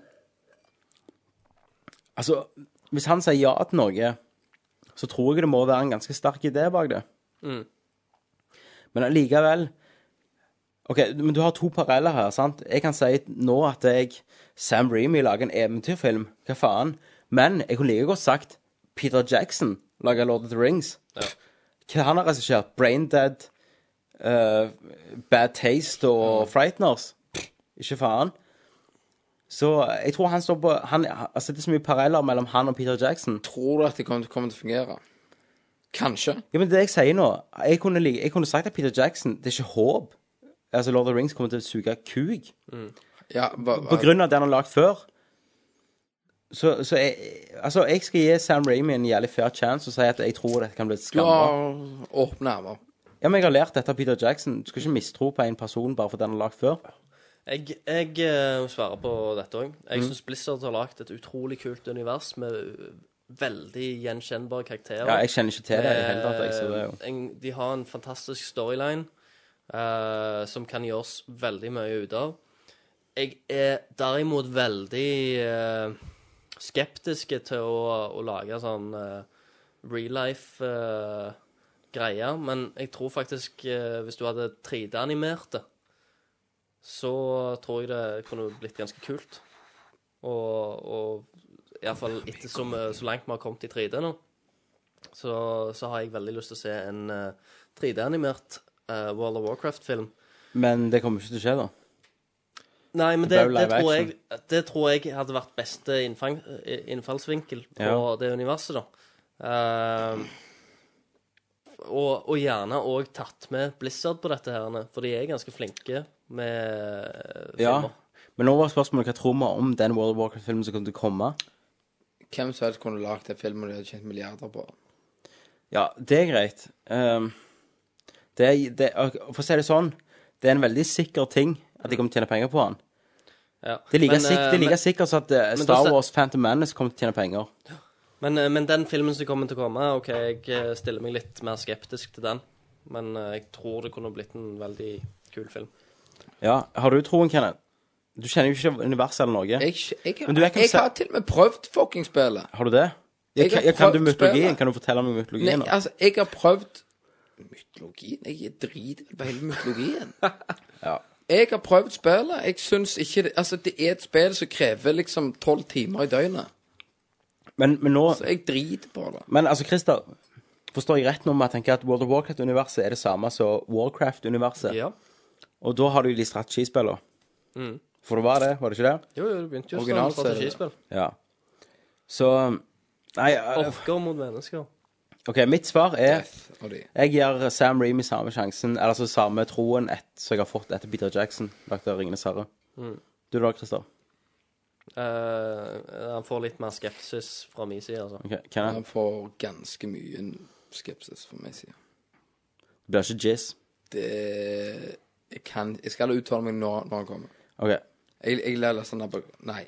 Speaker 7: altså, hvis han sier ja til noe, så tror jeg det må være en ganske sterk idé bak det.
Speaker 9: Mm.
Speaker 7: Men allikevel OK, men du har to paralleller her, sant? Jeg kan si nå at jeg Sam Remy lager en eventyrfilm. Hva faen? Men jeg kunne like godt sagt Peter Jackson lager Lord of the Rings. Hva han har regissert? Braindead, eh, Bad Taste og Frighteners? Ikke faen. Så jeg tror han står på han, altså Det er så mye paralleller mellom han og Peter Jackson.
Speaker 8: Tror du at det kommer til- kommer til å fungere? Kanskje.
Speaker 7: Ja, men det jeg sier nå Jeg kunne, like, jeg kunne sagt at Peter Jackson Det er ikke håp. Altså Lord of the Rings kommer til å suge kuk.
Speaker 8: Ja, hva-
Speaker 7: På grunn av det han har lagd før. Så, så jeg, altså, jeg skal gi Sam Ramy en jævlig fair chance og si at jeg tror dette kan bli et
Speaker 8: Du har
Speaker 7: skambra.
Speaker 8: åpne armer.
Speaker 7: Ja, men jeg har lært dette av Peter Jackson. Du skal ikke mistro på en person bare fordi han har lagd før.
Speaker 9: Jeg, jeg eh, svarer på dette òg. Jeg
Speaker 7: Mm.
Speaker 9: synes syns Blizzard har lagd et utrolig kult univers med eh, veldig gjenkjennbare karakterer.
Speaker 7: Ja, jeg kjenner ikke til det i det hele tatt, jeg, så det er jo-
Speaker 9: Eh, en, de har en fantastisk storyline eh, som kan gjøres veldig mye ut av. Jeg er derimot veldig eh, skeptiske til å, å lage sånn eh, real life eh, greier, men jeg tror faktisk eh, hvis du hadde 3D-animert det, så tror jeg det kunne blitt ganske kult. Og, og iallfall etter som, eh, så langt vi har kommet i 3D nå, så, så har jeg veldig lyst til å se en eh, 3D-animert eh, World of Warcraft-film.
Speaker 7: Eh, Men det kommer ikke til å skje, da.
Speaker 9: Nei, men
Speaker 7: Det
Speaker 9: det,
Speaker 7: ble jo
Speaker 9: det,
Speaker 7: live
Speaker 9: tror jeg,
Speaker 7: action.
Speaker 9: det tror jeg hadde vært beste innfang, eh, innfallsvinkel på
Speaker 7: Ja.
Speaker 9: det universet, da. Ehm, og, og gjerne òg tatt med Blizzard på dette, her, for de er ganske flinke med eh,
Speaker 7: Ja.
Speaker 9: filmer.
Speaker 7: Men nå var spørsmålet hva tror vi om den World of Warcraft-filmen som kommer til å komme?
Speaker 8: Hvem som helst kunne lagd en film og de hadde tjent milliarder på.
Speaker 7: Ja, det er greit. Ehm, det er, det, og for å si det sånn, det er en veldig sikker ting at de kommer til å tjene penger på den.
Speaker 9: Ja.
Speaker 7: Det er like,
Speaker 9: Men,
Speaker 7: sikk-
Speaker 9: eh,
Speaker 7: det er like
Speaker 9: men-
Speaker 7: sikkert som at eh,
Speaker 9: men da
Speaker 7: Star
Speaker 9: se-
Speaker 7: Wars Phantom Menace kommer til å tjene penger.
Speaker 9: Men, eh, men den filmen som kommer til å komme, ok, jeg eh, stiller meg litt mer skeptisk til den. Men eh, jeg tror det kunne blitt en veldig kul film.
Speaker 7: Ja, Har du troen, Kenneth? Du kjenner jo ikke universet eller noe.
Speaker 8: Jeg, jeg,
Speaker 7: Men du er
Speaker 8: jeg,
Speaker 7: ikke så-
Speaker 8: har til og med prøvd fucking spillet.
Speaker 7: Har du det?
Speaker 8: Jeg
Speaker 7: Jeg,
Speaker 8: har
Speaker 7: kan- jeg, kan du
Speaker 8: prøvd
Speaker 7: mytologien?
Speaker 8: spillet.
Speaker 7: Kan du fortelle meg om
Speaker 8: Nei,
Speaker 7: mytologien? da?
Speaker 8: altså, jeg har prøvd Mytologien? Jeg driter vel på hele mytologien.
Speaker 7: [LAUGHS] ja.
Speaker 8: Jeg har prøvd spillet. Jeg syns ikke det Altså, det er et spill som krever liksom tolv timer i døgnet.
Speaker 7: Men, men nå
Speaker 8: Så jeg driter på det.
Speaker 7: Men altså, Christer, forstår jeg rett nå med å tenke at World of Warcraft-universet er det samme som Warcraft-universet?
Speaker 9: Ja.
Speaker 7: Og da har du de strategispillene.
Speaker 9: Mm.
Speaker 7: For det var det, var det ikke det?
Speaker 9: Jo, jo, det begynte jo som
Speaker 7: Originalt så er det det.
Speaker 9: strategispill.
Speaker 7: Ja. Så Nei, eh,
Speaker 9: Orker mot mennesker.
Speaker 7: OK, mitt svar er
Speaker 8: og de.
Speaker 7: Jeg gir Sam Reamy samme sjansen, eller altså samme troen et, som jeg har fått etter Peter Jackson, lagt av Ringenes herre.
Speaker 9: Mm.
Speaker 7: Du da, Christer?
Speaker 9: Eh, han får litt mer skepsis fra min side, altså.
Speaker 7: Ok, Kenneth?
Speaker 8: Han får ganske mye skepsis fra min side.
Speaker 7: Det blir ikke jizz.
Speaker 8: Det Jeg kan Jeg skal uttale meg når, når han kommer.
Speaker 7: OK.
Speaker 8: Jeg, jeg lar lese den der bak- Nei.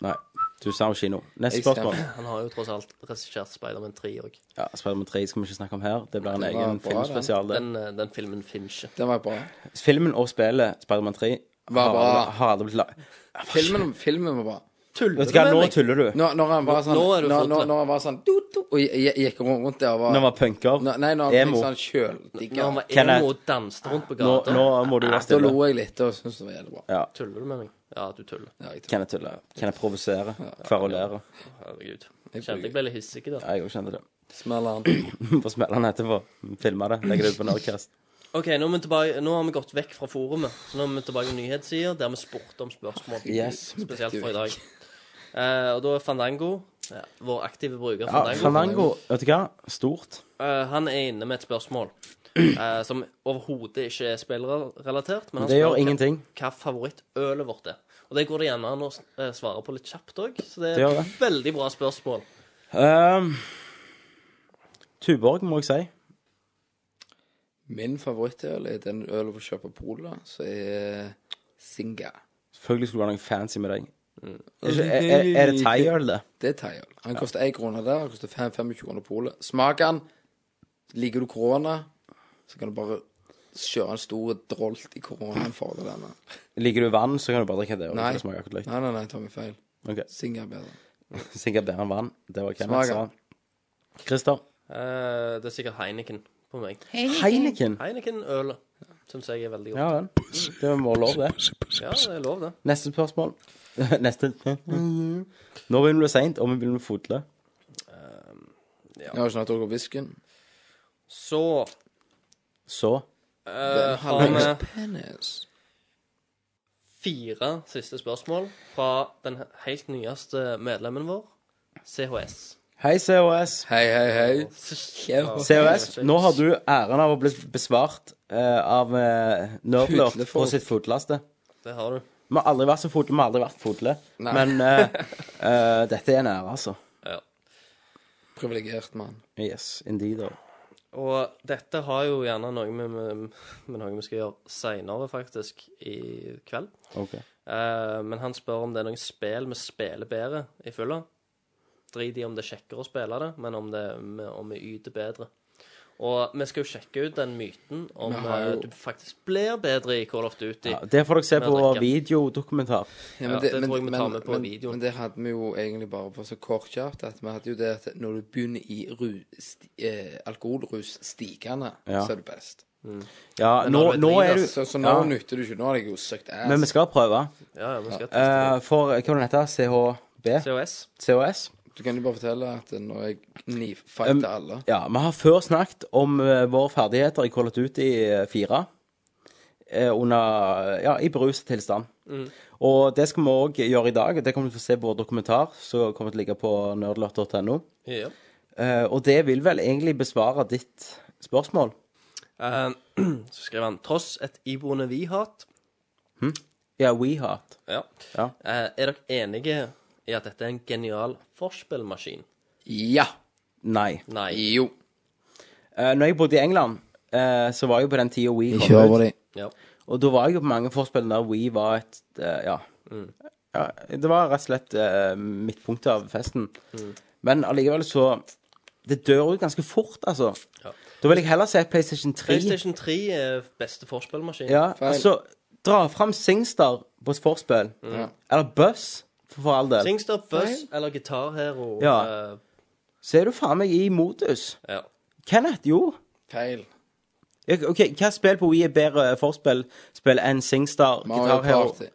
Speaker 7: Nei. Du sa jo kino. Neste
Speaker 9: Jeg
Speaker 7: spørsmål.
Speaker 9: stemmer. Han har jo tross alt regissert Spiderman 3 òg.
Speaker 7: Ja, Spiderman 3 skal vi ikke snakke om her. Det blir en
Speaker 9: Det var
Speaker 7: egen
Speaker 9: bra, den.
Speaker 7: filmspesial. det.
Speaker 9: Den, eh, den filmen finnes ikke.
Speaker 8: [LAUGHS] Den var bra.
Speaker 7: Filmen og spillet Spiderman 3
Speaker 8: Var
Speaker 7: har,
Speaker 8: bra.
Speaker 7: aldri- har aldri blitt lag...
Speaker 8: Filmen, filmen var bra.
Speaker 9: Tuller
Speaker 7: Vet du hva, nå tuller du.
Speaker 8: Når, når han var sånn
Speaker 7: Nå er du
Speaker 8: når,
Speaker 7: flott,
Speaker 8: når,
Speaker 7: det.
Speaker 8: når han var sånn du, du, Og jeg, jeg gikk rundt der og var
Speaker 7: Når han var punker.
Speaker 8: Nå- Nei, når han
Speaker 7: Emo.
Speaker 8: fikk sånn kjøldigger.
Speaker 9: Når han var
Speaker 7: Kenneth.
Speaker 9: emo og danste rundt på
Speaker 7: Nå,
Speaker 9: gata.
Speaker 7: nå må du være
Speaker 8: Da
Speaker 7: stille.
Speaker 8: lo jeg litt og syntes det var jævlig bra.
Speaker 7: Ja.
Speaker 9: Tuller du med meg? Ja, du tuller.
Speaker 7: Kan jeg tulle? Kan jeg provosere? Kverulere?
Speaker 9: Herregud. Jeg kjente jeg ble litt hissig i dag.
Speaker 7: Ja, jeg òg kjente det. [LAUGHS]
Speaker 8: Smeller
Speaker 7: Få smelle han etterpå. Filme det. Legge det ut på Nerdcast.
Speaker 9: OK, nå, er vi tilbake, nå har vi gått vekk fra forumet. Så nå er vi tilbake på nyhetssida, der vi spurte om spørsmål.
Speaker 7: Yes.
Speaker 9: Spesielt for i dag. Eh, og da er Fandango, ja, vår aktive bruker
Speaker 7: Ja, Fandango, vet du hva? Stort.
Speaker 9: Eh, han er inne med et spørsmål eh, som overhodet ikke er spillrelatert. Men han
Speaker 7: Det gjør
Speaker 9: spør hva-
Speaker 7: ingenting.
Speaker 9: hva favorittølet vårt er. Og det går det gjerne an å s- eh, svare på litt kjapt òg, så det er
Speaker 7: Det gjør
Speaker 9: et veldig bra spørsmål.
Speaker 7: Um, Tuborg, må jeg si.
Speaker 8: Min favorittøl er den ølen du får kjøpe på polet, som er Singa.
Speaker 7: Selvfølgelig skulle det være noe fancy med deg.
Speaker 8: Mm.
Speaker 7: Er, ikke- er, er, er det thaiøl, det?
Speaker 8: Det er thaiøl. Han koster én krone der, han koster fem- 25 kroner på polet. Smak den. Liker du korona, så kan du bare kjøre en stor drolt i koronaen for deg denne.
Speaker 7: Liker du vann, så kan du bare drikke det. og
Speaker 8: Nei.
Speaker 7: Det smaker akkurat likt.
Speaker 8: Nei, nei, nei, tar meg feil.
Speaker 7: Ok.
Speaker 8: Singa er bedre.
Speaker 7: Sikkert bedre enn vann. Det var Kenneth
Speaker 9: Smaker.
Speaker 7: sa. Christer.
Speaker 9: Eh, det er sikkert Heineken på meg.
Speaker 7: Heineken?
Speaker 9: Heineken-ølet syns jeg er veldig godt.
Speaker 7: Ja vel. Det må være lov, det.
Speaker 9: Ja, det er lov, det.
Speaker 7: Neste spørsmål. [LAUGHS] Neste. Nå begynner det seint, og vi begynner med fotle.
Speaker 8: Jeg har ikke drukket whiskyen.
Speaker 9: Så
Speaker 7: Så
Speaker 9: eh,
Speaker 8: Den
Speaker 9: har
Speaker 8: halve
Speaker 9: vi
Speaker 8: penis.
Speaker 9: fire siste spørsmål fra den helt nyeste medlemmen vår, CHS.
Speaker 7: Hei, COS.
Speaker 8: Hei, hei, hei.
Speaker 7: COS, nå har du æren av å bli besvart eh, av uh, Nerdlord på
Speaker 9: Fotlefolk.
Speaker 7: sitt fotlaste.
Speaker 9: Det har du.
Speaker 7: Vi har aldri vært så fotle, vi har aldri vært fotle.
Speaker 9: Nei.
Speaker 7: Men eh, eh, dette er en ære, altså.
Speaker 9: Ja.
Speaker 8: Privilegert mann.
Speaker 7: Yes, indeed. oh.
Speaker 9: Og dette har jo gjerne noe med, med, med noe vi skal gjøre seinere, faktisk, i kveld.
Speaker 7: Ok.
Speaker 9: Eh, men han spør om det er noen spill vi spiller bedre i fylla. Drit i om det er kjekkere å spille det, men om, det, med- om vi yter bedre. Og vi skal jo sjekke ut den myten om
Speaker 7: Vi har
Speaker 9: eh,
Speaker 7: jo-
Speaker 9: du faktisk blir bedre i Call of Duty.
Speaker 7: Ja, det får dere se
Speaker 9: med å
Speaker 7: på
Speaker 9: drikke.
Speaker 7: videodokumentar.
Speaker 9: Ja, det tror jeg vi tar med på
Speaker 8: men,
Speaker 9: videoen.
Speaker 8: Men det hadde vi jo egentlig bare på så kortkjapt at vi hadde jo det at når du begynner i ru- sti, eh, alkoholrus stigende,
Speaker 7: Ja.
Speaker 8: så er det best.
Speaker 7: Ja,
Speaker 8: Men
Speaker 7: nå,
Speaker 8: når vi
Speaker 7: nå
Speaker 8: driver,
Speaker 7: er du
Speaker 8: altså, Så, så nå
Speaker 7: ja.
Speaker 8: nytter du ikke. Nå har jeg jo søkt ass.
Speaker 7: Men vi skal prøve.
Speaker 9: Ja, ja, vi skal
Speaker 7: Eh, for hva var det den heter? CHB?
Speaker 9: COS.
Speaker 7: COS.
Speaker 8: Du kan jo bare fortelle at når jeg
Speaker 7: Um,
Speaker 8: knivfighter alle
Speaker 7: Ja, vi har før snakket om eh, våre ferdigheter i Call of Duty 4. eh, Under Ja, i beruset tilstand.
Speaker 8: Mm.
Speaker 7: Og det skal vi òg gjøre i dag. og Det kommer du til å se på vår dokumentar, som kommer til å ligge på nerdlot.no.
Speaker 9: Ja.
Speaker 7: Eh, og det vil vel egentlig besvare ditt spørsmål.
Speaker 9: Eh, [CLEARS THROAT] så skrev han Tross et iboende vi-hat
Speaker 7: Hm? Ja, WeHeart.
Speaker 9: ja.
Speaker 7: Ja.
Speaker 9: Eh, Er dere enige i at dette er en genial forspillmaskin?
Speaker 8: Ja.
Speaker 7: Nei.
Speaker 9: Nei.
Speaker 8: Jo.
Speaker 7: Uh, når jeg bodde i England, eh, så var jeg jo på den tida We
Speaker 8: Ikke over det.
Speaker 9: Ja.
Speaker 7: Og da var jeg jo på mange forspill der We var et eh, ja.
Speaker 9: Mm.
Speaker 7: ja. Det var rett og slett eh, midtpunktet av festen.
Speaker 9: Mm.
Speaker 7: Men allikevel så Det dør ut ganske fort, altså.
Speaker 9: Ja.
Speaker 7: Da vil jeg heller se PlayStation 3.
Speaker 9: PlayStation 3 er beste forspillmaskin.
Speaker 7: Ja, altså Dra fram Singstar på et forspill.
Speaker 9: Ja.
Speaker 7: Eller Buzz, for, for all del.
Speaker 9: Singstar, Buzz eller Guitar Hero.
Speaker 7: Ja.
Speaker 9: eh,
Speaker 7: Så er du faen meg i modus.
Speaker 9: Ja.
Speaker 7: Kenneth, jo.
Speaker 8: Feil.
Speaker 7: Ja, Ok, Hva spill på Wii er bedre forspill spill enn Singstar?
Speaker 8: Mario
Speaker 7: Guitar Hero?
Speaker 8: Party.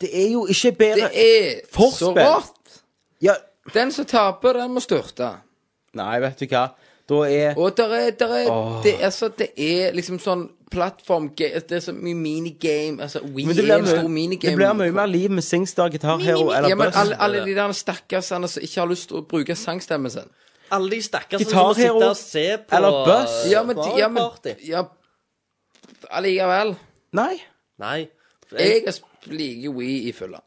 Speaker 7: Det er jo ikke bedre
Speaker 8: Det er så
Speaker 7: forspill.
Speaker 8: rart.
Speaker 7: Ja.
Speaker 8: Den som taper, den må styrte.
Speaker 7: Nei, vet du hva. Da er
Speaker 8: Og der er, der er
Speaker 7: Åh.
Speaker 8: det, er så- det er liksom sånn plattform Det er så mye minigame. Altså, Wii
Speaker 7: Men det
Speaker 8: er
Speaker 7: blir,
Speaker 8: en stor
Speaker 7: mye,
Speaker 8: minigame.
Speaker 7: det blir mye mer liv med Singstar, Guitar Hero eller
Speaker 8: ja, men
Speaker 7: Buzz.
Speaker 8: alle, alle de der stakkarsene som ikke har lyst til å bruke sangstemmen sin.
Speaker 9: Alle de stakkarsene
Speaker 8: Guitar
Speaker 9: som må sitte
Speaker 8: Hero
Speaker 9: og se på
Speaker 8: eller Buzz.
Speaker 9: eh,
Speaker 8: Ja, men de- ja, men-
Speaker 9: Mario Party.
Speaker 8: Ja, allikevel.
Speaker 7: Nei.
Speaker 9: Nei.
Speaker 8: Jeg er- liker Wii i fylla.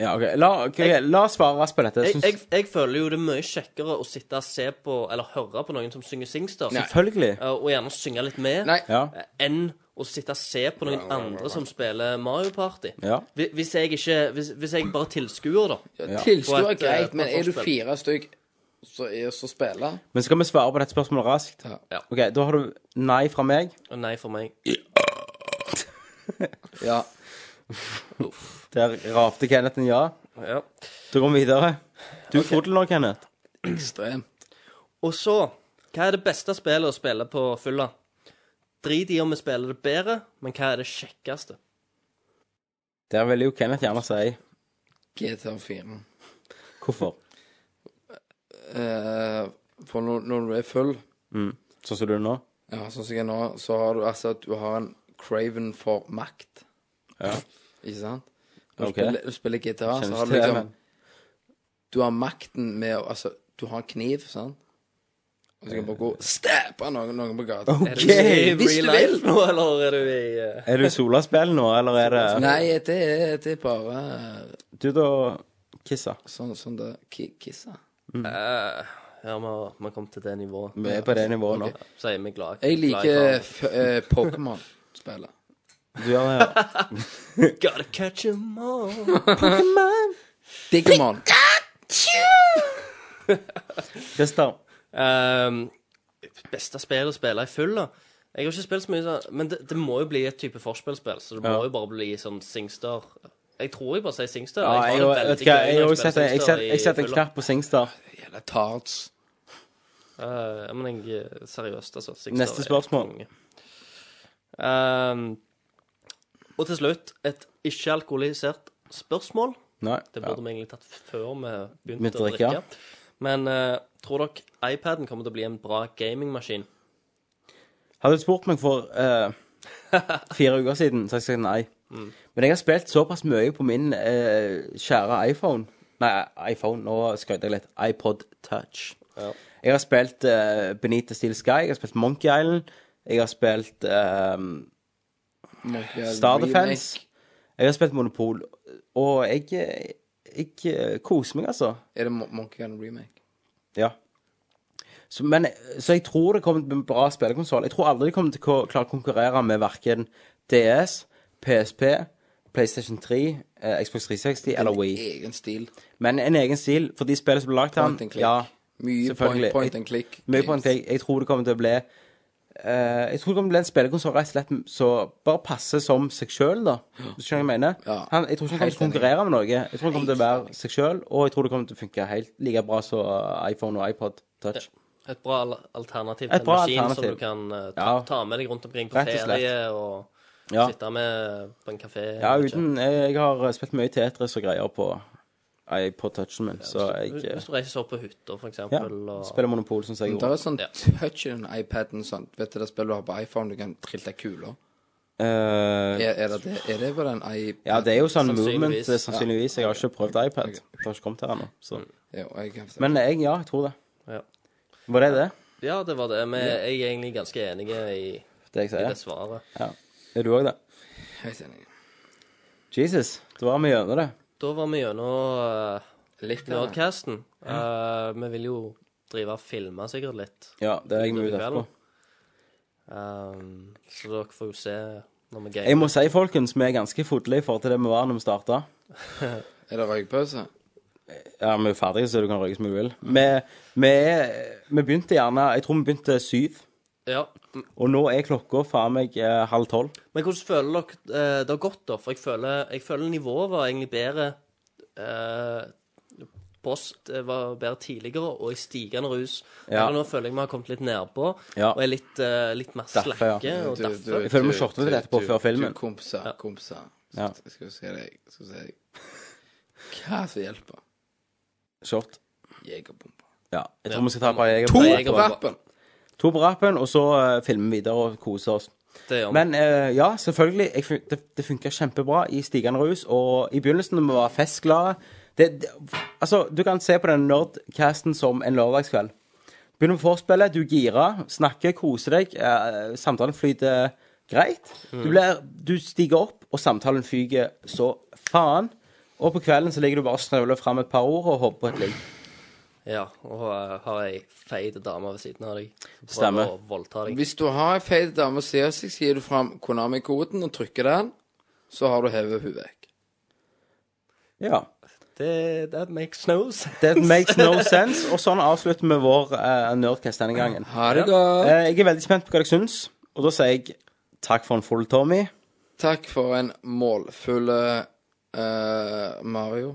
Speaker 7: Ja, ok. La, ok, la oss svare raskt på dette.
Speaker 9: Jeg,
Speaker 7: Syns-
Speaker 9: jeg, jeg føler jo det er mye kjekkere å sitte og se på eller høre på noen som synger Singstar.
Speaker 7: Nei. Selvfølgelig.
Speaker 9: Eh, Og gjerne synge litt med.
Speaker 7: Ja.
Speaker 9: eh, Enn å sitte og se på noen andre som spiller Mario Party.
Speaker 7: Ja.
Speaker 9: Hvi- Hvis jeg ikke Hvis, hvis jeg bare tilskuer, da. på
Speaker 8: Tilskuer er
Speaker 9: et, eh,
Speaker 8: greit, men er du
Speaker 9: plattformspill.
Speaker 8: fire stykk som er så spiller
Speaker 7: Men skal vi svare på dette spørsmålet raskt?
Speaker 9: Ja.
Speaker 7: Ok, Da har du nei fra meg.
Speaker 9: Og Nei for meg.
Speaker 8: Ja.
Speaker 7: Der rapte Kenneth en ja.
Speaker 9: Ja.
Speaker 7: Da går vi videre. Du er full nå, Kenneth.
Speaker 8: Ekstrem.
Speaker 9: Og så Hva er det beste spillet å spille på fylla? Drit i om vi spiller det bedre, men hva er det kjekkeste?
Speaker 7: Der vil jo Kenneth gjerne si
Speaker 8: GTA 4.
Speaker 7: hvorfor.
Speaker 8: Eh, for når, når du er full,
Speaker 7: Mm. Sånn som du er nå.
Speaker 8: ja, sånn som jeg er nå, så har du altså at du har en craven for makt.
Speaker 7: Ja.
Speaker 8: Ikke sant? Når
Speaker 7: Ok.
Speaker 8: du, spiller, du spiller GTA,
Speaker 7: Kjenner
Speaker 8: så har du
Speaker 7: til det,
Speaker 8: liksom
Speaker 7: men-
Speaker 8: Du har makten med å Altså, du har en kniv, sant? Og så kan du bare gå og stabbe noen, noen på gata.
Speaker 7: Ok. Er du i
Speaker 8: Hvis du
Speaker 7: real
Speaker 8: vil.
Speaker 7: life
Speaker 9: Nå, eller er du i eh,
Speaker 7: Er du i solaspill nå, eller er det
Speaker 8: Nei, det er, det er bare eh,
Speaker 7: Du, da Kissa.
Speaker 8: sånn, sånn det ki- Kissa.
Speaker 9: eh, Ja, vi har vi har kommet til det nivået.
Speaker 7: Vi er på det nivået nå.
Speaker 9: Ok, Så er vi glad.
Speaker 8: Jeg
Speaker 9: glad i
Speaker 8: liker f- eh, Pokémon-spillet.
Speaker 7: Du gjør det,
Speaker 8: [LAUGHS]
Speaker 7: ja.
Speaker 9: hverandre. Gotta catch 'em all.
Speaker 8: Digimon.
Speaker 7: Christer.
Speaker 9: Ehm, beste spill å spille i full, da. Jeg har ikke spilt så mye sånn, men det, det må jo bli et type forspillspill, så det må
Speaker 7: Ja.
Speaker 9: jo bare bli sånn Singstar. Jeg tror jeg bare sier Singstar.
Speaker 7: Ja,
Speaker 9: har
Speaker 7: jeg,
Speaker 9: det
Speaker 7: vet
Speaker 9: veldig
Speaker 7: du hva,
Speaker 9: gøy når
Speaker 7: jeg,
Speaker 9: spiller
Speaker 7: jeg, setter, jeg,
Speaker 9: Singstar
Speaker 7: setter,
Speaker 9: i
Speaker 7: jeg setter en
Speaker 9: fylla.
Speaker 7: knapp på Singstar.
Speaker 8: Jævla tards.
Speaker 9: Eh, men jeg er seriøst, altså. Singstar
Speaker 7: Neste
Speaker 9: er
Speaker 7: spørsmål.
Speaker 9: konge. Ehm, og til slutt et ikke-alkoholisert spørsmål.
Speaker 7: Nei.
Speaker 9: Det
Speaker 7: Ja.
Speaker 9: burde vi egentlig tatt før vi begynte
Speaker 7: Begynte
Speaker 9: å
Speaker 7: å drikke,
Speaker 9: drikke. Men eh, tror dere iPaden kommer til å bli en bra gamingmaskin?
Speaker 7: Hadde du spurt meg for
Speaker 9: [LAUGHS]
Speaker 7: eh, fire uker siden, så hadde jeg sagt nei.
Speaker 9: Mm.
Speaker 7: Men jeg har spilt såpass mye på min eh, kjære iPhone Nei, iPhone, nå skrøt jeg litt. iPod Touch.
Speaker 9: Ja.
Speaker 7: Jeg har spilt eh, Benita Steel Sky, jeg har spilt Monkey Island, jeg har spilt eh, Star Defense, jeg har spilt Monopol. Og jeg, eh, jeg eh, koser meg, altså.
Speaker 8: Er det Mon- Monkey Island Remake?
Speaker 7: Ja. Så, men, så jeg tror det kommer til å bli en bra spillekonsoll. Jeg tror aldri de kommer til å ko- klare å konkurrere med verken DS, PSP, PlayStation 3, eh, Xbox 360 eller
Speaker 8: En
Speaker 7: Wii.
Speaker 8: egen stil.
Speaker 7: Men en egen stil for de spillene som ble lagd
Speaker 8: Point and click.
Speaker 7: Ja,
Speaker 8: Mye
Speaker 7: selvfølgelig.
Speaker 8: point, point and click.
Speaker 7: Mye point and click. Jeg tror det kommer til å bli eh, jeg tror det kommer til å bli en spillekonsoll rett og slett som bare passer som seg sjøl, da. Hvis du skjønner hva jeg mener.
Speaker 8: Ja.
Speaker 7: Han, jeg tror ikke han kommer til å
Speaker 8: Helt enig.
Speaker 7: konkurrere med noe. Jeg tror han kommer til å være seg sjøl, og jeg tror det kommer til å funke helt like bra som eh, iPhone og iPod Touch.
Speaker 9: Et bra al- alternativ
Speaker 7: Et
Speaker 9: til en
Speaker 7: bra
Speaker 9: maskin som
Speaker 7: alternativ.
Speaker 9: du kan eh, ta,
Speaker 7: Ja.
Speaker 9: ta med deg rundt omkring på
Speaker 7: Rett og
Speaker 9: ferie
Speaker 7: slett.
Speaker 9: og
Speaker 7: Ja.
Speaker 9: sitte med på en kafé.
Speaker 7: eh, Ja, uten Jeg har spilt mye Tetris og greier på iPod-touchen min, så jeg
Speaker 9: Hvis du reiser opp på hytta, for
Speaker 7: ja,
Speaker 9: eksempel. og-
Speaker 7: spiller Monopol, som jeg
Speaker 8: Men
Speaker 7: gjorde.
Speaker 8: Det er sånn touch i den iPaden sånn. Vet du det spillet du har på iPhone, du kan trille kuler?
Speaker 7: Eh,
Speaker 8: Er, er, det, det- er det på den iPad?
Speaker 7: ja, det er jo sånn movement,
Speaker 8: Sannsynligvis.
Speaker 7: det er sannsynligvis. Jeg har ikke prøvd iPad. Det har ikke kommet her ennå. så.
Speaker 8: Ja, og jeg kan
Speaker 7: Men jeg, ja, jeg tror det.
Speaker 9: Ja.
Speaker 7: Var det det?
Speaker 9: Ja, det var det. Men jeg er egentlig ganske enig i
Speaker 7: Det jeg sier.
Speaker 9: i det svaret.
Speaker 7: Ja. Er du òg det?
Speaker 8: Helt enig.
Speaker 7: Jesus, da var vi gjennom det.
Speaker 9: Da var vi gjennom eh,
Speaker 8: Litt
Speaker 7: av det.
Speaker 9: Nerdcasten. Eh, vi vil jo drive og filme sikkert litt.
Speaker 7: Ja, det er jeg
Speaker 9: utover
Speaker 7: mye ute
Speaker 9: kvelden. Ehm, så dere får jo se når vi gamer.
Speaker 7: Jeg må si, folkens, vi er ganske fodle i forhold til det vi var når vi starta.
Speaker 8: Er det røykpause?
Speaker 7: Ja, vi er ferdige, så du kan røyke som du vil. Vi, vi, er- vi begynte gjerne Jeg tror vi begynte syv,
Speaker 9: Ja.
Speaker 7: og nå er klokka faen meg eh, halv tolv.
Speaker 9: Men hvordan føler dere eh, det har gått, da? For jeg føler, jeg føler nivået var egentlig bedre eh, på oss det var bedre tidligere og i stigende rus.
Speaker 7: Ja.
Speaker 9: Her Nå føler jeg vi har kommet litt nedpå
Speaker 7: Ja.
Speaker 9: og er litt, eh, litt mer
Speaker 7: Derfor,
Speaker 9: slakke.
Speaker 7: ja.
Speaker 9: og
Speaker 7: Du-
Speaker 9: derfor.
Speaker 7: du- Jeg føler vi du- shotter litt du- etterpå du- før filmen.
Speaker 8: Du, kompiser, kompiser.
Speaker 7: Ja.
Speaker 8: Skal vi se deg, skal vi se deg. Hva som hjelper?
Speaker 7: Short.
Speaker 8: Jegerbomber.
Speaker 7: Ja. Jeg tror
Speaker 8: Ja.
Speaker 7: vi skal ta et par jeger.
Speaker 8: To
Speaker 7: jeger-
Speaker 8: på rappen!
Speaker 7: To på rappen, og så eh, filmer vi videre og koser oss.
Speaker 9: Det gjør vi.
Speaker 7: Men eh, ja, selvfølgelig. Jeg, fun- det det funka kjempebra i stigende rus. Og i begynnelsen når vi var festglade det, det, Altså, du kan se på den nerdcasten som en lørdagskveld. Begynner med forspillet, du girer, snakker, koser deg. eh, samtalen flyter greit. Du,
Speaker 9: Mm.
Speaker 7: blir, du stiger opp, og samtalen fyker så faen. Og på kvelden så ligger du bare og snøvler fram et par ord og håper på et ligg.
Speaker 9: Ja, og eh, har ei feit dame ved siden av deg. som prøver
Speaker 7: Stemmer.
Speaker 9: Å voldta deg.
Speaker 8: Hvis du har en feit dame og ser seg, så gir du fram Konami-koden og trykker den, så har du hevet henne vekk.
Speaker 7: Ja.
Speaker 9: Det, that makes no sense.
Speaker 7: That makes no sense. Og sånn avslutter vi vår eh, Nerdcast denne gangen.
Speaker 8: Ha det godt.
Speaker 7: Eh, jeg er veldig spent på hva dere syns, og da sier jeg takk for en full Tommy.
Speaker 8: Takk for en målfull eh, Mario.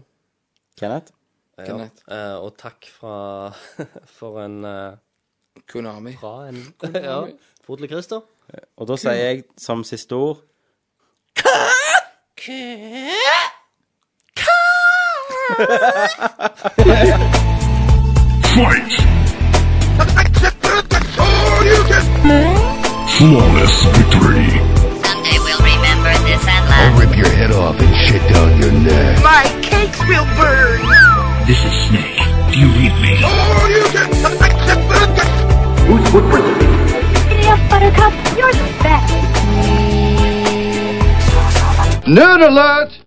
Speaker 7: Kenneth?
Speaker 9: Ja. Eh, og takk fra [LAUGHS] for en eh,
Speaker 8: Konami.
Speaker 9: Fra en
Speaker 8: Konami.
Speaker 9: [LAUGHS] Ja. Fodle Christer.
Speaker 7: Og da sier jeg som siste ord
Speaker 3: Fight! Flawless victory.
Speaker 4: Someday we'll remember this and laugh.
Speaker 5: I'll rip your head off and shit down your neck.
Speaker 6: My cakes will burn.
Speaker 3: This is Snake. Do you read me?
Speaker 6: Idiot Buttercup, you're the best.
Speaker 5: Nerd alert!